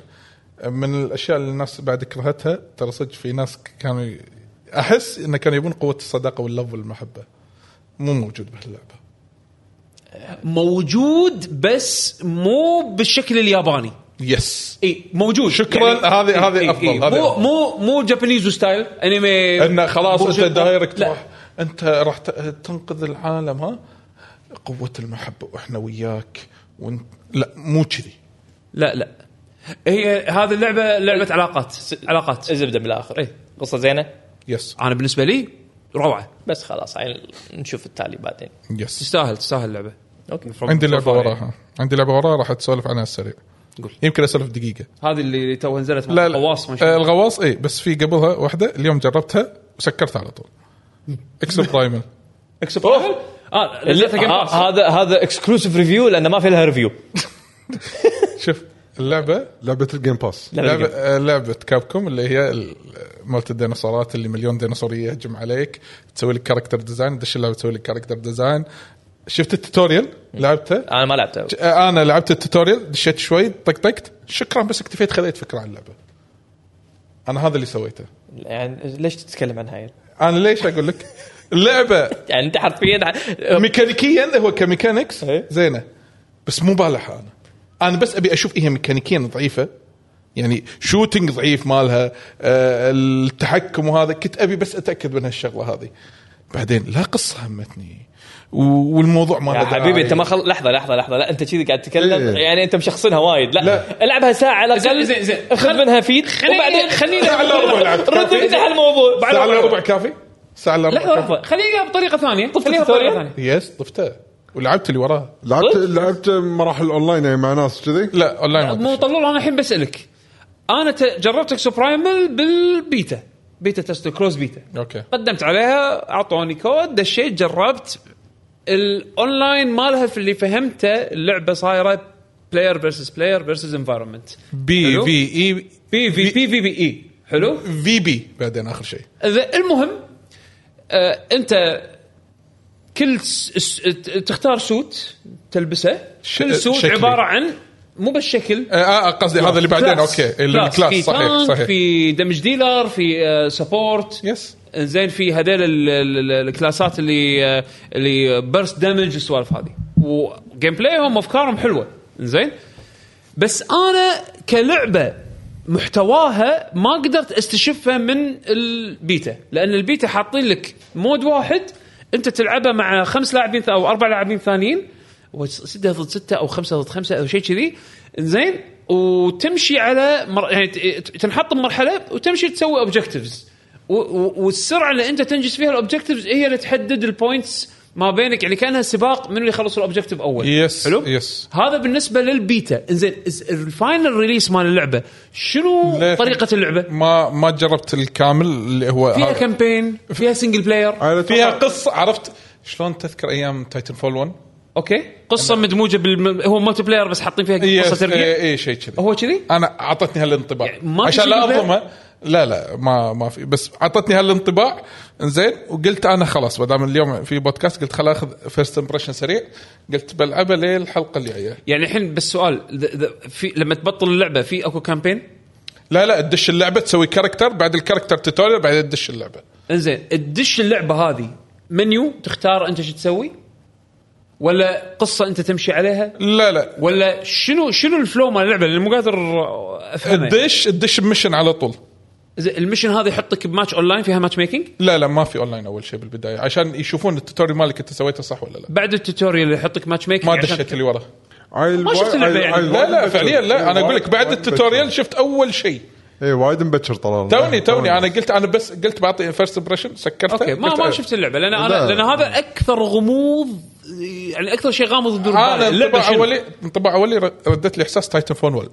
Speaker 2: من الاشياء اللي الناس بعد كرهتها ترى صدق في ناس كانوا ي- احس انه كانوا يبون قوه الصداقه واللف والمحبه مو موجود بهاللعبه
Speaker 1: موجود بس مو بالشكل الياباني
Speaker 2: يس
Speaker 1: اي موجود يعني،
Speaker 2: شكراً، هذه- هذه أفضل، هذه
Speaker 1: مو
Speaker 2: أفضل.
Speaker 1: مو مو جابانيز ستايل انمي
Speaker 2: انه خلاص
Speaker 1: مو
Speaker 2: انت
Speaker 1: شكراً.
Speaker 2: دايركت
Speaker 1: إيه، لا.
Speaker 2: راح انت راح ت- تنقذ العالم ها قوه المحبه واحنا وياك وانت لا مو كذي
Speaker 1: لا لا هي هذه اللعبه لعبه علاقات علاقات
Speaker 4: الزبده بالاخر
Speaker 1: إيه.
Speaker 4: قصه زينه
Speaker 2: يس
Speaker 1: انا بالنسبه لي روعه
Speaker 4: بس خلاص يعني نشوف التالي بعدين
Speaker 2: يس
Speaker 1: تستاهل تستاهل اللعبه
Speaker 4: اوكي
Speaker 2: عندي لعبه
Speaker 1: يعني.
Speaker 2: وراها عندي لعبه وراها راح اتسولف عنها السريع
Speaker 1: قول.
Speaker 2: يمكن اسولف دقيقه
Speaker 1: هذه اللي تو نزلت
Speaker 2: لا لا
Speaker 1: غواص
Speaker 2: الغواص
Speaker 1: ما شاء الله.
Speaker 2: الغواص اي بس في قبلها واحده اليوم جربتها وسكرتها على طول اكس برايمل
Speaker 1: اكس برايمال اه
Speaker 2: إيه،
Speaker 1: نزلتها Game Pass.
Speaker 4: آه، هذا هذا اكسكلوسيف ريفيو لانه ما في لها ريفيو
Speaker 2: شوف اللعبه
Speaker 3: لعبه الجيم باس
Speaker 2: لعبه آه، لعبه كابكوم اللي هي ال- مالت الديناصورات اللي مليون ديناصوريه يهجم عليك تسوي لك كاركتر ديزاين تدش اللعبه تسوي لك كاركتر ديزاين شفت التوتوريال لعبته
Speaker 4: انا ما لعبته
Speaker 2: آه، انا لعبت التوتوريال دشيت شوي طقطقت شكرا بس اكتفيت خذيت فكره عن اللعبه انا هذا اللي سويته
Speaker 4: يعني ليش تتكلم عنها يعني؟
Speaker 2: انا ليش اقول لك اللعبه
Speaker 4: يعني انت حرفيا
Speaker 2: ميكانيكيا هو كميكانكس
Speaker 4: إيه.
Speaker 2: زينه بس مو بالح انا انا بس ابي اشوف هي ميكانيكيا ضعيفه يعني شوتنج ضعيف مالها آه، التحكم وهذا كنت ابي بس اتاكد من هالشغله هذه بعدين لا قصه همتني و- والموضوع ما
Speaker 4: يا
Speaker 2: له
Speaker 4: حبيبي
Speaker 2: داعي.
Speaker 4: انت ما خل... لحظه لحظه لحظه لا انت كذي قاعد تتكلم
Speaker 3: إيه.
Speaker 4: يعني انت مشخصنها وايد لا,
Speaker 2: لا.
Speaker 4: العبها ساعه على
Speaker 1: زين،
Speaker 4: الاقل
Speaker 1: زين، زين.
Speaker 4: خذ
Speaker 1: خل-
Speaker 4: منها فيد
Speaker 1: خليني-
Speaker 4: وبعدين
Speaker 1: خليني-
Speaker 2: ساعه الا ربع لعبت
Speaker 4: رد
Speaker 2: كافي؟
Speaker 4: افتح الموضوع
Speaker 2: ساعه الا ربع كافي ساعه الا ربع
Speaker 1: لحظه
Speaker 2: كافي
Speaker 1: لحظه خلينا بطريقه ثانيه خلينا
Speaker 4: التوتوريال؟
Speaker 1: بطريقه ثانيه
Speaker 2: يس طفته ولعبت اللي وراه
Speaker 3: لعبت
Speaker 4: صدق؟
Speaker 3: لعبت مراحل اونلاين يعني مع ناس كذي
Speaker 2: لا اونلاين ما أدري.
Speaker 1: مو طلول انا الحين بسالك انا ت- جربت اكسو برايمل بالبيتا بيتا تست كروس بيتا
Speaker 2: اوكي
Speaker 1: قدمت عليها اعطوني كود دشيت جربت الاونلاين مالها في اللي فهمته اللعبه صايره بلاير فيرسز بلاير فيرسز انفايرمنت
Speaker 2: بي في اي
Speaker 1: بي في بي في بي اي E. حلو
Speaker 2: في بي بعدين اخر شيء
Speaker 1: إذا- المهم آه انت كل س... س... تختار سوت تلبسه
Speaker 2: ش-
Speaker 1: كل سوت
Speaker 2: شكلي.
Speaker 1: عباره عن مو بالشكل
Speaker 2: آه، اه قصدي هذا اللي بعدين
Speaker 1: كلاس.
Speaker 2: اوكي
Speaker 1: كلاس. في
Speaker 2: الكلاس صحيح
Speaker 1: تانك،
Speaker 2: صحيح
Speaker 1: في دمج ديلر في سبورت
Speaker 2: يس
Speaker 1: زين في هذيل ال- ال- ال- الكلاسات اللي آه، اللي بيرست دامج والسوالف هذه وجيم بلايهم افكارهم حلوه زين بس انا كلعبه محتواها ما قدرت استشفه من البيتا لان البيتا حاطين لك مود واحد انت تلعبه مع خمس لاعبين ث- او اربع لاعبين ثانيين وستة ضد ستة او خمسة ضد خمسة او شيء كذي زين وتمشي على مر... يعني ت- تنحط بمرحلة وتمشي تسوي اوبجكتيفز والسرعة اللي انت تنجز فيها الاوبجكتيفز هي اللي تحدد البوينتس ما بينك يعني كانها سباق من اللي يخلص الاوبجكتيف اول
Speaker 2: يس
Speaker 1: حلو
Speaker 2: يس
Speaker 1: هذا بالنسبه للبيتا انزين إز- الفاينل ريليس مال اللعبه شنو
Speaker 2: لا،
Speaker 1: طريقه اللعبه؟
Speaker 2: ما ما جربت الكامل اللي هو
Speaker 1: فيها
Speaker 2: هذا.
Speaker 1: كامبين فيها سنجل بلاير
Speaker 3: على
Speaker 2: فيها
Speaker 3: طبعاً-
Speaker 2: قصه عرفت شلون تذكر ايام تايتن فول 1
Speaker 1: اوكي قصه مدموجه بالم... هو مالتي بلاير بس حاطين فيها قصه ترقيع
Speaker 2: اي إيه، شيء كذي
Speaker 1: هو كذي؟
Speaker 2: انا اعطتني هالانطباع
Speaker 1: يعني ما في
Speaker 2: عشان
Speaker 1: شيء
Speaker 2: لا
Speaker 1: بالبيت؟
Speaker 2: اظلمها لا لا ما ما في بس اعطتني هالانطباع زين وقلت انا خلاص ما دام اليوم في بودكاست قلت خل اخذ فيرست امبريشن سريع قلت بلعبها للحلقه اللي جايه
Speaker 1: يعني الحين بس سؤال ذ... ذ... في لما تبطل اللعبه في اكو كامبين؟
Speaker 2: لا لا تدش اللعبه تسوي كاركتر بعد الكاركتر توتوريال بعدين تدش اللعبه
Speaker 1: انزين تدش اللعبه هذه منيو تختار انت شو تسوي؟ ولا قصه انت تمشي عليها؟
Speaker 2: لا لا
Speaker 1: ولا شنو شنو الفلو مال اللعبه اللي مو قادر افهمها يعني.
Speaker 2: تدش تدش بمشن على طول
Speaker 1: زين، المشن هذا يحطك بماتش اونلاين فيها ماتش ميكينج؟
Speaker 2: لا لا ما في اونلاين اول شيء بالبدايه عشان يشوفون التوتوريال مالك انت سويته صح ولا لا
Speaker 1: بعد التوتوريال يحطك ماتش ميكنج
Speaker 2: ما دشيت اللي وراه
Speaker 3: عيل
Speaker 1: ما شفت
Speaker 3: وايد-
Speaker 1: اللعبة
Speaker 3: عيل-
Speaker 1: يعني.
Speaker 3: عيل
Speaker 2: لا
Speaker 3: وايد
Speaker 2: لا
Speaker 3: مبكر.
Speaker 2: فعليا لا انا
Speaker 3: وايد-
Speaker 2: اقول لك بعد
Speaker 3: وايد مبكر.
Speaker 2: التوتوريال شفت اول شيء
Speaker 3: اي وايد مبكر طلال
Speaker 2: توني توني انا قلت انا بس قلت بعطي فيرست امبريشن سكرته
Speaker 1: اوكي ما
Speaker 2: قلت
Speaker 1: ما
Speaker 2: أنا-
Speaker 1: شفت اللعبه لان انا
Speaker 3: لا.
Speaker 1: لان هذا اكثر غموض يعني اكثر شيء غامض بدون
Speaker 2: انا انطباع
Speaker 1: اولي
Speaker 2: اولي انطباع اولي ر- ردت لي احساس تايتن فون وول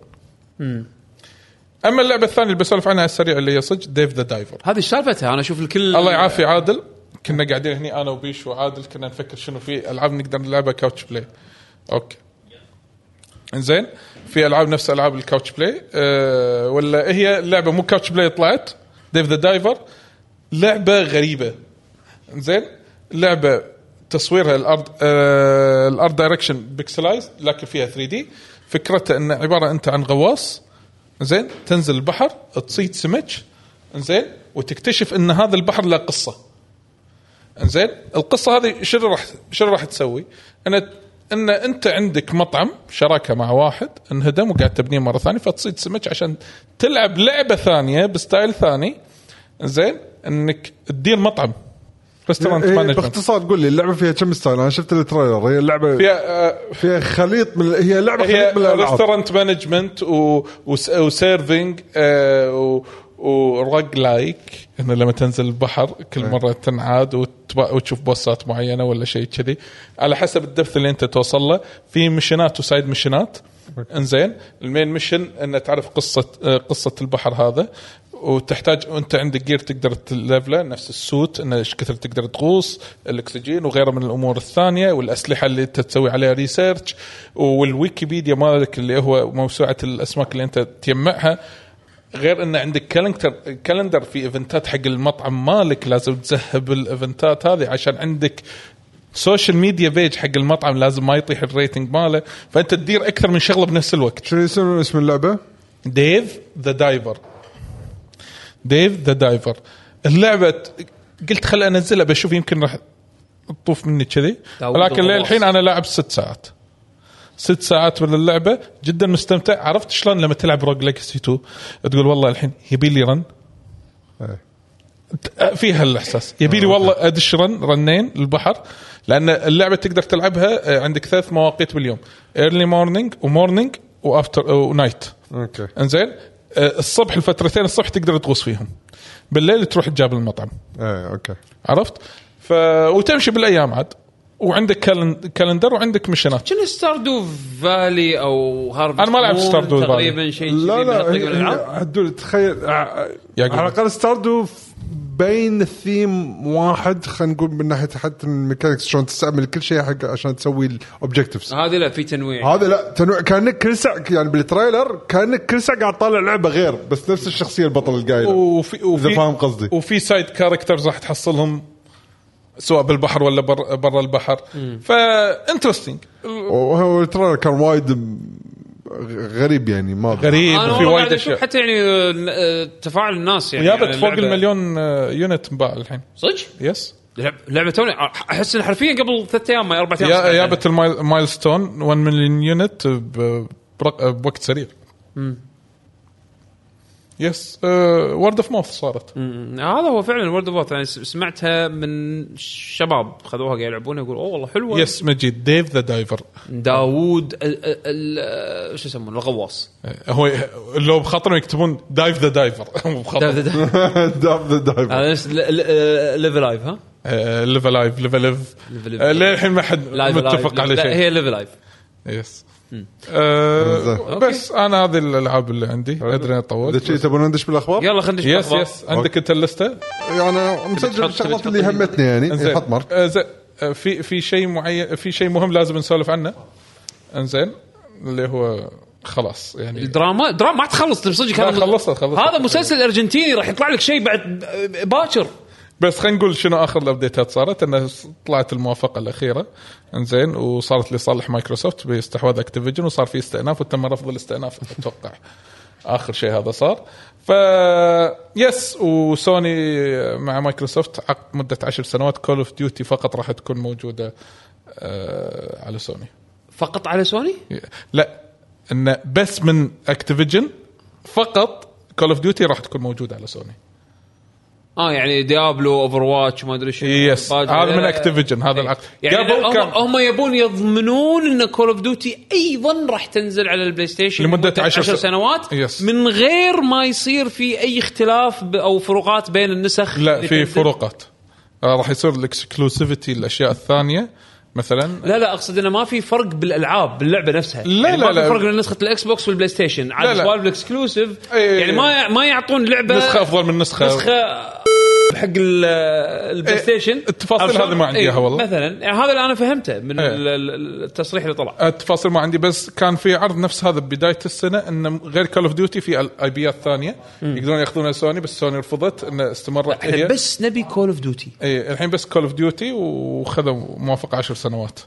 Speaker 2: اما اللعبه الثانيه اللي بسولف عنها على السريع اللي هي صدق ديف ذا دايفر
Speaker 1: هذه إيش سالفتها انا اشوف الكل
Speaker 2: الله يعافي عادل كنا قاعدين هني انا وبيش وعادل كنا نفكر شنو في العاب نقدر نلعبها كاوتش بلاي اوكي زين في العاب نفس العاب الكاوتش بلاي أه ولا هي لعبه مو كاوتش بلاي طلعت ديف ذا دايفر لعبه غريبه زين لعبه تصويرها الارض آه الارض دايركشن بيكسلايز لكن فيها 3 دي فكرتها ان عباره انت عن غواص زين تنزل البحر تصيد سمك زين وتكتشف ان هذا البحر له قصه زين القصه هذه شنو راح شنو راح تسوي؟ ان ان انت عندك مطعم شراكه مع واحد انهدم وقاعد تبنيه مره ثانيه فتصيد سمك عشان تلعب لعبه ثانيه بستايل ثاني زين انك تدير مطعم ريستورانت
Speaker 3: إيه
Speaker 2: مانجمنت
Speaker 3: باختصار قول لي اللعبه فيها كم ستايل انا شفت التريلر هي اللعبه فيها,
Speaker 2: فيها آه،
Speaker 3: فيها خليط من هي لعبه
Speaker 2: هي
Speaker 3: خليط من الالعاب
Speaker 2: ريستورانت مانجمنت و... وس... وسيرفينج آه، و... وروج لايك انه لما تنزل البحر كل مره تنعاد وتب... وتشوف بوسات معينه ولا شيء كذي على حسب الدبث اللي انت توصل له في مشنات وسايد مشنات انزين المين مشن انه تعرف قصه آه، قصه البحر هذا وتحتاج وانت عندك جير تقدر تلفله نفس السوت انه ايش كثر تقدر تغوص الاكسجين وغيره من الامور الثانيه والاسلحه اللي انت تسوي عليها ريسيرش والويكيبيديا مالك اللي هو موسوعه الاسماك اللي انت تجمعها غير ان عندك كالندر كالندر في ايفنتات حق المطعم مالك لازم تذهب الايفنتات هذه عشان عندك سوشيال ميديا بيج حق المطعم لازم ما يطيح الريتنج ماله فانت تدير اكثر من شغله بنفس الوقت
Speaker 3: شنو يسمون اسم اللعبه؟
Speaker 2: ديف ذا دايفر ديف ذا دايفر اللعبه ت- قلت خل انزلها بشوف يمكن راح تطوف مني كذي
Speaker 1: داود
Speaker 2: لكن
Speaker 1: الغواص.
Speaker 2: للحين انا لاعب ست ساعات ست ساعات من اللعبه جدا مستمتع عرفت شلون لما تلعب روج ليجاسي 2 تقول والله الحين يبي لي رن
Speaker 3: إيه.
Speaker 2: في هالاحساس يبي لي والله ادش رن رنين البحر لان اللعبه تقدر تلعبها آه، عندك ثلاث مواقيت باليوم ايرلي مورنينج ومورنينج وافتر ونايت
Speaker 3: اوكي
Speaker 2: انزين آه، الصبح الفترتين الصبح تقدر تغوص فيهم بالليل تروح تجاب المطعم
Speaker 3: ايه اوكي
Speaker 2: عرفت ف... وتمشي بالايام عاد وعندك كالن... كالندر وعندك مشنات
Speaker 1: شنو ستاردو فالي او هارفست
Speaker 2: أنا ما لعبت
Speaker 1: مون
Speaker 2: ستاردو فالي.
Speaker 1: تقريبا شيء كذي
Speaker 3: لا إيه،
Speaker 1: من
Speaker 3: لا
Speaker 1: هالطريقة
Speaker 3: هي-
Speaker 1: من الألعاب.
Speaker 3: هي- عدول تخيل ع-
Speaker 2: يعقوب.
Speaker 3: على الاقل ستاردو ف- بين الثيم واحد خلينا نقول من ناحيه حتى الميكانكس شلون تستعمل كل شيء حق عشان تسوي الاوبجكتيفز
Speaker 1: هذه لا في تنويع
Speaker 3: هذا لا تنوع كانك كل ساعه يعني بالتريلر كانك كل ساعه قاعد طالع لعبه غير بس نفس الشخصيه البطل القايله
Speaker 2: وفي وفي
Speaker 3: إذا فاهم قصدي.
Speaker 2: وفي سايد كاركترز راح تحصلهم سواء بالبحر ولا بر... برا البحر فانترستنج
Speaker 3: وهو التريلر كان وايد م- غريب يعني ما
Speaker 2: غريب
Speaker 1: انا
Speaker 2: في
Speaker 1: والله
Speaker 2: وايد
Speaker 1: قاعد اشوف
Speaker 2: اشياء
Speaker 1: حتى يعني آه، تفاعل الناس يعني على
Speaker 2: جابت فوق
Speaker 1: اللعبة.
Speaker 2: المليون آه، يونت انباع الحين
Speaker 1: صدق؟
Speaker 2: يس
Speaker 1: لعب- لعبه توني احس انها حرفيا قبل ثلاث ايام ما اربع ايام سمعت عنها.
Speaker 2: يا- جابت المايل ستون 1 مليون يونت ب- برق- بوقت سريع يس وورد اوف ماوث صارت
Speaker 1: مم. هذا هو فعلا وورد اوف انا يعني س- سمعتها من شباب خذوها قاعد يلعبونها يقول اوه والله حلوه
Speaker 2: يس مجيد ديف ذا دايفر
Speaker 1: داوود ال- ال- ال- شو يسمونه الغواص
Speaker 2: آه، هو لو بخاطرهم يكتبون دايف ذا دايفر مو بخاطرهم
Speaker 3: داب ذا دايفر
Speaker 1: هذا نفس ل- ل- ليفل لايف ها
Speaker 2: ليف لايف ليف ليف
Speaker 1: Live Alive.
Speaker 2: آه، للحين ما حد
Speaker 1: لايف
Speaker 2: متفق
Speaker 1: لايف.
Speaker 2: على
Speaker 1: لا،
Speaker 2: شيء
Speaker 1: هي ليفل لايف
Speaker 2: يس آه،
Speaker 3: أوكي.
Speaker 2: بس انا هذه الالعاب اللي عندي ادري انا
Speaker 3: اذا
Speaker 2: طولت
Speaker 3: شي تبون ندش بالاخبار؟
Speaker 1: يلا خلينا نشوف
Speaker 2: يس
Speaker 1: الأخبار.
Speaker 2: يس عندك انت اللسته
Speaker 3: انا يعني مسجل
Speaker 1: تبي
Speaker 3: الشغلات
Speaker 1: تحط-
Speaker 3: اللي همتني يعني
Speaker 2: انزين
Speaker 3: حط مارك
Speaker 2: آه، زين. آه، في في شيء معين في شيء مهم لازم نسولف عنه انزين اللي هو خلاص يعني
Speaker 1: الدراما دراما ما تخلص تبي صدق
Speaker 2: لا،
Speaker 1: هذا-
Speaker 2: خلصت- خلصت.
Speaker 1: هذا مسلسل ارجنتيني راح يطلع لك شيء بعد باكر
Speaker 2: بس خلينا نقول شنو اخر الابديتات صارت انه س- طلعت الموافقه الاخيره انزين وصارت لصالح مايكروسوفت باستحواذ اكتيفيجن وصار في استئناف وتم رفض الاستئناف اتوقع اخر شيء هذا صار ف يس وسوني مع مايكروسوفت عقد مده عشر سنوات كول اوف ديوتي فقط راح تكون موجوده آه على سوني
Speaker 1: فقط على سوني
Speaker 2: لا انه بس من اكتيفيجن فقط كول اوف ديوتي راح تكون موجوده على سوني
Speaker 1: اه يعني ديابلو اوفر واتش ما ادري شنو
Speaker 2: يس
Speaker 1: باجر.
Speaker 2: هذا من اكتيفيجن هذا العقد
Speaker 1: يعني
Speaker 2: قبل
Speaker 1: هم,
Speaker 2: كان-
Speaker 1: هم يبون يضمنون ان كول اوف ديوتي ايضا راح تنزل على البلاي ستيشن
Speaker 2: لمدة عشر
Speaker 1: عشر
Speaker 2: سنوات.
Speaker 1: سنوات
Speaker 2: يس.
Speaker 1: من غير ما يصير في اي اختلاف ب- او فروقات بين النسخ
Speaker 2: لا
Speaker 1: اللي
Speaker 2: في
Speaker 1: تنزل.
Speaker 2: فروقات آه، راح يصير الاكسكلوسيفيتي الاشياء الثانيه مثلا
Speaker 1: لا لا اقصد انه ما في فرق بالالعاب باللعبه نفسها
Speaker 2: لا،
Speaker 1: يعني
Speaker 2: لا،
Speaker 1: ما
Speaker 2: لا.
Speaker 1: في فرق بين نسخه الاكس بوكس والبلاي ستيشن
Speaker 2: لا،
Speaker 1: على
Speaker 2: لا.
Speaker 1: سوالف الاكسكلوسيف
Speaker 2: إيه.
Speaker 1: يعني ما ما يعطون لعبه
Speaker 2: نسخه افضل من نسخه
Speaker 1: نسخه حق ال- البلاي
Speaker 2: إيه،
Speaker 1: ستيشن
Speaker 2: التفاصيل
Speaker 1: عشان-
Speaker 2: هذه ما عندي
Speaker 1: إيه،
Speaker 2: إياها والله.
Speaker 1: مثلا يعني هذا اللي انا فهمته من
Speaker 2: إيه.
Speaker 1: ال- ال- التصريح اللي طلع
Speaker 2: التفاصيل ما عندي بس كان في عرض نفس هذا ببدايه السنه انه غير كول اوف ديوتي في اي بيات ثانيه يقدرون ياخذونها سوني بس سوني رفضت انه استمرت
Speaker 1: احنا
Speaker 2: هي
Speaker 1: بس نبي كول اوف ديوتي
Speaker 2: اي إيه، الحين بس كول اوف ديوتي وخذوا موافقه عشر سنوات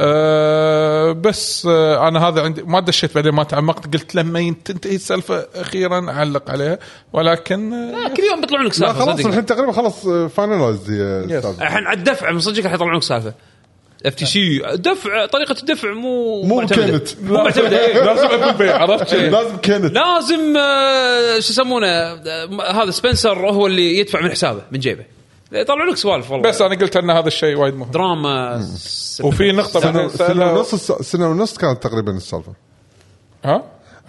Speaker 2: آه بس آه انا هذا عندي ما دشيت بعدين ما تعمقت قلت لما ين- تنتهي السالفه اخيرا اعلق عليها ولكن آه،
Speaker 1: كل يوم بيطلعون لك
Speaker 3: لا
Speaker 1: سالفه
Speaker 3: خلاص
Speaker 1: صدق.
Speaker 3: الحين تقريبا خلاص آه، فاينلايز
Speaker 1: الحين على الدفع من صدقك راح يطلعون لك سالفه اف تي سي دفع طريقه الدفع مو
Speaker 3: مو
Speaker 1: معتمدة.
Speaker 3: كانت.
Speaker 1: مو معتمده إيه.
Speaker 2: لازم ابو بي عرفت
Speaker 3: لازم كانت
Speaker 1: لازم آه، شو يسمونه آه، م- هذا سبنسر هو اللي يدفع من حسابه من جيبه يطلعون لك سوالف والله
Speaker 2: بس انا قلت ان هذا الشيء وايد مهم
Speaker 1: دراما
Speaker 2: وفي نقطه بعدين
Speaker 3: سنه سنة
Speaker 2: سألها-
Speaker 3: ونص الس- سنه ونص كانت تقريبا السالفه
Speaker 2: ها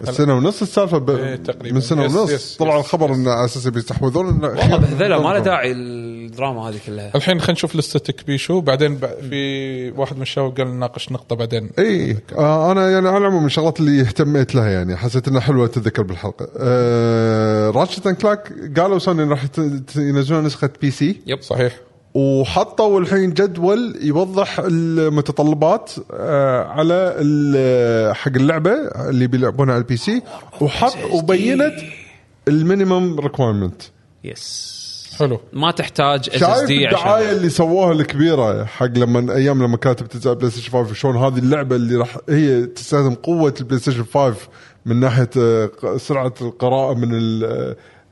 Speaker 3: السنه ونص السالفه ب...
Speaker 2: إيه، تقريبا.
Speaker 3: من سنه
Speaker 2: يس،
Speaker 3: ونص
Speaker 2: يس،
Speaker 3: طلع
Speaker 2: يس،
Speaker 3: الخبر انه على اساس بيستحوذون انه
Speaker 1: والله
Speaker 3: أخيراً
Speaker 1: بهذله ما له
Speaker 3: بيستحوذون.
Speaker 1: داعي الدراما هذه كلها
Speaker 2: الحين خلينا نشوف لستك بيشو بعدين ب- في واحد من الشباب قال نناقش نقطه بعدين
Speaker 3: اي آه انا يعني على العموم من الشغلات اللي اهتميت لها يعني حسيت انها حلوه تتذكر بالحلقه آه راتشت اند كلاك قالوا سوني إن راح يت- ت- ينزلون نسخه بي سي
Speaker 1: يب
Speaker 2: صحيح
Speaker 3: وحطوا الحين جدول يوضح المتطلبات آه على ال- حق اللعبه اللي بيلعبونها على البي سي وحط وبينت المينيمم ريكوايرمنت
Speaker 1: يس
Speaker 2: حلو
Speaker 1: ما تحتاج اس اس
Speaker 3: شايف
Speaker 1: دي
Speaker 3: الدعايه
Speaker 1: عشان
Speaker 3: اللي سووها الكبيره حق لما ايام لما كانت بتنزل على بلاي ستيشن 5 شلون هذه اللعبه اللي راح هي تستخدم قوه البلاي ستيشن 5 من ناحيه آه، ق- سرعه القراءه من ال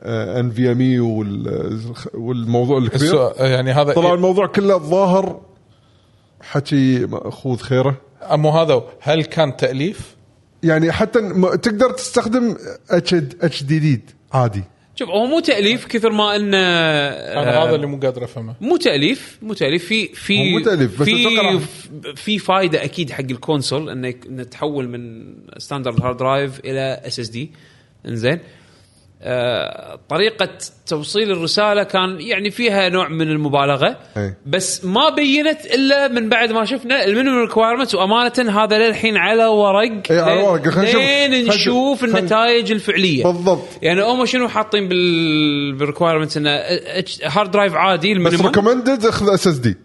Speaker 3: آه، ان في ام اي E آه، والموضوع الكبير
Speaker 2: السؤال- يعني هذا
Speaker 3: طلع الموضوع كله الظاهر حكي ماخوذ خيره
Speaker 2: مو إيه، هذا هو. هل كان تاليف؟
Speaker 3: يعني حتى م- تقدر تستخدم اتش دي دي عادي
Speaker 1: شوف هو مو تاليف كثر ما انه
Speaker 2: انا
Speaker 1: آه،
Speaker 2: هذا اللي مو قادر افهمه
Speaker 1: مو تاليف مو تاليف في في
Speaker 3: هو مو تأليف، بس أتوقع
Speaker 1: في
Speaker 3: راح-
Speaker 1: في فائده اكيد حق الكونسول انه يك- إنه تحول من ستاندرد هارد درايف الى اس اس دي انزين آه، طريقة توصيل الرسالة كان يعني فيها نوع من المبالغة
Speaker 3: أي.
Speaker 1: بس ما بينت إلا من بعد ما شفنا المينيمم ريكوايرمنت وأمانة هذا للحين على ورق
Speaker 3: أي، إيه، على ورق. خلينا نشوف-
Speaker 1: لين
Speaker 3: خلينا
Speaker 1: نشوف
Speaker 3: نشوف. خلينا-
Speaker 1: النتائج الفعلية
Speaker 3: بالضبط
Speaker 1: يعني هم شنو حاطين بال بالريكوايرمنت انه هارد درايف عادي
Speaker 3: بس
Speaker 1: المينيمم
Speaker 3: ريكومندد اخذ اس اس دي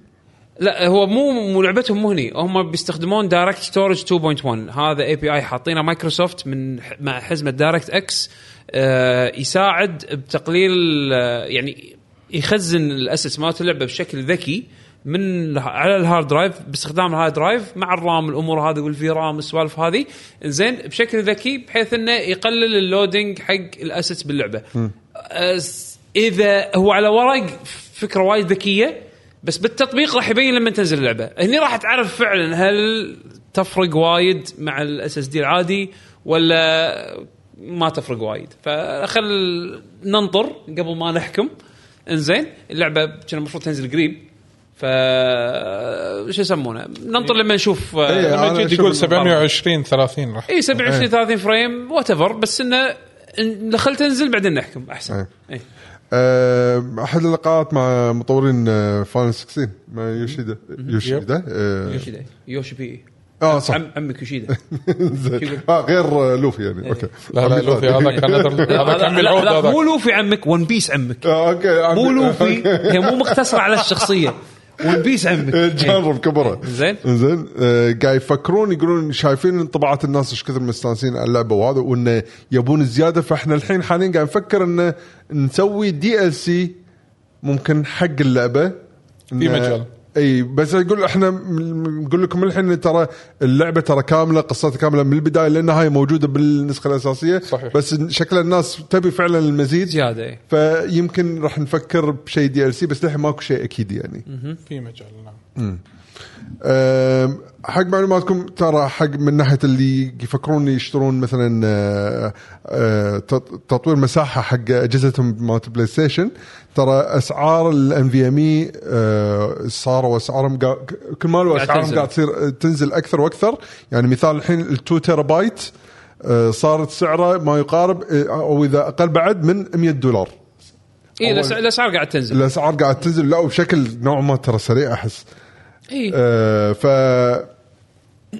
Speaker 1: لا هو مو مو لعبتهم مو هني هم بيستخدمون دايركت ستورج 2.1 هذا اي بي اي حاطينه مايكروسوفت من ح- مع حزمه دايركت اكس آه، يساعد بتقليل آه، يعني يخزن الاسس مالت اللعبه بشكل ذكي من على الهارد درايف باستخدام الهارد درايف مع الرام الامور هذه والفي رام السوالف هذه زين بشكل ذكي بحيث انه يقلل اللودينج حق الاسس باللعبه أس- اذا هو على ورق فكره وايد ذكيه بس بالتطبيق راح يبين لما تنزل اللعبه هني راح تعرف فعلا هل تفرق وايد مع الاس اس دي العادي ولا ما تفرق وايد فخل ننطر قبل ما نحكم انزين اللعبه كان المفروض تنزل قريب ف شو يسمونه ننطر لما نشوف آه،
Speaker 3: إيه،
Speaker 1: لما
Speaker 3: أنا
Speaker 1: نجي
Speaker 2: مجيد
Speaker 3: أشوف إيه.
Speaker 2: يقول
Speaker 3: المقارنة.
Speaker 2: 720 30 راح
Speaker 1: اي 27 30 فريم وات ايفر بس انه إن- خل تنزل بعدين نحكم احسن
Speaker 3: إيه.
Speaker 1: اي
Speaker 3: آه، احد اللقاءات مع مطورين فاينل 16 مع يوشيدا يوشيدا آه،
Speaker 1: يوشيدا يوشي بي
Speaker 3: اه صح
Speaker 1: عم عمك يوشيدا
Speaker 3: زين. آه، غير آه، لوفي يعني طيب. اوكي
Speaker 2: إيه. لا لا لوفي هذا كان هذا
Speaker 1: طيب، هذا
Speaker 2: كان
Speaker 1: لا-
Speaker 2: العود
Speaker 1: لا،
Speaker 2: هذا
Speaker 1: مو لوفي عمك ون بيس عمك
Speaker 3: آه، اوكي
Speaker 1: مو لوفي هي مو مقتصره على الشخصيه ون بيس عمك إيه.
Speaker 3: جرب كبره
Speaker 1: زين.
Speaker 3: زين آه، قاعد يفكرون يقولون شايفين انطباعات الناس ايش كثر مستانسين على اللعبه وهذا وانه يبون زياده فاحنا الحين حاليا قاعد نفكر انه نسوي دي ال سي ممكن حق اللعبه
Speaker 2: في مجال.
Speaker 3: اي بس يقول احنا م- نقول لكم الحين إن ترى اللعبه ترى كامله قصتها كامله من البدايه لان هاي موجوده بالنسخه الاساسيه
Speaker 2: صحيح.
Speaker 3: بس شكل الناس تبي فعلا المزيد
Speaker 1: زياده إيه.
Speaker 3: فيمكن راح نفكر بشيء دي ال سي بس للحين ماكو شيء اكيد يعني
Speaker 2: في مجال نعم
Speaker 3: أم، حق معلوماتكم ترى حق من ناحيه اللي يفكرون يشترون مثلا أه، أه، تط- تطوير مساحه حق اجهزتهم مالت بلاي ستيشن ترى اسعار الان في ام اي صاروا اسعارهم قا- كل ما له
Speaker 1: قاعد
Speaker 3: اسعارهم
Speaker 1: تنزل.
Speaker 3: قاعد تصير أه، تنزل اكثر واكثر يعني مثال الحين ال 2 تيرا بايت أه، صارت سعره ما يقارب أه، او اذا اقل بعد من 100 دولار
Speaker 1: اي الأس- الاسعار قاعد تنزل
Speaker 3: الاسعار قاعد تنزل لا وبشكل نوع ما ترى سريع احس
Speaker 1: اي
Speaker 3: آه، ف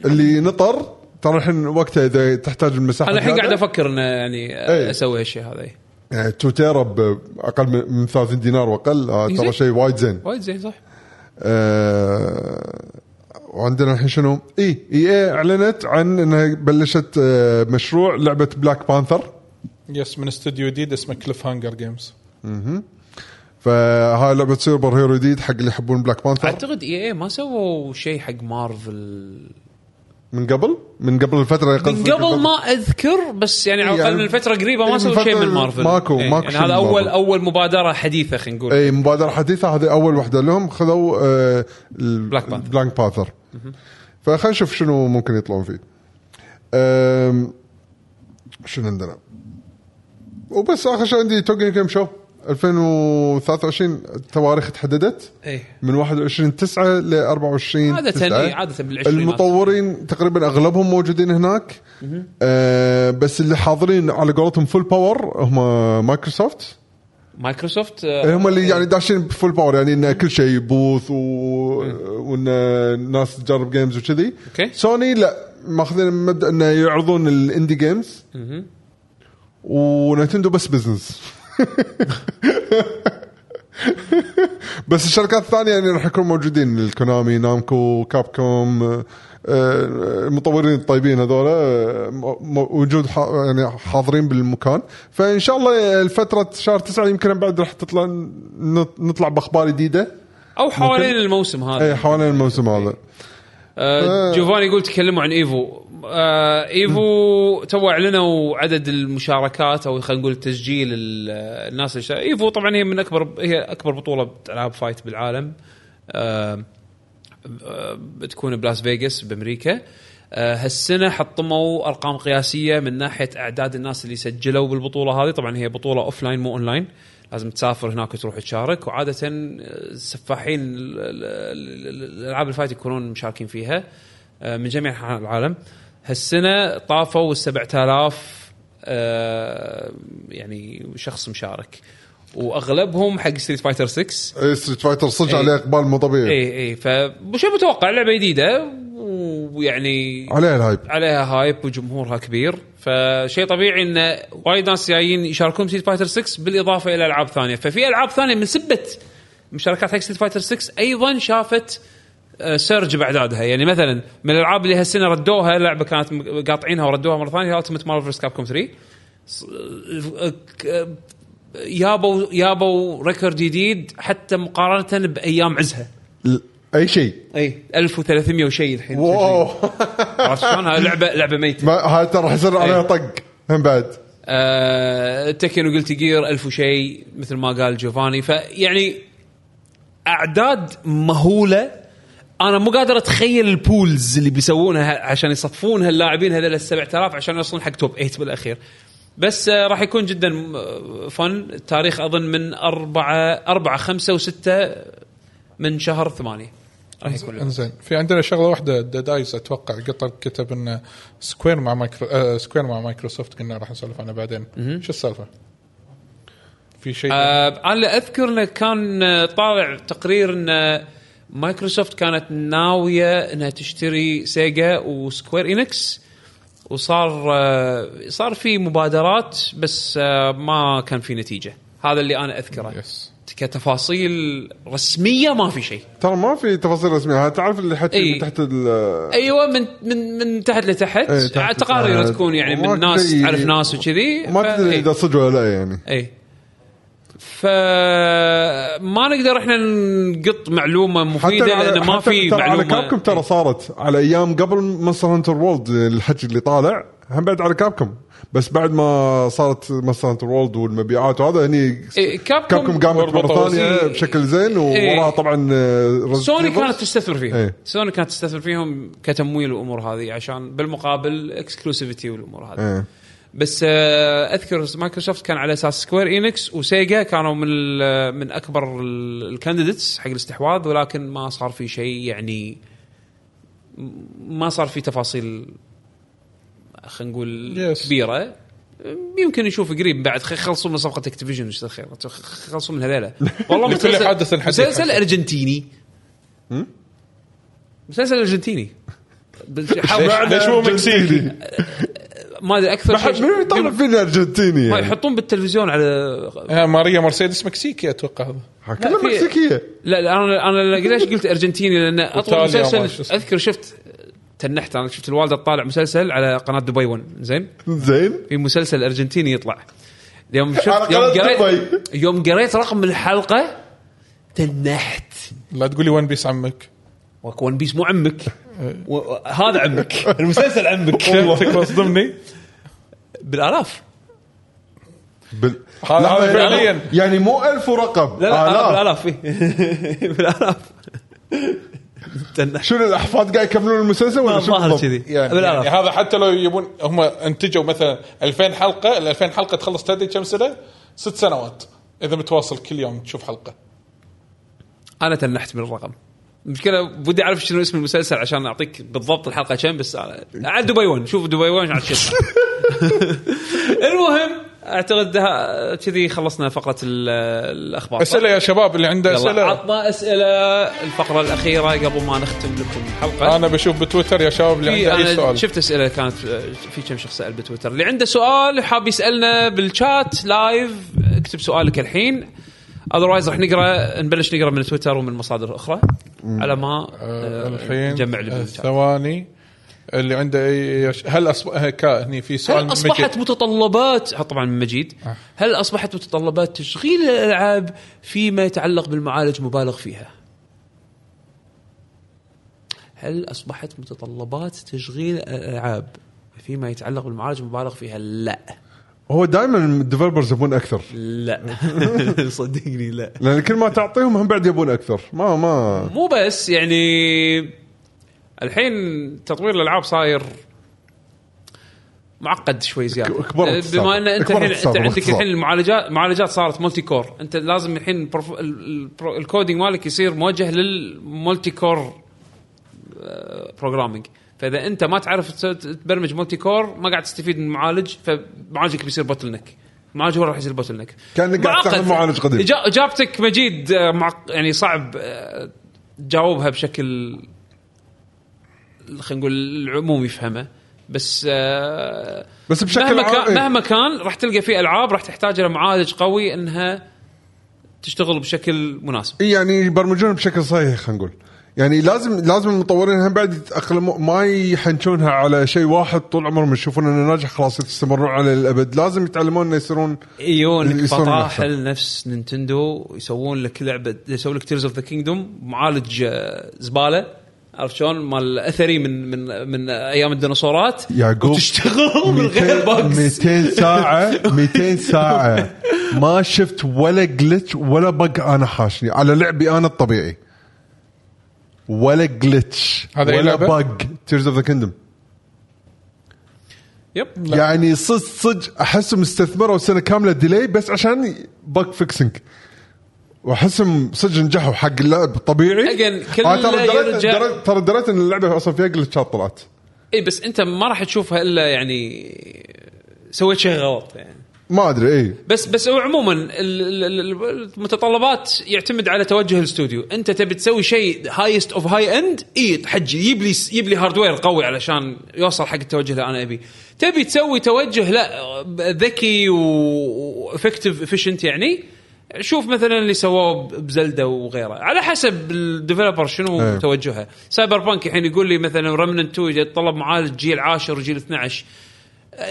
Speaker 3: اللي نطر ترى الحين وقته اذا تحتاج المساحه
Speaker 1: انا الحين قاعد
Speaker 3: زيادة،
Speaker 1: افكر انه يعني
Speaker 3: إيه.
Speaker 1: اسوي هالشيء هذا إيه.
Speaker 3: يعني 2 تيرا باقل من- من 30 دينار واقل آه،
Speaker 1: زين.
Speaker 3: ترى شيء وايد زين
Speaker 1: وايد زين صح
Speaker 3: آه، وعندنا الحين شنو؟ اي اي اي اعلنت عن انها بلشت آه، مشروع لعبه بلاك بانثر
Speaker 2: يس من استوديو جديد اسمه كليف هانجر جيمز
Speaker 3: فهاي لعبه سوبر هيرو جديد حق اللي يحبون بلاك بانثر
Speaker 1: اعتقد اي اي ما سووا شيء حق مارفل
Speaker 3: من قبل من قبل الفتره
Speaker 1: من قبل ما اذكر بس يعني على
Speaker 3: إيه،
Speaker 1: الاقل
Speaker 3: يعني
Speaker 1: من فتره قريبه
Speaker 3: إيه،
Speaker 1: ما
Speaker 3: من
Speaker 1: سووا شيء
Speaker 3: فترة
Speaker 1: من مارفل
Speaker 3: ماكو-
Speaker 1: إيه،
Speaker 3: ماكو
Speaker 1: يعني
Speaker 3: شيء
Speaker 1: هذا
Speaker 3: من
Speaker 1: اول
Speaker 3: مارفل. إيه.
Speaker 1: اول مبادره حديثه خلينا نقول
Speaker 3: اي مبادره حديثه هذه اول وحده لهم خذوا آه
Speaker 1: Black Panther.
Speaker 3: بلانك باثر فخلينا نشوف شنو ممكن يطلعون فيه آم، شنو عندنا وبس اخر شيء عندي توكن جيم شو 2023 التواريخ تحددت
Speaker 1: إيه.
Speaker 3: من 21 9 ل 24
Speaker 1: عادة
Speaker 3: 9.
Speaker 1: إيه، عادة بالعشرينات.
Speaker 3: المطورين تقريبا اغلبهم موجودين هناك آه بس اللي حاضرين على قولتهم فول باور هم مايكروسوفت
Speaker 1: مايكروسوفت
Speaker 3: إيه،
Speaker 1: آه،
Speaker 3: هم اللي يعني داشين بفول باور يعني ان كل شيء بوث و... وان الناس تجرب جيمز وكذي
Speaker 1: أوكي.
Speaker 3: سوني لا ماخذين مبدا انه يعرضون الاندي جيمز ونتندو بس بزنس بس الشركات الثانيه يعني راح يكونوا موجودين الكونامي نامكو كاب كوم آه، آه، المطورين الطيبين هذول آه، م- م- وجود ح- يعني حاضرين بالمكان فان شاء الله الفتره شهر تسعة يمكن بعد راح تطلع نط- نطلع باخبار جديده
Speaker 1: او حوالين
Speaker 3: ممكن. إيه،
Speaker 1: الموسم
Speaker 3: اي
Speaker 1: هذا
Speaker 3: حوالين الموسم هذا
Speaker 1: آه،
Speaker 3: آه.
Speaker 1: جوفاني يقول تكلموا عن ايفو آه، ايفو تو اعلنوا عدد المشاركات او خلينا نقول تسجيل ال- الناس اللي شا- ايفو طبعا هي من اكبر هي اكبر بطوله العاب فايت بالعالم آه، بتكون بلاس فيغاس بامريكا آه، هالسنه حطموا ارقام قياسيه من ناحيه اعداد الناس اللي سجلوا بالبطوله هذه طبعا هي بطوله اوف لاين مو اون لاين لازم تسافر هناك وتروح تشارك وعاده آه، سفاحين ال- ال- ال- ال- الالعاب الفايت يكونون مشاركين فيها آه، من جميع انحاء العالم هالسنه طافوا ال 7000 آه، يعني شخص مشارك واغلبهم حق ستريت فايتر 6
Speaker 3: ستريت فايتر صدق
Speaker 1: إيه.
Speaker 3: عليه اقبال مو طبيعي
Speaker 1: اي اي فشيء إيه، متوقع لعبه جديده ويعني
Speaker 3: عليه الهايب
Speaker 1: عليها هايب وجمهورها كبير فشيء طبيعي ان وايد ناس جايين يشاركون سيت فايتر 6 بالاضافه الى العاب ثانيه ففي العاب ثانيه من سبه مشاركات حق سيت فايتر 6 ايضا شافت آه، سيرج باعدادها يعني مثلا من الالعاب اللي هالسنه ردوها لعبه كانت م- قاطعينها وردوها مره ثانيه التيمت مارفل فيرس كاب كوم 3 ص- آه، ك- آه، يابوا يابوا ريكورد جديد حتى مقارنه بايام عزها
Speaker 3: ال- اي شيء
Speaker 1: اي 1300 وشيء الحين
Speaker 3: واو
Speaker 1: عرفت شلون؟ هاي لعبه لعبه ميته
Speaker 3: ما- هاي ترى راح يصير عليها
Speaker 1: إيه.
Speaker 3: طق هم بعد
Speaker 1: آه، تكن وقلت جير ألف وشيء مثل ما قال يعني جوفاني فيعني اعداد مهوله انا مو قادر اتخيل البولز اللي بيسوونها عشان يصفون هاللاعبين هذول ال 7000 عشان يوصلون حق توب 8 بالاخير بس آه، راح يكون آه، جدا فن التاريخ اظن من 4 4 5 و6 من شهر 8 راح يكون له.
Speaker 2: انزين في عندنا شغله واحده دا دايس اتوقع قطر كتب ان سكوير مع مايكرو آه سكوير مع مايكروسوفت قلنا راح نسولف عنها بعدين شو السالفه؟ في شيء
Speaker 1: آه انا اذكر انه كان آه، طالع تقرير ان آه، مايكروسوفت كانت ناويه انها تشتري سيجا وسكوير انكس وصار آه، صار في مبادرات بس آه، ما كان في نتيجه هذا اللي انا اذكره
Speaker 2: يس.
Speaker 1: كتفاصيل رسميه ما في شيء
Speaker 3: ترى ما في تفاصيل رسميه ها تعرف اللي حكي
Speaker 1: إي.
Speaker 3: من تحت ال
Speaker 1: ايوه من من من تحت لتحت
Speaker 3: إيه، تحت
Speaker 1: تقارير
Speaker 3: لتحت.
Speaker 1: تكون يعني
Speaker 3: وما
Speaker 1: من ناس
Speaker 3: تدري-
Speaker 1: تعرف ناس وكذي
Speaker 3: ما
Speaker 1: ف-
Speaker 3: تدري
Speaker 1: إيه.
Speaker 3: اذا صدق ولا لا يعني
Speaker 1: اي فما نقدر احنا نقط معلومه مفيده
Speaker 3: على-
Speaker 1: لان ما
Speaker 3: حتى
Speaker 1: في
Speaker 3: ترى على
Speaker 1: معلومه
Speaker 3: كابكم ترى صارت على ايام قبل مونستر هانتر وولد الحكي اللي طالع هم بعد على كابكم بس بعد ما صارت مونستر هانتر وولد والمبيعات وهذا هني
Speaker 1: إيه، كابكوم
Speaker 3: كابكم قامت مره
Speaker 2: وربطوا
Speaker 3: ثانيه
Speaker 1: إيه.
Speaker 3: بشكل زين ووراها
Speaker 1: إيه.
Speaker 3: طبعا آه، Resident
Speaker 1: سوني
Speaker 3: Evil.
Speaker 1: كانت تستثمر فيهم
Speaker 3: إيه.
Speaker 1: سوني كانت تستثمر فيهم كتمويل والامور هذه عشان بالمقابل اكسكلوسيفيتي والامور هذه
Speaker 3: إيه.
Speaker 1: بس آه، اذكر مايكروسوفت كان على اساس سكوير انكس وسيجا كانوا من ال- من اكبر الكانديديتس حق الاستحواذ ولكن ما صار في شيء يعني م- ما صار في تفاصيل خلينا نقول
Speaker 2: Yes.
Speaker 1: كبيره يمكن نشوف قريب بعد خ- خلصوا من صفقه اكتيفيجن وش الخير خلصوا من هذيلا والله
Speaker 2: لكل
Speaker 1: مسلسل-
Speaker 2: حادث حديث
Speaker 1: مسلسل
Speaker 2: حدث.
Speaker 1: ارجنتيني مسلسل ارجنتيني حاول-
Speaker 2: ليش مو مكسيكي؟
Speaker 1: ما ادري اكثر
Speaker 3: ما حد منو يطالع فينا ارجنتيني
Speaker 1: ما
Speaker 3: يعني
Speaker 1: يحطون بالتلفزيون على
Speaker 2: آه، ماريا مرسيدس مكسيكي اتوقع هذا
Speaker 3: كلها
Speaker 1: في-
Speaker 3: مكسيكيه
Speaker 1: لا لا انا انا ليش قلت ارجنتيني لان اطول
Speaker 2: وإيطاليا وما شو
Speaker 1: مسلسل
Speaker 2: اسمه.
Speaker 1: اذكر شفت تنحت انا شفت الوالده تطالع مسلسل على قناه دبي 1 زين
Speaker 3: زين
Speaker 1: في مسلسل ارجنتيني يطلع يوم شفت
Speaker 3: على
Speaker 1: يوم
Speaker 3: قناة
Speaker 1: قريت
Speaker 3: دبي.
Speaker 1: يوم قريت رقم الحلقه تنحت
Speaker 2: لا تقول لي ون بيس عمك
Speaker 1: وك ون بيس مو عمك و- و- هذا عمك المسلسل عمك
Speaker 2: تكبر صدمني
Speaker 1: بالالاف
Speaker 3: بال...
Speaker 2: هذا-
Speaker 3: لحظة،
Speaker 2: هذا
Speaker 3: يعني-
Speaker 2: فعلياً.
Speaker 3: يعني مو ألف ورقم آه،
Speaker 1: لا لا
Speaker 3: آلاف.
Speaker 1: آلاف. بالالاف إيه. بالالاف تنحت
Speaker 3: شنو الاحفاد قاعد يكملون المسلسل ولا شو
Speaker 1: الظاهر
Speaker 3: بالضبط؟
Speaker 1: كذي
Speaker 3: يعني-
Speaker 1: بالالاف
Speaker 2: يعني هذا حتى لو يبون هم انتجوا مثلا 2000 حلقه ال 2000 حلقه تخلص تدري كم سنه؟ ست سنوات اذا متواصل كل يوم تشوف حلقه
Speaker 1: انا تنحت من الرقم المشكله ودي اعرف شنو اسم المسلسل عشان اعطيك بالضبط الحلقه كم بس انا على دبي 1 شوف دبي 1 على شو المهم اعتقد ها- كذي خلصنا فقره ال- الاخبار
Speaker 2: اسئله يا شباب اللي عنده
Speaker 1: يلا
Speaker 2: اسئله
Speaker 1: عطنا اسئله الفقره الاخيره قبل ما نختم لكم الحلقه
Speaker 2: انا بشوف بتويتر يا شباب اللي
Speaker 1: في
Speaker 2: عنده اي
Speaker 1: انا
Speaker 2: سؤال
Speaker 1: شفت اسئله كانت في كم شخص سال بتويتر اللي عنده سؤال حاب يسالنا بالشات لايف اكتب سؤالك الحين اذروايز راح نقرا نبلش نقرا من تويتر ومن مصادر اخرى على ما آه،
Speaker 2: آه، الحين
Speaker 1: نجمع اللي
Speaker 2: آه،
Speaker 1: بالشات
Speaker 2: ثواني اللي عنده اي أش- هل اصبح هني في سؤال
Speaker 1: هل
Speaker 2: من
Speaker 1: اصبحت
Speaker 2: مجد.
Speaker 1: متطلبات ها طبعا من مجيد هل اصبحت متطلبات تشغيل الالعاب فيما يتعلق بالمعالج مبالغ فيها؟ هل اصبحت متطلبات تشغيل الالعاب فيما يتعلق بالمعالج مبالغ فيها؟ لا
Speaker 3: هو دائما الديفلوبرز يبون اكثر
Speaker 1: لا صدقني لا
Speaker 3: لان كل ما تعطيهم هم بعد يبون اكثر ما ما
Speaker 1: مو بس يعني الحين تطوير الالعاب صاير معقد شوي زياده
Speaker 3: كبرت السالفة.
Speaker 1: بما ان انت
Speaker 3: كبرت
Speaker 1: الحين انت
Speaker 3: السالفة
Speaker 1: عندك
Speaker 3: باختصار.
Speaker 1: الحين المعالجات المعالجات صارت مولتي كور انت لازم الحين البروف... ال- ال- البرو- الكودينج مالك يصير موجه للمولتي كور بروجرامينج فاذا انت ما تعرف تس- تبرمج مولتي كور ما قاعد تستفيد من المعالج فمعالجك بيصير بوتل نك معالج هو راح يصير بوتل نك
Speaker 3: كأنك قاعد تستخدم معالج قديم.
Speaker 1: اجابتك مجيد آه، معق... يعني صعب آه، تجاوبها بشكل خلينا نقول العموم يفهمه بس آه،
Speaker 3: بس بشكل
Speaker 1: مهما
Speaker 3: عام،
Speaker 1: كان
Speaker 3: إيه.
Speaker 1: مهما كان راح تلقى في العاب راح تحتاج الى معالج قوي انها تشتغل بشكل مناسب
Speaker 3: يعني يبرمجون بشكل صحيح خلينا نقول يعني لازم لازم المطورين هم بعد يتاقلموا ما يحنشونها على شيء واحد طول عمرهم يشوفون انه ناجح خلاص يستمرون عليه للابد لازم يتعلمون انه يصيرون
Speaker 1: يجونك
Speaker 3: يصيرون أحسن.
Speaker 1: فطاحل نفس نينتندو يسوون لك لعبه يسوون لك تيرز اوف ذا كينجدوم معالج آه، زباله عرفت شلون مال اثري من من من ايام الديناصورات
Speaker 3: يعقوب،
Speaker 1: وتشتغل من غير
Speaker 3: 200
Speaker 1: باجز
Speaker 3: 200 ساعه 200 ساعه ما شفت ولا جلتش ولا بق انا حاشني على لعبي انا الطبيعي ولا جلتش
Speaker 2: هذا أي
Speaker 3: ولا
Speaker 2: لعبة؟
Speaker 3: بق تيرز اوف ذا كندم
Speaker 1: يب
Speaker 3: يعني صدق صدق احسهم استثمروا سنه كامله ديلي بس عشان بق فيكسنج واحسهم صدق نجحوا حق اللعب طبيعي
Speaker 1: Again، كل
Speaker 3: أنا ترى دريت-
Speaker 1: يرجع-
Speaker 3: دريت- ترى دريت ان اللعبه اصلا فيها جلتشات طلعت
Speaker 1: اي إيه، بس انت ما راح تشوفها الا يعني سويت شيء غلط يعني
Speaker 3: ما إيه. ادري اي
Speaker 1: بس بس هو عموما ال- ال- ال- المتطلبات يعتمد على توجه الاستوديو انت تبي تسوي شيء هايست اوف هاي اند اي حج يجيب إيه، لي يجيب لي هاردوير قوي علشان يوصل حق التوجه اللي انا ابيه تبي تسوي توجه لا ذكي وافكتيف افيشنت يعني شوف مثلا اللي سووه ب- بزلده وغيره على حسب الديفلوبر شنو
Speaker 3: إيه.
Speaker 1: توجهه سايبر بانك الحين يقول لي مثلا رمنن 2 يتطلب معالج جيل 10 وجيل 12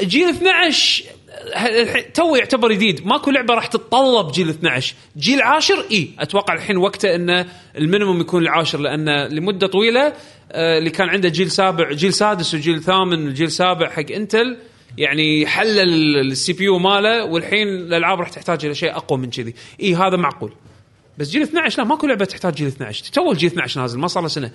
Speaker 1: جيل 12 الحين تو يعتبر جديد ماكو لعبه راح تتطلب جيل 12 جيل 10 اي اتوقع الحين وقته انه المينيموم يكون العاشر لانه لمده طويله آه، اللي كان عنده جيل سابع جيل سادس وجيل ثامن وجيل سابع حق انتل يعني حل السي بي يو ماله والحين الالعاب راح تحتاج الى شيء اقوى من كذي اي هذا معقول بس جيل 12 لا ماكو لعبه تحتاج جيل 12 تو الجيل 12 نازل ما صار له سنه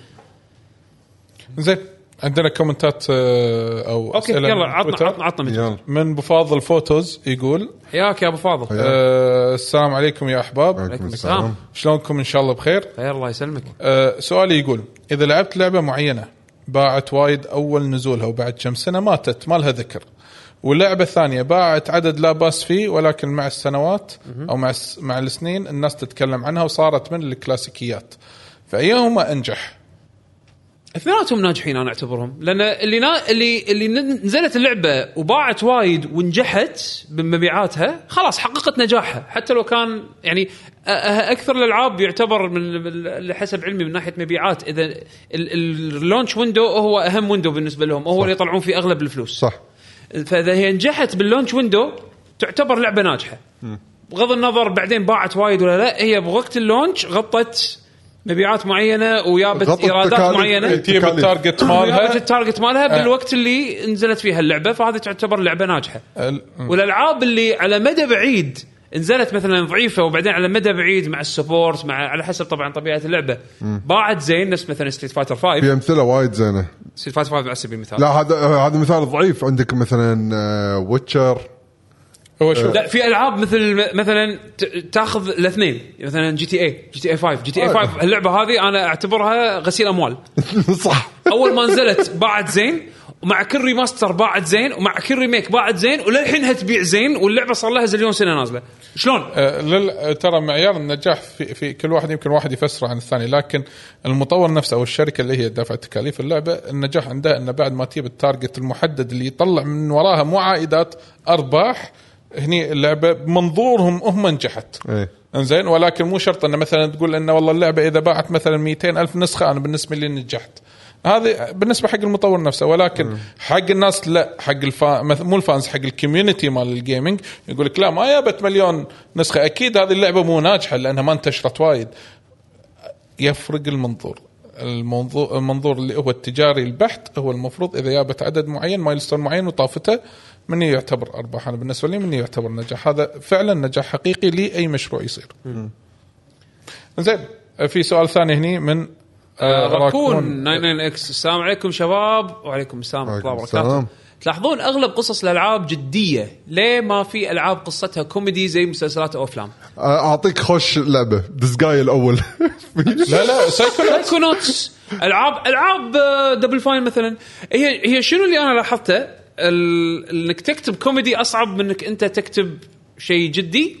Speaker 2: زين عندنا كومنتات آه، او
Speaker 1: اوكي
Speaker 2: أسئلة
Speaker 1: يلا
Speaker 2: من
Speaker 1: عطنا
Speaker 2: تويتر.
Speaker 1: عطنا عطنا مجال.
Speaker 3: يلا
Speaker 2: من ابو فاضل فوتوز يقول
Speaker 1: حياك يا ابو فاضل
Speaker 2: آه السلام عليكم يا احباب
Speaker 3: عليكم
Speaker 1: السلام.
Speaker 3: السلام
Speaker 2: شلونكم ان شاء الله بخير
Speaker 1: خير الله يسلمك
Speaker 2: آه، سؤالي يقول اذا لعبت لعبه معينه باعت وايد اول نزولها وبعد كم سنه ماتت ما لها ذكر واللعبه الثانيه باعت عدد لا باس فيه ولكن مع السنوات او مع الس- مع السنين الناس تتكلم عنها وصارت من الكلاسيكيات فايهما انجح؟
Speaker 1: اثنيناتهم ناجحين انا اعتبرهم لان اللي نا... اللي اللي ن- نزلت اللعبه وباعت وايد ونجحت بمبيعاتها خلاص حققت نجاحها حتى لو كان يعني أ- أ- اكثر الالعاب يعتبر من من- اللي حسب علمي من ناحيه مبيعات اذا ال- ال- اللونش ويندو هو اهم ويندو بالنسبه لهم هو اللي يطلعون فيه اغلب الفلوس
Speaker 3: صح
Speaker 1: فاذا هي نجحت باللونش ويندو تعتبر لعبه ناجحه بغض النظر بعدين باعت وايد ولا لا هي بوقت اللونش غطت مبيعات معينه ويابت
Speaker 3: غطت
Speaker 1: ايرادات
Speaker 3: تكاليف.
Speaker 1: معينه
Speaker 3: إيه.
Speaker 2: تجيب
Speaker 3: تكاليف.
Speaker 2: التارجت
Speaker 1: جابت
Speaker 2: مالها
Speaker 1: التارجت مالها بالوقت اللي نزلت فيها اللعبه فهذه تعتبر لعبه ناجحه
Speaker 2: ال-
Speaker 1: والالعاب اللي على مدى بعيد نزلت مثلا ضعيفه وبعدين على مدى بعيد مع السبورت مع على حسب طبعا طبيعه اللعبه باعت زين نفس مثلا ستريت فايتر 5
Speaker 3: في امثله وايد زينه
Speaker 1: ستريت فايتر 5 على سبيل المثال
Speaker 3: لا هذا هذا مثال ضعيف عندك آه، مثلا ويتشر
Speaker 2: هو شوف
Speaker 1: لا في العاب مثل مثلا ت- تاخذ الاثنين مثلا جي تي اي جي تي اي 5 جي تي اي 5 اللعبه هذه انا اعتبرها غسيل اموال
Speaker 3: صح
Speaker 1: اول ما نزلت باعت زين ومع كل ريماستر باعت زين ومع كل ريميك باعت زين وللحينها تبيع زين واللعبه صار لها زليون سنه نازله شلون؟
Speaker 2: آه، لل... ترى معيار النجاح في... في كل واحد يمكن واحد يفسره عن الثاني لكن المطور نفسه او الشركه اللي هي دافعه تكاليف اللعبه النجاح عندها انه بعد ما تجيب التارجت المحدد اللي يطلع من وراها مو عائدات ارباح هني اللعبه بمنظورهم هم نجحت
Speaker 3: إيه.
Speaker 2: انزين ولكن مو شرط انه مثلا تقول انه والله اللعبه اذا باعت مثلا 200 الف نسخه انا بالنسبه لي نجحت هذه بالنسبه حق المطور نفسه ولكن حق الناس لا حق الفا... مث- مو الفانز حق الكوميونتي مال الجيمنج يقول لك لا ما جابت مليون نسخه اكيد هذه اللعبه مو ناجحه لانها ما انتشرت وايد يفرق المنظور المنظور المنظور اللي هو التجاري البحت هو المفروض اذا جابت عدد معين مايلستون معين وطافته من يعتبر ارباح انا بالنسبه لي من يعتبر نجاح هذا فعلا نجاح حقيقي لاي مشروع يصير. زين في سؤال ثاني هني من آه،
Speaker 1: راكون 99 اكس السلام عليكم شباب وعليكم السلام ورحمه الله
Speaker 3: وعليكم
Speaker 1: وبركاته
Speaker 3: السلام.
Speaker 1: تلاحظون اغلب قصص الالعاب جديه ليه ما في العاب قصتها كوميدي زي مسلسلات او افلام
Speaker 3: اعطيك خوش لعبه دزقاي الاول
Speaker 2: لا لا سايكونوت
Speaker 1: سايكونوتس العاب العاب آه، دبل فاين مثلا هي هي شنو اللي انا لاحظته ال- انك تكتب كوميدي اصعب من انك انت تكتب شيء جدي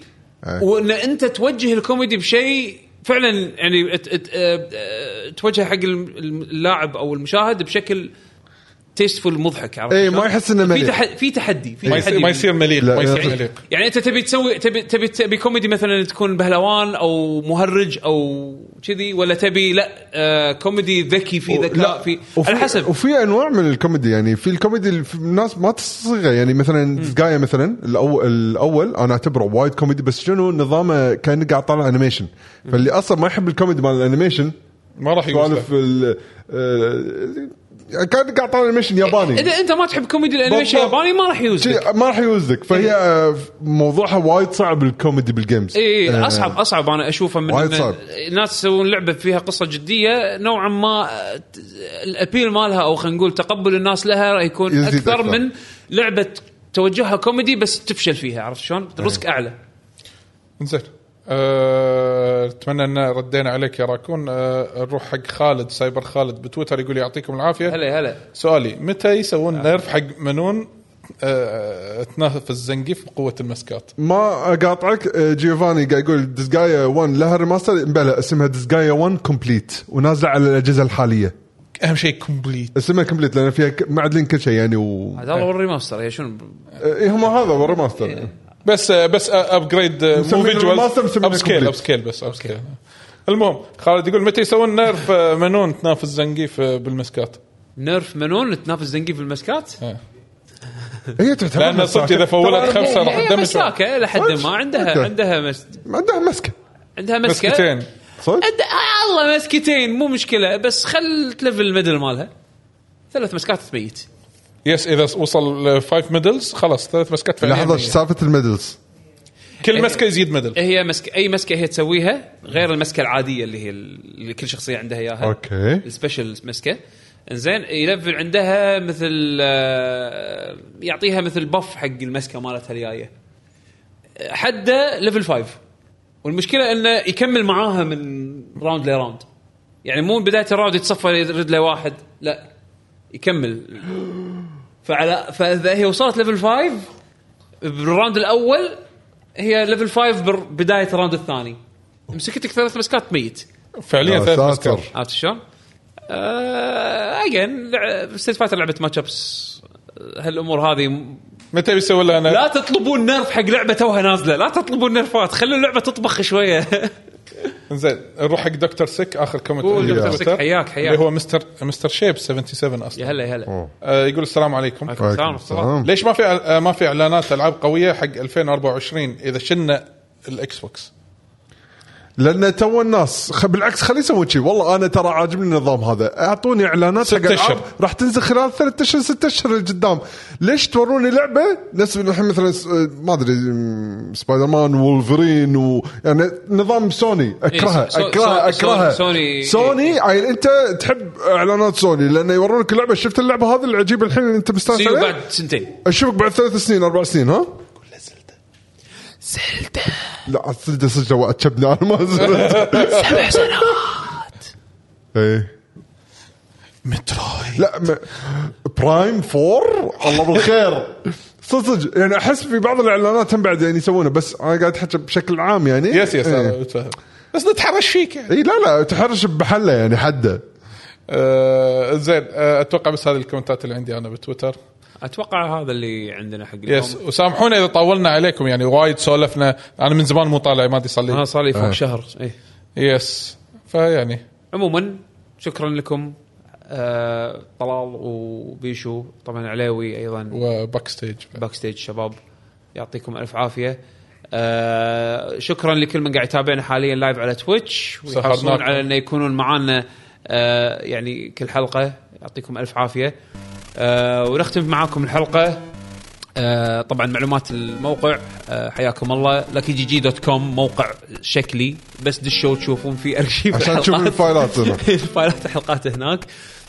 Speaker 3: أي.
Speaker 1: وان انت توجه الكوميدي بشيء فعلا يعني ت- ت- آه، آه، توجه حق الم- الم- اللاعب او المشاهد بشكل تيستفول مضحك عرفت
Speaker 3: إي،
Speaker 1: شلون؟
Speaker 3: إيه، ما يحس إنه
Speaker 1: في
Speaker 3: مليح.
Speaker 1: تحدي في تحدي في
Speaker 2: ما
Speaker 1: تحدي
Speaker 2: يصير ما يصير مليق
Speaker 3: لا،
Speaker 2: ما يصير
Speaker 3: لا.
Speaker 2: مليق
Speaker 1: يعني انت تبي تسوي تبي تبي تبي كوميدي مثلا تكون بهلوان او مهرج او كذي ولا تبي لا آه كوميدي ذكي في ذكاء في على حسب
Speaker 3: وفي انواع من الكوميدي يعني في الكوميدي اللي في الناس ما تصيغه يعني مثلا دزقايا مثلا الاول الاول انا اعتبره وايد كوميدي بس شنو نظامه كانه قاعد طالع انيميشن فاللي اصلا ما يحب الكوميدي مال الانيميشن
Speaker 2: ما راح يوصل
Speaker 3: سوالف ال- آه، كان قاعد طالع ميشن ياباني
Speaker 1: اذا انت ما تحب كوميدي الانيميشن
Speaker 3: بالضبط.
Speaker 1: الياباني ما راح يوزك
Speaker 3: شي- ما راح يوزك فهي آه، موضوعها وايد صعب الكوميدي بالجيمز
Speaker 1: اي
Speaker 3: آه،
Speaker 1: اصعب اصعب انا اشوفه من
Speaker 3: وايد صعب.
Speaker 1: ناس يسوون لعبه فيها قصه جديه نوعا ما ت- الابيل مالها او خلينا نقول تقبل الناس لها راح يكون
Speaker 3: يزيد
Speaker 1: اكثر, أكثر
Speaker 3: أكثر.
Speaker 1: من لعبه توجهها كوميدي بس تفشل فيها عرفت شلون؟ ريسك اعلى
Speaker 2: زين أه، اتمنى ان ردينا عليك يا راكون أه، نروح حق خالد سايبر خالد بتويتر يقول يعطيكم العافيه
Speaker 1: هلا هلا
Speaker 2: سؤالي متى يسوون نيرف حق منون أه، تنافس زنقيف بقوه المسكات
Speaker 3: ما اقاطعك آه، جيوفاني قاعد يقول ديسجايا 1 لها ريماستر بلى اسمها ديسجايا 1 كومبليت ونازله على الاجهزه الحاليه
Speaker 2: اهم شيء كومبليت
Speaker 3: اسمها كومبليت لان فيها ك- معدلين كل شيء يعني و...
Speaker 1: هذا والله الريماستر يا شنو
Speaker 3: اي هم هذا هو الريماستر
Speaker 2: بس آه، بس ابجريد مو
Speaker 3: مسمينه
Speaker 2: فيجوال
Speaker 3: remaster، مسمينه
Speaker 2: اب سكيل
Speaker 3: complete.
Speaker 2: اب سكيل بس اب سكيل المهم خالد يقول متى يسوون نيرف آه، منون تنافس زنقيف آه، بالمسكات
Speaker 1: نيرف منون تنافس زنقي في المسكات؟
Speaker 3: هي تعتبر
Speaker 2: لأن صدق إذا فولت
Speaker 3: ترى
Speaker 2: خمسة راح
Speaker 1: هي
Speaker 2: تدمج
Speaker 1: مساكه الى حد
Speaker 3: صدق؟
Speaker 1: ما عندها
Speaker 3: أوكي.
Speaker 1: عندها مس...
Speaker 3: عندها مسكه
Speaker 1: عندها مسكه
Speaker 2: مسكتين
Speaker 3: صدق؟
Speaker 1: عند... آه، الله مسكتين مو مشكله بس خل تلفل الميدل مالها ثلاث مسكات تميت
Speaker 2: يس اذا وصل فايف ميدلز خلاص ثلاث مسكات فعليا
Speaker 3: لحظه ايش سالفه الميدلز
Speaker 2: كل مسكه يزيد ميدل
Speaker 1: هي مسك اي مسكه هي تسويها غير المسكه العاديه اللي هي ال- اللي كل شخصيه عندها اياها
Speaker 3: أوكي.
Speaker 1: السبيشل مسكه انزين يلفل عندها مثل آه، يعطيها مثل بف حق المسكه مالتها الجايه حده ليفل 5 والمشكله انه يكمل معاها من راوند لراوند يعني مو من بدايه الراوند يتصفى يرد له واحد لا يكمل فعلى فاذا هي وصلت ليفل 5 بالراوند الاول هي ليفل 5 بدايه الراوند الثاني مسكتك ثلاث مسكات ميت
Speaker 2: فعليا
Speaker 3: يا
Speaker 2: ثلاث
Speaker 3: آه، ساتر.
Speaker 2: مسكات
Speaker 1: عرفت شلون؟ آه، اجين ستيت فايتر لعبه ماتش ابس هالامور هذه م-
Speaker 2: متى بيسوي لها
Speaker 1: لا
Speaker 2: نيرف
Speaker 1: تطلبون نرف حق لعبه توها نازله لا تطلبون نرفات خلوا اللعبه تطبخ شويه
Speaker 2: زين نروح حق دكتور سيك اخر كومنت
Speaker 1: قول
Speaker 2: عندي
Speaker 1: دكتور
Speaker 2: بالتويتر.
Speaker 1: سيك، حياك- حياك.
Speaker 2: اللي هو مستر مستر شيب 77 اصلا
Speaker 1: يا هلا يا هلا
Speaker 3: أوه.
Speaker 2: آه، يقول السلام عليكم
Speaker 1: وعليكم السلام
Speaker 3: وعليكم
Speaker 1: ورحمه الله
Speaker 3: السلام.
Speaker 2: ليش ما في آه، ما في اعلانات العاب قويه حق 2024 اذا شلنا الاكس بوكس
Speaker 3: لان تو الناس خ... بالعكس خلي يسوون شيء والله انا ترى عاجبني النظام هذا اعطوني اعلانات
Speaker 2: ست
Speaker 3: حق ألعاب
Speaker 2: أشهر.
Speaker 3: راح تنزل خلال ثلاث اشهر ست اشهر قدام ليش توروني لعبه نفس الحين مثلا س... آه، ما ادري م- سبايدر مان وولفرين و... يعني نظام سوني اكرهه
Speaker 1: إيه، سو-
Speaker 3: اكرهه
Speaker 1: سو-
Speaker 3: اكرهه
Speaker 1: سوني- سوني-
Speaker 3: سوني عيل انت تحب اعلانات سوني لانه يورونك لعبه شفت اللعبه هذه العجيبه الحين اللي انت مستانس
Speaker 1: سي يو
Speaker 3: عليها
Speaker 1: بعد سنتين
Speaker 3: اشوفك بعد ثلاث سنين اربع سنين ها؟ لا السلدة سجلة واتشبني انا ما زلت
Speaker 1: سبع سنوات
Speaker 3: ايه
Speaker 2: مترويد
Speaker 3: لا م... برايم 4 الله بالخير صدق صدق يعني احس في بعض الاعلانات هم بعد يعني يسوونه بس انا قاعد احكي بشكل عام يعني
Speaker 2: يس يس
Speaker 3: اي
Speaker 2: انا متفهم بس نتحرش فيك يعني
Speaker 3: إيه لا لا تحرش بمحله يعني حده
Speaker 2: آه زين آه اتوقع بس هذه الكومنتات اللي عندي انا بتويتر
Speaker 1: اتوقع هذا اللي عندنا حق
Speaker 4: إيه.
Speaker 1: اليوم
Speaker 2: يس وسامحونا اذا طولنا عليكم يعني وايد سولفنا انا من زمان مو طالع ما ادري صار
Speaker 1: انا
Speaker 2: لي
Speaker 1: صار لي فوق شهر ايه
Speaker 2: يس فيعني
Speaker 1: عموما شكرا لكم آه، طلال وبيشو طبعا عليوي ايضا
Speaker 2: وباك ستيج
Speaker 1: باك ستيج شباب يعطيكم الف عافيه آه، شكرا لكل من قاعد يتابعنا حاليا لايف على تويتش ويحرصون
Speaker 2: سهرناكم.
Speaker 1: على انه يكونون معانا آه، يعني كل حلقه يعطيكم الف عافيه آه، ونختم معاكم الحلقه آه، طبعا معلومات الموقع آه، حياكم الله لكي جي جي دوت كوم موقع شكلي بس دشوا تشوفون فيه ارشيف
Speaker 3: عشان
Speaker 1: الحلقات.
Speaker 3: تشوفون الفايلات هنا.
Speaker 1: الفايلات حلقات هناك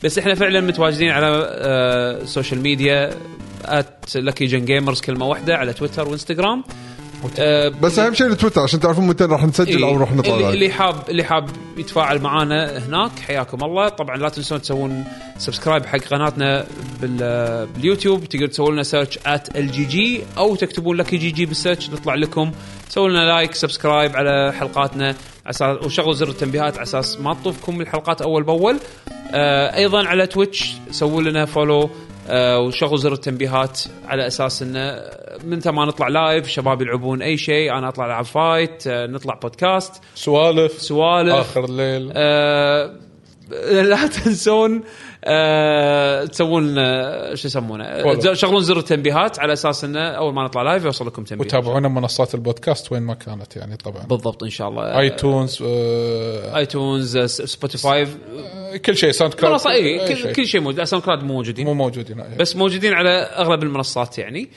Speaker 1: بس احنا فعلا متواجدين على آه، السوشيال ميديا ات لكي جن جيمرز كلمه واحده على تويتر وانستغرام آه،
Speaker 3: بس اهم شيء التويتر عشان تعرفون متى راح
Speaker 1: إيه.
Speaker 3: نسجل او نروح
Speaker 1: اللي,
Speaker 3: نطلع
Speaker 1: اللي حاب اللي حاب يتفاعل معانا هناك حياكم الله طبعا لا تنسون تسوون سبسكرايب حق قناتنا بال- باليوتيوب تقدر تسوون لنا سيرش ات ال جي جي او تكتبون لك جي جي بالسيرش نطلع لكم سووا لنا لايك سبسكرايب على حلقاتنا اساس وشغلوا زر التنبيهات على اساس ما تطوفكم الحلقات اول باول آه ايضا على تويتش سووا لنا فولو آه وشغلوا زر التنبيهات على اساس انه متى ما نطلع لايف شباب يلعبون اي شيء انا اطلع العب فايت آه نطلع بودكاست
Speaker 2: سوالف
Speaker 1: سوالف
Speaker 2: اخر الليل
Speaker 1: آه لا تنسون آه، تسوون آه، شو يسمونه
Speaker 2: Follow.
Speaker 1: ز- شغلون زر التنبيهات على اساس انه اول ما نطلع لايف يوصل لكم تنبيه
Speaker 2: وتابعونا منصات البودكاست وين ما كانت يعني طبعا
Speaker 1: بالضبط ان شاء الله
Speaker 2: ايتونز آه،
Speaker 1: ايتونز آه، سبوتيفاي
Speaker 2: كل شيء ساوند كلاود
Speaker 1: منصه اي
Speaker 2: أي
Speaker 1: إيه، كل-
Speaker 2: شيء.
Speaker 1: كل شيء موجود ساوند كلاود مو موجودين
Speaker 2: مو موجود هنا إيه.
Speaker 1: بس موجودين على اغلب المنصات يعني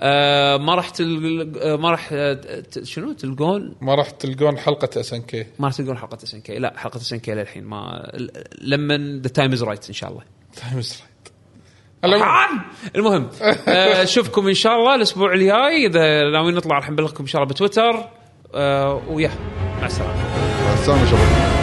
Speaker 1: آه، ما راح تل... آه، ما راح آه، ت- شنو تلقون
Speaker 2: ما راح تلقون حلقه اس ان كي
Speaker 1: ما راح تلقون حلقه اس ان كي لا حلقه اس ان كي للحين ما لما ذا تايم از رايت ان شاء الله الان المهم آه، نشوفكم ان شاء الله الاسبوع الجاي اذا ناويين نطلع راح نبلغكم ان شاء الله بتويتر آه، ويا مع السلامه
Speaker 3: مع السلامه شباب